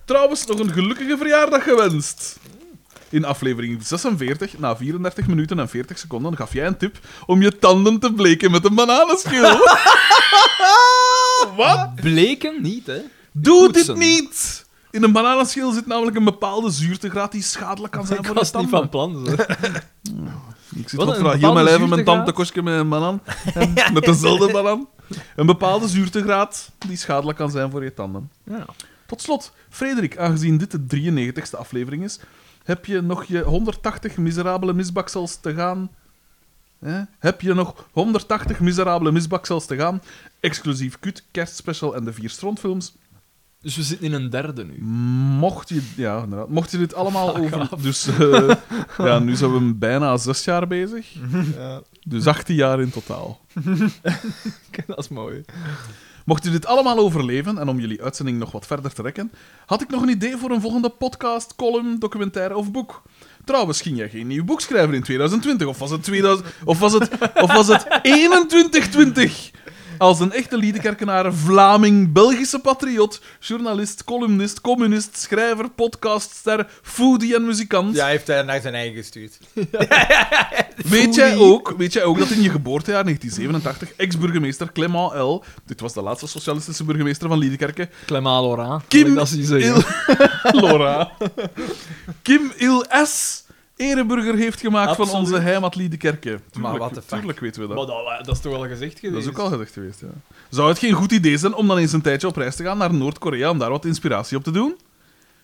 Trouwens, nog een gelukkige verjaardag gewenst. In aflevering 46, na 34 minuten en 40 seconden, gaf jij een tip om je tanden te bleken met een bananenschil. Wat? Bleken niet, hè? Doe dit Poetsen. niet! In een bananenschil zit namelijk een bepaalde zuurtegraad die schadelijk kan zijn Ik voor de was niet tanden. van plan. Zo. Ik zit Wat, wat een vraag. Heel bepaalde mijn lijf en mijn zuurtegraad? tand te kostje met een banaan. En Met dezelfde banaan. Een bepaalde zuurtegraad die schadelijk kan zijn voor je tanden. Ja. Tot slot, Frederik, aangezien dit de 93ste aflevering is, heb je nog je 180 miserabele misbaksels te gaan? Hè? Heb je nog 180 miserabele misbaksels te gaan? Exclusief Kut, Kerstspecial en de vier strontfilms. Dus we zitten in een derde nu. Mocht je, ja, inderdaad. mocht je dit allemaal Fuck over... Dus eh, ja, nu zijn we bijna zes jaar bezig. Dus 18 jaar in totaal. Dat is mooi. Mocht u dit allemaal overleven en om jullie uitzending nog wat verder te rekken, had ik nog een idee voor een volgende podcast, column, documentaire of boek. Trouwens, ging jij geen nieuw boek schrijven in 2020? Of was het, 2000, of was het, of was het 2120? Als een echte Liedekerkenaar, Vlaming, Belgische patriot, journalist, columnist, communist, schrijver, podcastster, foodie en muzikant. eh, Ja, hij heeft hij naar zijn eigen gestuurd. Weet jij, ook, weet jij ook dat in je geboortejaar 1987 ex-burgemeester Clement L., dit was de laatste socialistische burgemeester van Liedekerke, Clemalora. Kim dat is Il... Laura. Kim Il S. Ereburger heeft gemaakt van Absoluut. onze heimat Liedekerke. Tuurlijk- what the fuck. Tuurlijk weten we dat. Maar dat, dat is toch wel gezegd geweest? Dat is ook al gezegd geweest, ja. Zou het geen goed idee zijn om dan eens een tijdje op reis te gaan naar Noord-Korea om daar wat inspiratie op te doen?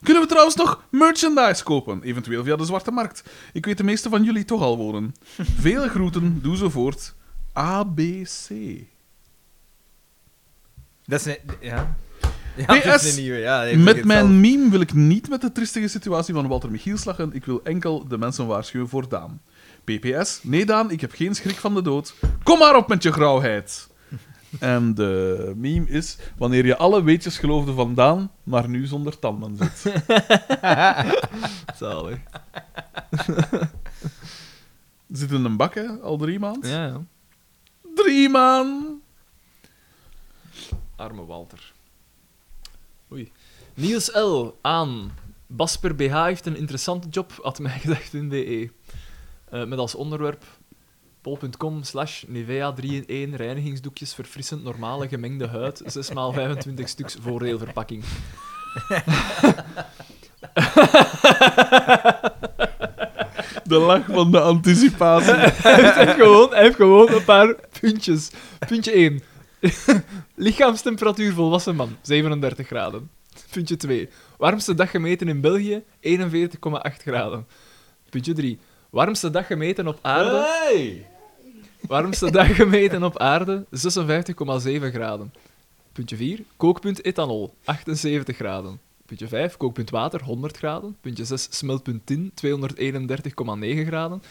Kunnen we trouwens nog merchandise kopen, eventueel via de Zwarte Markt? Ik weet de meeste van jullie toch al wonen. Vele groeten, doe zo voort. ABC. Dat is een... Ja. Ja, dat PS, is een nieuwe. Ja, heeft ook Met hetzelfde. mijn meme wil ik niet met de tristige situatie van Walter Michiels lachen. Ik wil enkel de mensen waarschuwen voor Daan. PPS. Nee, Daan, ik heb geen schrik van de dood. Kom maar op met je grauwheid. En de meme is... Wanneer je alle weetjes geloofde van Daan, maar nu zonder tanden zit. Zalig. Zit in een bak, hè? Al drie maand. Ja, ja. Drie maand! Arme Walter. Oei. Niels L. aan. Basper BH heeft een interessante job, had mij gedacht in DE. Eh, met als onderwerp pol.com slash Nivea 3-in-1 reinigingsdoekjes verfrissend normale gemengde huid 6x25 stuks voordeelverpakking. De lach van de anticipatie. hij, heeft gewoon, hij heeft gewoon een paar puntjes. Puntje 1. Lichaamstemperatuur volwassen man, 37 graden. Puntje 2. Warmste dag gemeten in België, 41,8 graden. Puntje 3. Warmste dag gemeten op aarde. Warmste dag gemeten op aarde, 56,7 graden. Puntje 4. Kookpunt ethanol, 78 graden. Puntje 5. Kookpunt water, 100 graden. Puntje 6. Smeltpunt tin, 231,9 graden.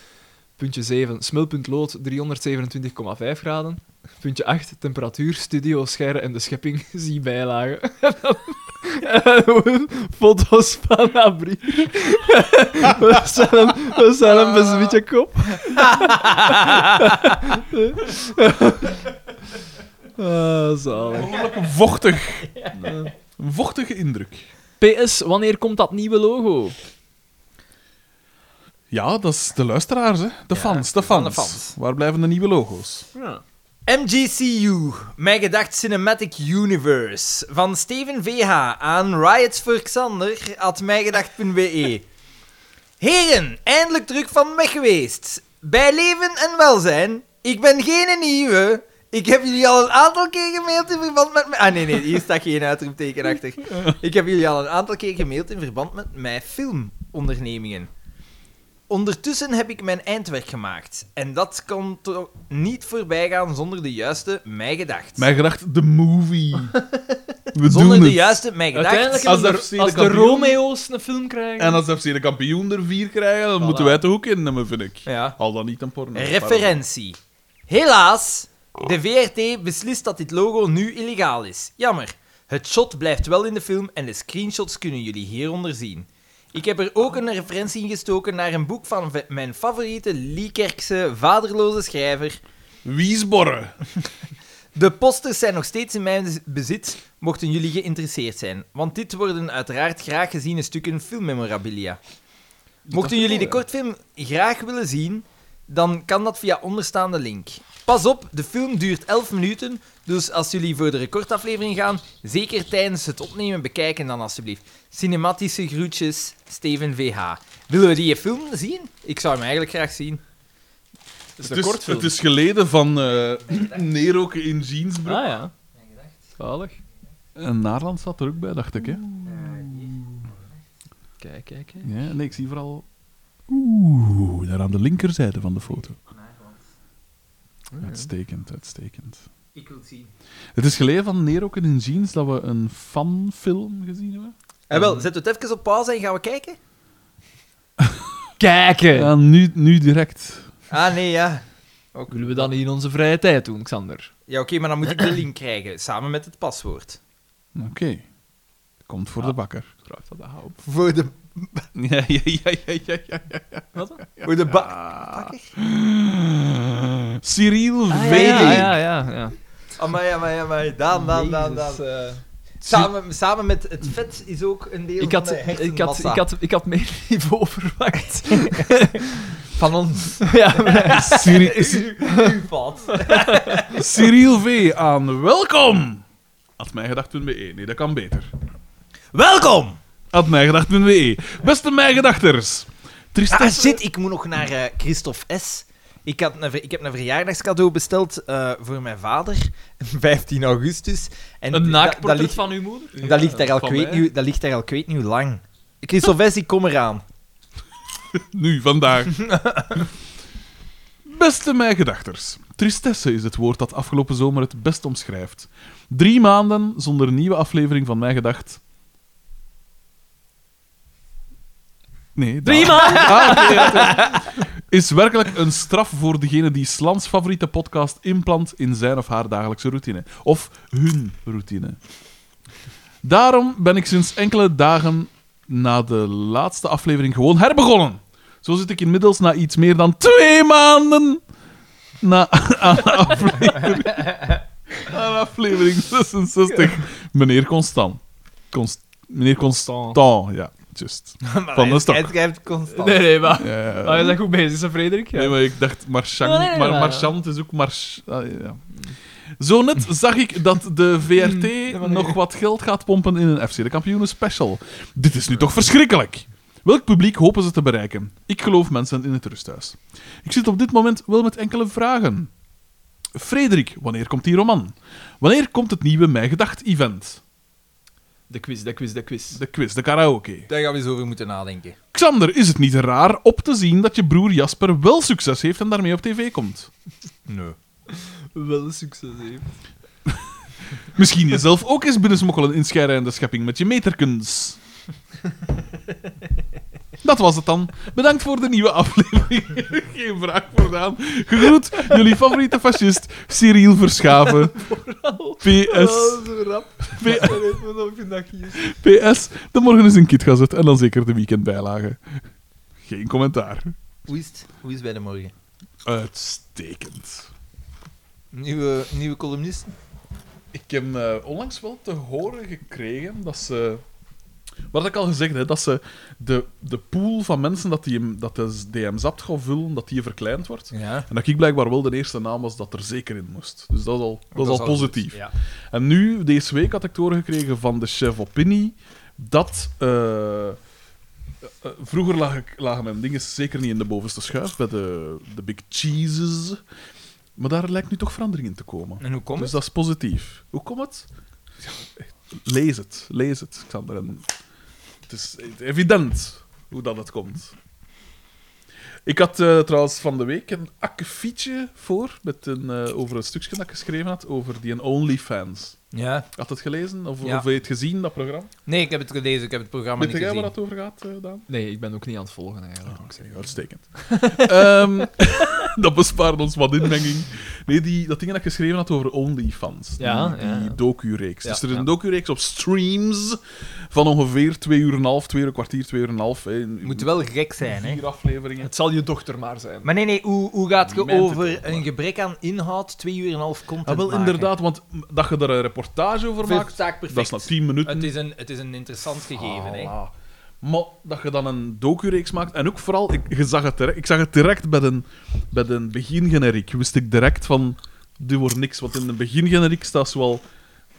Puntje 7. Smulpunt lood 327,5 graden. Puntje 8. Temperatuur, studio, scherren en de schepping. Zie bijlagen. En dan- en dan gewoon foto's van Abri. we zijn hem, we zijn hem een beetje kop. Ah, zalig. Behoorlijk vochtig. Een vochtige indruk. PS, wanneer komt dat nieuwe logo? Ja, dat is de luisteraars, hè. De fans, de fans. de fans. Waar blijven de nieuwe logo's? Ja. MGCU, Mijn Gedacht Cinematic Universe. Van Steven VH aan Riots voor Xander at mijgedacht.be. Heren, eindelijk terug van weg geweest. Bij leven en welzijn. Ik ben geen nieuwe. Ik heb jullie al een aantal keer gemaild in verband met... mijn- Ah, nee, nee, hier staat geen uitroepteken achter. Ik heb jullie al een aantal keer gemaild in verband met mijn filmondernemingen. Ondertussen heb ik mijn eindwerk gemaakt. En dat kan toch niet voorbij gaan zonder de juiste mij gedacht. Mijn gedacht, de movie. We zonder doen de het. juiste mij gedacht. Uiteindelijk, Als als de- de, als als de de Romeo's een film krijgen... En als FC de kampioen er vier krijgen, dan Voilà. moeten wij toch ook innemen, vind ik. Ja. Al dan niet een porno. Referentie. Helaas, de VRT beslist dat dit logo nu illegaal is. Jammer. Het shot blijft wel in de film en de screenshots kunnen jullie hieronder zien. Ik heb er ook een referentie in gestoken naar een boek van v- mijn favoriete Liekerkse vaderloze schrijver, Wiesborren. De posters zijn nog steeds in mijn bezit, mochten jullie geïnteresseerd zijn. Want dit worden uiteraard graag geziene stukken filmmemorabilia. Mochten jullie de kortfilm graag willen zien, dan kan dat via onderstaande link. Pas op, de film duurt 11 minuten, dus als jullie voor de recordaflevering gaan, zeker tijdens het opnemen bekijken dan alsjeblieft. Cinematische groetjes, Steven VH. Willen we die film zien? Ik zou hem eigenlijk graag zien. Het is Het is, het is geleden van eh, Nero in Jeansbroek. Ah ja. Zalig. En Naarland staat er ook bij, dacht ik. Hè? Kijk, kijk, kijk. Ja, nee, ik zie vooral... Oeh, daar aan de linkerzijde van de foto. Uitstekend, uitstekend. Ik wil het zien. Het is geleden van Nero in Jeans dat we een fanfilm gezien hebben. En wel, zet het even op pauze en gaan we kijken? Kijken! Ja, nu, nu direct. Ah, nee, ja. Willen we dat niet in onze vrije tijd doen, Xander? Ja, oké, maar dan moet ik de link krijgen, samen met het paswoord. Oké. Komt Ah. voor de bakker. Graag dat houden. Voor de, Ja, ja, ja, ja, ja. ja. Wat dan? voor de bakker? Cyril Ah, ja, VD. ja, ja, ja, ja. Amai, amai, amai. Daan, Daan, Daan, Daan. Jezus, eh. Samen, samen met het vet is ook een deel Ik had, van de ik, had, ik, hersenmassa. had, ik had meer niveau verwacht. Van ons. ja, maar- Cyri- Uw- Uw fout. Cyril V. aan welkom! At mijngedacht.be. E. Nee, dat kan beter. Welkom! At mijngedacht.be. E. Beste mijngedachters. Ah, Tristesse... shit, ik moet nog naar eh, Christophe S. Ik, had een, ver- ik heb een verjaardagscadeau besteld eh, voor mijn vader, 15 augustus. En een da- dat, naaktportret ligt, van uw moeder? dat, ligt daar al van kweet mij. nieuw, dat ligt daar al kweet nieuw lang. Christophe S, ik kom eraan. Nu, vandaag. Beste mijgedachters. Tristesse is het woord dat afgelopen zomer het best omschrijft. Drie maanden zonder nieuwe aflevering van Mijgedacht. Nee, Drie daar. maanden! Ah, oké, ja, ja. Is werkelijk een straf voor degene die Slans favoriete podcast implant in zijn of haar dagelijkse routine. Of hun routine. Daarom ben ik sinds enkele dagen na de laatste aflevering gewoon herbegonnen. Zo zit ik inmiddels na iets meer dan twee maanden na aan aflevering, aan aflevering 66. Meneer Constant. Const, meneer Constant, ja, juist. Van de Hij- stok. Hij schrijft constant. Nee, nee, maar... Ja, ja, ja. Ah, je bent goed bezig, hè, Frederik. Ja. Nee, maar ik dacht Marchand, Nee, nee, nee, maar maar- Marchand is ook March... ah, ja, ja. Zo net Hmm. zag ik dat de VRT dat was nog leuk. wat geld gaat pompen in een FC de Kampioenen special. Dit is nu toch verschrikkelijk? Welk publiek hopen ze te bereiken? Ik geloof mensen in het rusthuis. Ik zit op dit moment wel met enkele vragen. Frederik, wanneer komt die roman? Wanneer komt het nieuwe Mijn Gedacht-event? De quiz, de quiz, de quiz. De quiz, de karaoke. Daar gaan we eens over moeten nadenken. Xander, is het niet raar op te zien dat je broer Jasper wel succes heeft en daarmee op tv komt? Nee. Wel succes, hè. Misschien jezelf ook eens binnensmokkelen in schijnende schepping met je meterkens. Dat was het dan. Bedankt voor de nieuwe aflevering. Geen vraag vooraan. Gegroet, jullie favoriete fascist, Cyril Verschaven. PS, zo rap. Ik vind dat hier... PS, de morgen is een kitgazet en dan zeker de weekendbijlage. Geen commentaar. Hoe is het? Hoe is het bij de morgen? Uitstekend. Nieuwe, nieuwe columnist? Ik heb eh, onlangs wel te horen gekregen dat ze. Wat had ik al gezegd hè, dat ze de, de pool van mensen dat, die hem, dat de DM zapt gaat vullen, dat die verkleind wordt. Ja. En dat ik blijkbaar wel de eerste naam was dat er zeker in moest. Dus dat is al, dat is al positief. Ja. En nu, deze week, had ik te horen gekregen van de chef Opinie dat. eh, eh, eh, vroeger lag ik- lagen mijn dingen zeker niet in de bovenste schuif bij de, de Big Cheeses. Maar daar lijkt nu toch verandering in te komen. En hoe komt het? Dus dat is positief. Hoe komt het? Lees het, lees het, Xander. En het is evident hoe dat het komt. Ik had eh, trouwens van de week een akkefietje voor met een, eh, over een stukje dat ik geschreven had over die een OnlyFans. Ja. Had het gelezen? Of, Ja. of heb je het gezien, dat programma? Nee, ik heb het gelezen, ik heb het programma Weet niet jij waar gezien. dat over gaat, eh, Daan? Nee, ik ben ook niet aan het volgen, eigenlijk. Ah, oké, uitstekend. Ehm, dat bespaart ons wat inmenging. Nee, die, dat ding dat ik geschreven had over OnlyFans. Ja, die, ja. die docu-reeks. Ja, dus er is ja. een docu-reeks op streams van ongeveer twee uur en een half, twee uur en een kwartier, twee uur en een half. Hè. Moet wel gek zijn, hè? Vier afleveringen. Het zal je dochter maar zijn. Maar nee, nee, hoe, hoe gaat je Mijn over titel, een gebrek aan inhoud twee uur en een half content Ah, wel, maken? inderdaad, want dat je daar een reportage over Veel maakt, taak dat is perfect. na tien minuten. Het is een, het is een interessant gegeven, hè? Ah, Maar dat je dan een docu-reeks maakt. En ook vooral, ik, je zag het, direct- ik zag het direct bij de, bij de begingeneriek. Wist ik direct van, dit wordt niks. Want in de begingeneriek staat zoal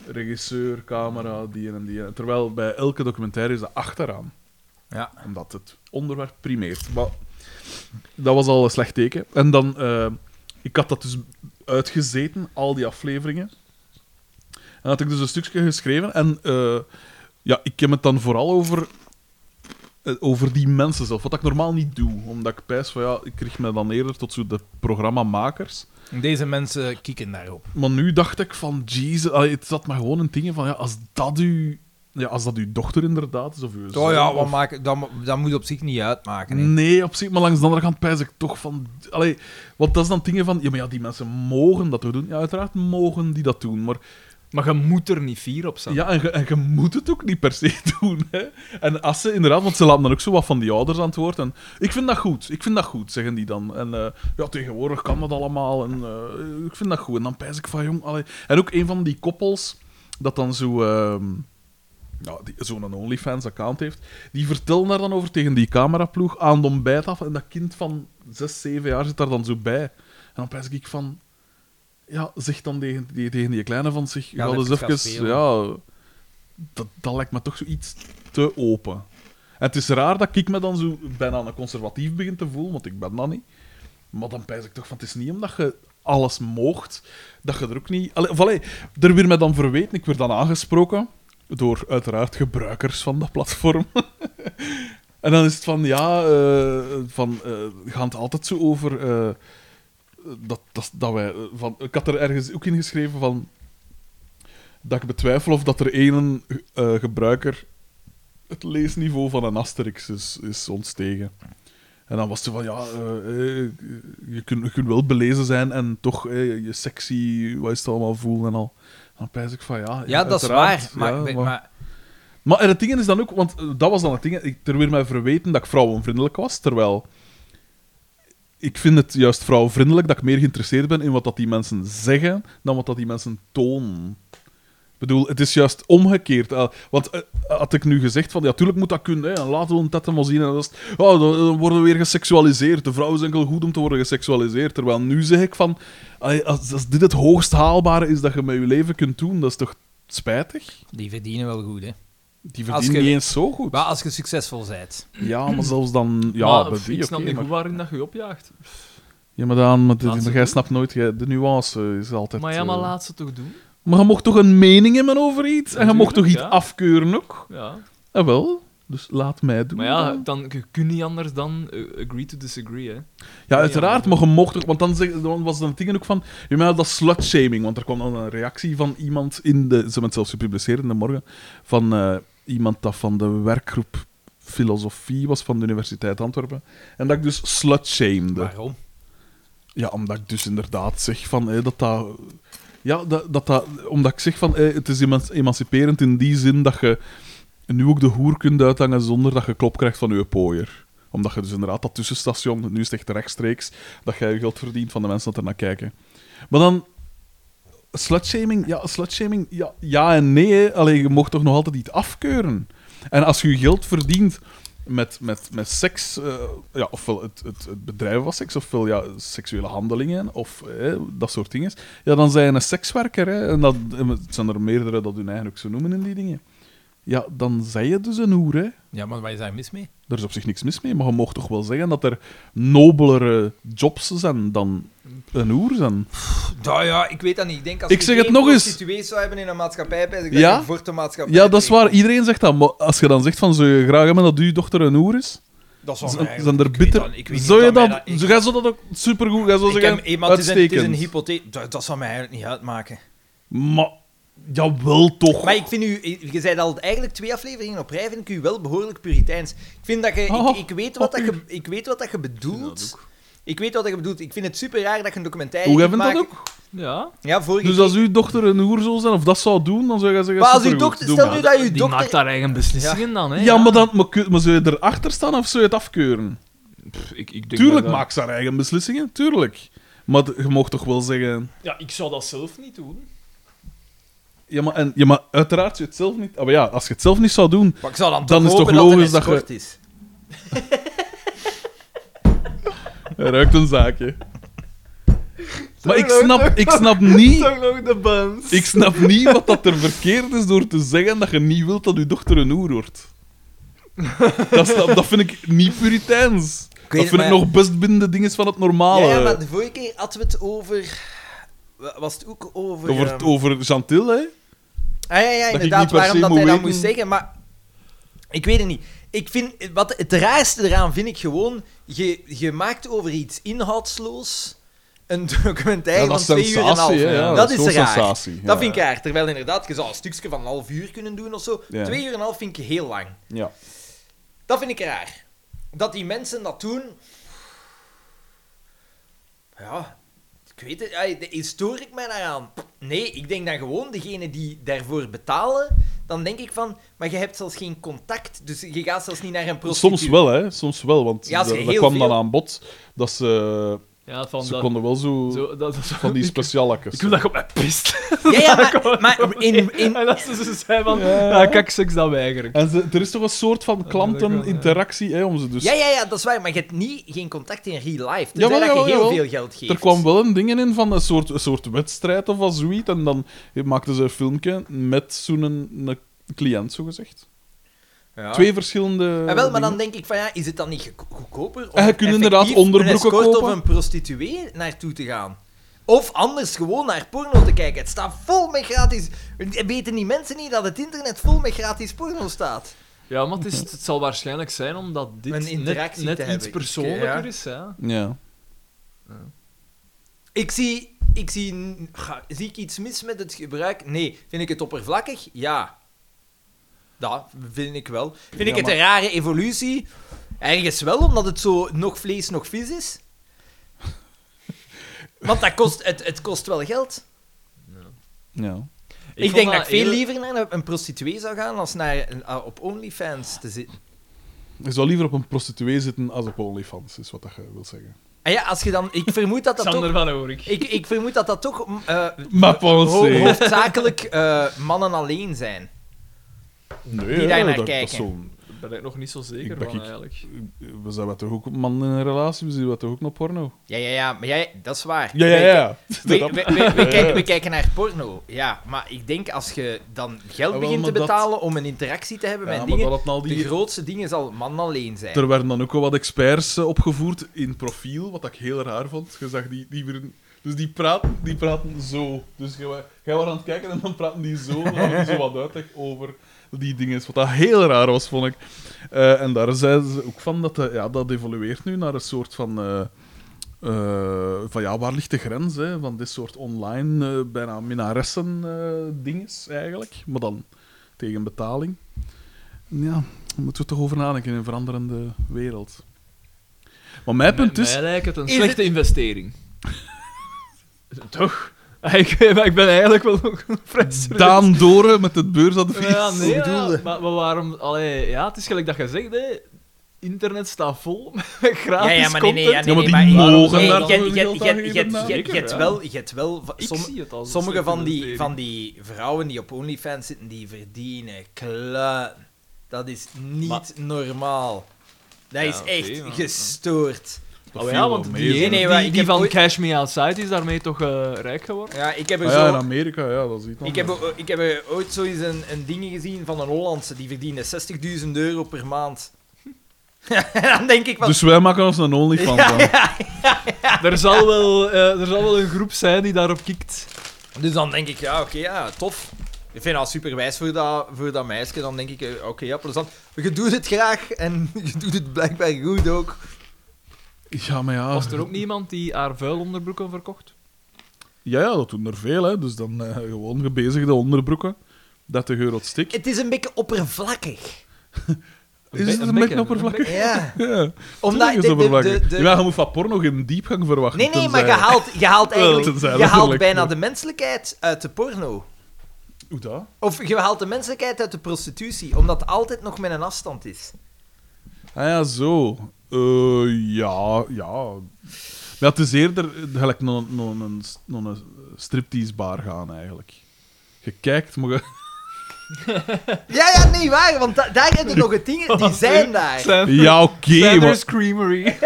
regisseur, camera, die en die. en- Terwijl bij elke documentaire is dat achteraan. Ja. Omdat het onderwerp primeert. Maar dat was al een slecht teken. En dan, eh, ik had dat dus uitgezeten, al die afleveringen. En had ik dus een stukje geschreven. En eh, ja, ik heb het dan vooral over, eh, over die mensen zelf. Wat ik normaal niet doe. Omdat ik pijs van ja, ik richt me dan eerder tot zo de programmamakers. Deze mensen kieken daarop. Maar nu dacht ik van, jezus, allee, het zat maar gewoon een ding van ja, als dat u. Ja, als dat uw dochter inderdaad is, of uw Oh zoon, ja, of- wat maak, dat, mo- dat moet op zich niet uitmaken. Hè. Nee, op zich, maar langs de andere kant pijs ik toch van... Allee, want dat is dan dingen van... Ja, maar ja, die mensen mogen dat toch doen? Ja, uiteraard mogen die dat doen, maar... Maar je moet er niet fier op zijn. Ja, en je, en je moet het ook niet per se doen, hè. En als ze inderdaad... Want ze laten dan ook zo wat van die ouders aan het woord. En ik vind dat goed, ik vind dat goed, zeggen die dan. En eh, ja, tegenwoordig kan dat allemaal. En eh, ik vind dat goed. En dan pijs ik van, jong... Allee. En ook een van die koppels, dat dan zo... ehm, ja, die zo'n OnlyFans-account heeft, die vertellen daar dan over tegen die cameraploeg aan de ontbijt af. En dat kind van 6, 7 jaar zit daar dan zo bij. En dan prijs ik van... Ja, zeg dan tegen die, tegen die kleine van zich... Ja, Ja, dat dus even gaan even... Ja, dat, dat lijkt me toch zoiets te open. En het is raar dat ik me dan zo bijna een conservatief begin te voelen, want ik ben dat niet. Maar dan pijs ik toch van, het is niet omdat je alles moogt, dat je er ook niet... Allee, of allee, er weer mij dan verweten, ik werd dan aangesproken door uiteraard gebruikers van dat platform. en dan is het van, ja, eh van, eh, gaat het altijd zo over... eh, dat, dat, dat wij, eh, van, ik had er ergens ook in geschreven van... Dat ik betwijfel of dat er één eh, gebruiker het leesniveau van een Asterix is, is ontstegen. En dan was ze van, ja, eh, eh, je, kunt, je kunt wel belezen zijn en toch eh, je sexy, wat is het allemaal, voelen en al. Dan pijs ik van, ja... Ja, dat is uiteraard, waar. Maar, ja, maar- maar- maar- maar en het ding is dan ook, want eh, dat was dan het ding, ik, er werd mij verweten dat ik vrouwenvriendelijk was, terwijl ik vind het juist vrouwenvriendelijk dat ik meer geïnteresseerd ben in wat dat die mensen zeggen dan wat dat die mensen tonen. Ik bedoel, het is juist omgekeerd. Eh, want eh, had ik nu gezegd van, ja, tuurlijk moet dat kunnen, hè, en laten we een tetten maar zien. En dat is, het, oh, dan, dan worden we weer geseksualiseerd. De vrouw is enkel goed om te worden geseksualiseerd. Terwijl nu zeg ik van, ah, als, als dit het hoogst haalbare is dat je met je leven kunt doen, dat is toch spijtig? die verdienen wel goed, hè. Die Als verdienen je- niet eens zo goed. Maar als je succesvol bent. Ja, maar zelfs dan... Ja, maar, bij pff, die, ik snap oké, niet maar... goed waarin dat je opjaagt. Ja, maar dan... Maar dit- Laat ze jij doen. snapt nooit... jij- de nuance is altijd... maar ja, maar eh, laat ze toch doen. maar je mocht toch een mening hebben over iets? En je mocht toch iets Natuurlijk, ja. afkeuren ook? Ja. Ah, wel. Dus laat mij doen. Maar ja, dan. dan, je kunt niet anders dan eh, agree to disagree, hè. ja uiteraard. Maar je mocht ook... Want dan, zeg, dan was dan dingen ook van... Je meent dat slutshaming. Want er kwam dan een reactie van iemand in de... Ze hebben het zelfs gepubliceerd in de morgen. Van eh, iemand dat van de werkgroep filosofie was van de Universiteit Antwerpen. En dat ik dus slutshamede. Waarom? Ja, omdat ik dus inderdaad zeg van hé, dat dat. Ja, dat, dat, dat, omdat ik zeg van hé, het is eman- emanciperend in die zin dat je nu ook de hoer kunt uithangen zonder dat je klop krijgt van je pooier. Omdat je dus inderdaad dat tussenstation, nu is het echt rechtstreeks, dat jij je geld verdient van de mensen dat er naar kijken. Maar dan. Slutshaming, ja, slutshaming, ja, ja en nee. hè. Allee, je mocht toch nog altijd iets afkeuren. En als je je geld verdient met, met, met seks, eh, ja, ofwel het, het, het bedrijven van seks, ofwel ja, seksuele handelingen, of eh, dat soort dingen, ja, dan zijn je een sekswerker. Hè, en dat en het zijn er meerdere dat hun eigenlijk zo noemen in die dingen. Ja, dan zijn je dus een hoer, hè. Ja, maar waar is daar mis mee? Daar is op zich niks mis mee, maar je mag toch wel zeggen dat er nobelere jobs zijn dan een hoer zijn. Nou ja, ik weet dat niet. Ik denk als Ik je zeg het geen nog eens. prostituees zou hebben in een maatschappij, ben ik Ja? dat je voor de maatschappij Ja, dat is bent. waar. Iedereen zegt dat. Maar als je dan zegt van, zou je graag hebben dat uw dochter een hoer is? Dat is wel Zijn, eigenlijk- zijn er ik weet bitter... dat- ik weet niet zou je mij dat... ik- zo- Jij zou dat ook supergoed... Jij zou ik zeggen, heb, eh, maar het is een, het is een uitstekend. hypothese. Dat, dat zal mij eigenlijk niet uitmaken. Maar... Jawel, toch. Maar ik vind u, je zei al eigenlijk twee afleveringen op rij, vind ik u wel behoorlijk puriteins. Ik vind dat je, Oh, ik, ik weet wat dat je, ik weet wat dat je vind bedoelt. dat Ik weet wat dat je bedoelt. Ik vind het super raar dat je een documentaire Hoe kunt hebben dat maken. ook? Ja. Ja, vorige Dus keer- als uw dochter een hoer zou zijn, of dat zou doen, dan zou jij zeggen... Maar als uw supergoed, dochter- doe stel maar. nu dat je Die dokter- maakt daar eigen beslissingen dan, hè. Ja, maar, dan, maar, kun- maar zou je erachter staan of zou je het afkeuren? Pff, ik, ik denk Tuurlijk dat- maakt ze haar eigen beslissingen, tuurlijk. Maar d- je mocht toch wel zeggen... Ja, ik zou dat zelf niet doen. Ja, maar, en, ja, maar uiteraard zou je het zelf niet... Ah, Maar ja, als je het zelf niet zou doen... Maar ik zou dan, Dan toch is hopen toch dat logisch dat het je- kort is. ruikt een zaakje. Maar ik ruikt snap, ook- ik snap niet... Zo nog de bands. Ik snap niet wat dat er verkeerd is door te zeggen dat je niet wilt dat je dochter een hoer wordt. Dat, snap- dat vind ik niet puriteins. het, Dat vind ik maar- nog best binnen de dinges van het normale. Ja, ja, maar de vorige keer hadden we het over... wa- Was het ook over... eh, Over, ehm, over Chantil, hè? Ah, ja, ja, ik inderdaad, niet per waarom se dat hij moet dat weten. moest zeggen, maar... Ik weet het niet. Ik vind, wat, het raarste eraan vind ik gewoon... Je, je maakt over iets inhoudsloos een documentaire Ja, dat van is twee uur en een half. sensatie, hè, ja, dat, dat is is zo'n raar. sensatie, ja. Dat vind ik raar. Terwijl inderdaad, je zou een stukje van een half uur kunnen doen of zo. Ja. Twee uur en een half vind ik heel lang. Ja. Dat vind ik raar. Dat die mensen dat doen. Ja, ik weet het. ai, de- Stoor ik mij daaraan? Nee, ik denk dan gewoon degene die daarvoor betalen. Dan denk ik van, maar je hebt zelfs geen contact. Dus je gaat zelfs niet naar een prostituee. Soms wel, hè? Soms wel, want Ja, als je dat, dat heel kwam veel- dan aan bod dat ze Ja, van Ze dat... konden wel zo, Zo, dat, dat- van die ik- specialakjes. Ik wil dat je op mij pist. Ja, ja, maar, maar in, in, En dat ze zo zei van... Ja. Ja, kijk, seks, dat weiger ik. En ze- er is toch een soort van dat wel, ja. klanteninteractie hè, om ze dus... ja, ja, ja, dat is waar, maar je hebt niet, geen contact in real life. Dus Jawel, dat je jawel, heel jawel. veel geld geeft. Er kwam wel een ding in van een soort, een soort wedstrijd of wat zoiets. En dan maakten ze een filmpje met zo'n een cliënt, zogezegd. Ja. Twee verschillende. Ja, Ah. wel, maar dan dingen. denk ik van ja, is het dan niet goedko- goedkoper om En Eh, Ah, je kunt effectief inderdaad onderbroeken een escort kopen. of een prostituee naartoe te gaan? Of anders gewoon naar porno te kijken. Het staat vol met gratis. Weten die mensen niet dat het internet vol met gratis porno staat? Ja, maar het, is, het zal waarschijnlijk zijn omdat dit Een net, interactie net te iets hebben. persoonlijker Ja. is. Ja. Ja. Ik zie, ik zie, n- ga- zie ik iets mis met het gebruik? Nee. Vind ik het oppervlakkig? Ja. Dat vind ik wel. Vind ik Ja, het een rare evolutie? Ergens wel, omdat het zo nog vlees, nog vis is. Want dat kost, het, het kost wel geld. ja. Ik, denk dat ik veel heel- liever naar een prostituee zou gaan als naar een- ah, op OnlyFans te zitten. Je zou liever op een prostituee zitten als op OnlyFans, is wat dat je wil zeggen. En Ah ja, als je dan... Ik vermoed dat dat Xander toch... van Oorik. Ik, ik vermoed dat dat toch mm, eh, Maar ho- pensé. hoofdzakelijk eh, mannen alleen zijn. Nee, die daar naar hè, dat, dat kijken. zal- Daar ben ik nog niet zo zeker Ik denk van, ik- eigenlijk. We zijn wel toch ook man in een relatie, we zien wel toch ook nog porno. Ja, ja, ja. Maar jij, dat is waar. Ja, ja, Wij- ja. wij- Dat- wij- wij- wij kijken, wij kijken naar porno, ja. Maar ik denk als je dan geld Ah, wel, begint te maar dat- betalen om een interactie te hebben Ja, met maar dingen, dat het al die- de grootste dingen zal man alleen zijn. Er werden dan ook wel wat experts eh, opgevoerd in profiel, wat ik heel raar vond. Je zag die, die weer- Dus die praten, die praten zo. Dus jij wa- jij was aan het kijken en dan praten die zo. Dan hadden die zo wat uitleg over die dingen. Wat dat heel raar was, vond ik. Eh, en daar zeiden ze ook van dat eh, ja, dat evolueert nu naar een soort van... eh, eh, van ja, waar ligt de grens hè, van dit soort online, eh, bijna minaressen-dinges eigenlijk? Maar dan tegen betaling. Ja, daar moeten we toch over nadenken in een veranderende wereld. Maar mijn punt Mij- is... Mij lijkt het een Is slechte investering. Toch? Ah, Ik, maar ik ben eigenlijk wel nog een dus- vrij serieus- Daan Doren met het beursadvies. Ja, nee, Ik ja, bedoel, maar, maar waarom... Allee, ja, het is gelijk dat je zegt, hè. Internet staat vol met gratis ja, ja, maar nee, nee, ja, content. nee, Ja, maar nee, die maar ik- mogen nee, daar je- toch je- hun geld je- aan je- geven, je- nou? je- Je hebt Zeker, wel, je hebt wel va- Ik som- zie het als een sommige slechte van die, investering. van die vrouwen die op OnlyFans zitten, die verdienen kluiten. Dat is niet Maar- normaal. Dat Ja, is oké, echt maar- gestoord. dat Oh viel ja, wel want mee, die zeg. Nee, ene nee, maar die, ik die heb van ooit- Cash Me Outside is daarmee toch eh, rijk geworden? Ja, ik heb er Ah zo... ja, in Amerika, ja, dat ziet Ik heb, o- ik heb er ooit zo eens een, een ding gezien van een Hollandse die verdiende 60.000 euro per maand. en dan denk ik van... Dus wij maken ons een OnlyFans Ja, aan. Er, zal wel, eh, er zal wel een groep zijn die daarop kikt. Dus dan denk ik, ja, oké, ja, tof. Ik vind dat superwijs voor dat, voor dat meisje. Dan denk ik, eh, oké, ja, plezant. Je doet het graag en je doet het blijkbaar goed ook. Ja, maar ja. Was er ook niemand die haar vuilonderbroeken verkocht? Ja, ja, dat doen er veel, hè. Dus dan eh, gewoon gebezigde onderbroeken. 30 euro het stik. Het is een beetje oppervlakkig. Is be- het een bekken, beetje oppervlakkig? Ja. Ja, Omdat tuurlijk de, is de, oppervlakkig. de, de- Ja, je moet van porno geen diepgang verwachten. Nee, nee, maar tenzij- je haalt, je haalt eigenlijk tenzij je haalt letterlijk, bijna maar- de menselijkheid uit de porno. Hoe dat? Of je haalt de menselijkheid uit de prostitutie, omdat het altijd nog met een afstand is. Ah ja, zo. Eh, ja, ja. Maar het is eerder eh, gelijk naar naar een, naar een striptease bar gaan, eigenlijk. Je kijkt, maar je... Ja, ja, nee, waar, want da- daar heb je nog het ding, die zijn daar. Ja, oké, maar... Sanders Creamery.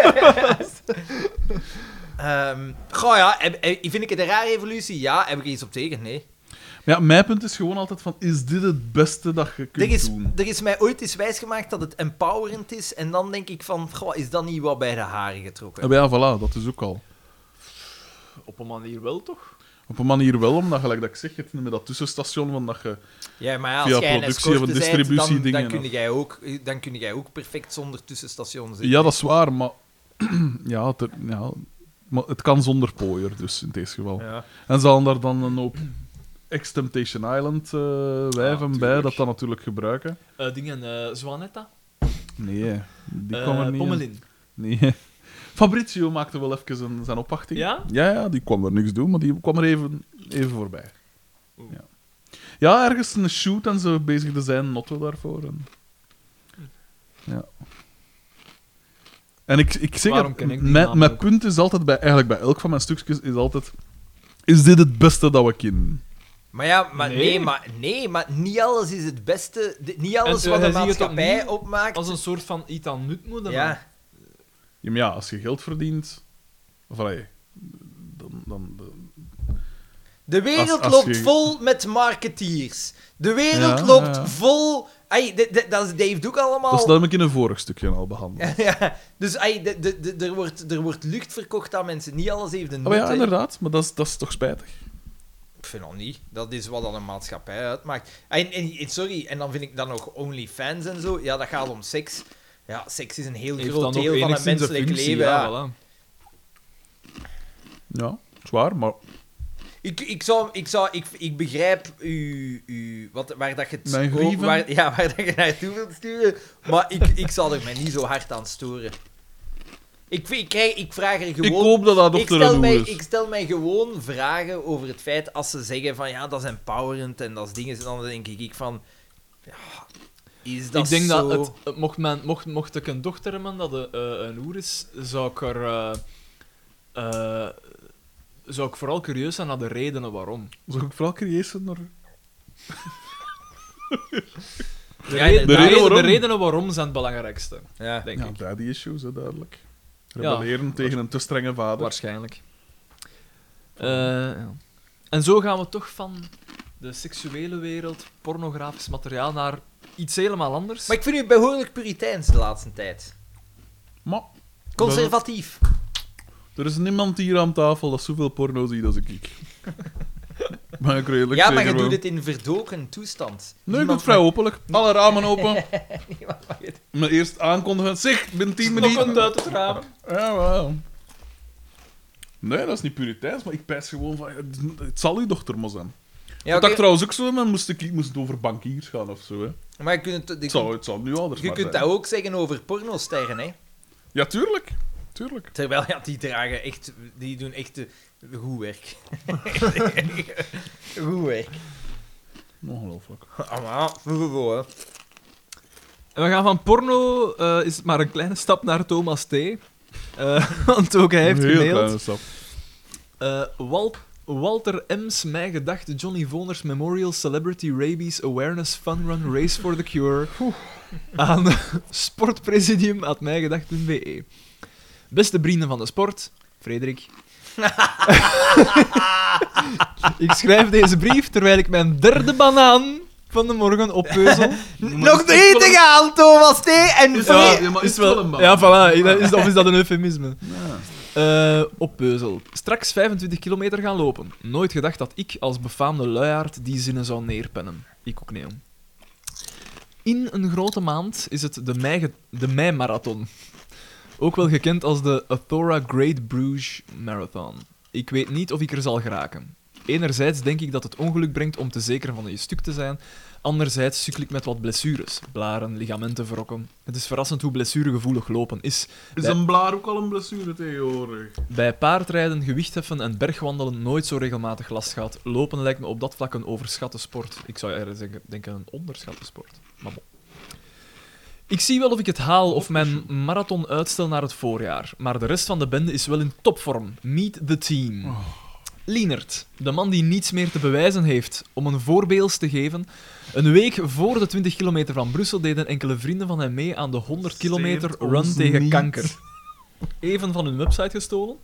Ehm goh, ja, heb- heb- vind ik het een rare evolutie? Ja, heb ik er iets op tegen? Nee. Ja, mijn punt is gewoon altijd van, is dit het beste dat je kunt Er is, doen? er is mij ooit eens wijsgemaakt dat het empowerend is. En dan denk ik van, goh, is dat niet wat bij de haren Ja, getrokken? Ah, maar ja, voilà, dat is ook al. Op een manier wel, toch? Op een manier wel, omdat gelijk dat ik zeg, het met dat tussenstation van dat je... Ja, maar ja, als Via jij een productie of escorte bent, distributie dan, dan, dingen, kun of- jij ook, dan kun jij ook perfect zonder tussenstation zitten. Ja, dat is waar, maar... ja, het, ja, maar het kan zonder pooier, dus, in dit geval. Ja. En ze hadden daar dan een hoop ex-Temptation Island eh, wijven Ah, bij, tuurlijk. dat dan natuurlijk gebruiken. Eh, dingen, eh Zwanetta. Nee, die Eh, kwam er niet in. Pommelin. Nee. Fabrizio maakte wel even zijn, zijn oppachting. Ja? ja? ja, die kwam er niks doen, maar die kwam er even, even voorbij. Ja. ja, ergens een shoot en ze bezigde zijn notto daarvoor. En... Ja. En ik, ik zeg Waarom het, ken ik die mijn, naam mijn ook? punt is altijd, bij, eigenlijk bij elk van mijn stukjes, is altijd... Is dit het beste dat we kennen? Maar ja, maar nee. Nee. maar, nee, maar niet alles is het beste. Di- Niet alles En, eh, wat de hij ziet het maatschappij opnieuw opmaakt. Als een soort van Itan Nutmoeder. ja. Ja, maar ja, als je geld verdient... Of allee, dan, dan, dan- Oh. De wereld Als- als loopt je- vol met marketeers. De wereld Ja, loopt ja. vol. Ai, de- de- dat is Dave ook allemaal. Dat is dat heb ik in een vorig stukje al behandeld. ja, dus ai, de, de, de- er, wordt, er wordt lucht verkocht aan mensen. Niet alles heeft een Oh, maar ja, nut, hè. inderdaad. Maar dat is, dat is toch spijtig. Ik vind dat niet. Dat is wat dan een maatschappij uitmaakt. En, en- en- sorry, en dan vind ik dan nog OnlyFans en zo. Ja, dat gaat om seks. Ja, seks is een heel Heeft groot dan ook deel van het enigszins een menselijk functie, leven. ja. voilà. Ja, zwaar, maar Ik, ik, zou, ik, zou, ik, ik begrijp u, u, wat, waar dat je het Mijn ook- grieven? waar, ja, waar dat je naartoe wilt sturen, maar ik, ik zal er mij niet zo hard aan storen. Ik, vind- ik, krijg, ik vraag er ik gewoon... hoop dat dat ik op de stel, mij, renoe is. ik stel mij gewoon vragen over het feit als ze zeggen van ja, dat is empowerend en dat is dingen. En dan denk ik, ik van... Ja, is dat ik denk zo? dat het, het mocht, men, mocht, mocht ik een dochter hebben dat een, eh, een oer is, zou ik er. eh, eh, zou ik vooral curieus zijn naar de redenen waarom. Zou ik vooral curieus zijn naar... De, Ja, de reden- de, reden reden- de waarom. redenen waarom zijn het belangrijkste, Ja. denk Ja, ik. daddy issues, hè, duidelijk. Ja. Rebelleren tegen een te strenge vader. Waarschijnlijk. Eh, ja. En zo gaan we toch van de seksuele wereld, pornografisch materiaal, naar iets helemaal anders. Maar ik vind u behoorlijk puriteins de laatste tijd. Maar Conservatief. er is niemand hier aan tafel dat zoveel porno ziet als ik. ik. maar ik redelijk Ja, maar zeker je doet wel. het in verdoken toestand. Nee, ik Niemand doe het vrij openlijk. Alle ramen open. mag- niemand mag het Maar eerst aankondigen. Zeg, binnen 10 minuten. uit het raam. Ja, wel. Nee, dat is niet puriteins, maar ik pijs gewoon van... Het, het zal uw dochter maar zijn. Ja, Dat oké, ik trouwens ook zo ben, moest ik, ik moest over bankiers gaan of zo. Hè. Maar je kunt, het- je Het, zal, kunt- het zal nu anders je maar kunt dat zijn. ook zeggen over pornosterren, hè. Ja, tuurlijk. Tuurlijk. Terwijl, ja, die dragen echt... Die doen echt eh, goed werk. goed werk. Ongelooflijk. Allemaal, vroeger, hè. En we gaan van porno, eh, is het maar een kleine stap naar Thomas T. Eh, want ook hij heeft Een heel gemaild. kleine stap. Eh, Wal- Walter M's, Mijn Gedachten, Johnny Voners Memorial Celebrity Rabies Awareness Fun Run Race for the Cure aan sportpresidium.mijgedachten.be E. Beste vrienden van de sport, Frederik. ik schrijf deze brief terwijl ik mijn derde banaan van de morgen oppeuzel. Nog drie te gaan, Thomas T. En Ja, Frederik. ja, maar is wel een banaan? Ja, voilà. dat Is, of is dat een eufemisme? Eh, op Beuzel. Straks 25 kilometer gaan lopen. Nooit gedacht dat ik als befaamde luiaard die zinnen zou neerpennen. Ik ook nee. om. In een grote maand is het de, mei de mei-marathon. Ook wel gekend als de Athora Great Bruges Marathon. Ik weet niet of ik er zal geraken. Enerzijds denk ik dat het ongeluk brengt om te zeker van je stuk te zijn. Anderzijds sukkel ik met wat blessures. Blaren, ligamenten verrokken. Het is verrassend hoe blessuregevoelig lopen is. Is een blaar ook al een blessure tegenwoordig? Bij paardrijden, gewichtheffen en bergwandelen nooit zo regelmatig last gehad. Lopen lijkt me op dat vlak een overschatte sport. Ik zou eerder zeggen- denken een onderschatte sport. Maar bon. Ik zie wel of ik het haal of mijn marathon uitstel naar het voorjaar. Maar de rest van de bende is wel in topvorm. Meet the team. Oh. Lienert, de man die niets meer te bewijzen heeft. Om een voorbeeld te geven, een week voor de 20 kilometer van Brussel deden enkele vrienden van hem mee aan de 100 kilometer Steekt run ons tegen niet. kanker. Even van hun website gestolen.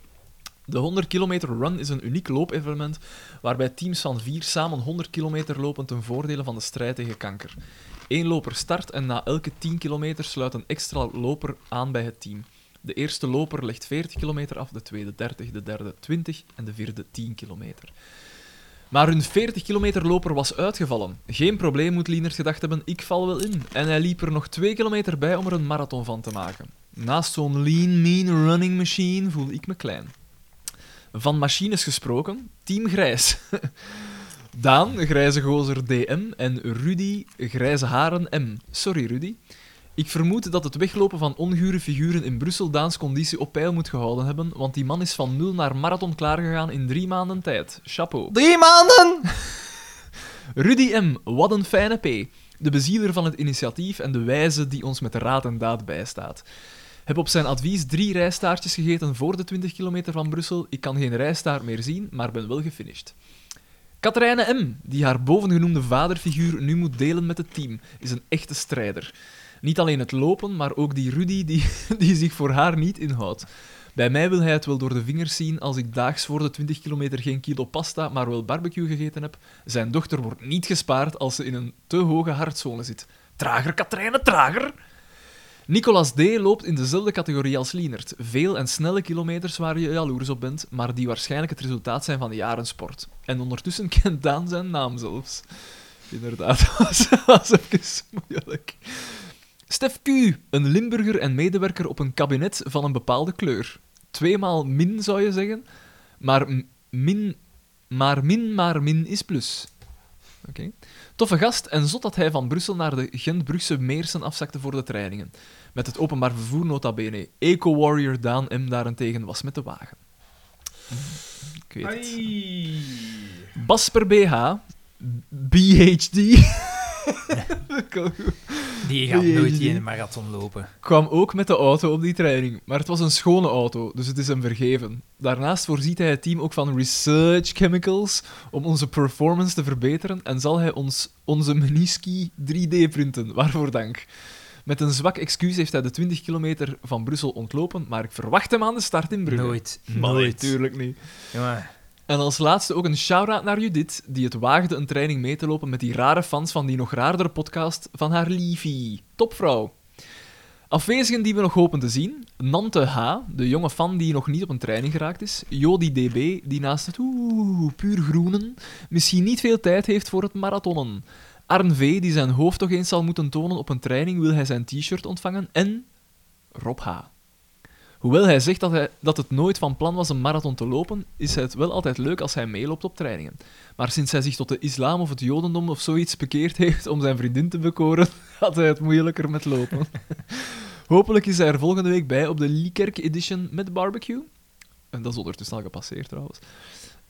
De 100 kilometer run is een uniek loopevenement waarbij teams van vier samen 100 kilometer lopen ten voordele van de strijd tegen kanker. Eén loper start en na elke 10 kilometer sluit een extra loper aan bij het team. De eerste loper legt 40 kilometer af, de tweede 30, de derde 20 en de vierde 10 kilometer. Maar hun 40 kilometer loper was uitgevallen. Geen probleem moet Lienert gedacht hebben, ik val wel in. En hij liep er nog 2 kilometer bij om er een marathon van te maken. Naast zo'n lean, mean running machine voelde ik me klein. Van machines gesproken, Team Grijs. Daan, grijze gozer DM en Rudy, grijze haren M. Sorry Rudy. Ik vermoed dat het weglopen van ongure figuren in Brussel Daans conditie op peil moet gehouden hebben, want die man is van nul naar marathon klaargegaan in drie maanden tijd. Chapeau. Drie maanden. Rudy M., wat een fijne P. De bezieler van het initiatief en de wijze die ons met de raad en daad bijstaat. Heb op zijn advies drie rijstaartjes gegeten voor de 20 kilometer van Brussel. Ik kan geen rijstaart meer zien, maar ben wel gefinished. Katrijne M., die haar bovengenoemde vaderfiguur nu moet delen met het team, is een echte strijder. Niet alleen het lopen, maar ook die Rudy die, die zich voor haar niet inhoudt. Bij mij wil hij het wel door de vingers zien als ik daags voor de 20 kilometer geen kilo pasta, maar wel barbecue gegeten heb. Zijn dochter wordt niet gespaard als ze in een te hoge hartzone zit. Trager, Katrijne, trager! Nicolas D. loopt in dezelfde categorie als Lienert. Veel en snelle kilometers waar je jaloers op bent, maar die waarschijnlijk het resultaat zijn van jaren sport. En ondertussen kent Daan zijn naam zelfs. Inderdaad, dat was, was even moeilijk. Stef Q, een Limburger en medewerker op een kabinet van een bepaalde kleur. Tweemaal min zou je zeggen, maar m- min, maar min, maar min is plus. Oké. Toffe gast en zot dat hij van Brussel naar de Gent-Brugse Meersen afzakte voor de trainingen. Met het openbaar vervoer nota bene. Eco-warrior Daan M daarentegen was met de wagen. Ik weet het. Basper BH, BHD. Dat kan goed. Die gaat Nee, nooit die- die in de marathon lopen. kwam ook met de auto op die training. Maar het was een schone auto, dus het is hem vergeven. Daarnaast voorziet hij het team ook van research chemicals om onze performance te verbeteren en zal hij ons onze meniski 3D printen. Waarvoor dank. Met een zwak excuus heeft hij de 20 kilometer van Brussel ontlopen, maar ik verwacht hem aan de start in Brugge. Nooit. Maar nee, Nooit. tuurlijk niet. Jongen. En als laatste ook een shout-out naar Judith, die het waagde een training mee te lopen met die rare fans van die nog raardere podcast van haar liefie. Topvrouw. Afwezigen die we nog hopen te zien. Nante H, de jonge fan die nog niet op een training geraakt is. Jody DB, die naast het oeh, puur groenen misschien niet veel tijd heeft voor het marathonnen. Arn V, die zijn hoofd toch eens zal moeten tonen op een training, wil hij zijn t-shirt ontvangen. En Rob H. Hoewel hij zegt dat, hij, dat het nooit van plan was een marathon te lopen, is het wel altijd leuk als hij meeloopt op trainingen. Maar sinds hij zich tot de islam of het jodendom of zoiets bekeerd heeft om zijn vriendin te bekoren, had hij het moeilijker met lopen. Hopelijk is hij er volgende week bij op de Liekerk Edition met barbecue. En dat is ondertussen al gepasseerd trouwens.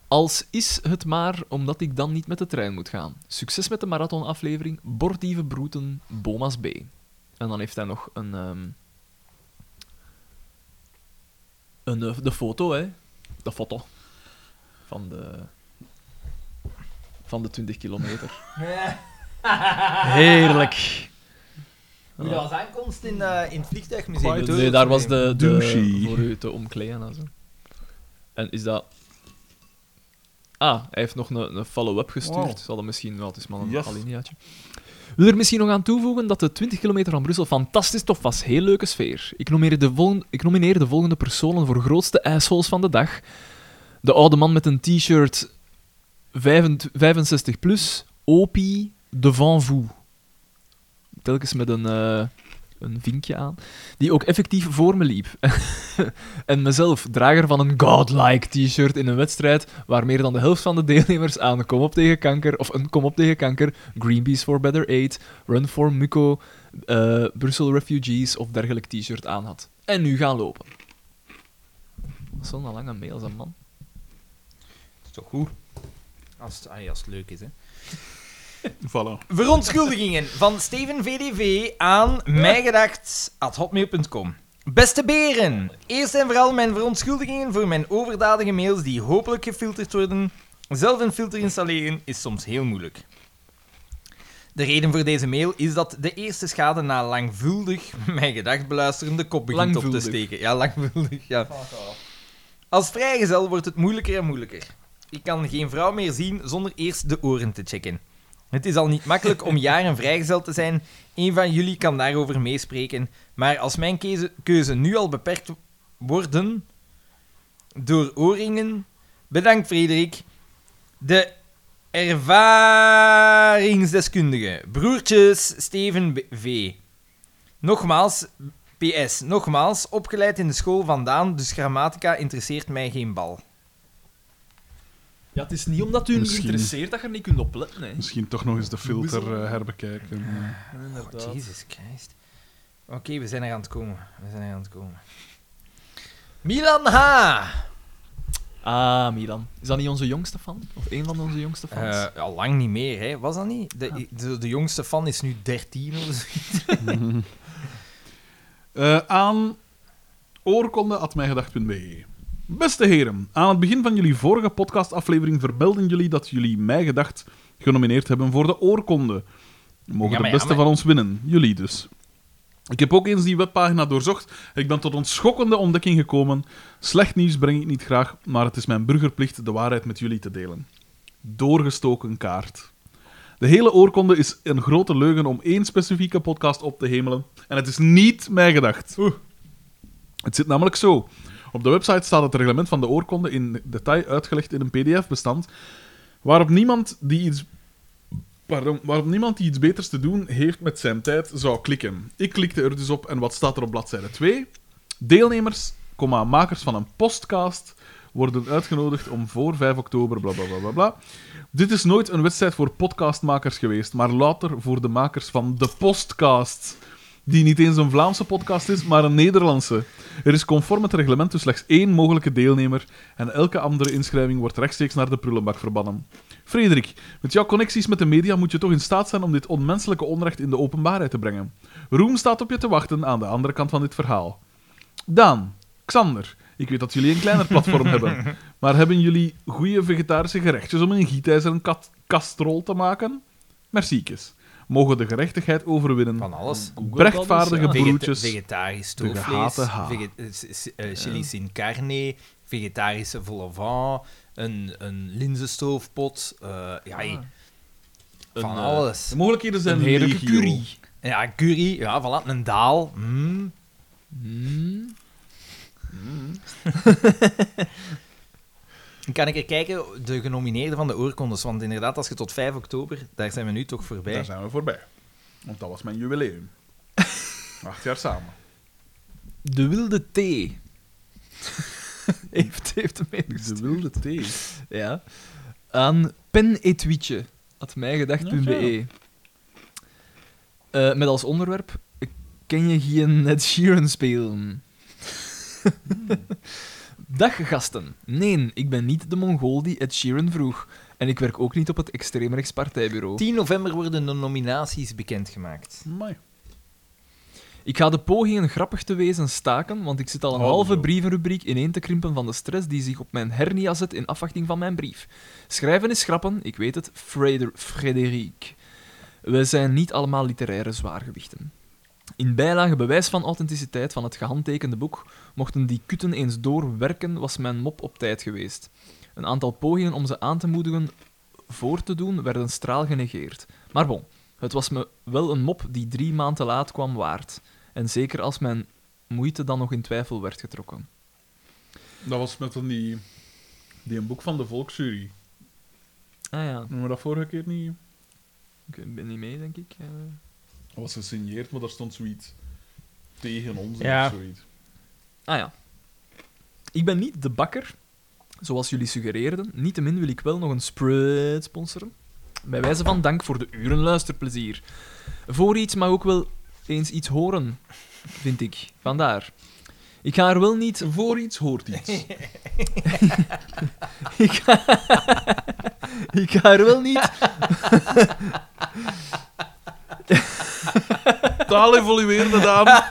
Als is het maar omdat ik dan niet met de trein moet gaan. Succes met de marathonaflevering. Bordieve Broeten, Bomas B. En dan heeft hij nog een... ehm, een, eh, de foto, hè. De foto. Van de... Van de 20 kilometer. Heerlijk. Hoe dat was aankomst in, eh, in het vliegtuigmuseum. Nee, Door- daar was de... de Douchey. voor u te omkleden en zo. En is dat... Ah, hij heeft nog een, een follow-up gestuurd. Wow. Zal dat misschien wel, het is maar een Yes. alineaatje. Wil er misschien nog aan toevoegen dat de 20 kilometer van Brussel fantastisch tof was. Heel leuke sfeer. Ik nomineer de, volgende, ik nomineer de volgende personen voor grootste assholes van de dag. De oude man met een t-shirt 25 65 plus, Opie devant vous. Telkens met een, eh, een vinkje aan. Die ook effectief voor me liep. en mezelf, drager van een godlike t-shirt in een wedstrijd waar meer dan de helft van de deelnemers aan een kom op tegen kanker, of een kom op tegen kanker, Greenpeace for Better Aid, Run for Muco, eh, Brussel Refugees of dergelijk t-shirt aan had. En nu gaan lopen. Dat is Zo'n lange mail, zijn man. Dat is toch goed? Als het, ah ja, als het leuk is, hè. Voilà. Verontschuldigingen van Steven VDV aan mijgedacht.hotmail.com. Beste beren, eerst en vooral mijn verontschuldigingen voor mijn overdadige mails die hopelijk gefilterd worden. Zelf een filter installeren is soms heel moeilijk. De reden voor deze mail is dat de eerste schade na langvuldig mijn gedacht beluisteren de kop begint op te Langvuldig. steken. Ja, langvuldig, ja. Als vrijgezel wordt het moeilijker en moeilijker. Ik kan geen vrouw meer zien zonder eerst de oren te checken. Het is al niet makkelijk om jaren vrijgezel te zijn. Een van jullie kan daarover meespreken. Maar als mijn keuze, keuze nu al beperkt worden door oorringen... Bedankt, Frederik. De ervaringsdeskundige. Broertjes Steven B- V. Nogmaals, PS, nogmaals, opgeleid in de school vandaan, dus grammatica interesseert mij geen bal. Ja, het is niet omdat u niet Misschien. interesseert dat je er niet kunt opletten, hè. Misschien toch nog eens de filter eh, herbekijken. Inderdaad. Oh, Jesus Christ. Oké, we zijn er aan het komen. We zijn er aan het komen. Milan H. Eh, Ah, Milan. Is dat niet onze jongste fan? Of een van onze jongste fans? Ah. Eh, al lang niet meer, hè? Was dat niet? De, de, de jongste fan is nu 13 of zo. Eh, aan oorkonde.mijgedacht.be Beste heren, aan het begin van jullie vorige podcastaflevering vermelden jullie dat jullie Mij Gedacht genomineerd hebben voor de oorkonde. Mogen Jammer, de beste jammer. van ons winnen, jullie dus. Ik heb ook eens die webpagina doorzocht. Ik ben tot een schokkende ontdekking gekomen. Slecht nieuws breng ik niet graag, maar het is mijn burgerplicht de waarheid met jullie te delen. Doorgestoken kaart. De hele oorkonde is een grote leugen om één specifieke podcast op te hemelen. En het is niet mijn gedacht. Het zit namelijk zo. Op de website staat het reglement van de oorkonde in detail uitgelegd in een PDF-bestand. Waarop niemand die iets Pardon, waarop niemand die iets beters te doen heeft met zijn tijd zou klikken. Ik klikte er dus op en wat staat er op bladzijde 2? Deelnemers, comma, makers van een podcast worden uitgenodigd om voor 5 oktober bla bla bla bla bla. Dit is nooit een wedstrijd voor podcastmakers geweest, maar later voor de makers van de podcast. Die niet eens een Vlaamse podcast is, maar een Nederlandse. Er is conform het reglement dus slechts één mogelijke deelnemer en elke andere inschrijving wordt rechtstreeks naar de prullenbak verbannen. Frederik, met jouw connecties met de media moet je toch in staat zijn om dit onmenselijke onrecht in de openbaarheid te brengen. Roem staat op je te wachten aan de andere kant van dit verhaal. Daan, Xander, ik weet dat jullie een kleiner platform hebben, maar hebben jullie goede vegetarische gerechtjes om in een gietijzer een kat kastrol te maken? Merciekes. Mogen de gerechtigheid overwinnen. Van alles. Brechtvaardige Vegeta- broertjes. vegetarisch De gehate stoofvlees, ha. vege- eh, s- s- eh, chili sin carne, vegetarische vol au vent, een, een linzenstoofpot, eh, ja, hey, van Ah. eh, alles. De mogelijkheden zijn Een heerlijke legio. curry. Ja, een curry, ja, voilà, een daal. mm. Mm. Kan ik er kijken, de genomineerden van de oorkondes, want inderdaad, als je tot 5 oktober, daar zijn we nu toch voorbij. Daar zijn we voorbij. Want dat was mijn jubileum. Acht jaar samen. De wilde thee. heeft, heeft hem De meegestuurd. wilde thee. Ja. Aan penetuitje. Had mijgedacht.be. E. Eh met als onderwerp... Ken je geen Ed Sheeran spelen? Dag gasten. Nee, ik ben niet de Mongool die Ed Sheeran vroeg. En ik werk ook niet op het extreemrechts partijbureau. 10 november worden de nominaties bekendgemaakt. Amai. Ik ga de pogingen grappig te wezen staken, want ik zit al een Oh, halve zo. brievenrubriek ineen te krimpen van de stress die zich op mijn hernia zet in afwachting van mijn brief. Schrijven is grappen, ik weet het, Freder Frederik. We zijn niet allemaal literaire zwaargewichten. In bijlage bewijs van authenticiteit van het gehandtekende boek, mochten die kutten eens doorwerken, was mijn mop op tijd geweest. Een aantal pogingen om ze aan te moedigen voor te doen werden straal genegeerd. Maar bon, het was me wel een mop die drie maanden te laat kwam waard. En zeker als mijn moeite dan nog in twijfel werd getrokken. Dat was met een die, die een boek van de Volksjury. Ah ja, Noemen we dat vorige keer niet? ik ben niet mee, denk ik. Eh, Dat was gesigneerd, maar daar stond zoiets tegen ons Ja. of zoiets. Ah ja. Ik ben niet de bakker, zoals jullie suggereerden. Niettemin wil ik wel nog een spread sponsoren. Bij wijze van dank voor de uren luisterplezier. Voor iets, maar ook wel eens iets horen, vind ik. Vandaar. Ik ga er wel niet Voor iets hoort iets. Ik ga, ik ga er wel niet. Taal evolueerde dame.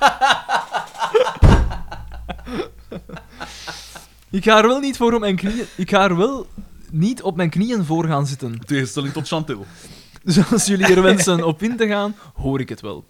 Ik ga er wel niet voor op mijn knieën. Ik ga er wel niet op mijn knieën voor gaan zitten. Tegenstelling tot Chantil. Dus als jullie er wensen op in te gaan, hoor ik het wel.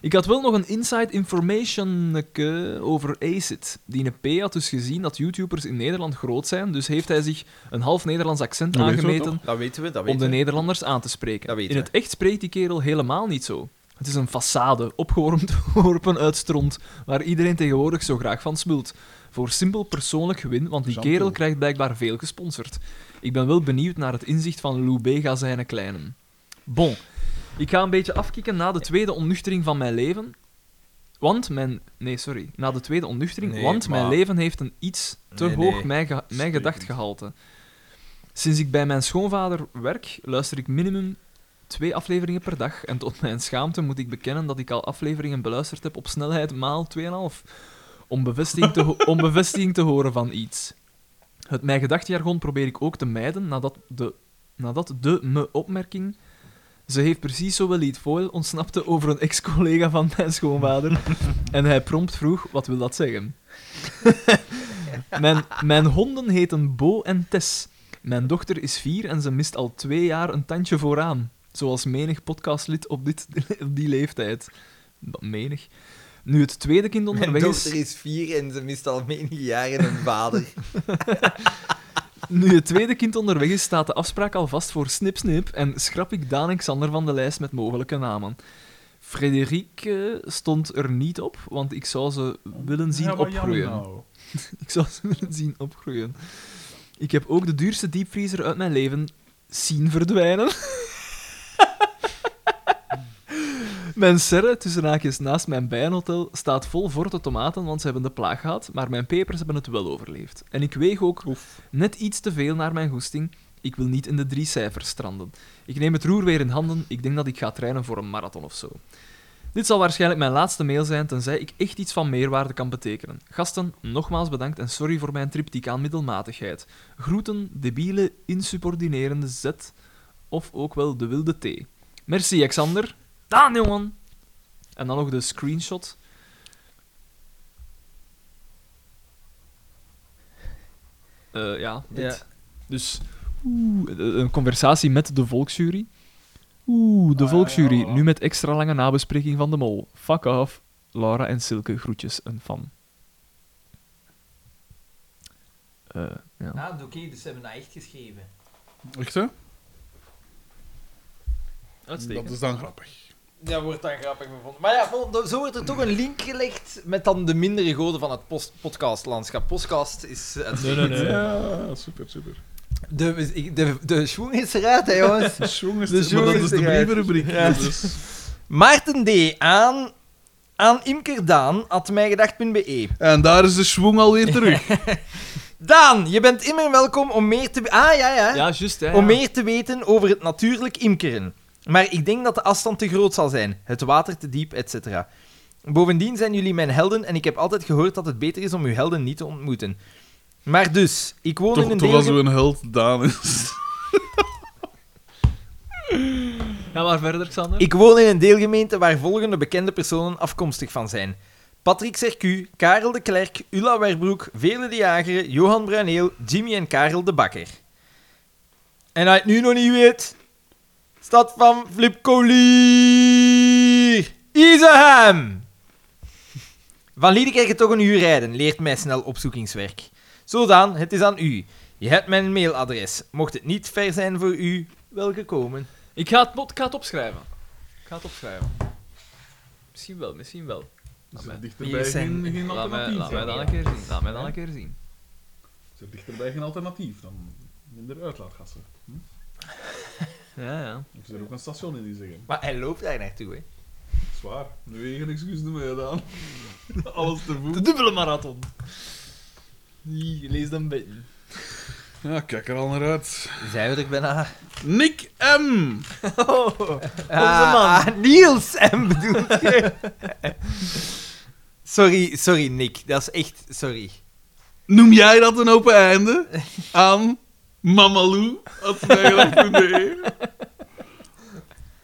Ik had wel nog een inside information eh, over Acid. Die een P had dus gezien dat YouTubers in Nederland groot zijn, dus heeft hij zich een half Nederlands accent Dat weten we aangemeten Dat weten we, dat om de weten we. Nederlanders aan te spreken. Dat weten In we. het echt spreekt die kerel helemaal niet zo. Het is een façade, opgewormd, geworpen uit stront, waar iedereen tegenwoordig zo graag van smult. Voor simpel persoonlijk gewin, want die Jean-Paul. kerel krijgt blijkbaar veel gesponsord. Ik ben wel benieuwd naar het inzicht van Lou Bega zijn kleinen. Bon, ik ga een beetje afkicken na de tweede onnuchtering van mijn leven. Want mijn... Nee, sorry. Na de tweede onnuchtering, Nee, want mijn maar- leven heeft een iets te Nee, hoog nee. mijn, ge- mijn gedachtgehalte. Sinds ik bij mijn schoonvader werk, luister ik minimum twee afleveringen per dag. En tot mijn schaamte moet ik bekennen dat ik al afleveringen beluisterd heb op snelheid maal 2,5. Om bevestiging, te ho- om bevestiging te horen van iets. Het mijn gedachtejargon probeer ik ook te mijden nadat de, nadat de me opmerking Ze heeft precies zo wel iets foil ontsnapte over een ex-collega van mijn schoonvader. en hij prompt vroeg, wat wil dat zeggen? mijn, mijn honden heten Bo en Tess. Mijn dochter is vier en ze mist al twee jaar een tandje vooraan. Zoals menig podcastlid op, dit, op die leeftijd. Dat Menig. Nu het tweede kind Mijn onderweg is... dochter is vier en ze mist al menige jaren een vader. Nu het tweede kind onderweg is, staat de afspraak al vast voor Snip Snip en schrap ik Daan en Xander van de lijst met mogelijke namen. Frederike stond er niet op, want ik zou ze willen zien Ja, maar jammer opgroeien. nou. Ik zou ze willen zien opgroeien. Ik heb ook de duurste diepvriezer uit mijn leven zien verdwijnen. mijn serre, tussen haakjes naast mijn bijenhotel, staat vol vorte tomaten, want ze hebben de plaag gehad, maar mijn pepers hebben het wel overleefd. En ik weeg ook net iets te veel naar mijn goesting. Ik wil niet in de drie cijfers stranden. Ik neem het roer weer in handen. Ik denk dat ik ga trainen voor een marathon of zo. Dit zal waarschijnlijk mijn laatste mail zijn, tenzij ik echt iets van meerwaarde kan betekenen. Gasten, nogmaals bedankt en sorry voor mijn triptiek aan middelmatigheid. Groeten, debiele, insubordinerende Z, of ook wel de wilde T. Merci, Alexander. Daan, jongen! En dan nog de screenshot. Eh, ja, dit. Dus oeh, een conversatie met de volksjury. Oeh, de Ah, volksjury. ja. Nu met extra lange nabespreking van de mol. Fuck off. Laura en Silke, groetjes, een fan. Eh, ja. Ah, oké, dus ze hebben dat echt geschreven. Echt zo? Uitstekend. Dat is dan grappig. Dat wordt dan grappig gevonden. Maar ja, vol- zo wordt er toch een link gelegd met dan de mindere goden van het post- podcastlandschap. Podcast is... eh, het- Nee, nee, nee. Ja, super, super. De, ik- de, de schoen is eruit, hè, jongens. De schoen is De maar dat schoen is is de eruit. brievenrubriek. Ja. Dus. Maarten D. aan... Aan Imkerdaan, at mijgedacht.be. En daar is de schoen alweer terug. Daan, je bent immer welkom om meer te... Ah, ja, ja. Ja, juist, hè. Om ja. meer te weten over het natuurlijk imkeren. Maar ik denk dat de afstand te groot zal zijn, het water te diep, etc. Bovendien zijn jullie mijn helden en ik heb altijd gehoord dat het beter is om uw helden niet te ontmoeten. Maar dus, ik woon in toch een toch als deel... we een held Daan is. Ga maar verder, Xander. Ik woon in een deelgemeente waar volgende bekende personen afkomstig van zijn. Patrick Sercu, Karel de Klerk, Ulla Werbroek, Vele de Jager, Johan Bruineel, Jimmy en Karel de Bakker. En als je het nu nog niet weet... Stad van Flip Colier! Isenham! Van Liedekerke toch een uur rijden, leert mij snel opzoekingswerk. Zodaan, het is aan u. Je hebt mijn mailadres. Mocht het niet ver zijn voor u, welke komen. Ik ga het, mod- ik ga het opschrijven. Ik ga het opschrijven. Misschien wel, misschien wel. Is mij- er Hier dichterbij zijn- geen, geen Laat mij, alternatief? laat mij hè? dat een keer zien. Laat mij dat een keer zien. Is er dichterbij geen alternatief? Dan minder uitlaatgassen. Ja, ja. Of is er ook een station in die zeggen? Maar hij loopt daar naartoe, hè. Zwaar. Nu weer geen excuus ermee gedaan. Alles te voet. De dubbele marathon. Die, lees dan beetje. Ja, kijk er al naar uit. Zijn we er bijna? Nick M. Oh. Ah, ah, Niels M bedoelt je? Sorry, sorry Nick. Dat is echt, sorry. Noem jij dat een open einde? Aan mamalou.nederland.de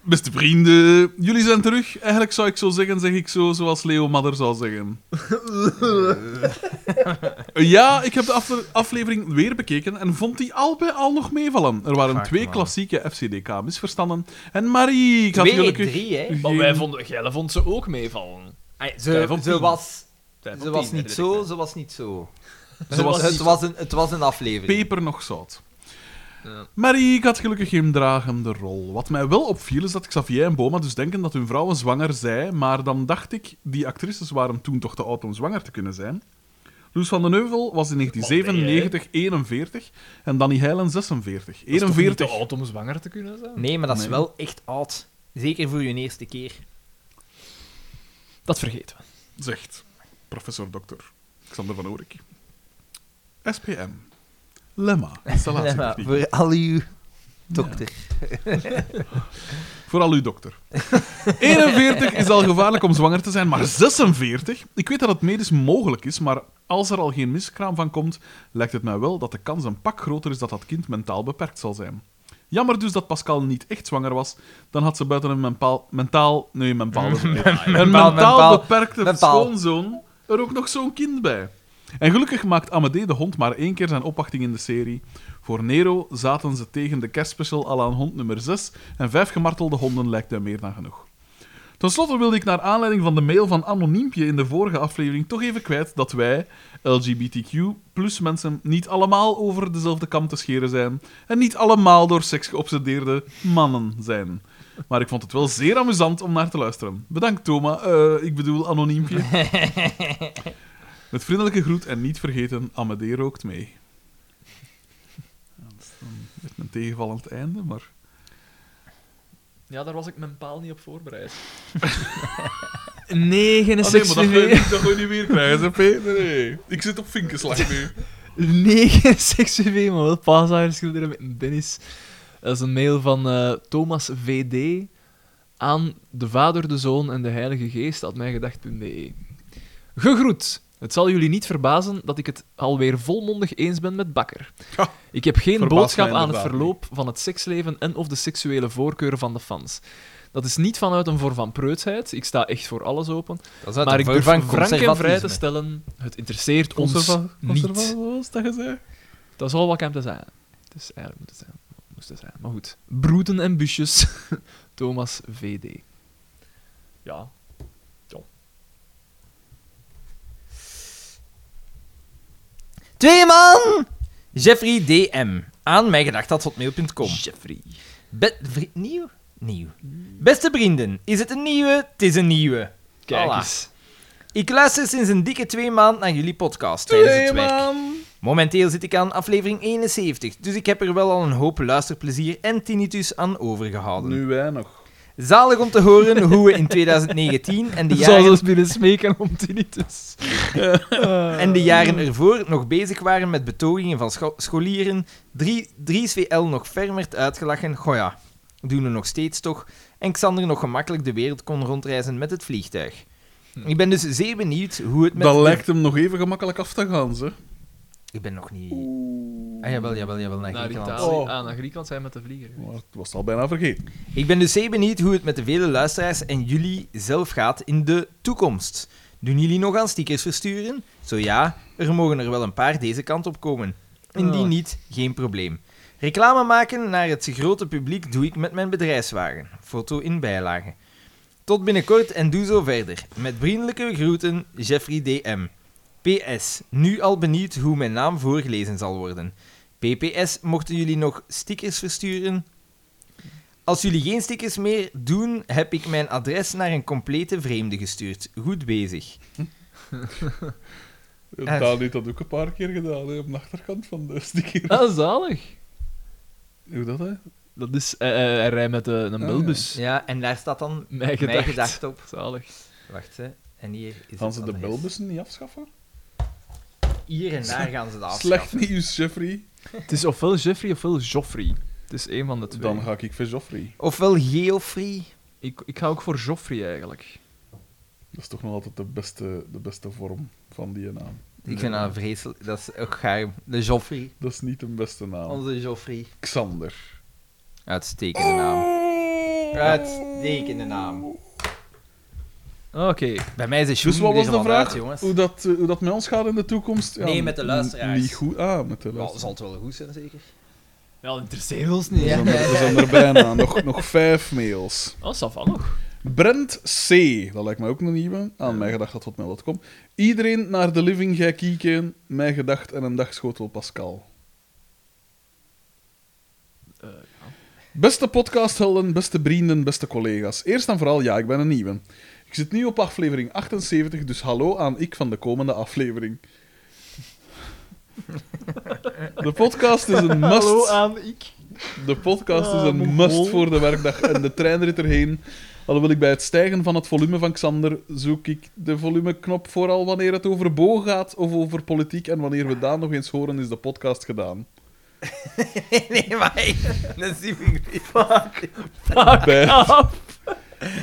Beste vrienden, jullie zijn terug. Eigenlijk zou ik zo zeggen, zeg ik zo, zoals Leo Madder zou zeggen. Eh, ja, ik heb de afle- aflevering weer bekeken en vond die al bij al nog meevallen. Er waren Vaak twee wel. klassieke FCDK-misverstanden. En Marie, ik had Twee, gelukkig... drie, hè. Maar wij vonden, jij vond ze ook meevallen. Ah, Vijf Ze, op ze tien. was, Vijf op ze was tien, niet weet zo, ik. ze was niet zo. Ze Het was was- het, niet- was een, het was een aflevering. Peper nog zout. Ja. Marie, ik had gelukkig geen dragende rol. Wat mij wel opviel is dat Xavier en Boma dus denken dat hun vrouwen zwanger zijn, maar dan dacht ik, die actrices waren toen toch te oud om zwanger te kunnen zijn. Loes van den Heuvel was in 1997 41 en Danny Heilen 46. Dat is toch niet 41. te oud om zwanger te kunnen zijn? Nee, maar dat is Nee. wel echt oud. Zeker voor je eerste keer. Dat vergeten we. zegt professor dokter Xander van Oorik. SPM. Lemma. Ah, Ja, Installatietechniek. voor al uw dokter. Vooral uw dokter. 41 is al gevaarlijk om zwanger te zijn, maar 46? Ik weet dat het medisch mogelijk is, maar als er al geen miskraam van komt, lijkt het mij wel dat de kans een pak groter is dat dat kind mentaal beperkt zal zijn. Jammer dus dat Pascal niet echt zwanger was. Dan had ze buiten een menpaal- mentaal... Nee, menpaal. dat is niet. een menpaal, mentaal menpaal, beperkte menpaal. schoonzoon er ook nog zo'n kind bij. En gelukkig maakt Amadee de hond maar één keer zijn opwachting in de serie. Voor Nero zaten ze tegen de kerstspecial al aan hond nummer 6 en vijf gemartelde honden lijkt mij meer dan genoeg. Ten slotte wilde ik naar aanleiding van de mail van Anoniempje in de vorige aflevering toch even kwijt dat wij, LGBTQ plus mensen, niet allemaal over dezelfde kam te scheren zijn en niet allemaal door seks geobsedeerde mannen zijn. Maar ik vond het wel zeer amusant om naar te luisteren. Bedankt, Thoma. Eh, ik bedoel, Anoniempje. Met vriendelijke groet en niet vergeten, Amadee rookt mee. Ja, dat is dan met een tegenval aan het einde, maar... Ja, daar was ik mijn paal niet op voorbereid. Oh, nee, geen Ah, nee, maar dat seksliefde. ga, je, niet- dat ga je niet weer krijgen, hè, P. Nee, nee. Ik zit op vinkenslag nu. Nee, geen sekscv, maar wel paasaaierschilderen met Dennis. Dat is een mail van eh, Thomas VD aan de Vader, de Zoon en de Heilige Geest, at mijgedacht.be. Gegroet! Het zal jullie niet verbazen dat ik het alweer volmondig eens ben met Bakker. Ja, ik heb geen verbaast boodschap mij aan het inderdaad verloop van het seksleven en of de seksuele voorkeuren van de fans. Dat is niet vanuit een vorm van preutsheid, ik sta echt voor alles open, Dat is uit maar de ik durf vorm frank van en vrij te conservatisme. stellen, het interesseert ons Conserva- niet. conserva- Wat was dat je zei? Dat is al wat ik hem te zeggen. Het is eigenlijk moet het zijn. Het moest het zijn. Maar goed. Broeden en busjes. Thomas VD. Ja. Twee man! Jeffrey DM. Aan mijgedacht.hotmail.com. Jeffrey. Be- vri- nieuw? Nieuw. Beste vrienden, is het een nieuwe? Het is een nieuwe. Kijk Voilà. eens. Ik luister sinds een dikke twee maanden naar jullie podcast tijdens Twee het werk. man! Momenteel zit ik aan aflevering 71, dus ik heb er wel al een hoop luisterplezier en tinnitus aan overgehouden. Nu wij nog. Zalig om te horen hoe we in 2019 en de Zou jaren, ze binnen smeken om tinnitus. en de jaren ervoor nog bezig waren met betogingen van scho- scholieren, 3 VL nog ver werd uitgelachen, goh ja, doen we nog steeds toch, en Xander nog gemakkelijk de wereld kon rondreizen met het vliegtuig. Ik ben dus zeer benieuwd hoe het met... Dat de- lijkt hem nog even gemakkelijk af te gaan, ze. Ik ben nog niet... Ah, jawel, jawel, jawel, naar Naar Griekenland. Italië. Oh. Ah, naar Griekenland zijn we met de vlieger. Maar het was al bijna vergeten. Ik ben dus zeer benieuwd hoe het met de vele luisteraars en jullie zelf gaat in de toekomst. Doen jullie nog aan stickers versturen? Zo ja, er mogen er wel een paar deze kant op komen. Indien Oh. niet, geen probleem. Reclame maken naar het grote publiek doe ik met mijn bedrijfswagen. Foto in bijlage. Tot binnenkort en doe zo verder. Met vriendelijke groeten, Jeffrey DM. PS, nu al benieuwd hoe mijn naam voorgelezen zal worden. PPS, mochten jullie nog stickers versturen? Als jullie geen stickers meer doen, heb ik mijn adres naar een complete vreemde gestuurd. Goed bezig. Eh. Daan heeft dat ook een paar keer gedaan, hè, op de achterkant van de sticker. Ah, zalig. Hoe dat, hè? Dat is... eh, eh, hij rijdt met eh, een ja. bilbus. Ja, en daar staat dan Mij gedacht. mijn gedacht op. Zalig. Wacht, hè. En hier is het Gaan ze de adres. belbussen niet afschaffen? Hier en daar gaan ze dat Slecht afschaffen. nieuws, Jeffrey. Het is ofwel Jeffrey ofwel Joffrey. Het is één van de twee. Dan ga ik voor Joffrey. Ofwel Geoffrey. ik, ik ga ook voor Joffrey eigenlijk. Dat is toch nog altijd de beste, de beste vorm van die naam. Ik vind dat vreselijk. Dat is ook gaar. De Joffrey. Dat is niet de beste naam. Onze Joffrey. Xander. Uitstekende naam. Uitstekende naam. Ah, Oké. Bij mij is het Dus wat was de vraag? jongens. hoe, dat, eh, hoe dat met ons gaat in de toekomst? Ja, Nee, met de n- luisteraars. Niet goed. Ah, met de Wel, luisteraars. zal het wel goed zijn, zeker? Ja, dat interesseert ons niet. Ja. hè. We, zijn er, we zijn er bijna. nog, nog vijf mails. Oh, Savan nog. Brent C. Dat lijkt mij ook een nieuwe. Aan mijn gedacht dat hotmail.com. Iedereen naar de living gij kieken. Mijn gedacht en een dagschotel Pascal. Beste podcasthelden, beste vrienden, beste collega's. Eerst en vooral, ja, ik ben een nieuwe. Ik zit nu op aflevering 78, dus hallo aan ik van de komende aflevering. De podcast is een must. aan ik. De podcast Ah, is een Mongool. must voor de werkdag en de treinrit erheen. Al wil ik bij het stijgen van het volume van Xander, zoek ik de volumeknop vooral wanneer het over Bo gaat of over politiek. En wanneer we Daan nog eens horen, is de podcast gedaan. nee, maar hey, dat zie ik niet. Bij het,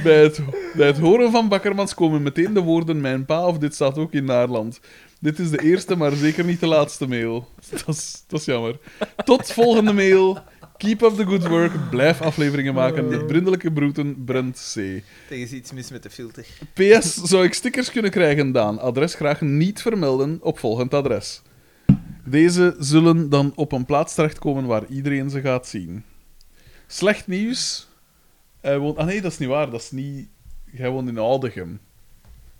bij, het, bij het horen van Bakkermans komen meteen de woorden mijn pa of dit staat ook in Naarland. Dit is de eerste, maar zeker niet de laatste mail. Dat is, dat is jammer. Tot volgende mail. Keep up the good work. Blijf afleveringen maken. De brindelijke broeten, Brent C. Er is iets mis met de filter. PS, zou ik stickers kunnen krijgen, Daan? Adres graag niet vermelden op volgend adres. Deze zullen dan op een plaats terechtkomen waar iedereen ze gaat zien. Slecht nieuws. Hij woont... Ah nee, dat is niet waar. Dat is niet... Hij woont in Oudegem.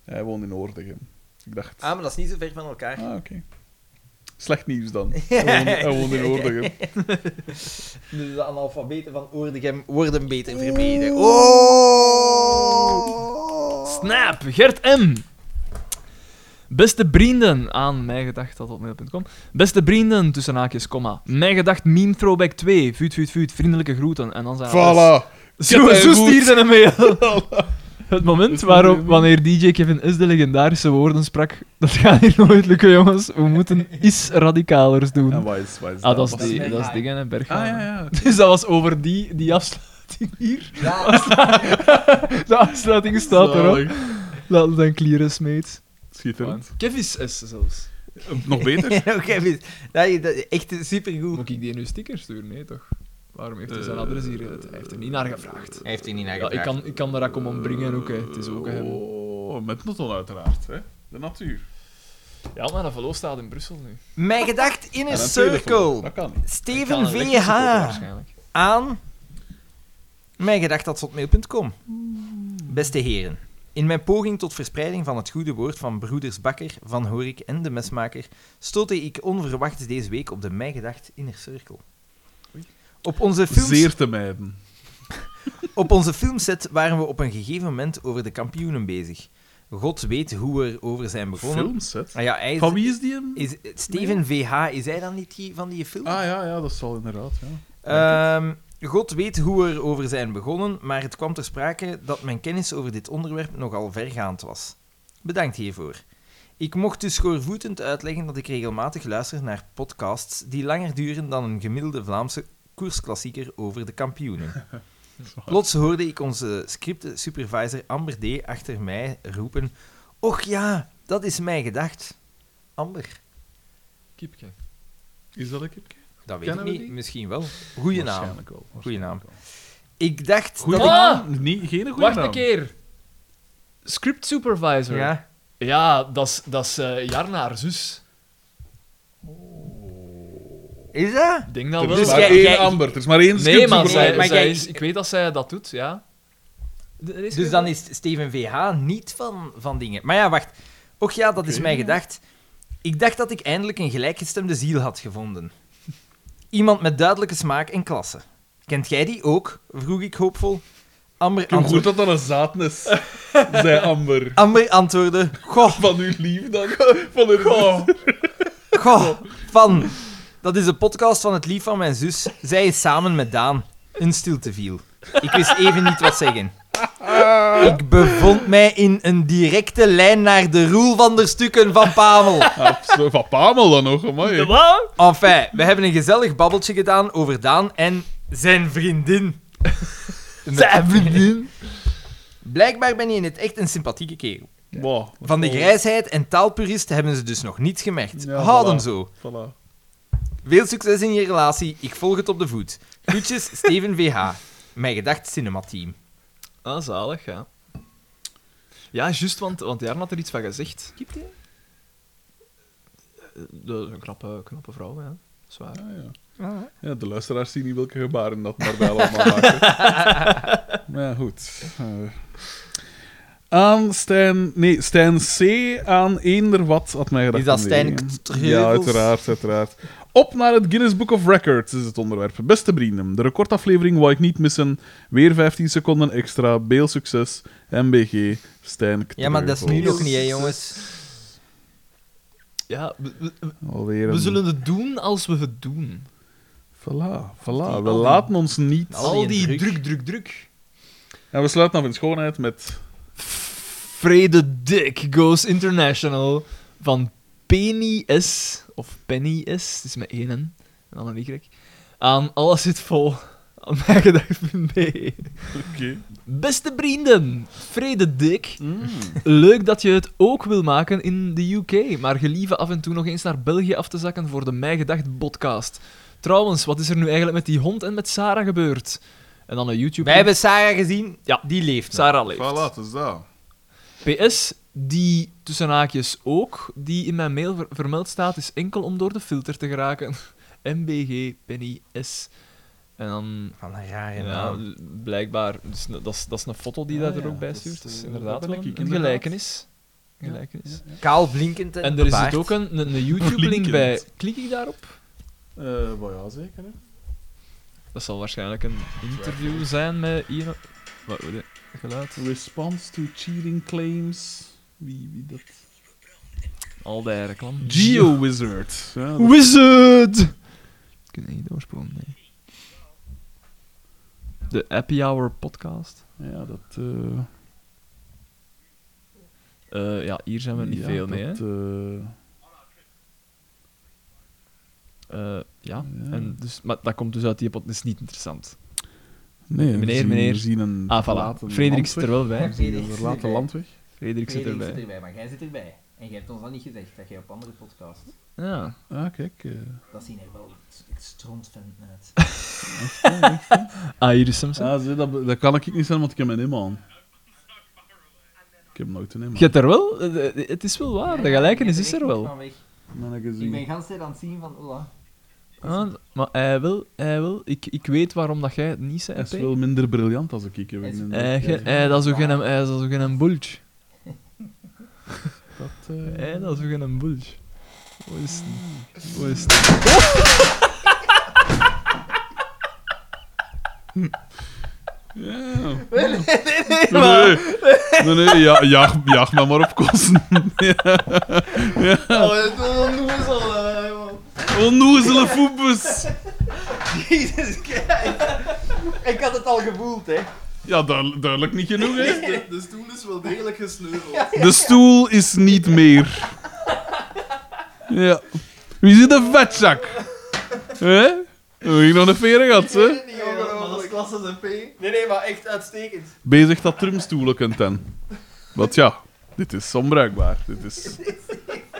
Hij woont in Oordegem. Ik dacht... Ah, maar dat is niet zo ver van elkaar. Ah, oké. Slecht nieuws dan. Hij woont, hij woont in Oordegem. Dus de analfabeten van Oordegem worden beter vermeden. Oh! Snap, Gert M. Beste vrienden aan mijgedacht.mail.com. Beste vrienden, tussen haakjes, komma. Mijgedacht meme throwback 2. Vuut, vuut, vuut. Vriendelijke groeten. En dan zijn alles. Voilà. Zo, Kijk, zo goed. stierde een mail. Het moment waarop, wanneer DJ Kevin Is de legendarische woorden sprak, dat gaat hier nooit lukken, jongens. We moeten iets radicalers doen. En waar is, waar is Ah, dat is, Was- die, mijn dat is haai. dingen en Berghain. Ah, ja, ja. Dus dat was over die, die afsluiting hier. Ja, De afsluiting staat erop. Zalig. Dat is dan Clear Smeet. Schitterend. Kevis S zelfs. Nog beter. oké, mis. dat is- dat is echt supergoed. Moet ik die nu stickers sturen? Nee, toch? Waarom heeft hij zijn Eh, adres hier? gezet? Hij heeft er niet naar gevraagd. Hij heeft er niet naar Ja, gevraagd. ik, kan, ik kan daar ook om ombrengen ook, hè. Het is ook hem. Oh, met Notton uiteraard, hè. De natuur. Ja, maar dat verloof staat in Brussel nu. Mijn gedacht in een En een telefoon. circle. Dat kan niet. Steven VH. aan mijngedacht.hotmail.com. Beste heren, in mijn poging tot verspreiding van het goede woord van broeders Bakker, Van Horik en de Mesmaker, stootte ik onverwachts deze week op de Mijgedacht Inner Circle. Op onze, films, Zeer te mijden. op onze filmset waren we op een gegeven moment over de kampioenen bezig. God weet hoe we erover zijn begonnen. Filmset? Ah ja, hij is, Van wie is die hem? is- Steven VH, is hij dan niet die van die film? Ah ja, ja, dat zal inderdaad, ja. Ehm, God weet hoe we erover zijn begonnen, maar het kwam ter sprake dat mijn kennis over dit onderwerp nogal vergaand was. Bedankt hiervoor. Ik mocht dus schoorvoetend uitleggen dat ik regelmatig luister naar podcasts die langer duren dan een gemiddelde Vlaamse koersklassieker over de kampioenen. Plots hoorde ik onze scriptensupervisor Amber D. achter mij roepen: Och ja, dat is mij gedacht. Amber, Kiepje. Is dat een kipje? dat weet Kennen ik we niet, die? misschien wel. Goeie naam. Waarschijnlijk wel. Goeie naam. waarschijnlijk Ik dacht wel. dat naam. ik. naam. Ah, niet, geen goede Wacht naam. een keer. Script supervisor. Ja. Ja, dat is- dat is eh, Jarna, haar zus. Is dat? Ik denk dat Er wel. is Dus maar jij- één jij- Amber, er is maar één Nee, maar, scriptsupervisor. zij, maar zij jij- is, ik weet dat zij dat doet, ja. Er is Dus geen- dan is Steven VH niet van, van dingen. Maar ja, wacht. Och ja, dat is Oké. mij gedacht. Ik dacht dat ik eindelijk een gelijkgestemde ziel had gevonden. Iemand met duidelijke smaak en klasse. Kent jij die ook? vroeg ik hoopvol. Amber, Ik vind goed antwoord- dat dat een zaad is, zei Amber. Amber antwoordde: Goh, Van uw lief dan. Van uw goh, van. Dat is de podcast van het lief van mijn zus. Zij is samen met Daan. Een stilte viel. Ik wist even niet wat zeggen. Ik bevond mij in een directe lijn naar de roel van de stukken van Pamel. Ah, zo, Van Pamel dan nog, De amai. wat? Enfin, we hebben een gezellig babbeltje gedaan over Daan en zijn vriendin. Zijn vriendin. Blijkbaar ben je in het echt een sympathieke kerel. Wow, dat Van de is wel- grijsheid en taalpurist hebben ze dus nog niets gemerkt. Oh. Ja, Houden voilà. zo. Voilà. Veel succes in je relatie, ik volg het op de voet. Groetjes, Steven VH. Mijn gedacht cinemateam. Ah, zalig, ja. Ja, juist, want, want Jarna had er iets van gezegd. Kiepje? Dat is een knappe, knappe vrouw, ja. Zwaar. Ah, ja. Ja, de luisteraars zien niet welke gebaren dat daarbij allemaal maken. maar ja, goed. Eh. aan Stijn... Nee, Stijn C. aan eender wat had mij gedacht. Is dat aan Stijn die, hè. Treuvels? Ja, uiteraard, uiteraard. Op naar het Guinness Book of Records is het onderwerp. Beste vrienden, de recordaflevering wou ik niet missen. Weer 15 seconden extra. Beelsucces. MBG. Stijn Ja, maar dat is nu Treuvels. nog niet, hè, jongens. Ja, we, we- Alweer we een- zullen het doen als we het doen. Voilà, voilà. We al die- laten ons niet... Al Al, die die druk. druk, druk, druk. En we sluiten af in schoonheid met... Frede Dick Goes International van Penny S. Of Penny S. Het is met één N. en dan een Y. Aan alles zit vol. Aan mijn gedachten mee. Oké. Beste vrienden, vrede dik. Leuk dat je het ook wil maken in de UK, maar gelieve af en toe nog eens naar België af te zakken voor de Mij Gedacht podcast. Trouwens, wat is er nu eigenlijk met die hond en met Sarah gebeurd? En dan een YouTube... Wij hebben Sarah gezien. Ja. Die leeft. nog. Sarah leeft. Voilà, het is dat. PS, die tussen haakjes ook, die in mijn mail ver- vermeld staat, is enkel om door de filter te geraken. MBG, Penny, S. En dan... Van een rare Ja, naam. l- blijkbaar. Dus n- dat, is, dat is een foto die Ah, dat ja, er ook bij dat is, stuurt. Dat is eh, inderdaad dat ben wel ik, een, een inderdaad. gelijkenis. Een gelijkenis. Kaal blinkend. En er is bebaard. het ook een, een, een YouTube-link Blinkend. bij. Klik ik daarop? Eh, maar ja, zeker. Hè. Dat zal waarschijnlijk een interview zijn met Ian. Wat wat- geluid? Response to cheating claims. Wie, wie dat? Al die reclame. GeoWizard. Ja, dat- Wizard! Ik kan niet doorspelen, nee. De Happy Hour podcast. ja, dat eh, Eh, ja, hier zijn we niet ja, veel mee, hè. dat, eh, Eh, ja. Ja. En dus, maar dat komt dus uit die podcast. Dat is niet interessant. nee, we Meneer, zien- meneer. We zien een Ah, voilà. verlaten Frederik zit er wel bij. landweg. We zien een verlaten landweg. Frederik zit Frederik erbij. maar jij zit erbij. En jij hebt ons dat niet gezegd, dat jij op andere podcast. Ja. Ah, kijk. eh, Dat zien er wel strondvent uit. Ah, hier is Samson. Ah, zie, dat, dat kan ik niet zijn, want ik heb mijn hem aan. Ik heb nooit een hem Je aan. hebt er wel... eh, eh, Het is wel waar, de gelijkenis is er wel. Maar dat Ik ben gezien. gans tijd aan het zien oh, van, ola. Ah, maar hij wil, hij wil. Ik, ik weet waarom dat jij het niet zei. Hij is P. wel minder briljant als ik. ik heb Hij is- een- Hij eh, ge- hij, dat is ook geen, hij is ook geen bulge. dat, eh, Hij, dat is ook geen bulge. Hoe is het? Hoe is het? Ja. Nee, nee, nee, ja, jaag, jaag mij maar op kosten. Oh, dat is wel een noezel, hè, man. Onnozele voetbus. Jezus Christus. Ik had het al gevoeld, hè. Ja, duidelijk, duidelijk niet genoeg, hè? De, de stoel Dus is wel degelijk gesneuveld. De stoel is niet meer. Ja. Wie zit een vetzak? Hè? We gingen nog een veren gehad, hè? Niet maar dat is klasse zijn P. Nee, nee, maar echt uitstekend. Bezig dat trimstoelen kunt ten. Want ja, dit is onbruikbaar. Dit is...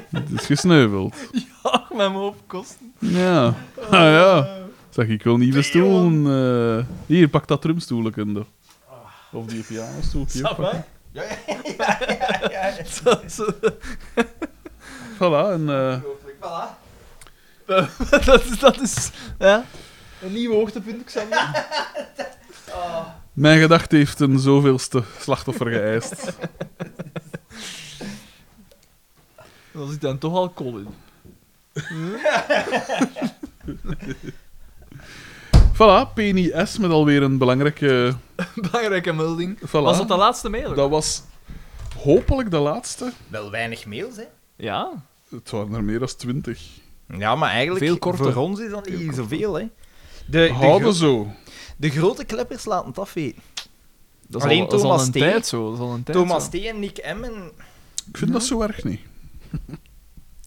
Dit is gesneuveld. Ach, mijn hoofd kosten. Ja. Ah ja. Zeg, ik wil nieuwe stoelen. eh. Hier, pak dat trumstoelekende. Of die pianostoeltje. pak. Voilà, en... eh, dat is... Dat is ja. Een nieuw hoogtepunt, Xander. mijn gedachte heeft een zoveelste slachtoffer geëist. Dan zit dan toch alcohol in. Voilà, Penny S met alweer een belangrijke... Belangrijke melding. Voilà. Was dat de laatste mail? ook? Dat was hopelijk de laatste. Wel weinig mails, hè. Ja. Het waren er meer dan twintig. Ja, maar eigenlijk... Veel korter. Voor ons is dat niet zoveel, hè. De, de, Houden gro- zo. de grote kleppers laten het afweten. Dat Alleen dat Thomas een T. tijd zo. Dat is al een tijd Thomas zo. T. en Nick M. En Ik vind dat zo erg niet.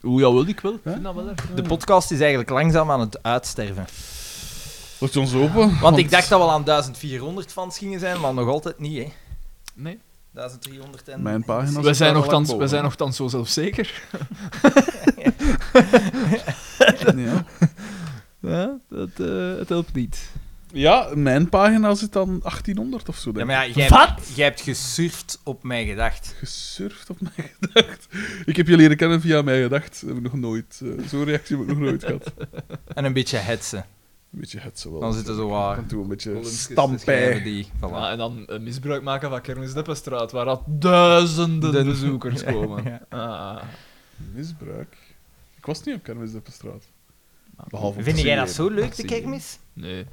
Oeh, ja, wil ik wel. Ik Hè? vind dat wel erg. eh, de podcast is eigenlijk langzaam aan het uitsterven. Wordt ons open? Want, ik dacht dat we al aan 1400 fans gingen zijn, maar nog altijd niet, hè. Nee. 1300 en... Mijn pagina's... Wij zijn, daar al lang nogthans, wij zijn nogthans zo zelfzeker. boven. Ja. Ja, dat, eh, het helpt niet. Ja, mijn pagina zit dan 1800 of zo, Ja, denk ik. maar ja, jij, hebt, jij hebt gesurfd op mij gedacht. Gesurfd op mijn gedacht. Ik heb je leren kennen via mijn gedacht. Dat heb ik nog nooit... eh, Zo'n reactie heb ik nog nooit gehad. En een beetje hetsen. Een beetje hetsen wel. Dan zitten zo Af waar... en toe een beetje columns stampij. geschreven die... Voilà. Ja, en dan eh, misbruik maken van Kermis Deppenstraat, waar dat duizenden Den- bezoekers komen. Ja. Ah. Misbruik. Ik was niet op kermis op de straat. Behalve op Vind de jij dat CM. zo leuk, de Zie je. kermis? Nee.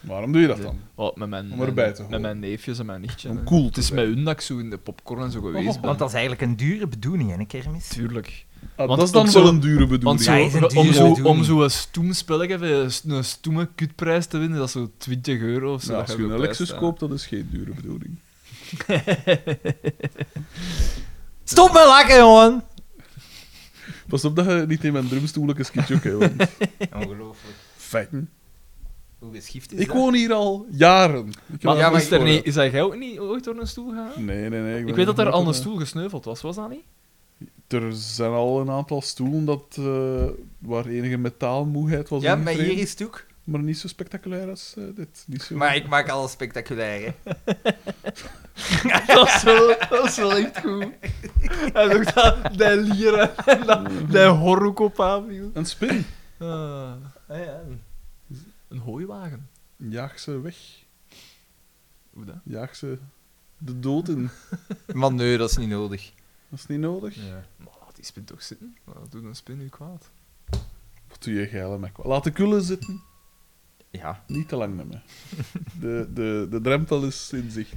Waarom doe je dat dan? Wat, Oh, met mijn, Om erbij te met horen. mijn neefjes en mijn nichtje. Om hè. cool Het te is zijn. met hun dat ik zo in de popcorn en zo geweest ben. Want dat is eigenlijk een dure bedoeling, hè, een kermis? Tuurlijk. Ah, Want dat is dan ook zo- wel een dure Want bedoeling. zo, Ja, is een om, dure zo, bedoeling. om zo'n stoem spelletje, eh, een stoeme kutprijs te winnen, dat is zo 20 euro of zo. Ja, dat Nou, als je je een zo bij Lexus staat. koopt, dat is geen dure bedoeling. Stop met lachen, jongen! Pas op dat je niet in mijn drumstoel schiet, ook, hè, want Ongelooflijk. fijn. Hoe geschift is Ik dat? woon hier al jaren. Ik Maar, heb ja, maar is er nooit niet, is hij ook niet ooit door een stoel gegaan? gehoord. Nee, nee, nee. Ik weet dat er al stoel. een stoel gesneuveld was, was dat niet? Er zijn al een aantal stoelen dat, eh, waar enige metaalmoeheid was. Ja, maar ingetreden, hier is het ook. maar niet zo spectaculair als eh, dit. Niet zo... Maar ik maak alles spectaculair, hè. Dat is wel, dat is wel echt goed. En ook dat, dat lieren en dat, dat horrok op aanviel. Een spin. Ah. ja. Een hooiwagen. Jaag ze weg. Hoe dat? Jaag ze de dood in. Maar nee, dat is niet nodig. Dat is niet nodig. Maar laat die spin toch zitten. Wat doet een spin nu kwaad? Wat doe je geil, Mac? Laat de kullen zitten. Ja. Niet te lang met me. De, de, de drempel is in zicht.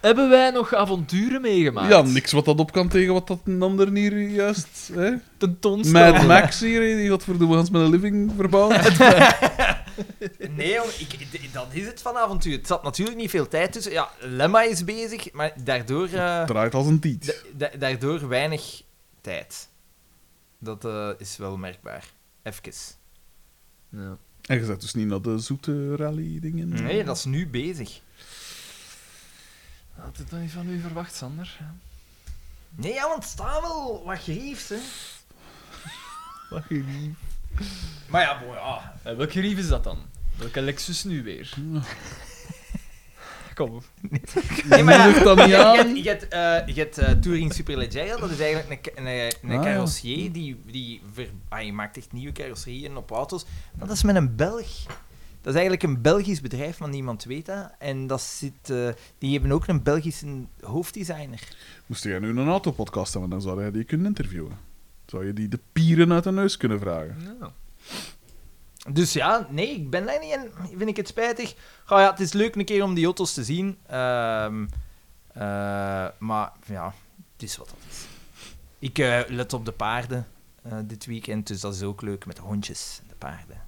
Hebben wij nog avonturen meegemaakt? Ja, niks wat dat op kan tegen wat dat een ander hier juist... Hè? Tentoonstelling. Mad Max hier, hè, die had voor de met een living verbouwd. Nee, jong, ik, d- dat is het van avontuur. Het zat natuurlijk niet veel tijd tussen. Ja, Lemma is bezig, maar daardoor... eh, Draait als een tiet. da- da- daardoor weinig tijd. Dat eh, is wel merkbaar. Even. Ja. En je zet dus niet naar de zoete rally-dingen. Nee, dat is nu bezig. Had het dan niet van u verwacht, Sander? Ja. Nee, ja, want sta wel wat griefs, hè. Mag je niet. Maar ja, boy, ah. Eh, welke rief is dat dan? Welke Lexus nu weer? Kom. Nee, maar ja, Moedig dat niet je hebt- aan. Je hebt, eh, je hebt eh, Touring Superleggera, dat is eigenlijk een, ca- een, een Ah, ja. carrossier die, die ver- ah, je maakt echt nieuwe carrosserieën op auto's. Maar dat is met een Belg. Dat is eigenlijk een Belgisch bedrijf, maar niemand weet dat. En dat zit, eh, die hebben ook een Belgische hoofddesigner. Moest jij nu een autopodcast hebben, dan zou jij die kunnen interviewen. Zou je die de pieren uit de neus kunnen vragen? Ja. Dus ja, nee, ik ben daar niet en vind ik het spijtig. Goh, ja, het is leuk een keer om die auto's te zien. Ehm, eh, maar ja, het is wat dat is. Ik eh, let op de paarden eh, dit weekend, dus dat is ook leuk met de hondjes, de paarden.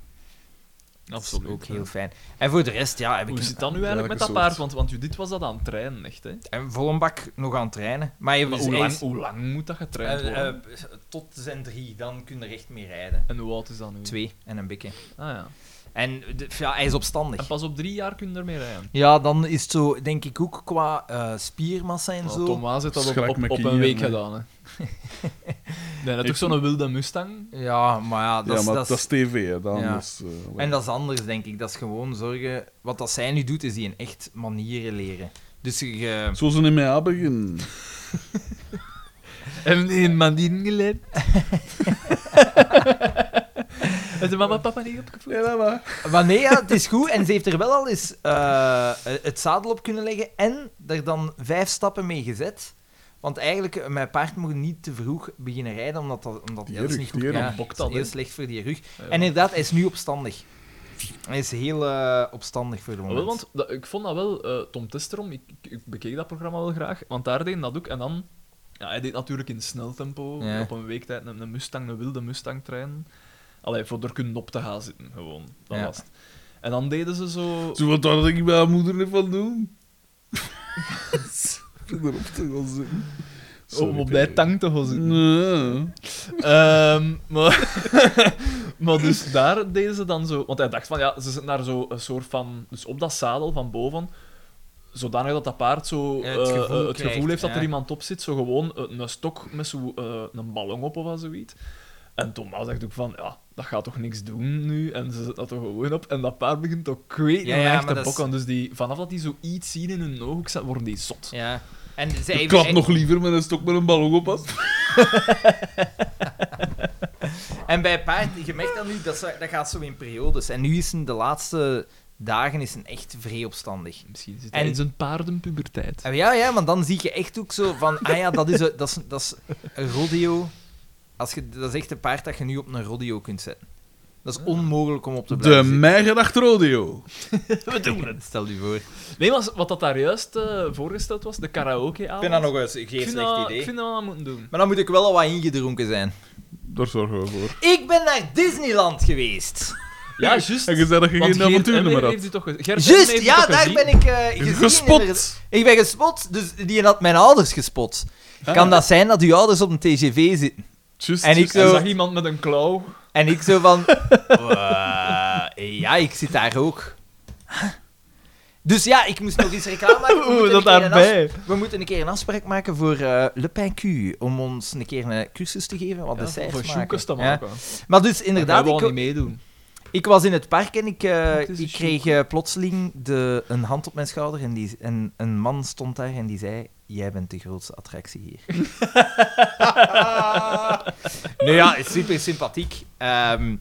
Dat is Absoluut, Ook ja. heel fijn. En voor de rest, ja, heb ik Hoe een- zit dat nu eigenlijk met Welke dat paard? soort? Want, want Judith was dat aan het trainen, echt. Hè? en vol een bak nog aan het trainen. Maar je Maar is- hoe, hij lang, is- hoe lang moet dat getraind eh, worden? eh, tot zijn drie, dan kun je er echt mee rijden. en hoe oud is dat nu? Twee en een bikke. Ah ja. En de- ja, hij is opstandig. En pas op drie jaar kun je ermee rijden. Ja, dan is het zo, denk ik ook qua eh, spiermassa en zo. Thomas heeft dat op, Schrik op, me op knieën, een week hè. gedaan. Hè. nee, dat Ik- is ook zo'n wilde Mustang. Ja, maar ja, dat ja, is- maar dat is- dat is tv, hè. Dan Ja. is, eh, wel- En dat is anders, denk ik. Dat is gewoon zorgen... Wat dat zij nu doet, is die een echt manieren leren. Dus je... Zo ze in mij beginnen. En in Mandin geleerd. Heeft de mama en papa niet opgevoed? Ja, dat maar. Maar nee, ja, het is goed. En ze heeft er wel al eens eh, het zadel op kunnen leggen en er dan vijf stappen mee gezet. Want eigenlijk, eh, mijn paard moet niet te vroeg beginnen rijden, omdat dat, omdat Die ja, dat is rug, niet goed. die rug. ja, Dan bokt dat dat, is heel hè. slecht voor die rug. Ja. En inderdaad, hij is nu opstandig. Hij is heel eh, opstandig voor de Ah, moment. Wel, want dat- ik vond dat wel, eh, Tom Testerom, ik, ik, ik bekeek dat programma wel graag, want daar deed dat ook. En dan, ja, hij deed natuurlijk in snel tempo, Ja. op een week tijd een, een Mustang, een wilde Mustang trein. Allee, voor er kunnen op te gaan zitten, gewoon. Dat Ja. was het. En dan deden ze zo... Zo wat had ik bij haar moeder niet van doen. Erop te gaan zitten. om Sorry, op die P. tang te gaan zitten. Nee. Ehm, maar, maar dus daar deden ze dan zo... Want hij dacht van, ja, ze zitten daar zo een soort van... Dus op dat zadel van boven, zodanig dat dat paard zo Ja, eh, eh, het het gevoel, gevoel krijgt, heeft dat ja. er iemand op zit. Zo gewoon eh, een stok met zo, eh, een ballon op of wat zoiets. En Thomas zegt ook van, ja, dat gaat toch niks doen nu? En ze zet dat toch gewoon op. En dat paard begint ook kweet Ja, en ja, echt maar te dat is- bokken. Dus die, vanaf dat die zoiets zien in hun ooghoek, zet, worden die zot. Ja. En zij Ik heeft- klap nog liever met een stok met een ballon op als... En bij paard, je merkt dat nu, dat, zo- dat gaat zo in periodes. En nu is een, de laatste dagen is een echt vrij opstandig. Misschien zit En- hij in zijn paardenpuberteit. En Ah, ja, ja, want dan zie je echt ook zo van, ah ja, dat is, een- dat is, dat is een rodeo. Als je, dat is echt een paard dat je nu op een rodeo kunt zetten. Dat Ah. is onmogelijk om op te De blijven mijgedacht rodeo. We doen het. Stel je voor. Ik Nee, maar wat dat daar juist eh, voorgesteld was, de karaokeavond. vind dat nog eens geen Ik vind slecht dat- idee. Ik vind dat we dat moeten doen. Maar dan moet ik wel al wat ingedronken zijn. Daar zorgen we voor. Ik ben naar Disneyland geweest. Ja, juist. En je zei dat je Want geen Geert avontuur Emmer meer had. heeft die toch ge- Geert Emmer Juist, heeft ja, die toch daar gezien? ben ik eh, gezien. inderdaad. Gespot. Ik ben gespot, dus die had mijn ouders gespot. Ah. Kan dat zijn dat uw ouders op een TGV zitten? Just, En ik just- zo, zag iemand met een klauw. en ik zo van... "Wah, ja, ik zit daar ook. Dus ja, ik moest nog eens reclame maken. We moeten Oeh, een dat keer een afspraak- daarbij. We moeten een keer een afspraak maken voor eh, Le Pain Q. Om ons een keer een cursus te geven. Wat Ja, desserts voor maken. sjoekes te Ja. maken. Maar dus inderdaad, Hij ik, wou niet meedoen. ik was in het park en ik, eh, Het is een ik kreeg eh, plotseling de, een hand op mijn schouder. En, die, en een man stond daar en die zei: Jij bent de grootste attractie hier. nou ja, het is super sympathiek. Ehm,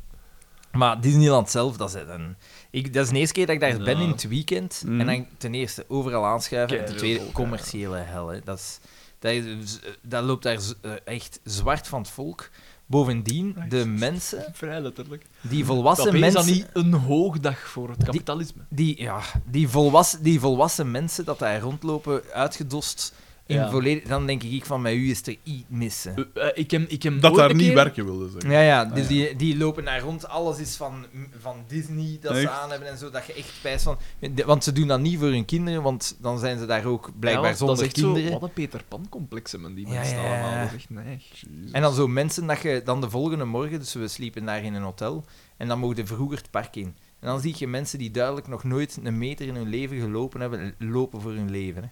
maar Disneyland zelf, dat is een. Ik, dat is de eerste keer dat ik daar ben in het weekend. Mhm. En dan ten eerste overal aanschuiven. En ten Keiveel tweede volk, commerciële hel. Hè. Dat, is, dat, is- dat loopt daar z- eh, echt zwart van het volk. Bovendien, de mensen Vrij letterlijk. die volwassen Dat is mensen. dan niet een hoogdag voor het kapitalisme. Die, ja, die, volwassen, die volwassen mensen dat daar rondlopen, uitgedost. In Ja. volledig, dan denk ik van met u is er iets missen. Eh, eh, ik heb, ik heb dat ooit daar een niet keer- werken wilde zeggen. Ja, ja, dus Die, die lopen daar rond. Alles is van, van Disney dat ze Echt? aan hebben en zo. Dat je echt spijt van. Want ze doen dat niet voor hun kinderen, want dan zijn ze daar ook blijkbaar Ja, want zonder dat is echt kinderen. Zo, wat een Peter Pan complex hebben die Ja, mensen ja, ja, allemaal. ja. Dat is echt neig. En dan zo mensen dat je dan de volgende morgen, dus we sliepen daar in een hotel, en dan mochten vroeger het park in. En dan zie je mensen die duidelijk nog nooit een meter in hun leven gelopen hebben, lopen voor hun leven. Hè.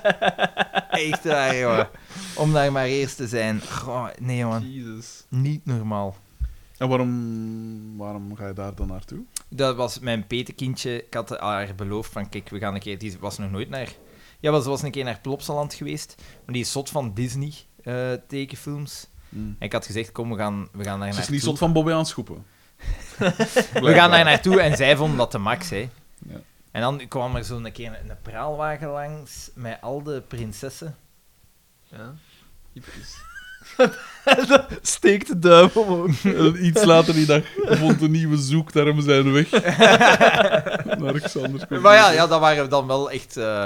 Echt waar, jongen. Om daar maar eerst te zijn. Goh, nee, man. Jezus. Niet normaal. En waarom, waarom ga je daar dan naartoe? Dat was mijn petekindje. Ik had haar beloofd van, kijk, we gaan een keer... Die was nog nooit naar... Ja, wel, ze was een keer naar Plopsaland geweest. Maar die is zot van eh, Disney-tekenfilms. Hm. ik had gezegd, kom, we gaan, we gaan daar Ze is naartoe. niet zot van Bobby aan het schoepen. We gaan daar naartoe en zij vonden dat de max, hè. Ja. En dan kwam er zo'n keer een, een praalwagen langs met al de prinsessen. Ja. Typisch. Steek de duim omhoog. En Eh, iets later die dag vond een nieuwe zoekterm zijn weg. Naar Xander. Maar ja, ja, dat waren dan wel echt... eh,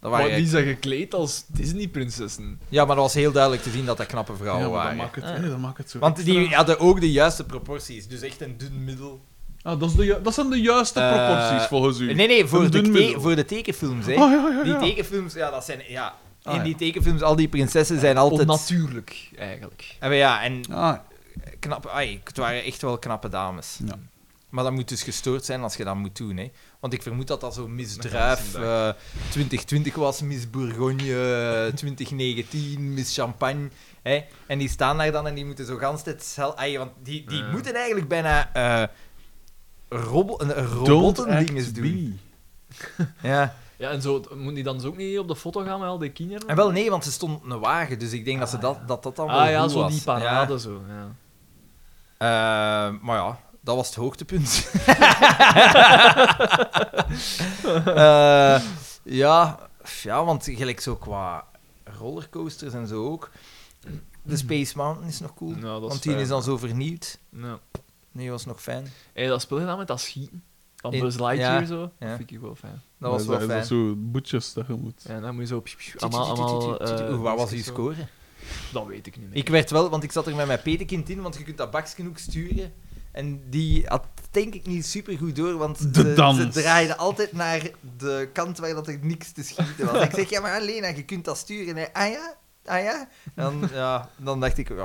dat waren, Maar die zijn gekleed als Disney-prinsessen. Ja, maar dat was heel duidelijk te zien dat dat knappe vrouwen Ja, maar dat waren. maakt het, hè, dat maakt het zo. oh, Want die hadden ook de juiste proporties. Dus echt een dun middel. Ah, dat, is de, ju- dat zijn de juiste Eh, proporties volgens u. Nee, nee, voor, Een de, dun te- middel. voor de tekenfilms, hè. Oh, ja, ja, Die ja. tekenfilms, ja, dat zijn... Ja. Ah, In ja. die tekenfilms, al die prinsessen zijn altijd... Onnatuurlijk, eigenlijk. En ja, en Ah, knap, ai, het waren echt wel knappe dames. Ja. Maar dat moet dus gestoord zijn als je dat moet doen. Hè? Want ik vermoed dat dat zo misdruif Dat eh 2020 was, Miss Bourgogne eh, 2019, Miss Champagne. Hè? En die staan daar dan en die moeten zo gans hetzelfde... ai, Want die, die Ja. moeten eigenlijk bijna eh robo- een- een don't act robotendinges doen. bee. Ja. Ja, en zo, moet die dan zo ook niet op de foto gaan met al die kinderen? En wel nee, want ze stond een wagen, dus ik denk dat, ze dat, dat dat dan wel Ah ja, goed zo was. die parade zo. Ja. Ja. Eh, maar ja, dat was het hoogtepunt. Eh, ja, f- ja, want gelijk zo qua rollercoasters en zo ook. De Space Mountain is nog cool. Ja, Nou, dat is want die fijn. is dan zo vernieuwd. Ja. Nee, was nog fijn. Hey, dat speel je dan met dat schieten? Van In- Buzz Lightyear ja, zo? ja. Dat vind ik wel fijn. Dat was wel is fijn. Dat zo boetjes dat je moet. Ja, dan moet je zo... psh, psh, allemaal, allemaal, eh, Oeh, Waar was uw dingetjes zo. score? Dat weet ik niet meer. Ik werd wel, want ik zat er met mijn petekind in, want je kunt dat bakje ook sturen. En die had denk ik niet super goed door, want De ze, dans. ze draaide altijd naar de kant waar dat er niks te schieten was. ik zeg, ja maar Lena, je kunt dat sturen. Hij, ah ja, ah ja. Dan, ja, dan dacht ik, oh,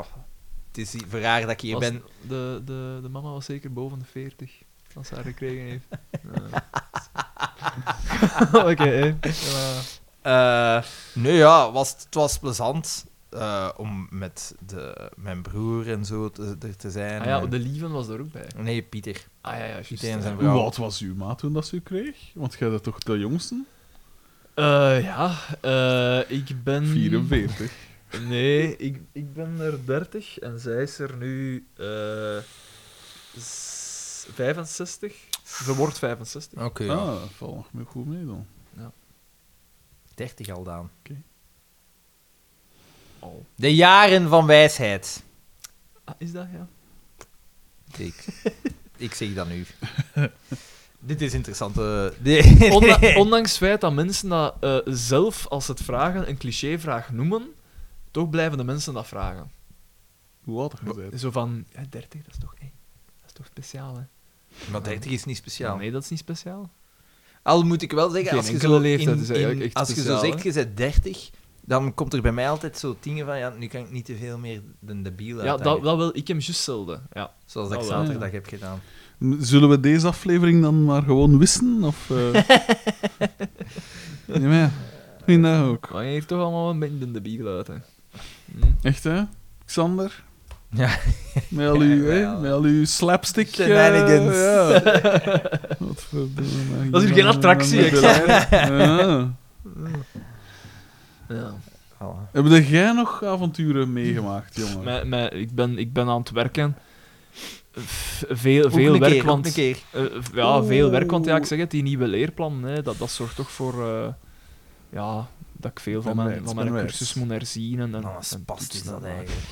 het is hier- voor haar dat ik hier Was- ben. De, de, de mama was zeker boven de 40 als ze haar gekregen heeft. Ja. Oké, hè. Eh, nee ja, was, het was plezant eh, om met de, mijn broer en zo te, er te zijn. Ah ja, En- eh, de lieven was daar ook bij. Nee, Pieter. Ah ja, ja, juist. Pieter en zijn Hoe vrouw. oud was uw maat toen dat ze u kreeg? Want jij bent toch de jongste? Eh, ja, eh, ik ben... 44. Nee, ik, ik ben er 30 en zij is er nu eh, s- 65. Ze wordt 65. Oké, ja. Ah, dat valt nog meer goed mee dan. 30 al dan. Al. De jaren van wijsheid. Oh. Ah, is dat ja? Ik, ik zeg dat nu. Dit is interessant. eh, dit- Onda- ondanks het feit dat mensen dat eh, zelf, als ze het vragen, een clichévraag noemen, toch blijven de mensen dat vragen. Hoe oud je bent. Zo van, ja, 30, dat is toch, hey, dat is toch speciaal, hè? maar 30 is niet speciaal. Nee, dat is niet speciaal. Al moet ik wel zeggen, Geen als je enkele zo, leeftijd in- is eigenlijk in- echt als je zo speciaal, zegt, je bent 30, dan komt er bij mij altijd zo dingen van, ja, nu kan ik niet te veel meer de debiel Ja, uitdagen. dat, dat wil ik hem juist zelden. Ja. Zoals dat ik dat wel, zaterdag heb gedaan. Zullen we deze aflevering dan maar gewoon wissen? Of, eh? ja, maar ja. Ik vind dat ook. Maar je heeft toch allemaal een beetje de debiel uit, hè. Hm. Echt, hè? Xander? Ja. Met al uw, hè? Met al uw slapstick... eh, Shenanigans. ja. Wat verdomme. Dat is hier geen attractie, Ja. Ja. Ja. Mm, Voilà. Hebben jij nog avonturen meegemaakt, jongen? Maar, maar ik, ben, ik ben aan het werken. F- Veel, Ook veel een werk, keer, ook want... een keer. Eh, v- ja, veel werk, want ja, ik zeg het, die nieuwe leerplan, hè, dat, dat zorgt toch voor eh, ja, dat ik veel van mijn, Spanwijs, van mijn spanwijs. cursus moet herzien. En, en, Oh, een en spast is toetsen dat en- eigenlijk.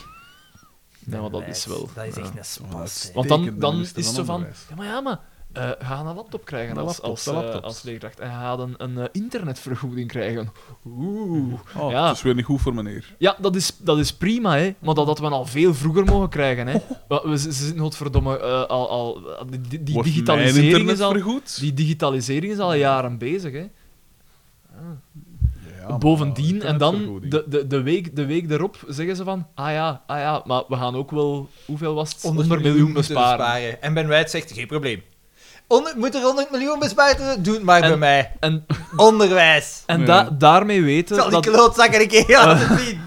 Ja, maar dat Wijs. is wel. Dat is ja. echt een spast. hè. Want dan, Uitstekende dan is minister het zo van van, Onderwijs. ja maar ja, maar eh, ga een laptop krijgen Een als, laptop, als, de eh, laptops. als leerkracht. En ga dan een eh, internetvergoeding krijgen. Oeh. Oh, Ja. dat is weer niet goed voor meneer. Ja, dat is, dat is prima, hè. maar dat hadden we al veel vroeger mogen krijgen. Hè. We, we- ze ze zitten godverdomme eh, al... al die- die, die Wordt mijn digitalisering internet is al... vergoed? Die digitalisering is al jaren bezig, hè. Ja, maar Bovendien, ja, en dan internetvergoeding. de, de, de, week, de week erop zeggen ze van... Ah ja, ah ja, maar we gaan ook wel... Hoeveel was het? 100, miljoen moeten besparen. En Ben White zegt, geen probleem. 100 moet er 100 miljoen bespaard worden? Doe het maar En- bij mij. En, Onderwijs. en Ja. da- daarmee Ik weten... zal die Dat, klootzakken een keer laten zien.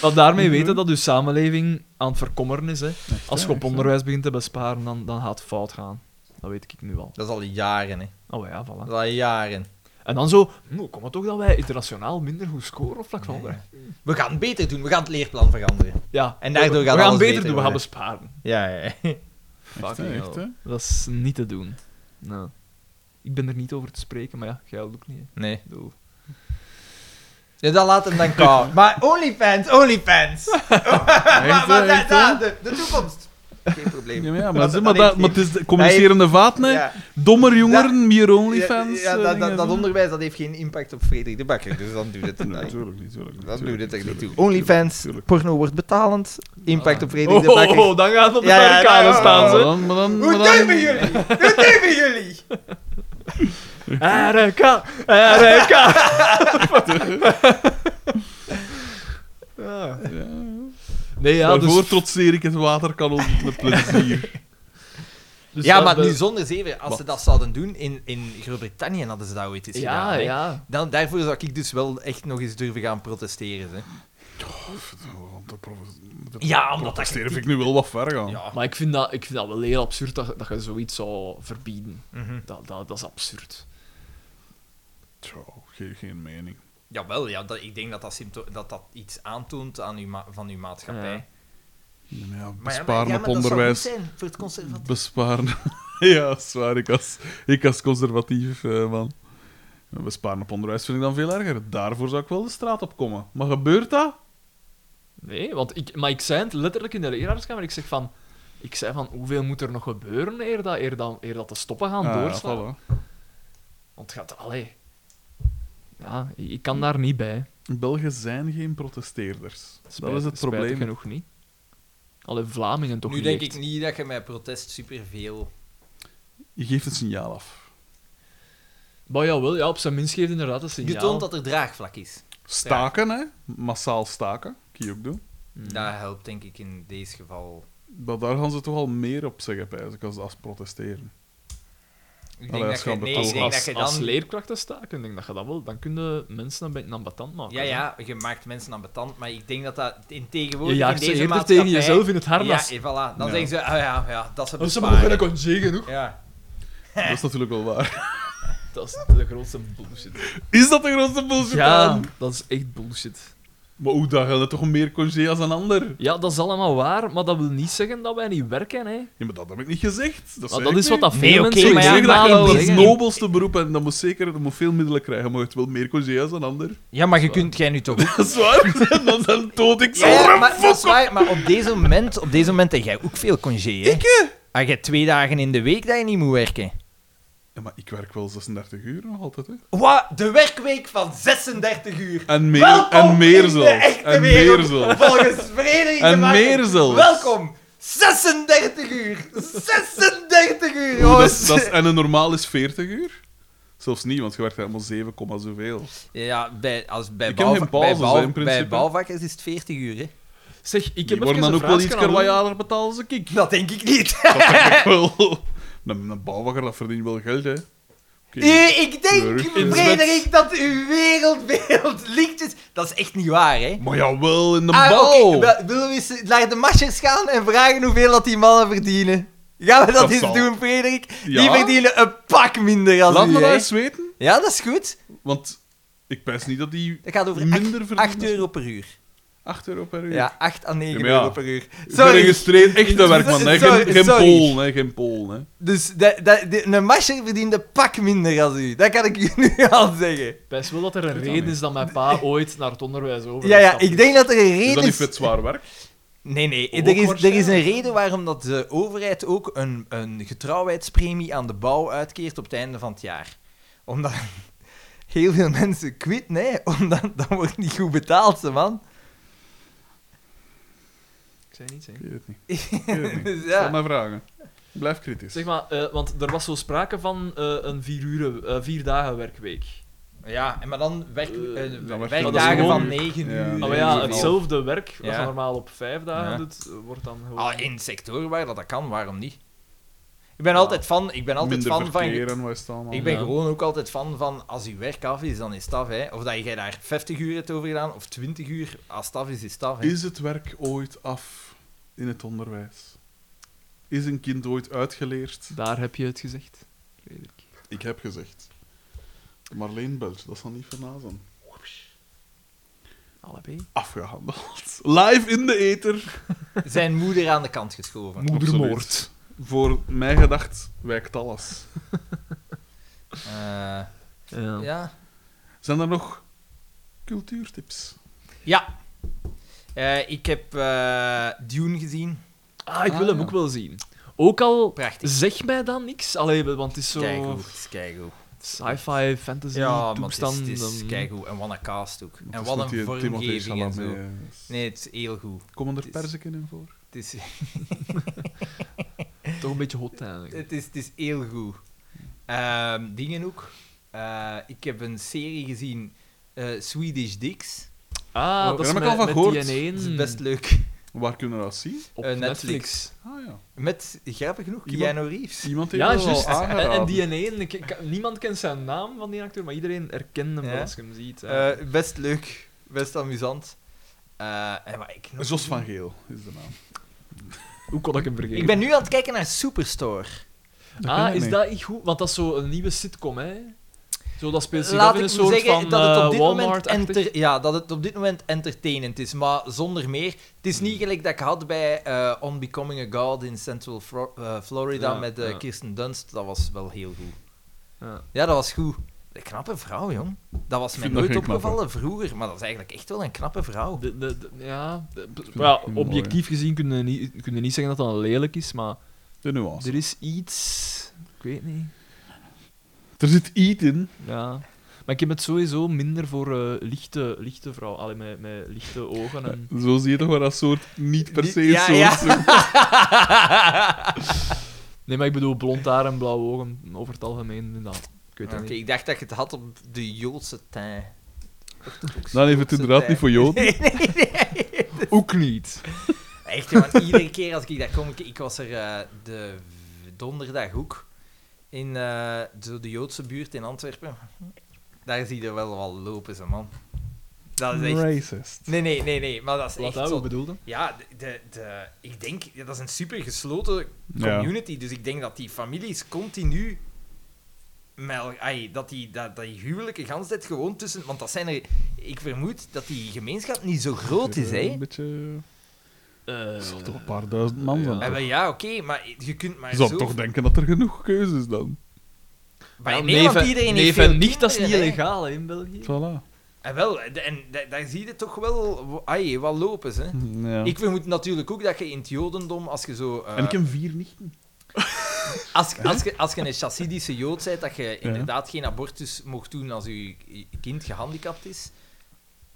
dat daarmee weten dat uw samenleving aan het verkommeren is. Hè. Als je hè, Mhm. op echt, hè. onderwijs begint te besparen, dan, dan gaat het fout gaan. Dat weet ik nu al. Dat is al jaren, hè. Oh ja, voilà. Dat is al jaren. En dan zo... Nou, komt het toch dat wij internationaal minder goed scoren op vlak van onderwijs? We gaan het beter doen. We gaan het leerplan veranderen. Ja. En daardoor we, gaat we gaan alles beter beter doen, we gaan worden. besparen. Ja, ja. ja. Echt, hè, Fucking echt, hell. hè? Dat is niet te doen. Nou. Ik ben er niet over te spreken, maar ja, jij ook niet. hè. Nee. Ik bedoel, Ja, dat laat hem dan komen. Maar OnlyFans, OnlyFans. Echt, hè, maar dat, echt, hè? dat, de, de toekomst. Geen probleem. Ja, maar, ja, maar, Dat- zeg maar, dat dat, heeft- maar het is de communicerende vaat, hè? Ja. Dommer jongeren, meer OnlyFans. Ja, ja, eh, dat, dingen dat, dat doen. onderwijs dat heeft geen impact op Frederik de Bakker, dus dan doet het er Nee, niet. Natuurlijk niet, natuurlijk niet. Dan doet het natuurlijk er niet toe. natuurlijk OnlyFans, natuurlijk. porno wordt betalend, impact op Frederik Oh, de Bakker. oh, oh, dan gaat het op de Ja, ja, barricade ja, ja, staan, Maar ze. dan, maar dan, Hoe maar dan- durven jullie? Hoe durven jullie? RK, RK. Ja. Nee, ja, Daarvoor dus... trotseer ik het waterkanon met plezier. dus ja, dat maar we- nu zonder zeven, als ze dat zouden doen, in, in Groot-Brittannië hadden ze dat ooit eens gedaan. Ja, hè. ja. Dan, daarvoor zou ik dus wel echt nog eens durven gaan protesteren. Hè. Want dat provo- dat Ja, omdat dat... protesteren vind ik nu wel wat ver gaan. Ja. Maar ik vind dat, ik vind dat wel heel absurd dat, dat je zoiets zou verbieden. Mhm. Dat, dat, dat is absurd. Tja, geen, geen mening. Jawel, ja, dat, ik denk dat dat, sympto- dat dat iets aantoont aan uw ma- van uw maatschappij. Ja. Ja, Maar maar ja, ja, maar- besparen ja, maar dat op zou onderwijs. goed zijn voor het conservatief. Besparen. ja, zwaar. Ik als, ik als conservatief eh, man. Besparen op onderwijs vind ik dan veel erger. Daarvoor zou ik wel de straat op komen. Maar gebeurt dat? Nee, want ik, maar ik zei het letterlijk in de leraarskamer. Ik zeg van... Ik zei van, hoeveel moet er nog gebeuren eer dat, eer dat, eer dat de stoppen gaan Ah, ja, doorslaan? voilà. Want het gaat... Allee. Ja, ik ik kan daar niet bij. Belgen zijn geen protesteerders. dat Spijt- is het spijtig probleem. genoeg niet. Alle Vlamingen toch nu niet denk echt. ik niet dat je met protest superveel... Je geeft het signaal af. Maar jawel, ja, op zijn minst geeft inderdaad een Je signaal. toont dat er draagvlak is. Staken, hè? Massaal staken. Kun je ook doen. Hmm. Dat helpt denk ik in deze geval. Maar daar gaan ze toch al meer op zeggen, pijs ik, als, als protesteren. Ik Allee, denk dat als je, gaan nee, betalen. ik denk dat als, als, je als dan... leerkrachten staken, denk ik dat je dat wel... Dan kunnen mensen een beetje ambetant maken. Ja, hè. ja, je maakt mensen aan betand, maar ik denk dat dat in Je tegenwoordig in jaagt ze deze eerder maatschappij... tegen jezelf in het harnas. Ja, en voilà. Dan Ja. zeggen ze, ah ja, ja, dat ze Dat is besparen. een congé genoeg. Ja. Dat is natuurlijk wel waar. Dat is de grootste bullshit. Is dat de grootste bullshit Ja, aan? dat is echt bullshit. Maar hoe, dat geldt toch meer congé als een ander? Ja, dat is allemaal waar, maar dat wil niet zeggen dat wij niet werken, hè. Ja, maar dat heb ik niet gezegd. Dat, Maar zei Ah, dat ik is wat niet. dat veel Nee, oké, mensen Ik maar Oh, ja, zeg dat je zeggen, maar in dat wel die is het zeggen. zin- nobelste beroep en dat moet zeker dat moet veel middelen krijgen, maar het wil meer congé als een ander. ja, maar je kunt jij nu toch ook... Dat is waar, en dan zijn dood ik zo. Ja, ja, maar, dat is waar, maar op deze moment, op deze moment heb jij ook veel congé, hè? Ik, Ah, jij hebt twee dagen in de week dat je niet moet werken. Ja, maar ik werk wel 36 uur nog altijd, hè. Wat? De werkweek van 36 uur. En meer, Welkom en meer oh, in de zelfs. echte En wereld. meer zelfs. Volgens Frederik de En Bakker. meer zelfs. Welkom. 36 uur. 36 uur, Oeh, dat jongens. is- dat is- en een normaal is 40 uur. Zelfs niet, want je werkt helemaal 7, komma zoveel. Ja, bij, als, bij, Ik heb bouwva- geen pauzes, bij, bouw- hè, in principe. bij bouwvakkers is het 40 uur, hè. Zeg, ik Die heb worden even dan een ook wel iets vraagje aan u. kwarjaarder betaald als ik. Dat denk ik niet. Dat denk ik wel. Een, een bouwwakker, dat verdient wel geld, hè. Oké. Eh, ik denk, Terug in Frederik, dat uw wereldbeeld licht is. Dat is echt niet waar, hè? Maar jawel, in de Ah, bouw. oké, wel, Willen we eens naar de machers gaan en vragen hoeveel dat die mannen verdienen? Gaan we dat, Dat eens zal. doen, Frederik? Die Ja. verdienen een pak minder als Laat u, me hè. dat eens weten, Ja, dat is goed. want ik pijs niet dat die Dat gaat over minder 8, verdienen. euro per uur. 8 euro per uur. Ja, 8 à 9 Ja, maar ja. euro per uur. Sorry. Geregistreerd echte werkman, hè. Sorry, Geen, geen sorry. Pool, hè. Geen Pool, hè. Dus de, de, de- een mascher verdient een pak minder als u. Dat kan ik u nu al zeggen. Best wel dat er een reden is dat mijn pa ooit naar het onderwijs over. Ja, ja, ik denk Oh, dat er een Is dat reden niet is... vet zwaar werk? Nee, nee. Er is, Ook er is een waarschijnlijk. reden waarom dat de overheid ook een, een getrouwheidspremie aan de bouw uitkeert op het einde van het jaar. Omdat heel veel mensen quitten, hè. Omdat dat wordt niet goed betaald, ze man. Ik zei niets, hè. Ik weet het niet. Ik weet het niet. Dus Stel ja. mij vragen. Blijf kritisch. Zeg maar, eh, want er was zo sprake van eh, een vier, uren, eh, vier dagen werkweek. Ja, en maar dan werk, Eh, eh, dan werkt dat werkdagen gewoon- van 9 Ja. uur. Nee, Ah, maar ja, nee, hetzelfde werk, wat Ja. je normaal op vijf dagen Ja. doet, eh, wordt dan gewoon... Ah, in sectoren waar dat, dat kan, waarom niet? Ik ben Ja. altijd fan, ik ben altijd Minder fan van... verkeer en wat is het allemaal. Ik ben Ja. gewoon ook altijd fan van als je werk af is, dan is het af. Hè. Of dat jij daar 50 uur hebt over gedaan of 20 uur, als het af is, is het af. Hè. Is het werk ooit af in het onderwijs? Is een kind ooit uitgeleerd? Daar heb je het gezegd. Ik heb gezegd. Marleen Belt, dat zal niet vernazen. Allebei. Afgehandeld. Live in de ether. Zijn moeder aan de kant geschoven. Moedermoord. Voor mij gedacht wijkt alles. Eh, Ja. ja. Zijn er nog cultuurtips? Ja. Eh, ik heb eh, Dune gezien. Ah, ik wil Ah, hem ja. ook wel zien. Ook al Prachtig. zeg mij dan niks, Allee, want het is zo Keigoed, het is keigoed. sci-fi, fantasy, Ja, maar het is, toestand. het is dan- keigoed. En wat een cast ook. Het En is wat Dus een met die Timothée vormgeving en zo. Chalamet, eh, Nee, het is heel goed. Komen er Het is- perziken in voor? Het is, Toch een beetje hot eigenlijk. het is, het is heel goed. Ehm, dingen ook. Eh, ik heb een serie gezien, eh, Swedish Dicks. Ah, Oh, dat daar is heb ik met, al van met gehoord. die ene Dat is best leuk. Waar kunnen we dat zien? op Eh, Netflix. Netflix. Ah ja. Met, grappig genoeg, Iemand- Keanu Reeves. Iemand heeft Ja, dat al juist. En, aangeraden. en die ene, ik- ik- niemand kent zijn naam van die acteur, maar iedereen herkent hem Ja. wel als je hem ziet. hè. Eh, best leuk, best amusant. Eh, en maar ik, nog- Jos van Geel is de naam. Hoe kon ik hem vergeten? ik ben nu aan het kijken naar Superstore. Dat ken ah, ik is niet. dat echt goed? Want dat is zo een nieuwe sitcom, hè? Zo, dat speelt zich Laat af in ik een u soort zeggen van eh, dat het op dit moment walmart enter, ja, dat het op dit moment entertainend is, maar zonder meer. Het is Mm. niet gelijk dat ik had bij eh, On Becoming a God in Central Fro- eh, Florida Ja, met eh, ja. Kirsten Dunst. Dat was wel heel goed. Ja. Ja, dat was goed. Een knappe vrouw, jong. Dat was Ik mij vind dat nooit geen knappe. opgevallen vroeger, maar dat is eigenlijk echt wel een knappe vrouw. De, de, de- ja, de- ik maar ja, mooi, objectief gezien kun je, niet, kun je niet zeggen dat dat lelijk is, maar De nuance. er is iets... Ik weet niet. Er zit iets in. Ja. Maar ik heb het sowieso minder voor eh, lichte, lichte vrouwen. Allee, met, met lichte ogen en... Zo zie je toch waar dat soort niet per se Ja, soort. ja. Nee, maar ik bedoel blond haar en blauwe ogen over het algemeen, inderdaad. Ik weet Oké, het niet. ik dacht dat je het had op de Joodse Nou- tij. Dan heeft het inderdaad niet voor Joden. Nee, nee, nee. Ook niet. Echt, hè, want iedere keer als ik daar kom, ik, ik was er eh, de v- donderdag ook in eh, zo de Joodse buurt in Antwerpen. Daar zie je er wel wat lopen, ze man. Dat is echt. Racist. Nee, nee, nee, nee, maar dat is Wat echt dat ook zo. bedoelde. Ja, de, de, de- ik denk, ja, dat is een super gesloten Ja. community, dus ik denk dat die families continu. Met, el- ai, dat, die, dat, dat die huwelijken gans tijd gewoon tussen. Want dat zijn er. Ik vermoed dat die gemeenschap niet zo groot is, hè? Een beetje... Eh, zal toch een paar duizend man ja. zijn. Ja, wel, ja oké, maar je kunt maar Je zou zo... toch denken dat er genoeg keuzes dan. Maar ja, in Nederland, neef en- iedereen neef heeft en veel nicht, dat is niet kinderen, hè. illegaal hè, in België. Voilà. En wel, en, da- daar zie je toch wel... wa- Ai, wat lopen ze. Ja. Ik vermoed natuurlijk ook dat je in het jodendom, als je zo... eh, En ik heb vier nichten. als, als, je, als je een chassidische jood bent, dat je Ja. inderdaad geen abortus mocht doen als je kind gehandicapt is.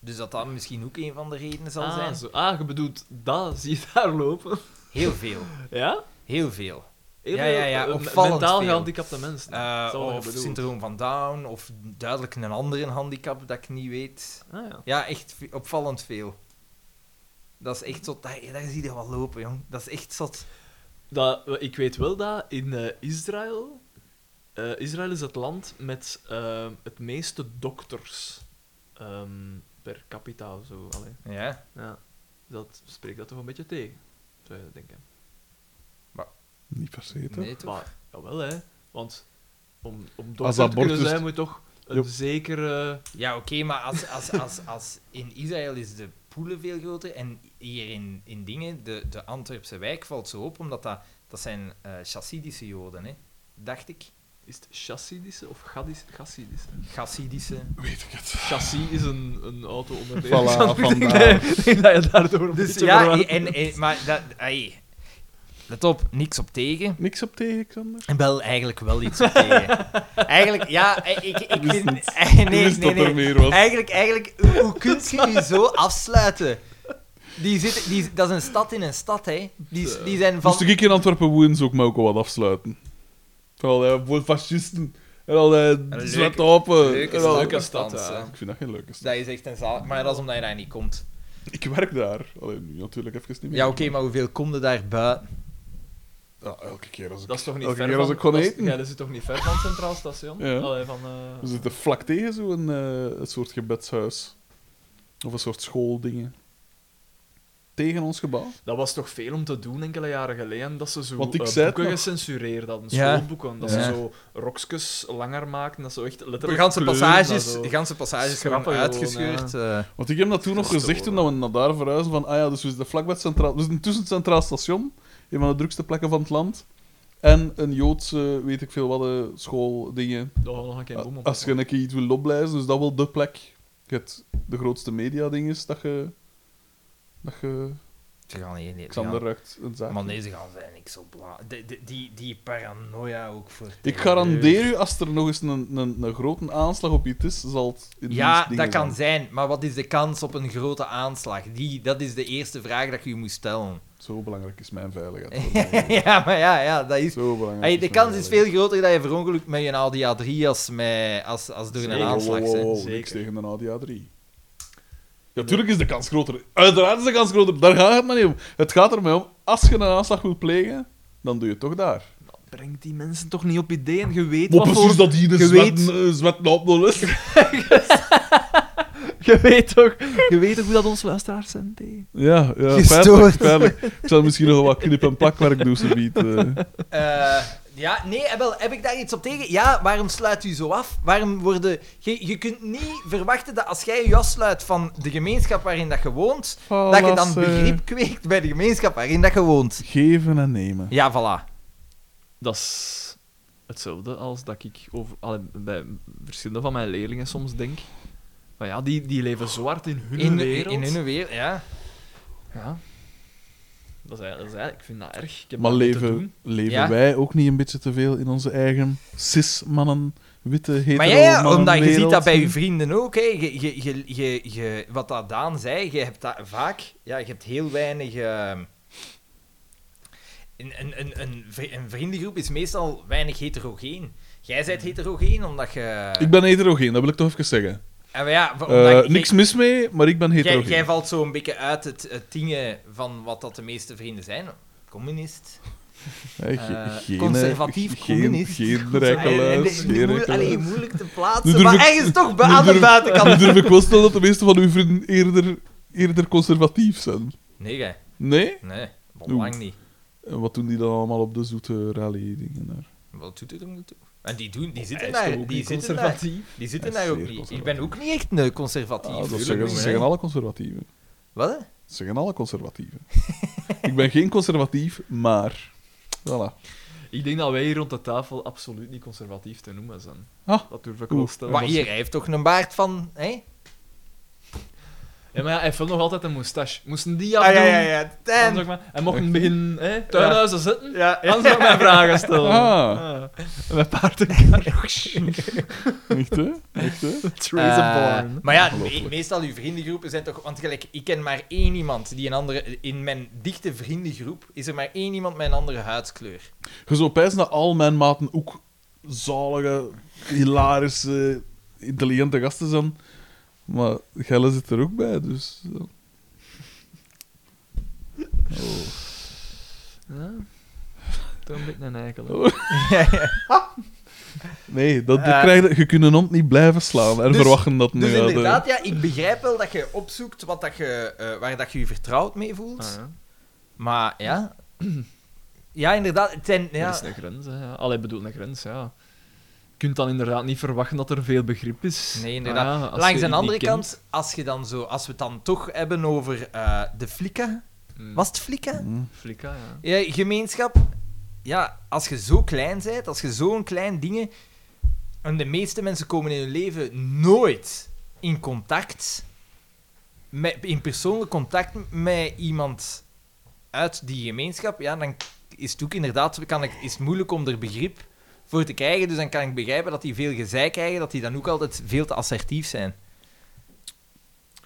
Dus dat dat misschien ook een van de redenen zal ah, zijn. Zo. Ah, je bedoelt dat, zie je daar lopen. Heel veel. Ja? Heel veel. Ja, ja, ja, eh, opvallend Mentaal veel. gehandicapte mensen. Eh, Zal ik of bedoelen. syndroom van Down, of duidelijk een andere handicap dat ik niet weet. Ah, ja. Ja, echt ve- opvallend veel. Dat is echt zot. Daar, daar zie je wel lopen, jong. Dat is echt zot. Dat, ik weet wel dat in eh, Israël... eh, Israël is het land met eh, het meeste dokters ehm, per capita of zo. Allee, Ja. ja. Dat spreekt dat toch een beetje tegen, zou je denken. Niet per se, toch? Nee, toch? Maar, jawel, hè. Want om, om Als dokter te kunnen abortus- zijn, moet je toch een Joep. zekere... Ja, oké, maar als, als, als, als in Israël is de poelen veel groter en hier in, in dingen, de, de Antwerpse wijk valt zo op, omdat dat, dat zijn eh chassidische joden, hè? dacht ik. Is het chassidische of gadis, gassidische? Chassidische. Weet ik het. Chassis is een, een auto-onderdeel. Voilà, Nee, vandaar. ik denk dat je daardoor een Dus beetje ja, verwarrend- en, en, maar dat, ai, let op, niks op tegen. Niks op tegen, Xander? Wel, eigenlijk wel iets op tegen. Eigenlijk, ja, ik, ik, ik wist vind... het. eh, Nee, Ik wist nee, dat er nee. meer was. Eigenlijk, eigenlijk hoe, hoe kun je je zo afsluiten? Die zit, die, dat is een stad in een stad, hè. Die, die zijn van... Moest ik in Antwerpen woens ook maar ook al wat afsluiten. Terwijl hij voor fascisten en al die leuke- zwarte apen. leuke en al- stad, hè. Ik vind dat geen leuke stad. Dat is echt een zaal. Maar dat is omdat je daar niet komt. Ik werk daar. Alleen nu natuurlijk even niet meer. Ja, oké, maar hoeveel komt er daar buiten? Ja, elke keer als ik... Dat is toch niet Elke ver keer van... als ik kon dat is- eten. Ja, dat zit toch niet ver van het Centraal Station? Ja. Allee, van... eh, We zitten vlak tegen zo'n eh, een soort gebedshuis. Of een soort schooldingen. Tegen ons gebouw. Dat was toch veel om te doen enkele jaren geleden, dat ze zo Want ik eh, zei het boeken nog. gecensureerd hadden, Ja. schoolboeken. Dat Ja. ze zo rokjes langer maakten, dat ze echt De letterlijk ganse kleuren, dat passages, zo. de ganse passages gewoon Schrappen gewoon, uitgescheurd. eh. Want ik heb dat toen nog Verstoren. gezegd toen dat we naar daar verhuisden van ah ja, dus we zitten vlakbij het centraal, we zitten tussen het centraal station, een van de drukste plekken van het land, en een Joodse, weet ik veel wat, eh, schooldingen. Dat was Oh, nog een keer boom Ah, op. Als je een keer iets wil opblijven, dus dat wel de plek. Het de grootste media-ding is dat je, dat je Ze gaan hier niet... ze Xander gaan- ruikt een zaak. Maar deze gaan zijn niks op bla. de- de- Die, die paranoia ook voor... Ik garandeer u, als er nog eens een, een, een grote aanslag op iets is, zal het in Ja, die dat dingen kan zijn. zijn. Maar wat is de kans op een grote aanslag? Die, dat is de eerste vraag dat je je moet stellen. Zo belangrijk is mijn veiligheid. voor mij. ja, maar ja, ja dat is... Zo belangrijk. Hey, de mijn kans is veiligheid. veel groter dat je verongelukt met je Audi A3 als, met, als, als door een Zeker. aanslag Wow, wow, bent. wow, Zeker. niks tegen een ADA 3. Natuurlijk is de kans groter. Uiteraard is de kans groter. Daar gaat het maar niet om. Het gaat er mij om, als je een aanslag wil plegen, dan doe je het toch daar. Brengt die mensen toch niet op ideeën, je weet Maar wat precies voor... dat hier de je weet- zwetten, eh, zwetten op nul is. Je weet toch, je weet toch hoe dat onze luisteraars zijn, tegen. Ja, ja Gestoord. feitelijk, feitelijk. Ik zal misschien nog wat knip- en plakwerk doen, ze biedt. Eh, ja, nee, eh, wel, heb ik daar iets op tegen? Ja, waarom sluit u zo af? Waarom worden... Je, je kunt niet verwachten dat als jij je afsluit van de gemeenschap waarin dat je woont, dat je dan begrip kweekt bij de gemeenschap waarin dat je woont. Geven en nemen. Ja, voilà. Dat is hetzelfde als dat ik over, allee, bij verschillende van mijn leerlingen soms denk. Maar ja, die, die leven zo hard in hun In, wereld. in hun wereld, ja. Ja. Dat is, eigenlijk- dat is eigenlijk, ik vind dat erg. Ik heb Maar dat niet te leven, doen. leven Ja. wij ook niet een beetje te veel in onze eigen cis-mannen, witte, hetero Maar ja, ja, omdat je ziet wereld? dat bij je vrienden ook. Hè. Je, je, je, je, je- wat dat Daan zei, je hebt dat vaak... Ja, je hebt heel weinig... ehm, een, een, een, een, vri- een vriendengroep is meestal weinig heterogeen. Jij bent heterogeen omdat je... Ik ben heterogeen, dat wil ik toch even zeggen. En maar ja, v- Eh, omdat niks mis mee, maar ik ben jij, jij, heterogeen. jij valt zo'n beetje uit het, het dingen van wat dat de meeste vrienden zijn. Communist. Eh, ge- eh, geen- conservatief geen, communist. eh, Geen rijke Allee, luis, allee, geen moe- rijke allee, luis. moeilijk te Nu plaatsen, durf maar ik- ergens toch nu aan de durf- buitenkant. Nu durf ik wel stellen dat de meeste van uw vrienden eerder, eerder conservatief zijn. Nee, gij. Nee? nee. Bon, Oeh. lang niet. En wat doen die dan allemaal op de zoete rally-dingen daar? Wat doet het er niet toe? En die, doen, die Hij zitten is daar, toch ook die niet zitten daar, conservatief. die zitten Hij is daar ook zeer niet. Ik ben conservatief. ook niet echt een conservatief. Ah, dat tuurlijk zeggen, niet, ze hè. zeggen alle conservatieven. Wat? Ze zeggen alle conservatieven. ik ben geen conservatief, maar... Voilà. Ik denk dat wij hier rond de tafel absoluut niet conservatief te noemen zijn. Ah. Dat durf ik Oeh. wel stellen. Maar hier, hij heeft toch een baard van, hè? Ja, maar ja, hij heeft wel nog altijd een moustache. Moesten die Ah, afdoen? ja, ja, ja. dan zou Tijn. ik maar- hij mocht in het begin hè, tuinhuizen zitten. Ja, ja. Dan zou ik mij vragen Oh. stellen. Ah. En Met paarden. Echt, hè? Echt, hè? Traceborn. Eh, maar ja, me- meestal uw vriendengroepen zijn toch... Want gelijk, ik ken maar één iemand die een andere... In mijn dichte vriendengroep is er maar één iemand met een andere huidskleur. Je zou pijzen dat al mijn maten ook zalige, hilarische, intelligente gasten zijn. Maar Gelle zit er ook bij, dus... eh. Oh. Ja. Toen ben ik een eikel. Oh. hè. Ah, Nee, dat, dat Eh. krijg je, je kunt een hond niet blijven slaan en Dus- verwachten dat nu Dus uit, hè. inderdaad, ja, ik begrijp wel dat je opzoekt wat dat je, eh, waar dat je je vertrouwd mee voelt. Ah, ja. Maar ja... Ja, inderdaad. Het zijn, Er ja, is een grens. Hè. ja. Allee, bedoel, een grens, ja. Je kunt dan inderdaad niet verwachten dat er veel begrip is. Nee, inderdaad. Ah, ja, als je Langs het de niet andere kent. kant, als, je dan zo, als we het dan toch hebben over eh, de Flikka. Mm. Was het Flikka? Hm. Frika, ja. Ja, gemeenschap. Ja, als je zo klein bent, als je zo'n klein dingen... En de meeste mensen komen in hun leven nooit in contact... Met, in persoonlijk contact met iemand uit die gemeenschap. Ja, dan is het ook inderdaad... Kan ik, is het moeilijk om er begrip voor te krijgen. Dus dan kan ik begrijpen dat die veel gezeik krijgen. Dat die dan ook altijd veel te assertief zijn.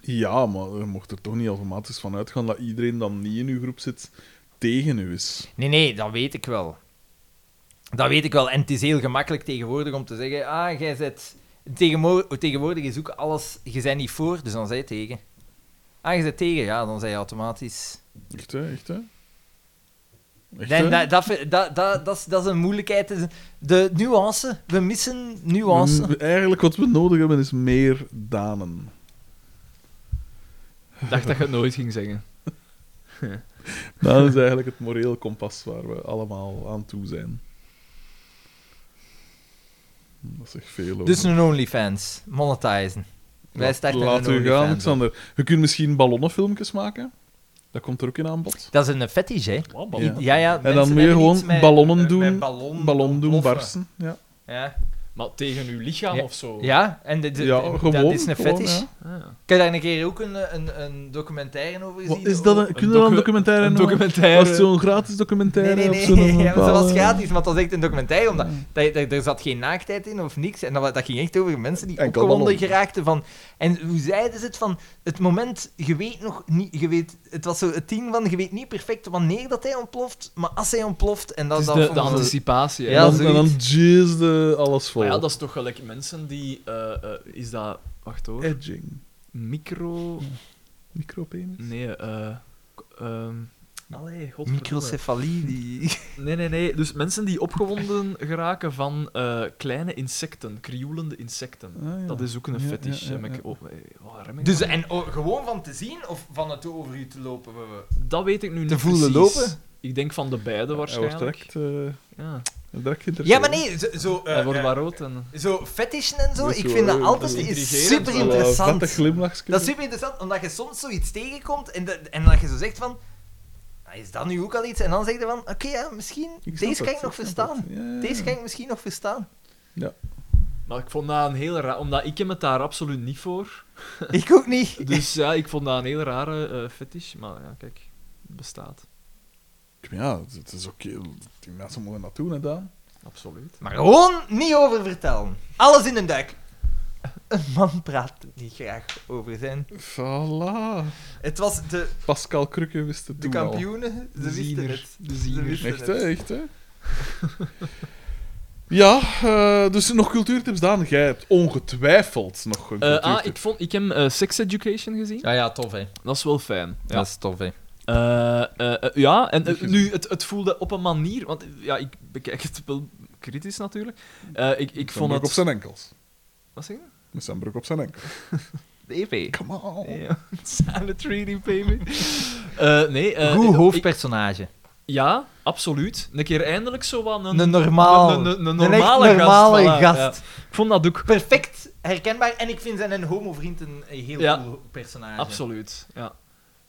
Ja, maar je mocht er toch niet automatisch van uitgaan dat iedereen dan niet in uw groep zit tegen u is. Nee, nee, dat weet ik wel. Dat weet ik wel. En het is heel gemakkelijk tegenwoordig om te zeggen: ah, jij zet. Tegenwoordig is ook alles. Je bent niet voor, dus dan zij tegen. Ah, je zet tegen, ja, dan zij automatisch. Echt, hè? Echt, hè? Echt, Dan- hè? dat, dat, vind- dat, dat, dat, is, dat is een moeilijkheid. Dat is een- De nuance. We missen nuance. We- Eigenlijk wat we nodig hebben is meer danen. Ik dacht dat je het nooit ging zeggen. Dat is eigenlijk het moreel kompas waar we allemaal aan toe zijn. Dat zegt veel over. Dus een OnlyFans. Monetizen. Wij Laat- starten Laten een we gaan, OnlyFans. op. Alexander. Je kunt misschien ballonnenfilmpjes maken. Dat komt er ook in aan bod. Dat is een fetish, hè? Ja. Ja, ja. En mensen dan moet je hebben gewoon iets met- ballonnen eh, doen, met ballon, ballon doen, ontploffen. barsten. Ja, Ja. Maar tegen uw lichaam of zo. Ja, en de, de- ja de- gewoon. dat is een gewoon, fetish. ja. Ah, ja. Ik heb daar een keer ook een, een, een documentaire over gezien. Wat is dat? Een, kun je dat een docu- documentaire Een noemen? documentaire. Was het zo'n gratis Nee, documentaire? nee, Of nee. zo'n ja, maar bepaalde- dat was gratis, want dat was echt een documentaire. Omdat, dat, dat- er zat geen naaktheid in of niks. En dat, wa- dat ging echt over mensen die Enkel opgewonden ballonnen. geraakten. Van, en hoe zeiden ze het? Van, het moment, je weet nog niet... Je weet, het was zo het ding van, je weet niet perfect wanneer dat hij ontploft. Maar als hij ontploft... En dat, Het is dat de, de vonden ze- anticipatie. hè. Ja, En dan, en dan zoiets. jizzde alles vol. Maar Ah, ja, dat is toch gelijk mensen die... eh, eh, is dat... Wacht hoor. Edging. Micro... Micropenis. Nee, eh... k- ehm, Allee, godverdomme. Microcefalie, die... Nee, nee, nee. Dus mensen die opgewonden geraken van eh, kleine insecten, krioelende insecten. Ah, ja. Dat is ook een Ja, fetish. ja, ja, heb ik- ja. oh, eh, wat rem ik Dus nou? en o- gewoon van te zien of van het over u te lopen? we- we- dat weet ik nu niet te voelen precies. lopen? Ik denk van de beide waarschijnlijk. Hij wordt direct, eh, ja. direct geïnteresseerd. Ja, maar nee. Zo, zo, eh, Hij wordt eh, maar rood en... Zo, fetishen en zo, Dat is ik wel- vind dat dat altijd is is intrigerend super wel, Wel, eh, interessant. Vette glimlachje. Dat is super interessant, omdat je soms zoiets tegenkomt en dat, en dat je zo zegt van... "Ah, Is dat nu ook al iets? En dan zeg je van, oké, ja, misschien... Ik snap deze kan ik het, nog snap verstaan. het. Ja, ja, ja. Deze kan ik misschien nog verstaan. Maar ik vond dat een heel raar... Omdat ik hem het daar absoluut niet voor. Ik ook niet. Dus ja, ik vond dat een heel rare eh, fetish. Maar ja, kijk. Het bestaat. Ja, het is oké. Die mensen mogen dat doen, hè, Daan. Absoluut. Maar gewoon niet over vertellen. Alles in een duik. Een man praat niet graag over zijn... Voilà. Het was de, Pascal Krukke wist het de toen al. kampioenen, ze wisten ziener. het. De Ze ziener. wisten Echt, het. hè? Echt, hè? ja, eh, dus nog cultuurtips, Daan. Jij hebt ongetwijfeld nog een Eh, cultuurtip. ah, ik, vond, ik heb eh, Sex Education gezien. Ja, ja, tof, hè. Dat is wel fijn. Ja. is tof, hè. Eh, eh, eh, ja, en eh, nu, het, het voelde op een manier... Want eh, ja, ik bekijk het wel kritisch natuurlijk. Eh, ik, ik Met vond zijn broek het... op zijn enkels. Wat zeg je? Met zijn broek op zijn enkel. De E EP. Come on. Ja, Sanitary repayment. Eh, nee, eh, Goed ik- hoofdpersonage. ik- ja, absoluut. Een keer eindelijk zo wat een... Een normaal. Een, een, een echt normale, normale gast. voilà, gast. ja. Ik vond dat ook... Perfect herkenbaar. En ik vind zijn een homo-vriend een heel Ja. cool personage. Absoluut, ja.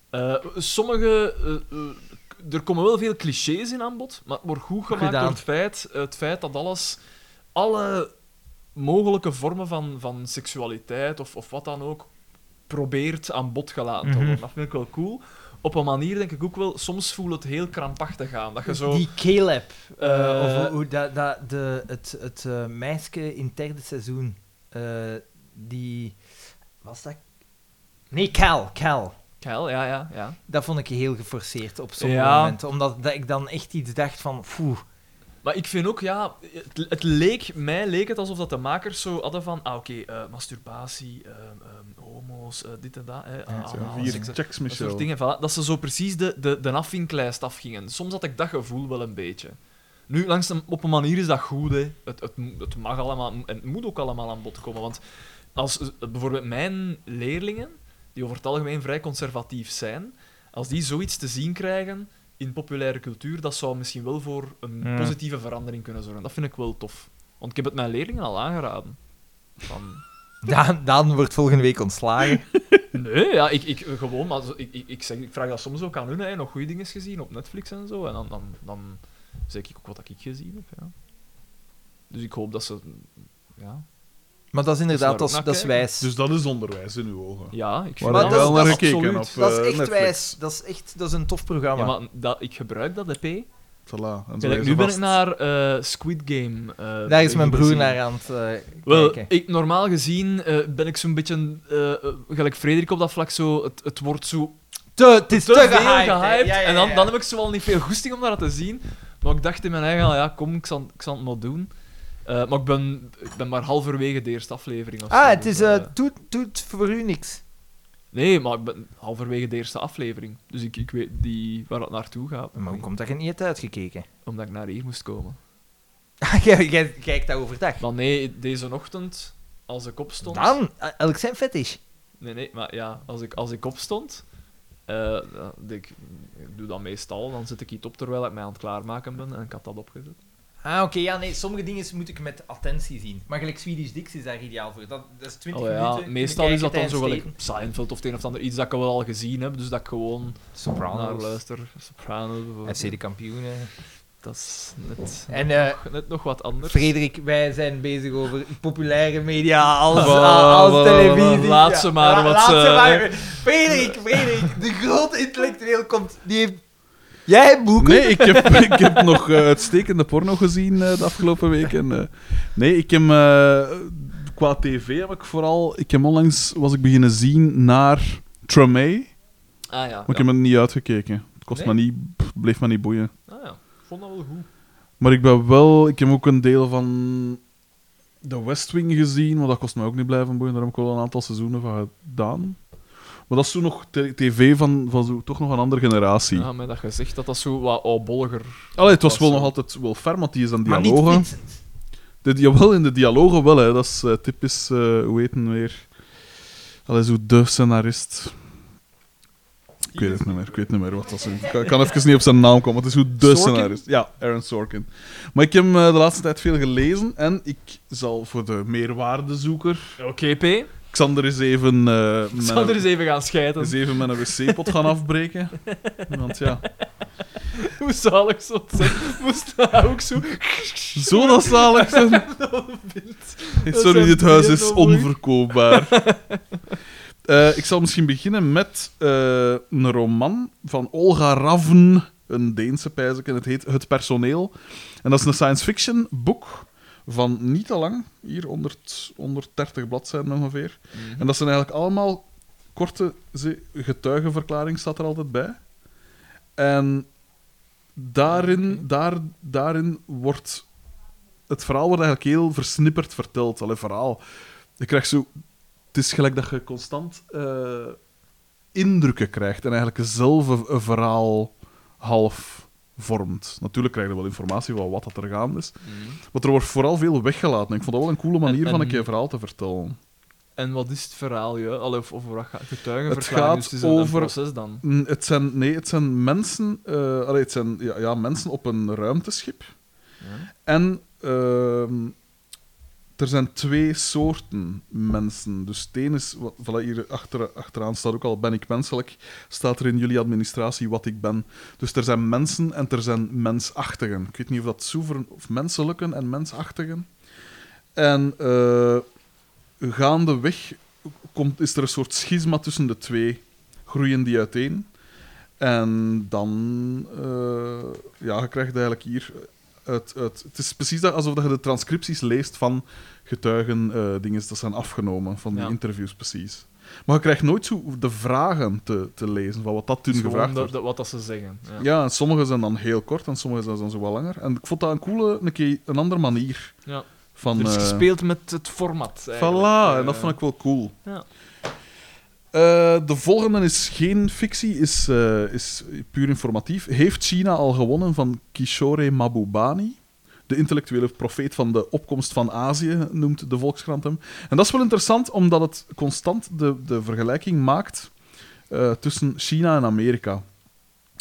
Eh, sommige... eh, eh, k- er komen wel veel clichés in aan bod, maar het wordt goed gemaakt Gedaan. door het feit, het feit dat alles... Alle mogelijke vormen van, van seksualiteit of, of wat dan ook probeert aan bod gelaten Mhm. te worden. Dat vind ik wel cool. Op een manier denk ik ook wel, soms voelt het heel krampachtig aan. Dat je zo... Die Caleb. eh, Eh, of hoe dat, dat, de, het, het eh, meisje in het derde seizoen. eh, die... Was dat... Nee, Cal. Cal. Keil, ja, ja, ja. Dat vond ik heel geforceerd op sommige Ja. momenten. Omdat dat ik dan echt iets dacht van... Foeh. Maar ik vind ook, ja, het, het leek, mij leek het alsof dat de makers zo hadden van, ah oké, eh, masturbatie, ehm, ehm, homo's, eh, dit en dat, hè, ah, ah, Vier seks- checks, dat soort Michel. dingen. voilà. dat ze zo precies de, de, de afvinklijst afgingen. Soms had ik dat gevoel wel een beetje. Nu, langs een, op een manier is dat goed, hè. Het, het, mo- het mag allemaal en het moet ook allemaal aan bod komen. Want als eh, bijvoorbeeld mijn leerlingen, die over het algemeen vrij conservatief zijn, als die zoiets te zien krijgen in populaire cultuur, dat zou misschien wel voor een Ja. positieve verandering kunnen zorgen. Dat vind ik wel tof. Want ik heb het mijn leerlingen al aangeraden. Van, Daan, Daan wordt volgende week ontslagen. Nee, ja, ik, ik, gewoon, maar zo- ik, ik, ik, zeg, ik vraag dat soms ook aan hun. Hè, nog goede dingen gezien op Netflix en zo. En dan, dan, dan zeg ik ook wat ik gezien heb. Ja. Dus ik hoop dat ze. Ja, Maar dat is daar ook inderdaad, dat is, naar dat is kijken? wijs. Dus dat is onderwijs in uw ogen. ja ik Waar vind Maar heb dat je wel is- naar dat gekeken absoluut. op dat is eh, echt Netflix. wijs. Dat is echt dat is een tof programma. Ja, maar dat, ik gebruik dat EP. Voilà. En zo Kijk, is nu het ben vast. ik naar eh, Squid Game. eh, Daar is mijn broer gezien. naar aan het eh, Wel, kijken. ik, normaal gezien eh, ben ik zo'n beetje, eh, eh, gelijk Frederik op dat vlak, zo, het, het wordt zo Te, het is te, te veel gehyped, gehyped. hè. Ja, ja, En dan, ja. dan heb ik zoal niet veel goesting om dat te zien. Maar ik dacht in mijn eigen, al, ja, kom, ik zal, ik zal het maar doen. Eh, maar ik ben, ik ben maar halverwege de eerste aflevering. Of zo, Ah, het dus, is, eh, eh, doet, doet voor u niks. nee, maar ik ben halverwege de eerste aflevering. Dus ik, ik weet die, waar dat naartoe gaat. Maar hoe komt dat je niet hebt uitgekeken? Omdat ik naar hier moest komen. Ah, Jij jij kijkt dat overdag. Maar nee, deze ochtend, als ik opstond... Dan, eh, elk zijn fetish. Nee, nee, maar ja, als ik, als ik opstond, eh, dan- ik, ik doe dat meestal, dan zit ik iets op terwijl ik mij aan het klaarmaken ben en ik had dat opgezet. Ah, oké, ja, nee, sommige dingen moet ik met attentie zien. Maar gelijk Swedish Dicks is daar ideaal voor. Dat, dat is 20 Oh ja, minuten. meestal is dat dan zo gelijk gelijk. Seinfeld of het een of ander iets dat ik wel al gezien heb, dus dat ik gewoon naar Sopranos, luister. Sopranos bijvoorbeeld. FC de kampioenen. Dat is net, En eh, net nog wat anders. Frederik, wij zijn bezig over populaire media als, Wa- ah, als wa- wa- televisie. laat Ja, ze maar la- wat laat ze- eh, ze maar. Frederik, Frederik, de grote intellectueel komt. Die heeft... Jij hebt boeken. Nee, ik heb, ik heb nog eh, uitstekende porno gezien eh, de afgelopen week. En, eh, nee, ik heb... eh, qua tv heb ik vooral... Ik heb onlangs... Was ik beginnen zien naar Tremé. Maar Ah ja. ik ja. heb het niet uitgekeken. Het kost Nee? me niet, bleef me niet boeien. Ah, ja. Ik vond dat wel goed. Maar ik ben wel... Ik heb ook een deel van de West Wing gezien, maar dat kost me ook niet blijven boeien. Daar heb ik wel een aantal seizoenen van gedaan. Maar dat is toen nog t- tv van, van zo, toch nog een andere generatie. Ja, met dat gezegd dat dat zo wat oudbolliger... Allee, het was wel Dat is nog zo. altijd wel ferm, want die is aan Maar niet dialogen. Vincent. De, jawel, in de dialogen wel, hè. Dat is eh, typisch, eh, hoe heet hem weer? Allee, zo de scenarist. Ik weet het niet meer, ik weet niet meer wat dat is. Ik kan, ik kan even niet op zijn naam komen, het is hoe de Sorkin? scenarist. Ja, Aaron Sorkin. Maar ik heb hem eh, de laatste tijd veel gelezen en ik zal voor de meerwaardezoeker... Oké, P. Xander is even... eh, Ik met zal er een- eens even gaan scheiden. is even met een wc-pot gaan afbreken. Want ja, Hoe zalig zou het zijn? Moest dat ook zo... zo dat zalig zijn. Dat Sorry, zijn dit huis is bieren, hoor. onverkoopbaar. Eh, ik zal misschien beginnen met eh, een roman van Olga Ravn, een Deense pijzer, en het heet Het Personeel. En dat is een science fiction boek van niet te lang, hier 100, 130 bladzijden ongeveer. En dat zijn eigenlijk allemaal korte ze- getuigenverklaring staat er altijd bij. En daarin, daar, daarin wordt het verhaal wordt eigenlijk heel versnipperd verteld. Allee, verhaal. Je krijgt zo... Het is gelijk dat je constant eh, indrukken krijgt en eigenlijk zelf een, een verhaal half vormt. Natuurlijk krijg je wel informatie van wat dat er gaande is. Maar er wordt vooral veel weggelaten. En Ik vond dat wel een coole manier En- van en- een keer verhaal te vertellen. En wat is het verhaal, ja? Allee, of over wat gaat getuigen Het gaat dus het is een, een over- proces dan. Mm, Het zijn, nee, het zijn mensen... eh, allee, het zijn ja, ja, mensen op een ruimteschip. Ja. En ehm, er zijn twee soorten mensen. Dus het een is, wat, voilà, hier achter, achteraan staat ook al, ben ik menselijk? Staat er in jullie administratie wat ik ben? Dus er zijn mensen en er zijn mensachtigen. Ik weet niet of dat soever of menselijken en mensachtigen. En eh gaandeweg komt, is er een soort schisma tussen de twee. Groeien die uiteen. En dan... eh, ja, je krijgt eigenlijk hier... Uit, uit, het is precies dat, alsof dat je de transcripties leest van getuigen, eh dingen dat zijn afgenomen, van die Ja. interviews precies. Maar je krijgt nooit zo de vragen te, te lezen, van wat dat toen Gewoon gevraagd de- wordt. de- wat dat ze zeggen. Ja. Ja, en sommige zijn dan heel kort en sommige zijn dan zo wat langer. En ik vond dat een coole, een, keer, een andere manier. Ja. Van, Er is eh, gespeeld met het format. Eh, Voilà, en dat eh, vond ik wel cool. Ja. Eh, de volgende is geen fictie, is, eh, is puur informatief. Heeft China al gewonnen van Kishore Mabubani? De intellectuele profeet van de opkomst van Azië, noemt de Volkskrant hem. En dat is wel interessant, omdat het constant de, de vergelijking maakt eh, tussen China en Amerika.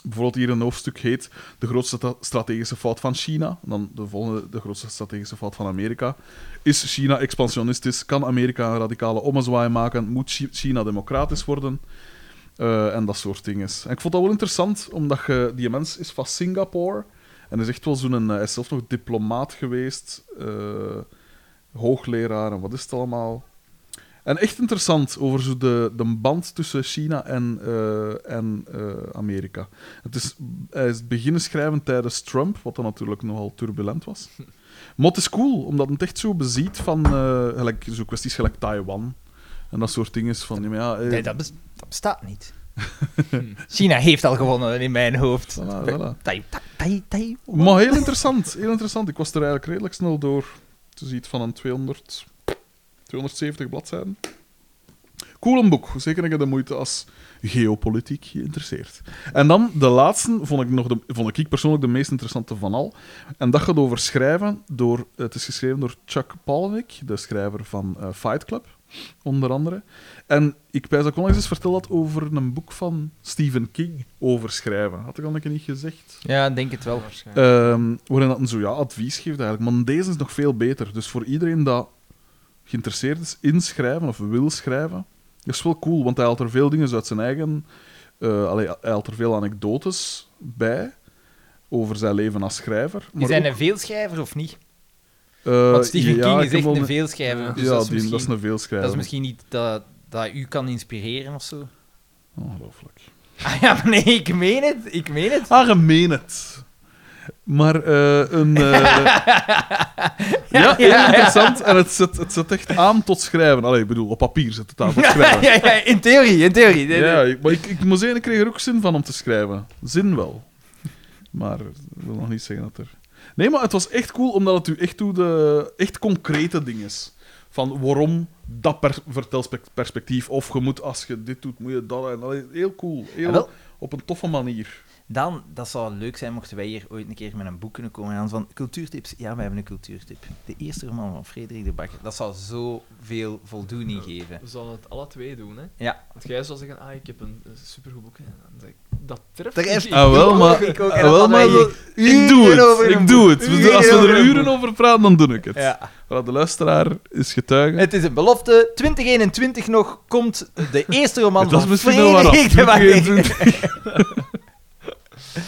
Bijvoorbeeld hier een hoofdstuk heet De grootste ta- strategische fout van China. En dan de volgende, de grootste strategische fout van Amerika. Is China expansionistisch? Kan Amerika een radicale ommezwaai maken? Moet Chi- China democratisch worden? Eh, en dat soort dingen. En ik vond dat wel interessant, omdat je, die mens is van Singapore. En is echt wel zo'n... eh, Hij is zelf nog diplomaat geweest. eh, hoogleraar en wat is het allemaal. En echt interessant over zo de, de band tussen China en, eh, en eh, Amerika. Het is, hij is beginnen schrijven tijdens Trump, wat dan natuurlijk nogal turbulent was. Maar het is cool, omdat het echt zo beziet van eh, gelijk, zo kwesties gelijk Taiwan. En dat soort dingen. Van, ja, maar ja, eh, Nee, dat, bes- dat bestaat niet. China heeft al gewonnen in mijn hoofd. Voilà, Tai, voilà. tai, tai, tai. Maar heel interessant, heel interessant. Ik was er eigenlijk redelijk snel door. Het is iets van een 200, 270 bladzijden. Cool een boek, zeker ik de moeite als geopolitiek geïnteresseerd. En dan de laatste, vond ik, nog de, vond ik persoonlijk de meest interessante van al. En dat gaat over schrijven. Door, het is geschreven door Chuck Palahniuk, de schrijver van eh, Fight Club, onder andere. En ik pijs dat ik onlangs eens verteld had over een boek van Stephen King over schrijven. Had ik al een keer niet gezegd. Ja, ik denk het wel. waarschijnlijk. Ehm, waarin dat een zo ja, advies geeft eigenlijk. Maar deze is nog veel beter. Dus voor iedereen dat geïnteresseerd is in schrijven of wil schrijven, is wel cool. Want hij haalt er veel dingen uit zijn eigen. eh, allee, hij haalt er veel anekdotes bij over zijn leven als schrijver. Is Maar hij ook, een veelschrijver of niet? eh, Want Stephen ja, King ik is heb echt wel een veelschrijver. Ja. dus ja, dat, is die, dat is misschien, een veelschrijver. dat is misschien niet dat, dat u kan inspireren of zo. Ongelooflijk. Ah ja, maar nee, ik meen het. Ik meen het. Ah, je meen het. Maar eh, een... eh, ja, heel interessant. En het zet, het zet echt aan tot schrijven. Allee, ik bedoel, op papier zet het aan tot schrijven. Ja, ja, in theorie, in theorie. Nee, Ja, nee. ik- maar ik, ik moet zeggen, ik kreeg er ook zin van om te schrijven. Zin wel. Maar ik wil nog niet zeggen dat er... Nee, maar het was echt cool, omdat het u echt, toe de, echt concrete dingen is. Van waarom dat per, vertelsperspectief, of je moet, als je dit doet, moet je dat. En dat is heel cool. Ah, Heel, wel. op een toffe manier. Dan, dat zou leuk zijn mochten wij hier ooit een keer met een boek kunnen komen. En dan van cultuurtips. Ja, wij hebben een cultuurtip. De eerste roman van Frederik de Bakker. Dat zou zoveel voldoening geven. We zullen het alle twee doen, hè? Ja. Want jij zou zeggen, ah, ik heb een, een supergoed boek. hè. En dan zeg ik, dat treft Er is- niet. Ah, wel, ook, maar... ik ook, en ah, dat wel, van maar mij dat- ik doe Uren over het. een Ik doe het. boek. We doen- Als we Uren er over een uren over praten, dan doe ik het. ja. Voilà, de luisteraar is getuige. Het is een belofte. 2021 nog komt de eerste roman Dat is van misschien wel waar. Frederik de Bakker. Eh,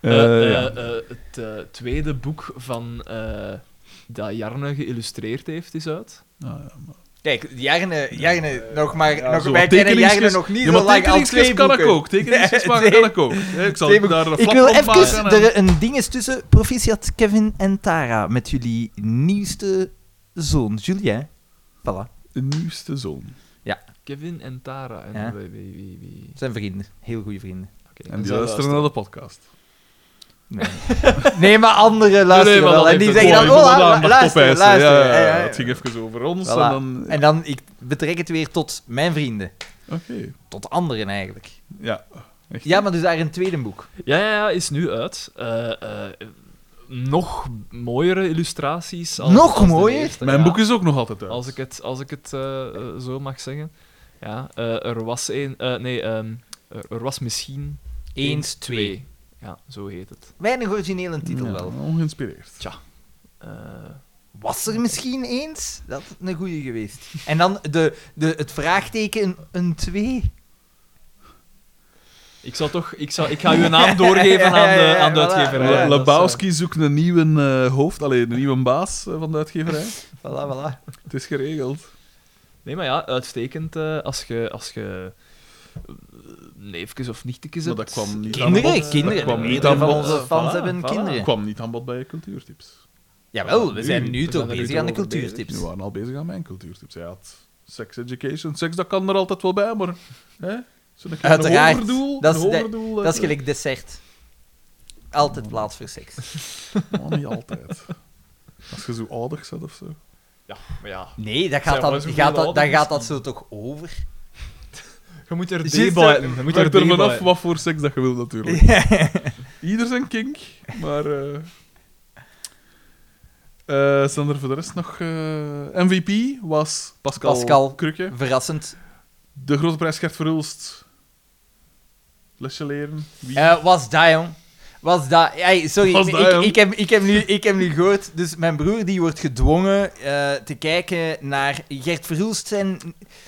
eh, Eh, ja. eh, het eh, tweede boek van eh, dat Jarne geïllustreerd heeft, is uit. Ah, ja. Kijk, Jarne, Jarne nog maar... Ja, nog, zo wij wat kennen Jarne tekeningsjes- nog niet Ja, zo maar lang al tekeningsjes twee kan boeken. ik ook. Tekeningsjes maken Twee- kan ik ook. Hè, Ik zal twee boeken. daar een Ik flap wil op even maken en- er een dinges tussen. Proficiat Kevin en Tara met jullie nieuwste zoon, Julien. Voilà, De nieuwste zoon. Kevin en Tara. En Ja. wie, wie, wie, wie- zijn vrienden. Heel goede vrienden. oké, En die zij luisteren naar de podcast. Nee, nee maar anderen luisteren Nee, nee, maar wel. dat En die heeft zeggen Oh, dan, ik oh, wil la- daar nog luister, opeisen. luister. Ja, Ja, ja, ja. Het ging even over ons. Voilà. En dan... En dan, ik betrek het weer tot mijn vrienden. Oké. Tot anderen eigenlijk. Ja. Echt. Ja, maar dus daar een tweede boek. Ja, ja, ja, is nu uit. Eh, eh, nog mooiere illustraties. Als, Nog als de mooier? eerste, Mijn ja. boek is ook nog altijd uit. Als ik het, als ik het eh, eh, zo mag zeggen. Ja, eh, er was één. eh, nee, ehm, er, er was misschien. Eens, twee. Ja, zo heet het. Weinig originele titel Ja, wel. Ongeïnspireerd. Eh, Was er misschien eens? Dat is een goeie geweest. En dan de, de, het vraagteken, een- een twee. ik zal toch. Ik, zal, ik ga uw naam doorgeven aan Ja, ja, de, ja, aan de voilà. uitgeverij. Ja, Le- Dat is, eh, Lebowski zoekt een nieuwe eh, hoofd, alleen een nieuwe baas eh, van de uitgeverij. Voilà, voilà. Het is geregeld. eh, Nee, maar ja, uitstekend eh, als je als je eh, neefjes of nichtjes Maar hebt. dat kwam niet aan bod. Kinderen, kinderen. Dat kwam niet Meerdere aan van bod. onze fans Voilà, hebben voilà. Dat kinderen. kwam niet aan bod bij je cultuurtips. Jawel, we zijn We nu toch zijn er nu bezig toch aan de over bezig. cultuurtips. We waren al bezig aan mijn cultuurtips. Hij had sex education. Seks, dat kan er altijd wel bij, maar... Hè? Zo'n keer Uiteraard. Een overdoel. Dat is een de- overdoel, eh, Dat is gelijk dessert. Altijd plaats voor seks. Maar Oh, niet altijd. Als je zo ouder zit of zo. Ja, maar ja. Nee, dat Zijn gaat dan, we zo gaat dat, ouder dan gaat misschien? dat zo toch over? Je moet er Juist, debuiten. Je moet er Hangt er vanaf debuiten. wat voor seks dat je wil, natuurlijk. Ieder zijn kink, maar... eh eh, zijn er voor de rest nog... eh, MVP was Pascal, Pascal. Krukke. Verrassend. De grote prijs Gert Verhulst. Lesje leren. Wie? Eh, was dat, jong? Was dat? Ey, sorry, Was dat, ik, jong? ik, heb, ik, heb nu, ik heb nu gehoord. Dus mijn broer die wordt gedwongen eh, te kijken naar Gert Verhulst zijn...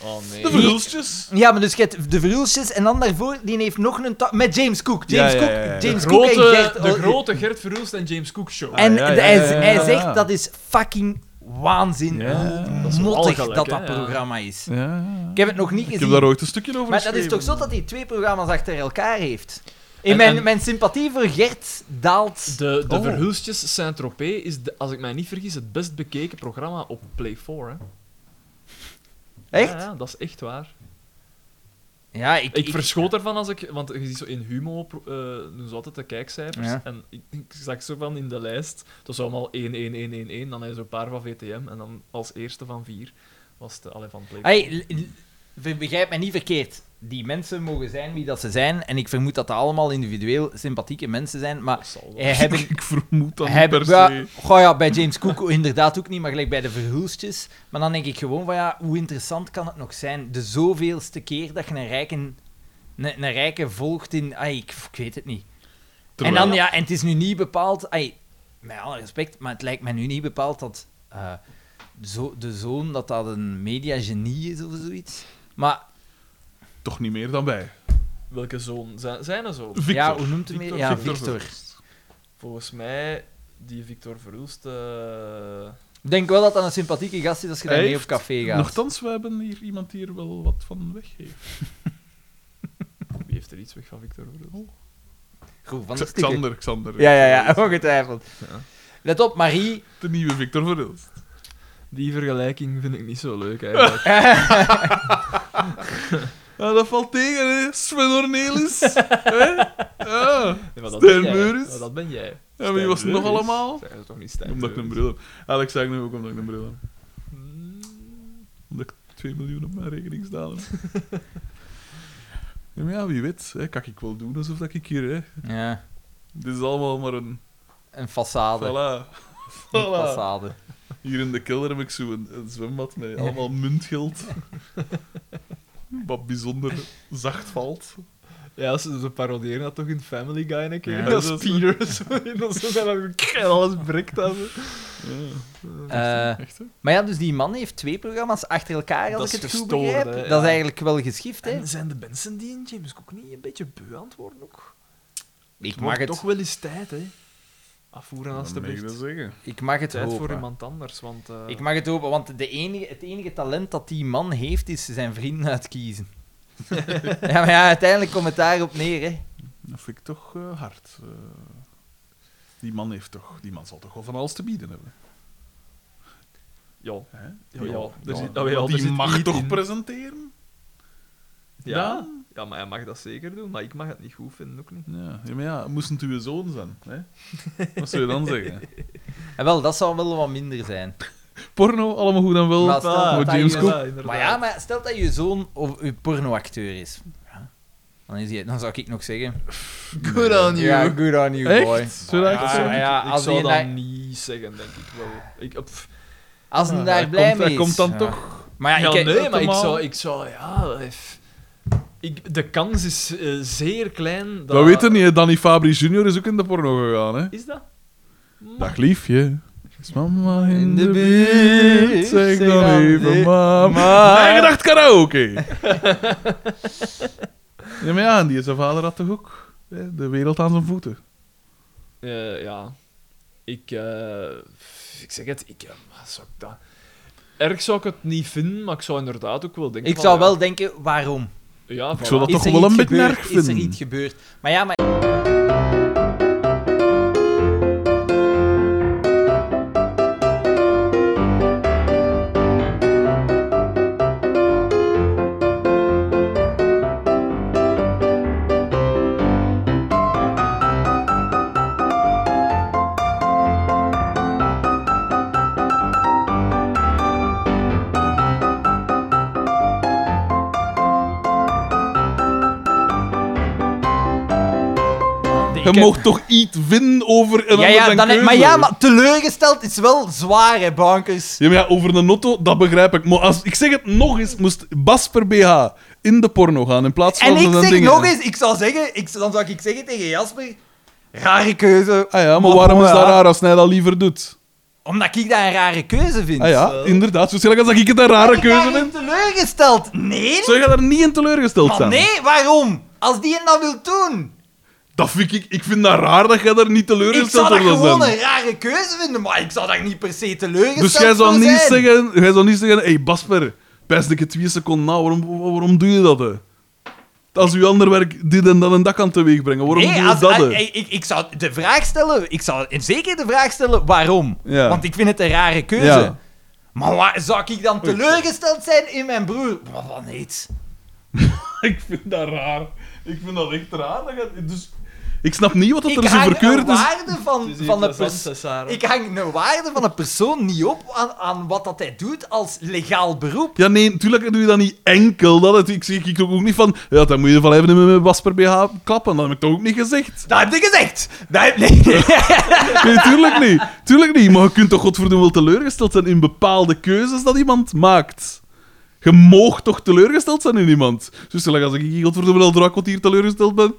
Oh nee. de Verhulstjes. Ja, maar dus Gert de Verhulstjes en dan daarvoor, die heeft nog een... ta- Met James Cook. James Ja, ja, Cook, ja, ja. James Cook en grote, Gert... de oh, grote Gert Verhulst en James Cook show. En Ah, ja, ja, de- hij, ja, ja, hij ja, zegt ja. dat is fucking waanzin. Ja, hoe dat is mottig walgelijk, dat hè, dat ja. programma is. Ja, ja, ja. Ik heb het nog niet Ik gezien. heb daar ooit een stukje over Maar dat is geschreven. toch zo dat hij twee programma's achter elkaar heeft? In En- mijn, en- mijn sympathie voor Gert daalt. De, de Oh. Verhulstjes Saint-Tropez is, de- als ik mij niet vergis, het best bekeken programma op Play 4. Hè? Echt? Ja, ja, dat is echt waar. Ja, ik. Ik ik verschoot ervan als ik... Want je ziet zo in Humo pro- eh doen ze altijd de kijkcijfers. Ja. En ik, ik zag zo van in de lijst. Dat was allemaal 1, 1, 1, 1, 1. Dan had je zo'n paar van VTM. En dan als eerste van vier was het alleen van Play 4. Hey, l- l- ver- begrijp mij niet verkeerd. Die mensen mogen zijn wie dat ze zijn. En ik vermoed dat dat allemaal individueel sympathieke mensen zijn. Maar Dat zal wel. eh, hebben. Ik vermoed dat niet hebben per ja, se. goh, ja, bij James Cook inderdaad ook niet, maar gelijk bij de verhulstjes. Maar dan denk ik gewoon van ja, hoe interessant kan het nog zijn? De zoveelste keer dat je een rijke, een, een rijke volgt in. Ai, ik, ik weet het niet. Terwijl- En dan, ja, en het is nu niet bepaald... Ai, met alle respect, maar het lijkt mij nu niet bepaald dat eh, zo, de zoon dat dat een mediagenie is of zoiets. Maar Toch niet meer dan wij. Welke zoon? Zijn, zijn er zo? Victor. ja, hoe noemt hij meer? Ja, Victor. Verhulst. Volgens mij, die Victor Verhulst... eh, Ik denk wel dat dat een sympathieke gast is als je Hij daar mee op heeft- café gaat. Nochtans, we hebben hier iemand die er wel wat van weg heeft. wie heeft er iets weg van Victor Verhulst? Groen van de stikken. Xander, Xander. Eh, Ja, ja, ja, Oh, ongetwijfeld. Ja. Let op, Marie. De nieuwe Victor Verhulst. Die vergelijking vind ik niet zo leuk eigenlijk. Ja, Ah, dat valt tegen, hè. Sven Ornelis. hè? Ah. Ja. Nee, maar dat Stijn ben jij. Meuris? Maar dat ben jij. ja, wie was het nog allemaal? Zijn ze toch niet Stijn Omdat ik een Meuris? bril heb. Alex zei ik nu ook omdat ik een bril heb. Mm, Omdat ik 2 miljoen op mijn rekening staan heb. ja, maar ja, wie weet. Hè, kan ik wel doen alsof dat ik hier... Hè. Ja, Dit is allemaal maar een... een façade. Voilà. Een Voilà. façade. Hier in de kelder heb ik zo een, een zwembad met allemaal muntgeld. Wat bijzonder zacht valt. Ja, ze, ze paroderen dat toch in Family Guy een keer. Ja, dat dat is is- Peter zo in dat zo bijna en alles breekt aan. Ja, Eh, echt, hè? maar ja, dus die man heeft twee programma's achter elkaar, als Dat ik is het goed gestoord, begrijp. hè, Dat is ja. eigenlijk wel geschift, hè? En zijn de mensen die in James Cook niet een beetje beu aan het worden ook? Ik mag Wordt het, toch wel eens tijd, hè? Afvoeren Dan mag ik alstublieft. dat zeggen. ik mag het Tijd voor hopen. iemand anders, want... eh, Ik mag het hopen, want de enige, het enige talent dat die man heeft, is zijn vrienden uitkiezen. ja, maar ja, uiteindelijk komt het daarop neer, hè. Dat vind ik toch eh, hard. Eh, die man heeft toch... Die man zal toch wel van alles te bieden hebben. Ja, Hè? ja, ja. Er Er zit- zit, oh, ja, er die zit mag iets toch in. presenteren? Ja? ja, maar hij mag dat zeker doen, maar ik mag het niet goed vinden, ook niet. Ja, ja maar ja, moest het uw zoon zijn. Hè? Wat zou je dan zeggen? En wel, dat zou wel wat minder zijn. Porno, allemaal goed en wel. Maar stel voor dat James je- Cook. Maar ja, maar stel dat je zoon of je pornoacteur is. Ja. Dan, is die, dan zou ik nog zeggen... Good on Ja, good on you, boy. Echt? Zou je dat echt Ja, zeggen? ja, ja, ik als zou die dat daar- niet zeggen, denk ik wel. Ik, eh, pff, Als hij Ja, daar hij blij komt- mee hij is. komt dan Ja. toch- Maar ja, ja, ik- nee, maar ik helemaal- zou, ik zou, ja... eh, f- Ik, de kans is eh, zeer klein dat... Dat weten niet, hè. Danny Fabri Jr. is ook in de porno gegaan, hè? Is dat? Dag liefje. Is mama in, In de de buurt? buurt, Zeg zeg dan dan even nee. mama. Ma. Nagedacht karaoke. ja, maar ja, en die zijn vader had toch ook hè, de wereld aan zijn voeten. Eh, ja. Ik, eh, ik zeg het, ik, eh, wat zou ik dat... erg zou ik het niet vinden, maar ik zou inderdaad ook wel denken. Ik van, zou ja, wel denken, waarom? Ja, Ik voilà. zou dat Is toch er wel iets een beetje gebeurd? erg Is er vinden. iets gebeurd? Maar ja, maar... Je mocht toch iets vinden over een Ja, ander ja, zijn dan, keuze? maar ja, maar teleurgesteld is wel zwaar, hè, bankers. Ja, maar ja, over een auto, dat begrijp ik. Maar als, ik zeg het nog eens, moest Basper BH in de porno gaan in plaats van En een ik zeg dingen. nog eens, ik zou zeggen, ik, dan zou ik zeggen tegen Jasper, rare keuze. Ah ja, maar, Maar waarom is bon, dat ja. raar als hij dat liever doet? Omdat ik dat een rare keuze vind. Ah ja, inderdaad. Zo gelijk als dat ik het een rare Ben ik keuze daarin vind. teleurgesteld? Nee. Zou je daar niet in teleurgesteld Maar zijn? nee, waarom? Als die het nou wil doen. Dat vind ik, ik vind dat raar dat jij daar niet Ik zou teleurgesteld dat over zou gewoon zijn. een rare keuze vinden, maar ik zou daar niet per se teleurgesteld Dus jij zou, voor niet zijn. zeggen, jij zou niet zeggen: hey Basper, pijs ik het twee seconden na, waarom, waarom doe je dat? Hè? Als uw ander werk dit en dat en dat kan teweegbrengen, waarom Nee, doe je als- dat? als- hè? ik, ik, ik zou de vraag stellen, ik zou zeker de vraag stellen waarom. Ja. Want ik vind het een rare keuze. Ja. Maar waar, zou ik dan teleurgesteld zijn in mijn broer? Wat van niet? Ik vind dat raar. Ik vind dat echt raar. Dat je- dus... Ik snap niet wat dat Ik er zo hang een verkeerd is. waarde van, Dus van de persoon. Ik hang een waarde van een persoon niet op aan, aan wat dat hij doet als legaal beroep. Ja, nee, natuurlijk doe je dat niet enkel. Dat het, ik zeg ik ook niet van. Ja, dan moet je van even met mijn Basper BH klappen. Dat heb ik toch ook niet gezegd. Dat heb je gezegd. Dat heb nee. Nee, tuurlijk niet. Tuurlijk niet. Maar je kunt toch godverdomme wel teleurgesteld zijn in bepaalde keuzes dat iemand maakt. Je moogt toch teleurgesteld zijn in iemand. Dus zolang als ik hier godverdomme al drak wat hier teleurgesteld nou. ben.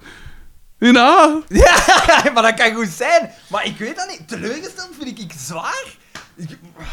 Ja, Ja, maar dat kan goed zijn. Maar ik weet dat niet. Teleurgesteld vind ik, ik zwaar. Ik-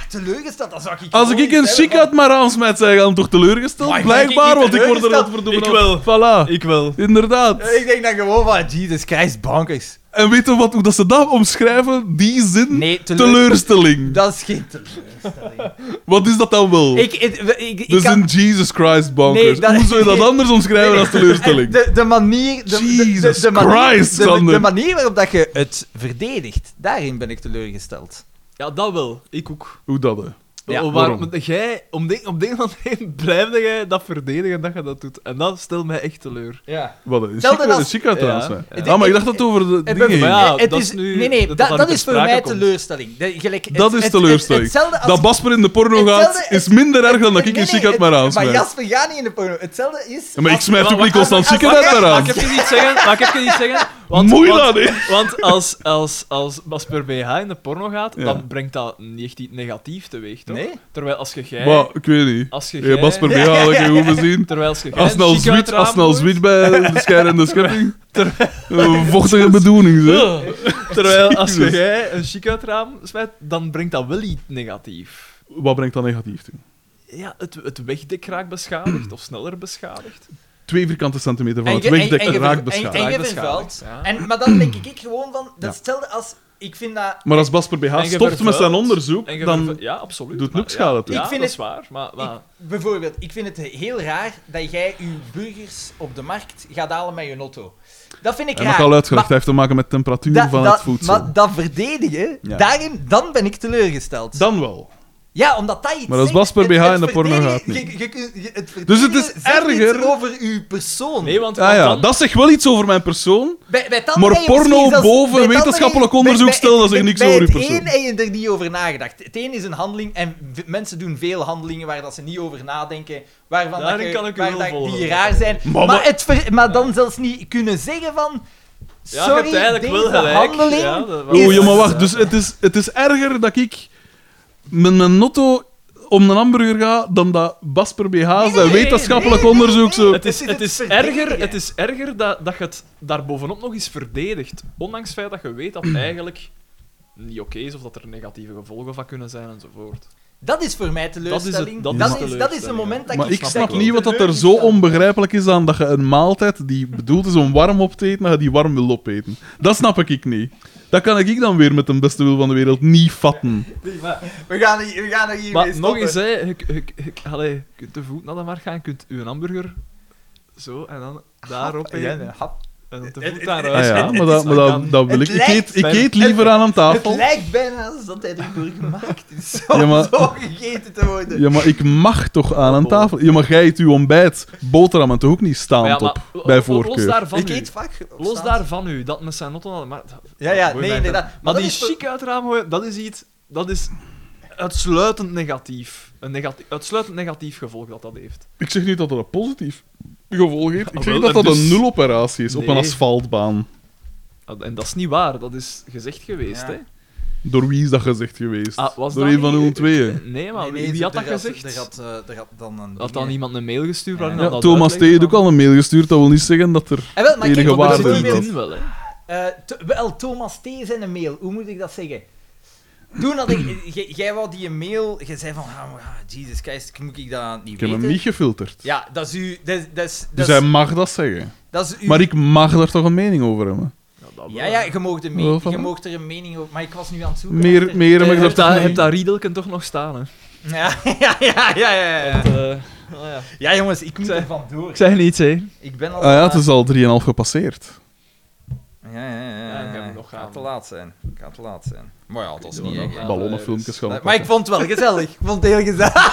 teleurgesteld, dan zou ik... als gewoon ik een iets hebben chic uit mijn raam smijt, zijn dan toch teleurgesteld? Maar ik denk Blijkbaar, niet want ik word er teleurgesteld. godverdomme Ik al- wel. Voilà. Ik wel. Inderdaad. van- Ik denk dan gewoon van, Jesus Christ, bankers. En weet je wat, hoe dat ze dat omschrijven? Die zin? Nee, teleur- Teleurstelling. Dat is geen teleurstelling. Wat is dat dan wel? ik, ik, ik, ik dus kan- een Jesus Christ bonkers. Nee, dat- Hoe zou je dat nee. anders omschrijven Nee, als teleurstelling? De, de manier... De, de- de- Jesus de manier, Christ, de, de Sander. manier waarop dat je het verdedigt, daarin ben ik teleurgesteld. Ja, dat wel. Ik ook. Hoe dat, hè? Ja, Waar- waarom? Jij, om de, op de een of andere manier blijfde jij dat verdedigen dat je dat doet. En dat stelt mij echt teleur. Ja. Wat, een Stel chic- dat een als- chic uit Ja. trouwens. Ja. Ah, maar ik dacht dat het over de Het, dingen ben- ging. Maar ja, het dat is, is nu- nee, nee, dat dat, dat dat, daar is ter voor sprake mij komt. teleurstelling. De- gelijk, het- Dat is het- het- teleurstelling. hetzelfde als Dat Basper in de porno Hetzelfde- gaat, is minder erg dan dat ik een chic uit mijn raam Maar smijt. Jasper gaat niet in de porno. Hetzelfde is... Ja, Maar ik als- smijt ook niet constant chic als- uit mijn Mag raam. ik even iets zeggen? Mag ik even iets zeggen? Moei want, dat, hè? Want als, als, als Basper BH in de porno gaat, Ja. dan brengt dat niet echt iets negatief teweeg, toch? Nee. Terwijl als je jij... Maar, ik weet niet. Als je Hey, jij... Basper BH had ik je goed gezien. Terwijl als je jij... Als een snel chic uit zwiet, het raam als nou snel gooit, zwiet bij de schijnende schepping. Eh, Vochtige bedoeling, zeg. Terwijl als Jezus. jij een chic uit het raam smijt, dan brengt dat wel iets negatief. Wat brengt dat negatief toe? Ja, het, het wegdek raakt beschadigd, of sneller beschadigd. Twee vierkante centimeter van En het je- wegdek en- en je- raakt En beschadigd. je Raakt vervuilt. beschadigd, En, maar dan denk ik gewoon van... Dat Ja. stelde als... Ik vind dat... Maar als Basper BH En je stopt met zijn vervuilt. onderzoek, En je verve- dan... ja, absoluut. doet maar- ook schade ja, toe. Ja, Ik vind dat het- is waar, maar... maar... Ik- bijvoorbeeld, ik vind het heel raar dat jij je burgers op de markt gaat halen met je auto. Dat vind ik Hij raar. mag al uitgelegd, hij Maar heeft te maken met temperatuur dat- van dat- het voedsel. Maar dat verdedigen, Ja. daarin, dan ben ik teleurgesteld. Dan wel. Ja, omdat dat iets Maar als zegt. Basper Het- BH het in de porno verdedigen- gaat niet. je- je kunt- je- het Dus het verdedigen is zegt iets erger. over uw persoon. Nee, want, Ah want ja, dan- dat zegt wel iets over mijn persoon. Bij- bij het Maar andere heb je porno misschien zelfs- boven bij het wetenschappelijk andere- bij- onderzoek bij- stelt, dat zegt bij- niks over uw Bij persoon. het een heb je er niet over nagedacht. Het een is een handeling en v- mensen doen veel handelingen waar dat ze niet over nadenken, waarvan dat Daarin je- kan ik u waar wel dat volgen. die raar zijn. Maar- Maar, het ver- maar dan zelfs niet kunnen zeggen van... Ja, je hebt Sorry, eigenlijk deze wel gelijk. handeling... Ja, dat- is- Oh, ja, maar wacht. Dus het is, het is erger dat ik met mijn notto om een hamburger ga dan dat Basper BH Nee, zijn nee, nee, wetenschappelijk nee, nee, onderzoek nee, zo... nee. Het is, Het het is is het verdedigen. erger, het is erger dat, dat je het daarbovenop nog eens verdedigt. Ondanks het feit dat je weet dat het eigenlijk niet oké is of dat er negatieve gevolgen van kunnen zijn enzovoort. Dat is voor mij teleurstelling. dat Dat is is, dat is, teleurstelling, een moment dat maar ik... ik snap snap wel. niet wat dat er zo Teleurgesteld. onbegrijpelijk is aan dat je een maaltijd die bedoeld is om warm op te eten, dat je die warm wil opeten. Dat snap ik niet. Dat Dat kan ik dan weer met de beste wil van de wereld niet vatten. Nee, maar we gaan er hier- we gaan er hier mee Maar nog stoppen. eens, hè, je, je, je, allee, je kunt te voet naar de markt gaan, je kunt uw hamburger zo en dan daarop Ja, eten. een hap. En dan te Het- voet het- daaruit. Ah ja, maar dat, maar dat, dat wil ik. Ik eet, ik eet liever aan een Het tafel. lijkt bijna alsof dat hij ervoor gemaakt is om Ja, maar- zo gegeten te worden. Ja, maar ik mag toch aan een tafel. Ja, maar jij eet uw ontbijt, boterham en toch ook niet Maar ja, staand op, maar lo- bij lo- Los voorkeur. daarvan ik nu. eet vaak op Los straat. daarvan nu, dat met zijn notten hadden. Maar, Ja, ja, Boeit nee, mij inderdaad. verder. Maar Maar, dat die is voor- chic uit het raam gooien, dat is iets... Dat is uitsluitend negatief. Een negati- uitsluitend negatief gevolg dat dat heeft. Ik zeg niet dat dat een positief gevolg heeft. Ik Ah, zeg niet wel, dat dat en een dus- nuloperatie is op een Nee. asfaltbaan. En dat is niet waar, dat is gezegd geweest, Ja. hè. Door wie is dat gezegd geweest? Ah, was Door dat een van niet- uw tweeën. Nee, maar Nee, wie- nee, wie had er dat gezegd? Er had, eh, er had dan een... Had dan Nee. iemand een mail gestuurd waarin Ja, dat Ja, dat Thomas T. uitlegde heeft ook van- al een mail gestuurd, dat wil niet zeggen dat er... Eh, wel, maar enige kijk, op waarde Dat zit bijvoorbeeld, in dat. hierin wel, hè. eh, to- wel, Thomas T. zijn een mail. Hoe moet ik dat zeggen? Toen had ik... eh, jij- Jij wou die mail... Je zei van... Ah, maar, ah, Jesus Christ, moet ik dat niet Ik heb weten? hem niet gefilterd. Ja, dat is u... Dat is... Dat is, Dus dat hij is- mag dat zeggen. dat is uw- Maar ik mag daar toch een mening over hebben. Ja, ja, je mocht, een me- Wel, voilà. je moog er een mening over... Maar ik was nu aan het zoeken. Meer, achter- meer Je Eh, heb ik daar hebt toch dat, niet. hebt dat riedelken toch nog staan, hè. Ja, ja, ja, ja, ja, ja. Oh, Want, eh, nou ja. Ja, jongens, ik moet Zeg- er vandoor. Ik zeg niets, hè. Ik ben al... Ah ja, het is al 3,5 gepasseerd. Ja, ja, ja, ja, Ja, ik heb ja. hem nog Ik ga gaan. te laat zijn. Ik ga te laat zijn. Maar ja, dat is Ja, niet dat- echt. Ja, Ballonnenfilmpjes gaan Maar, we ik vond het wel gezellig. Ik vond het heel gezellig.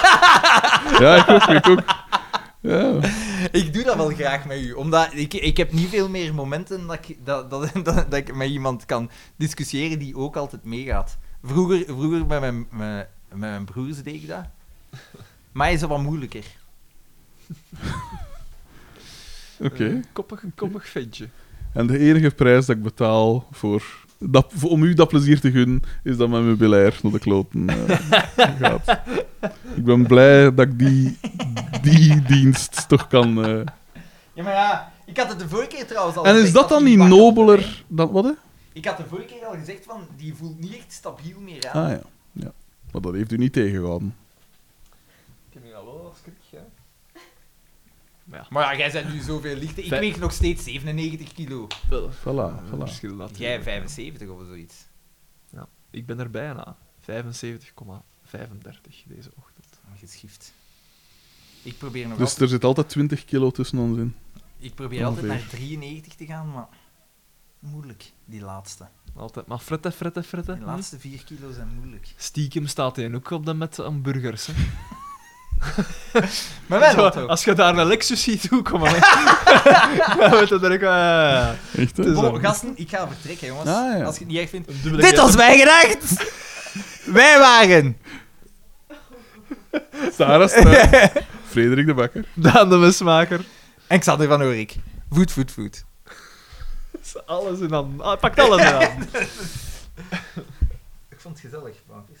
pakken. Ja, ik ook, ik ook. Ja. Ik doe dat wel graag met u. Omdat ik, ik heb niet veel meer momenten dat ik, dat, dat, dat, dat ik met iemand kan discussiëren die ook altijd meegaat. Vroeger, vroeger met, mijn, met, met mijn broers deed ik dat. Maar is dat wat moeilijker. Oké. Eh, koppig, koppig ventje. En de enige prijs dat ik betaal voor dat, voor- om u dat plezier te gunnen, is dat mijn meubilair naar de kloten eh, gaat. Ik ben blij dat ik die, die dienst toch kan... eh. Ja, maar ja, ik had het de vorige keer trouwens al En is gezegd dat dan die niet bak altijd, hè. nobeler dan... Wat, hè? Ik had de vorige keer al gezegd van, die voelt niet echt stabiel meer aan. Ah ja. ja. Maar dat heeft u niet tegengehouden. Ik heb nu al wel schrik, Maar ja, jij bent nu zoveel lichter. Ik Vij- weeg nog steeds 97 kilo. Ah, Voilà, voilà. Verschil dat Jij 75 of zoiets. Ik ben er bijna. 75,35 deze ochtend. Geschift. Ik probeer nog Dus altijd, er zit altijd 20 kilo tussen ons in. ik probeer altijd ongeveer. naar 93 te gaan, maar moeilijk, die laatste. Altijd maar fretten, fretten, fretten. Hm. Die laatste 4 kilo zijn moeilijk. Stiekem staat hij ook op de met hamburgers. Hè. Maar wel Zo, auto. als je daar een Lexus ziet toekomen, hè. dan weet je er ook... eh, Echt, hè? Het is Bon, zo. gasten, ik ga vertrekken, jongens. Ah, ja. Als je het niet echt vindt. een dubbele Dit keer. was mijn gedacht! Wij waren Sarah Struijf, Frederik de Bakker. Daan de mesmaker. en Xander van Oorik. Voet, voet, voet. Alles in aan. Ah, hij pakt alles in aan. Ik vond het gezellig, bankjes.